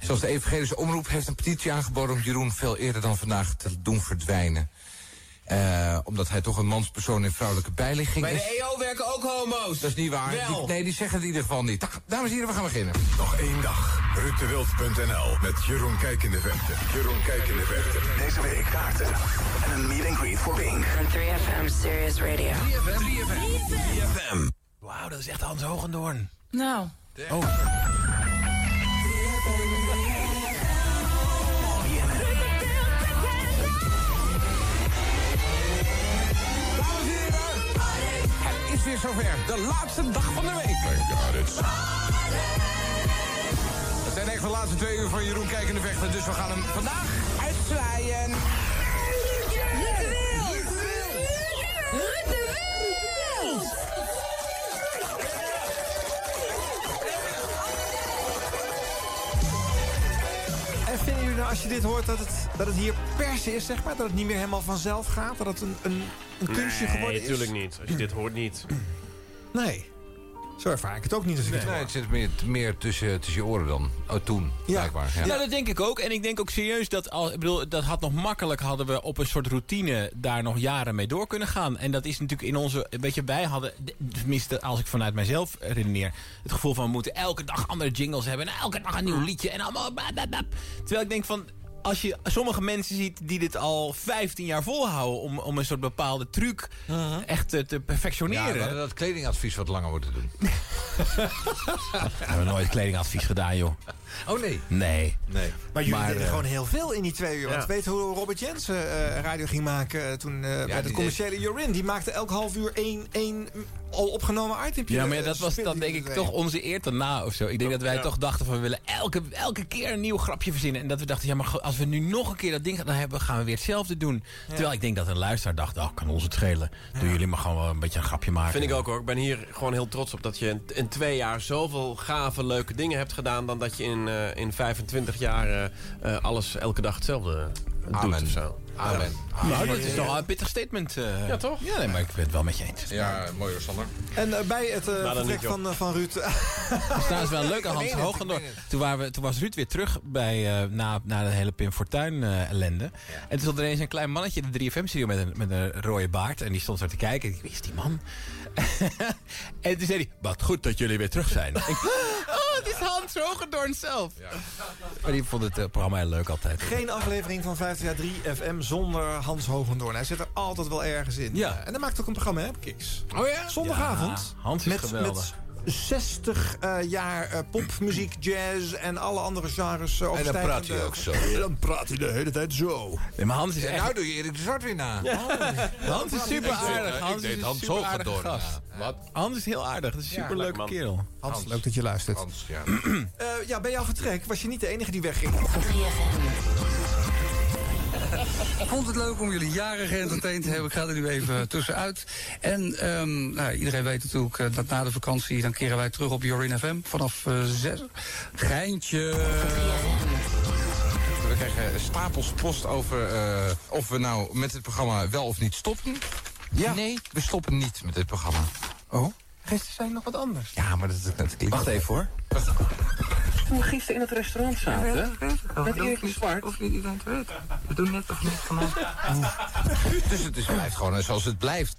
S2: Zoals de evangelische omroep heeft een petitie aangeboden... om Jeroen veel eerder dan vandaag te doen verdwijnen. Eh, omdat hij toch een manspersoon in vrouwelijke bijligging
S7: Bij
S2: is.
S7: de EO werken ook homo's.
S2: Dat is niet waar. Die-
S7: Wel.
S2: nee, die zeggen het in ieder geval niet. Dag, Dames en heren, we gaan beginnen.
S23: Nog één dag. Ruttewild.nl met Jeroen Kijkende Vechten. Jeroen Kijkende Vechten. Deze week kaarten. En een meet and greet voor Pink.
S32: From 3FM Serious Radio.
S23: 3FM. 3FM.
S10: Wauw, dat is echt Hans Hogendoorn.
S28: Nou.
S10: Oh.
S15: Het is weer zover. De laatste dag van de week.
S23: Thank God it's
S25: zijn echt de laatste twee uur van Jeroen Kijkende Vechten. Dus we gaan hem vandaag uitzwaaien.
S5: En vinden jullie nou, als je dit hoort, dat het, dat het hier pers is, zeg maar? Dat het niet meer helemaal vanzelf gaat? Dat het een, een, een kunstje geworden
S11: Nee,
S5: is?
S11: natuurlijk niet. Als je dit hoort, niet.
S5: Nee. Zo ervaar ik het ook niet als ik
S2: Nee,
S5: het hoor.
S2: het zit meer, meer tussen, tussen je oren dan. Oh, toen, blijkbaar.
S10: Ja. dat denk ik ook. En ik denk ook serieus dat al, ik bedoel, dat had nog makkelijk hadden we op een soort routine daar nog jaren mee door kunnen gaan. En dat is natuurlijk in onze, weet je, wij hadden, tenminste als ik vanuit mijzelf redeneer, het gevoel van we moeten elke dag andere jingles hebben en elke dag een
S2: Mm.
S10: nieuw liedje en allemaal. bla, bla, bla. Terwijl ik denk van, als je sommige mensen ziet die dit al 15 jaar volhouden om, om een soort bepaalde truc echt te, te
S2: Mm-hmm. Ja, we
S10: perfectioneren.
S2: hadden dat kledingadvies wat langer moeten doen.
S10: We hebben nooit kledingadvies gedaan, joh.
S2: Oh nee.
S10: Nee.
S2: Nee.
S5: Maar jullie deden
S10: eh,
S5: gewoon heel veel in die twee uur. Want
S10: ja.
S5: weet hoe Robert Jensen eh, radio ging maken eh, toen eh, bij de
S10: die
S5: commerciële Jorin. Die maakte elk half uur één, één mm, al opgenomen itempje.
S10: Ja, maar ja,
S5: eh,
S10: dat was
S5: spitten
S10: dan
S5: die
S10: denk ik
S5: erin.
S10: toch onze eer ten na of zo. Ik denk dat wij
S5: ja.
S10: toch dachten van we willen elke, elke keer een nieuw grapje verzinnen. En dat we dachten, ja maar go- als we nu nog een keer dat ding gaan dan hebben, gaan we weer hetzelfde doen. Terwijl ik denk dat een luisteraar dacht, oh kan ons het schelen. Doen jullie maar gewoon wel een beetje een grapje maken.
S11: Vind ik ook hoor. Ik ben hier gewoon heel trots op dat je in, in twee jaar zoveel gave, leuke dingen hebt gedaan. dan dat je in, eh, in 25 jaar eh, eh, alles elke dag hetzelfde eh, doet of zo.
S2: Amen.
S10: Nou, dat is toch wel een pittig statement. eh.
S11: Ja, toch?
S10: Ja, nee, maar ik ben het wel met je eens.
S2: Ja, mooi hoor, Sander.
S5: En eh, bij het eh
S10: dan
S5: vertrek
S10: niet, joh.
S5: van, eh, van Ruud...
S10: Dat is trouwens wel leuk
S5: Ik
S10: aan Hans
S5: meen het,
S10: Hoogendoor.
S5: ik meen het.
S10: Toen, waren we, toen was Ruud weer terug bij, eh, na, na de hele Pim Fortuyn eh, ellende. En toen stond er ineens een klein mannetje in de 3FM-studio met een, met een rode baard. En die stond zo te kijken. Ik, Wie is die man? en toen zei hij, wat goed dat jullie weer terug zijn. Ik- oh, het is Hans Hoogendorn zelf. maar die vond het eh, programma heel leuk altijd.
S5: Geen aflevering van 50 jaar 3 FM zonder Hans Hogendoorn. Hij zit er altijd wel ergens in. Eh,
S10: Ja.
S5: En dat maakt ook een programma, hè, op Kiks.
S10: Oh ja?
S5: Zondagavond.
S10: Ja, Hans is
S5: met,
S10: geweldig.
S5: Met 60 eh, jaar eh, popmuziek, jazz en alle andere genres uh,
S2: En dan praat hij ook zo.
S5: dan praat hij de hele tijd zo.
S10: Nee, maar Hans is
S2: En
S10: echt...
S2: nou doe je Erik de Zwart weer na.
S10: Hans is super aardig.
S2: Ik
S10: Hans
S2: deed
S10: is een
S2: Hans
S10: super aardig
S2: Hoogendorn na.
S10: gast. Hans is heel aardig. Dat is een
S2: Ja,
S10: superleuke
S2: leuk man.
S10: kerel.
S5: Hans, leuk dat je luistert.
S2: Hans, ja.
S5: Eh, ja, bij jouw vertrek was je niet de enige die wegging.
S15: vond het leuk om jullie jaren geëntertaind te hebben. Ik ga er nu even eh, tussenuit. En ehm, nou, iedereen weet natuurlijk eh, dat na de vakantie... dan keren wij terug op Jorin FM vanaf eh, zes. Geintje.
S25: We krijgen stapels post over eh, of we nou met het programma wel of niet stoppen. Ja. Nee, we stoppen niet met dit programma. Oh?
S15: Gisteren zijn nog wat anders.
S25: Ja, maar dat is net klinkt. Wacht even hoor.
S15: Toen we gisteren in het restaurant zaten... met Erik de Zwart. Of niet iedereen te weten. We doen net of niet vanaf.
S2: Dus het is, blijft gewoon zoals het blijft.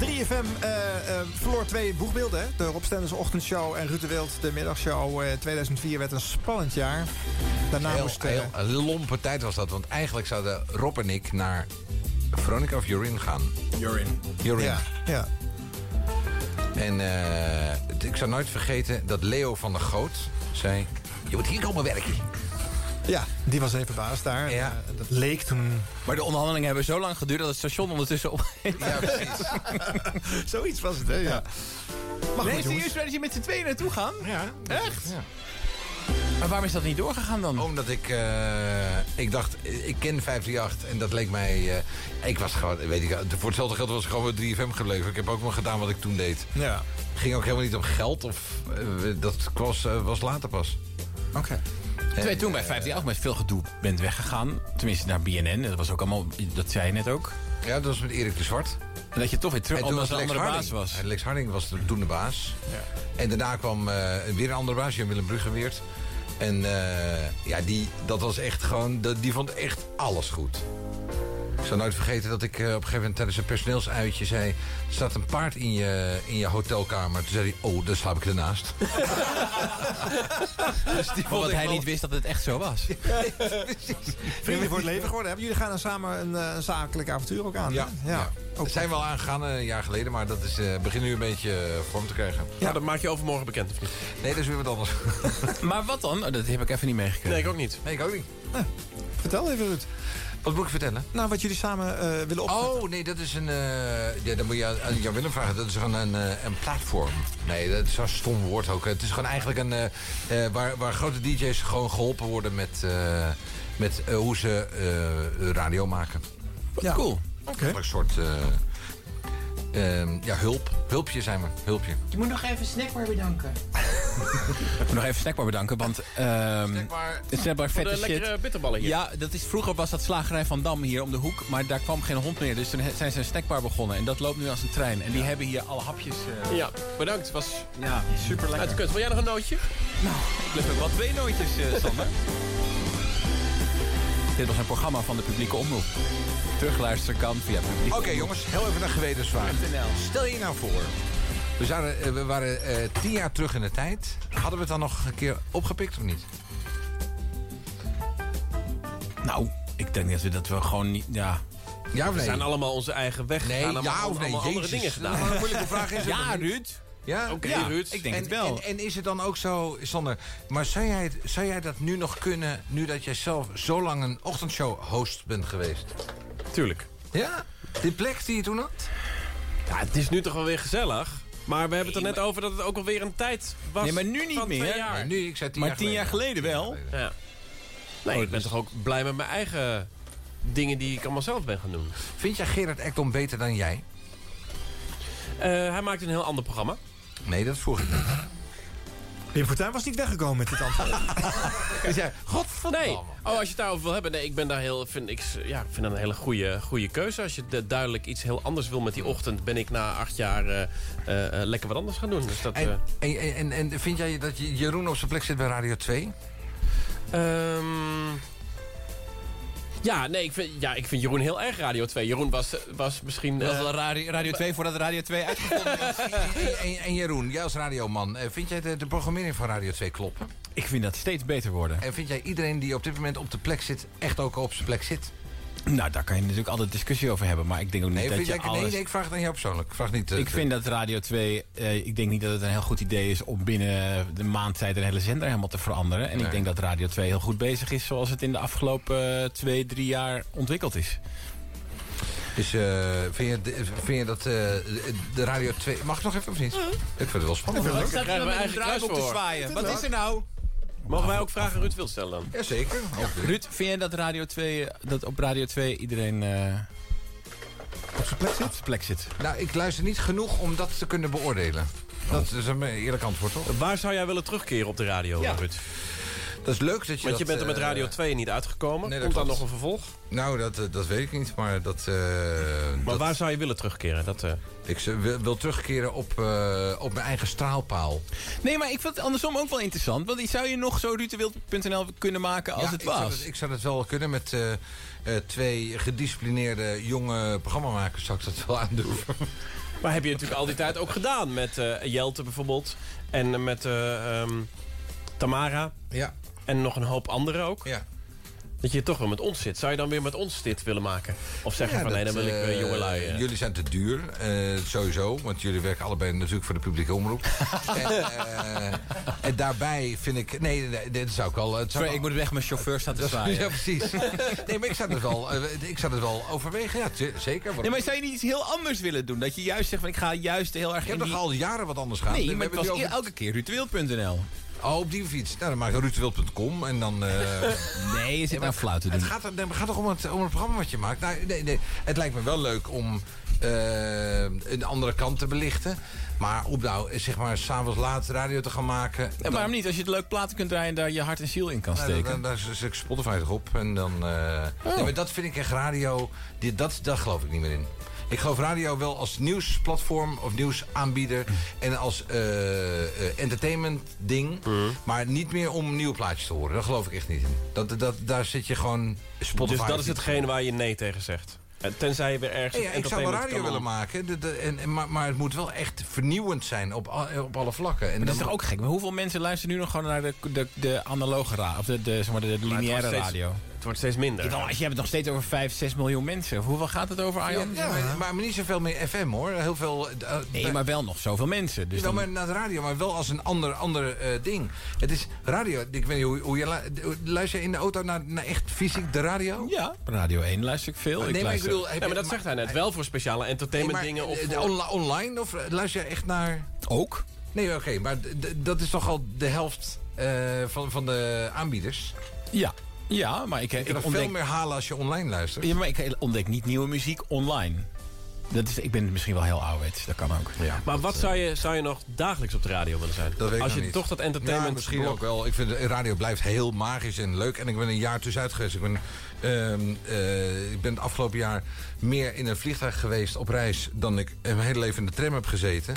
S5: 3FM eh, eh, verloor twee boegbeelden. Hè? De Rob Stenders ochtendshow en Ruud de Wild de middagshow. eh, 2004 werd een spannend jaar. Daarna
S2: Heel,
S5: moest... eh,
S2: heel een lompe tijd was dat, want eigenlijk zouden Rob en ik naar Veronica of Jorin gaan. Jorin. Jorin.
S5: Ja, ja.
S2: En eh, het- ik zou nooit vergeten dat Leo van der Goot zei... Je moet hier komen werken.
S5: Ja, die was even baas daar. Eh, dat leek toen...
S10: Maar de onderhandelingen hebben zo lang geduurd dat het station ondertussen op.
S2: Ja, precies.
S5: Zoiets was het, hè? Ja. Maar
S10: nee,
S5: goed, jongens.
S10: serieus, waar je met z'n tweeën naartoe gaan?
S5: Ja.
S10: Echt? Maar waarom is dat niet doorgegaan dan?
S2: Omdat ik, eh, ik dacht, eh, ik ken 538 en dat leek mij... eh, ik was gewoon, weet ik, voor hetzelfde geld was ik gewoon bij 3FM gebleven. Ik heb ook nog gedaan wat ik toen deed.
S5: Ja.
S2: Ging ook helemaal niet om geld of eh, dat was, eh, was later pas. eh,
S5: Oké.
S10: Terwijl je toen bij 158 met veel gedoe bent weggegaan. Tenminste naar BNN. Dat was ook allemaal, dat zei je net ook.
S2: Ja, dat was met Erik de Zwart.
S10: En dat je toch weer terug,
S2: En toen
S10: omdat
S2: was
S10: er een
S2: Lex
S10: andere
S2: Harding.
S10: baas was.
S2: En Lex Harding was de- toen de baas. En daarna kwam eh, weer een andere baas, Jan-Willem Bruggeweert. En eh, ja, die, dat was echt gewoon, dat- die vond echt alles goed. Ik zal nooit vergeten dat ik eh, op een gegeven moment tijdens een personeelsuitje zei... er staat een paard in je, in je hotelkamer. Toen zei hij, oh, daar slaap ik ernaast.
S10: Dus die Omdat hij niet wist dat het echt zo was.
S5: Vrienden voor het leven geworden. Hebben jullie gaan dan samen een, eh, een zakelijk avontuur ook aan?
S2: Ja,
S5: hè?
S2: ja. Dat zijn we al aangegaan eh, een jaar geleden, maar dat is, eh begint nu een beetje eh, vorm te krijgen.
S11: Ja, dat maak je overmorgen bekend of niet?
S2: Nee, dat is weer wat anders.
S10: maar wat dan? Oh, dat heb ik even niet meegekregen.
S11: Nee, ik ook niet.
S2: Nee, ik ook niet.
S5: Vertel even, Ruud.
S2: Wat moet ik vertellen?
S5: Nou, wat jullie samen eh, willen op.
S2: Oh, nee, dat is een... eh, ja, dan moet je aan, aan Jan Willem vragen. Dat is gewoon een, eh, een platform. Nee, dat is zo'n stom woord ook. Het is gewoon eigenlijk een... eh, eh, waar, waar grote DJ's gewoon geholpen worden met, eh, met eh, hoe ze eh, radio maken.
S5: Ja.
S2: Cool. Een soort... eh, ehm, ja, hulp. Hulpje zijn we. Hulpje.
S36: Je moet nog even Snackbar bedanken.
S10: Ik moet nog even Snackbar bedanken, want... ehm
S2: snackbar,
S10: snackbar
S11: Voor de
S10: vette shit.
S11: lekkere bitterballetjes.
S10: Ja, dat is, vroeger was dat slagerij Van Dam hier om de hoek. Maar daar kwam geen hond meer, dus toen he- zijn ze een snackbar begonnen. En dat loopt nu als een trein. En die hebben hier alle hapjes... eh,
S11: Ja, bedankt. Het was
S10: ja, super
S11: uit de
S10: lekker.
S11: kunst. Wil jij nog een nootje?
S10: Ik lust ook wel twee nootjes, eh, Sander. Dit was een programma van de publieke omroep. Terugluisteren kan via publiek.
S2: Oké jongens, heel even een gewetensvraag. Stel je nou voor, we, zouden, eh, we waren eh, tien jaar terug in de tijd. Hadden we het dan nog een keer opgepikt of niet?
S10: Nou, ik denk dat we, dat we gewoon niet... Ja,
S2: Ja of
S11: We
S2: nee?
S11: zijn allemaal onze eigen weg
S2: Nee,
S11: gegaan. allemaal-
S2: ja of nee,
S11: allemaal andere
S2: Jezus.
S11: dingen
S2: Dat is
S11: gedaan.
S2: maar een moeilijke vraag is het
S10: ja
S2: nog niet.
S10: Ruud.
S2: Ja?
S11: Oké,
S10: Ja,
S11: Ruud.
S10: ik denk
S2: en,
S10: het wel.
S2: En, en is het dan ook zo, Sander, maar zou jij, het- zou jij dat nu nog kunnen... nu dat jij zelf zo lang een ochtendshow-host bent geweest?
S11: Tuurlijk.
S2: Ja? Die plek die je toen had?
S11: Ja, het is nu toch wel weer gezellig. Maar we hebben het er net over dat het ook alweer een tijd was.
S10: Nee, maar nu niet
S11: van twee
S10: meer.
S11: jaar.
S2: Nee, nu, ik zei tien
S10: Maar
S2: jaar
S10: tien jaar geleden wel. Oh, dus-
S11: Ja. Nee, ik ben toch ook blij met mijn eigen dingen die ik allemaal zelf ben gaan doen.
S2: Vind jij Gerard Ekdom beter dan jij?
S11: Eh, hij maakt een heel ander programma.
S2: Nee, dat vroeg ik niet.
S5: Wim Fortuyn was niet weggekomen met dit antwoord.
S2: Dus jij, godverdomme.
S11: Nee. Oh, als je het daarover wil hebben. Nee, ik ben daar heel. Vind, ik, ja, ik vind dat een hele goede, goede keuze. Als je du- duidelijk iets heel anders wil met die ochtend, ben ik na acht jaar eh, eh, eh, lekker wat anders gaan doen. Dus dat.
S2: En, en, en, en vind jij dat je- Jeroen op zijn plek zit bij Radio 2?
S11: eh, ehm, ja, nee, ik vind, ja, ik vind Jeroen heel erg Radio 2. Jeroen was, was misschien.
S10: Dat
S11: eh,
S10: was wel radio, radio 2 voordat Radio 2 uitgevonden
S2: En, en- en Jeroen, jij als radioman, eh, vind jij de, de programmering van Radio 2 kloppen?
S10: Ik vind dat steeds beter worden.
S2: En vind jij iedereen die op dit moment op de plek zit, echt ook op zijn plek zit?
S10: Nou, daar kan je natuurlijk altijd discussie over hebben. Maar ik denk ook niet
S2: Nee,
S10: dat
S2: vind
S10: je
S2: jij,
S10: alles...
S2: nee, nee, ik vraag het aan jou persoonlijk. Ik vraag niet. eh,
S10: ik vind dat Radio 2... eh, ik denk niet dat het een heel goed idee is om binnen de maand tijd... een hele zender helemaal te veranderen. En
S2: Nee.
S10: ik denk dat Radio 2 heel goed bezig is... zoals het in de afgelopen eh, twee, drie jaar ontwikkeld is.
S2: Dus eh, vind, je, de- vind je dat eh, de- de Radio 2... Mag ik nog even of niet? Ik vind het wel spannend.
S11: dan krijgen we eigen kruis
S10: op te
S11: voor.
S10: zwaaien. Wat is er nou?
S11: Mogen wij ook vragen Ruud wil stellen dan?
S2: Jazeker. Ook-
S10: Ruud, vind jij dat, Radio 2, dat op Radio 2 iedereen... eh, op zijn plek zit? plek zit.
S2: Nou, ik luister niet genoeg om dat te kunnen beoordelen. Dat
S10: Oh.
S2: is een eh, eerlijk antwoord, toch?
S11: Waar zou jij willen terugkeren op de radio,
S2: Ja.
S11: Ruud?
S2: Dat is leuk dat je
S11: Want je
S2: dat,
S11: bent er met
S2: eh,
S11: Radio 2 niet uitgekomen.
S2: nee, dat
S11: Komt dan
S2: klopt.
S11: nog een vervolg?
S2: Nou, dat, eh, dat weet ik niet, maar dat... eh,
S11: Maar
S2: dat-
S11: waar zou je willen terugkeren? Dat, eh,
S2: Ik z- wil, wil terugkeren op, eh, op mijn eigen straalpaal.
S10: Nee, maar ik vind het andersom ook wel interessant. Want die zou je nog zo rutewild.nl kunnen maken als
S2: Ja,
S10: het
S2: ik zou
S10: was.
S2: dat- ik zou dat wel kunnen met eh, eh, twee gedisciplineerde jonge programmamakers. Zou ik dat wel aandurven?
S11: maar heb je natuurlijk al die tijd ook gedaan. Met eh, Jelte bijvoorbeeld. En eh, met eh, ehm, Tamara.
S2: Ja,
S11: En nog een hoop anderen ook.
S2: ja.
S11: Dat je toch wel met ons zit. Zou je dan weer met ons dit willen maken? Of zeggen van nee, dan wil ik
S2: eh,
S11: uh, jongelui. eh.
S2: Jullie zijn te duur, eh, sowieso. Want jullie werken allebei natuurlijk voor de publieke omroep. en, eh, en daarbij vind ik... Nee, nee, nee, dit zou ik wel... eh, Het zou
S10: Sorry, ik moet weg mijn chauffeur staan te zwaaien.
S2: Ja, precies. Nee, maar ik zou het wel, eh, ik zou het wel overwegen. Ja, tu- zeker.
S10: Nee, maar zou je niet iets heel anders willen doen? Dat je juist zegt van ik ga juist heel erg
S2: Ik heb
S10: in
S2: toch
S10: die...
S2: al jaren wat anders gehad.
S10: Nee,
S2: We
S10: maar het
S2: hebben
S10: was
S2: nu
S10: eer-
S2: over-
S10: elke keer rutewild.nl.
S2: Oh, op die fiets. Nou, dan maak je ruudwild.com en dan... eh,
S10: Nee, je zit nou flauw te doen.
S2: het, gaat, er- nee, maar het gaat toch om het, om het programma wat je maakt? Nou, nee, nee, het lijkt me wel leuk om eh, een andere kant te belichten. Maar om nou, eh, zeg maar, s'avonds laat radio te gaan maken...
S10: En
S2: dan-
S10: waarom niet? Als je het leuk platen kunt draaien en daar je hart en ziel in kan
S2: nou, dan-
S10: steken. Oh.
S2: dan- Daar zet ik Spotify toch op. En dan, eh, nee, maar dat vind ik echt radio... Die, dat, daar geloof ik niet meer in. Ik geloof radio wel als nieuwsplatform of nieuwsaanbieder... en als eh, eh, entertainment ding.
S11: Mhm.
S2: Maar niet meer om nieuwe plaatjes te horen. Daar geloof ik echt niet in. Dat, dat, daar zit je gewoon Spotify...
S11: dus dat
S2: of
S11: is
S2: iets
S11: hetgeen waar je nee tegen zegt.
S10: Eh,
S11: En Tenzij je weer ergens...
S2: Hey, ik zou wel
S11: entertainment
S2: radio
S11: kan
S2: willen maken, de- de- en, en- maar, maar het moet wel echt vernieuwend zijn op, al- eh, op alle vlakken. En
S10: Maar dat
S2: dan
S10: is toch ook gek? Maar hoeveel mensen luisteren nu nog gewoon naar de, de, de analoge radio? Of de, de, zeg maar, de, de
S11: Maar het
S10: lineaire
S11: wordt steeds-
S10: radio?
S11: Het wordt steeds minder.
S10: Jawel, als je hebt het nog steeds over 5, 6 miljoen mensen. Hoeveel gaat het over, Arjan?
S2: Ja, maar, maar niet zoveel meer FM hoor. Heel veel. eh,
S10: nee, maar wel nog zoveel mensen. Dus dan-
S2: wel maar naar de radio, maar wel als een ander, ander eh, ding. Het is radio. Ik weet niet hoe, hoe je lu- luister je in de auto naar, naar echt fysiek de radio?
S10: Ja. Radio 1 luister ik veel.
S2: Nee, maar ik
S10: luister-
S2: bedoel, heb
S11: Ja, maar
S2: je-
S11: dat zegt hij net. Wel voor speciale entertainment dingen. Of voor-
S2: online of eh, luister je echt naar?
S10: Ook.
S2: Nee, oké, maar d- d- dat is toch al de helft eh, van, van de aanbieders.
S10: Ja. Ja, maar ik,
S2: Je
S10: ik
S2: kan nog
S10: ontdek-
S2: veel meer halen als je online luistert.
S10: Ja, maar ik ontdek niet nieuwe muziek online. Dat is, ik ben misschien wel heel ouderwets, dat kan ook. Ja.
S11: Maar wat zou je, zou je nog dagelijks op de radio willen zijn?
S2: Dat weet ik
S11: Als je
S2: nog niet.
S11: toch dat entertainment...
S2: Ja, misschien
S11: blok-
S2: ook wel. Ik vind de radio blijft heel magisch en leuk. En ik ben een jaar tussenuit geweest. Ik ben, ehm, eh, ik ben het afgelopen jaar meer in een vliegtuig geweest op reis... dan ik mijn hele leven in de tram heb gezeten.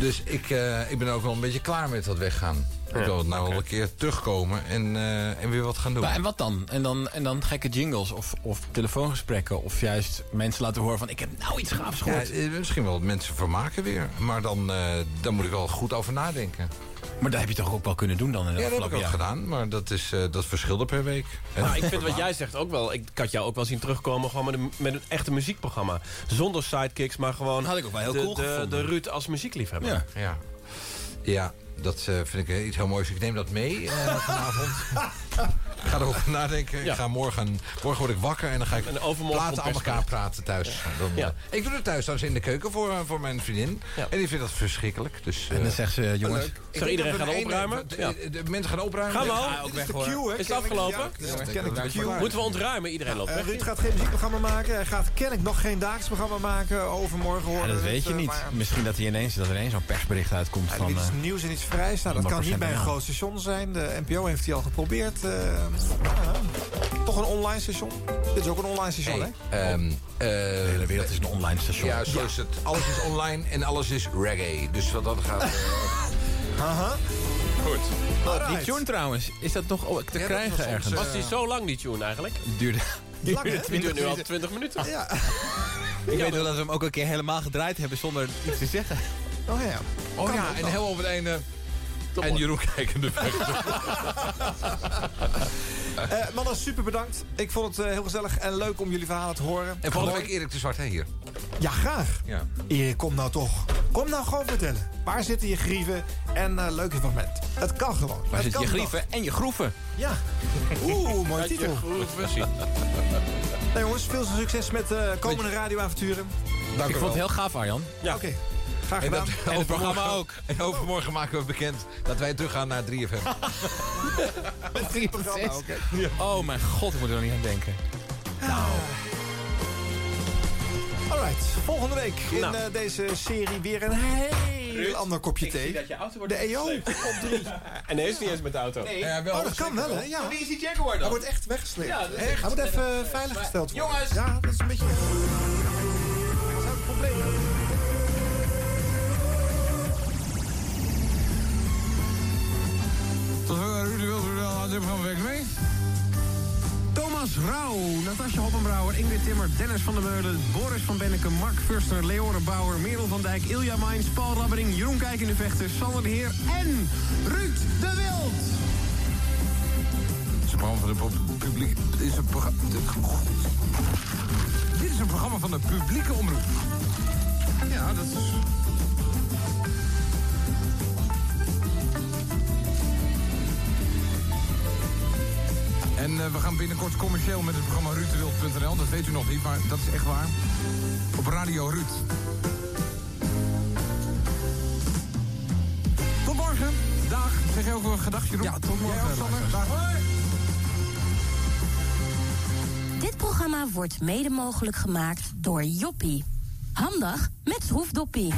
S2: Dus ik, eh, ik ben ook wel een beetje klaar met dat weggaan. Ik wil nou wel een keer terugkomen en, eh, en weer wat gaan doen.
S10: Maar en wat dan? En dan, en dan gekke jingles of, of telefoongesprekken... of juist mensen laten horen van... ik heb nou iets gaafs
S2: Ja,
S10: gehoord.
S2: eh, misschien wel mensen vermaken weer. Maar dan, eh daar moet ik wel goed over nadenken.
S10: Maar dat heb je toch ook wel kunnen doen dan in de
S2: Ja, dat heb ik
S10: afgelopen
S2: ook
S10: jaar?
S2: gedaan. Maar dat, is, eh, dat verschilde per week. En
S11: Maar Nou, ik vind wat
S2: vermaak.
S11: jij zegt ook wel. Ik had jou ook wel zien terugkomen gewoon met een, met een echte muziekprogramma. Zonder sidekicks, maar gewoon...
S10: Had ik ook wel heel
S11: de,
S10: cool
S11: de,
S10: gevonden.
S11: de Ruud als muziekliefhebber.
S10: Ja.
S2: Ja. Ja, dat eh, vind ik eh, iets heel moois. Ik neem dat mee eh, vanavond. ik ga erover nadenken.
S11: Ja.
S2: Ik ga morgen, morgen word ik wakker en dan ga ik
S11: En overmorgen
S2: platen aan
S11: komt
S2: elkaar praten thuis. Dan, eh,
S11: Ja.
S2: Ik doe het thuis trouwens in de keuken voor, eh, voor mijn vriendin. En die vindt dat verschrikkelijk. Dus,
S10: En dan zegt ze, jongens,
S11: Zou iedereen gaan opruimmen?
S2: Ja. De, de mensen gaan opruimen.
S11: Gaan we
S2: Ja,
S11: al?
S2: dit
S11: Ah, Ook
S2: is
S11: weg,
S2: de
S11: hoor.
S2: cue, hè?
S11: Is het
S2: Kennelijk
S11: afgelopen?
S2: jaagt. Ja,
S5: dat
S2: kennelijk
S5: ken ik
S2: de
S5: wel.
S2: cue.
S11: Moeten we ontruimen? Iedereen loopt
S5: Eh,
S11: weg.
S5: Ruud gaat geen muziekprogramma maken. Hij gaat kennelijk nog geen dagelijks programma maken. Overmorgen
S10: Ja,
S5: horen
S10: dat
S5: we
S10: weet
S5: het,
S10: je
S5: eh,
S10: niet.
S5: maar-
S10: Misschien dat er ineens, dat er ineens zo'n persbericht uitkomt
S5: Ja,
S10: van...
S5: dit is
S10: eh,
S5: nieuws en iets vrijs. Nou, dat kan niet
S10: 100%
S5: bij een
S10: bananen.
S5: groot station zijn. De NPO heeft die al geprobeerd. eh, ja, toch een online station. Dit is ook een online station,
S2: Hey,
S5: hè?
S2: ehm,
S10: de
S2: eh,
S10: hele wereld is een online station.
S2: ja, zo is het. Alles is online en alles is reggae. Dus wat dat gaat... eh,
S5: Haha.
S11: Goed.
S10: Oh, Die tune trouwens, is dat nog oh, te
S2: dat was
S10: krijgen
S2: ons,
S10: ergens?
S2: eh,
S11: Was die zo lang, die tune eigenlijk?
S10: duurde.
S5: Lang, hè?
S11: Die duurt nu al 20 minuten.
S5: Ja.
S10: Ik weet wel dat ze hem ook een keer helemaal gedraaid hebben zonder iets te zeggen.
S5: Oh ja.
S2: Oh ja, en heel op het einde... En Jeroen kijkende
S5: Eh, mannen, super bedankt. Ik vond het eh, heel gezellig en leuk om jullie verhalen te horen.
S2: En volgende week Erik de Zwart hè, hier.
S5: Ja, graag.
S2: Ja.
S5: Erik, kom nou toch. Kom nou gewoon vertellen. Waar zitten je grieven en eh leuke fragment? Het kan gewoon. Het
S10: Waar zitten je
S5: kan
S10: grieven en je groeven?
S5: nog. Ja. Oeh, mooie titel. Nou jongens, veel succes met eh komende radioavonturen.
S2: Dank
S10: Ik
S2: u
S10: vond het
S2: wel.
S10: heel gaaf, Arjan.
S11: Ja.
S5: Oké, graag
S2: En, dat,
S5: gedaan.
S2: en het programma ook. En overmorgen maken we bekend dat wij teruggaan naar 3FM.
S5: programma ook, hè.
S10: Oh mijn god, ik moet er nog niet aan denken.
S15: Ah,
S5: Alright, volgende week in
S27: Nou.
S5: eh, deze serie weer een heel ander kopje thee. de EO.
S11: Eh, En hij is niet eens met de auto.
S2: Ja, wel.
S5: Oh, dat kan wel, hè? Ja.
S27: Wie is die Jaguar
S5: Hij
S27: dan?
S5: wordt echt weggesleept.
S27: Ja, dat is
S5: echt. Hij wordt even eh, veiliggesteld worden.
S27: Jongens!
S5: Ja, dat is een beetje... Dat is ook een probleem.
S15: Tot zover Ruud de Wild, Ruud de Wild, dit programma werkt mee. Thomas Rauw, Natasja Hoppenbrouwer, Ingrid Timmer, Dennis van der Meulen... Boris van Benneke, Mark Furster, Leoren Bauer, Merel van Dijk... Ilja Mijns, Paul Rabbering, Jeroen Kijk in de Vechter, Sander de Heer en Ruud de Wild. Het is een programma van de pub- publiek... het Is een programma, dit is een programma van de publieke omroep. Ja, dat is... En eh, we gaan binnenkort commercieel met het programma RuuddeWild.nl. Dat weet u nog niet, maar dat is echt waar. Op Radio Ruud. Tot morgen. Dag. Zeg je ook een gedachtje, Jeroen? Ja, tot morgen. Dag.
S18: Dit programma wordt mede mogelijk gemaakt door Joppie. Handig met schroefdoppie.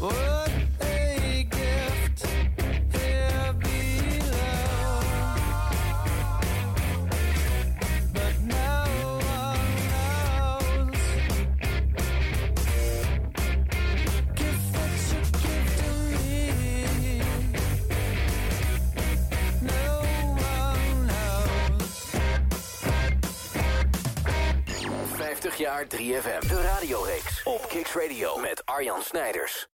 S7: Would a gift here be love? But no one knows
S1: jaar 3FM. De radioreeks op Kicks Radio met Arjan Snijders.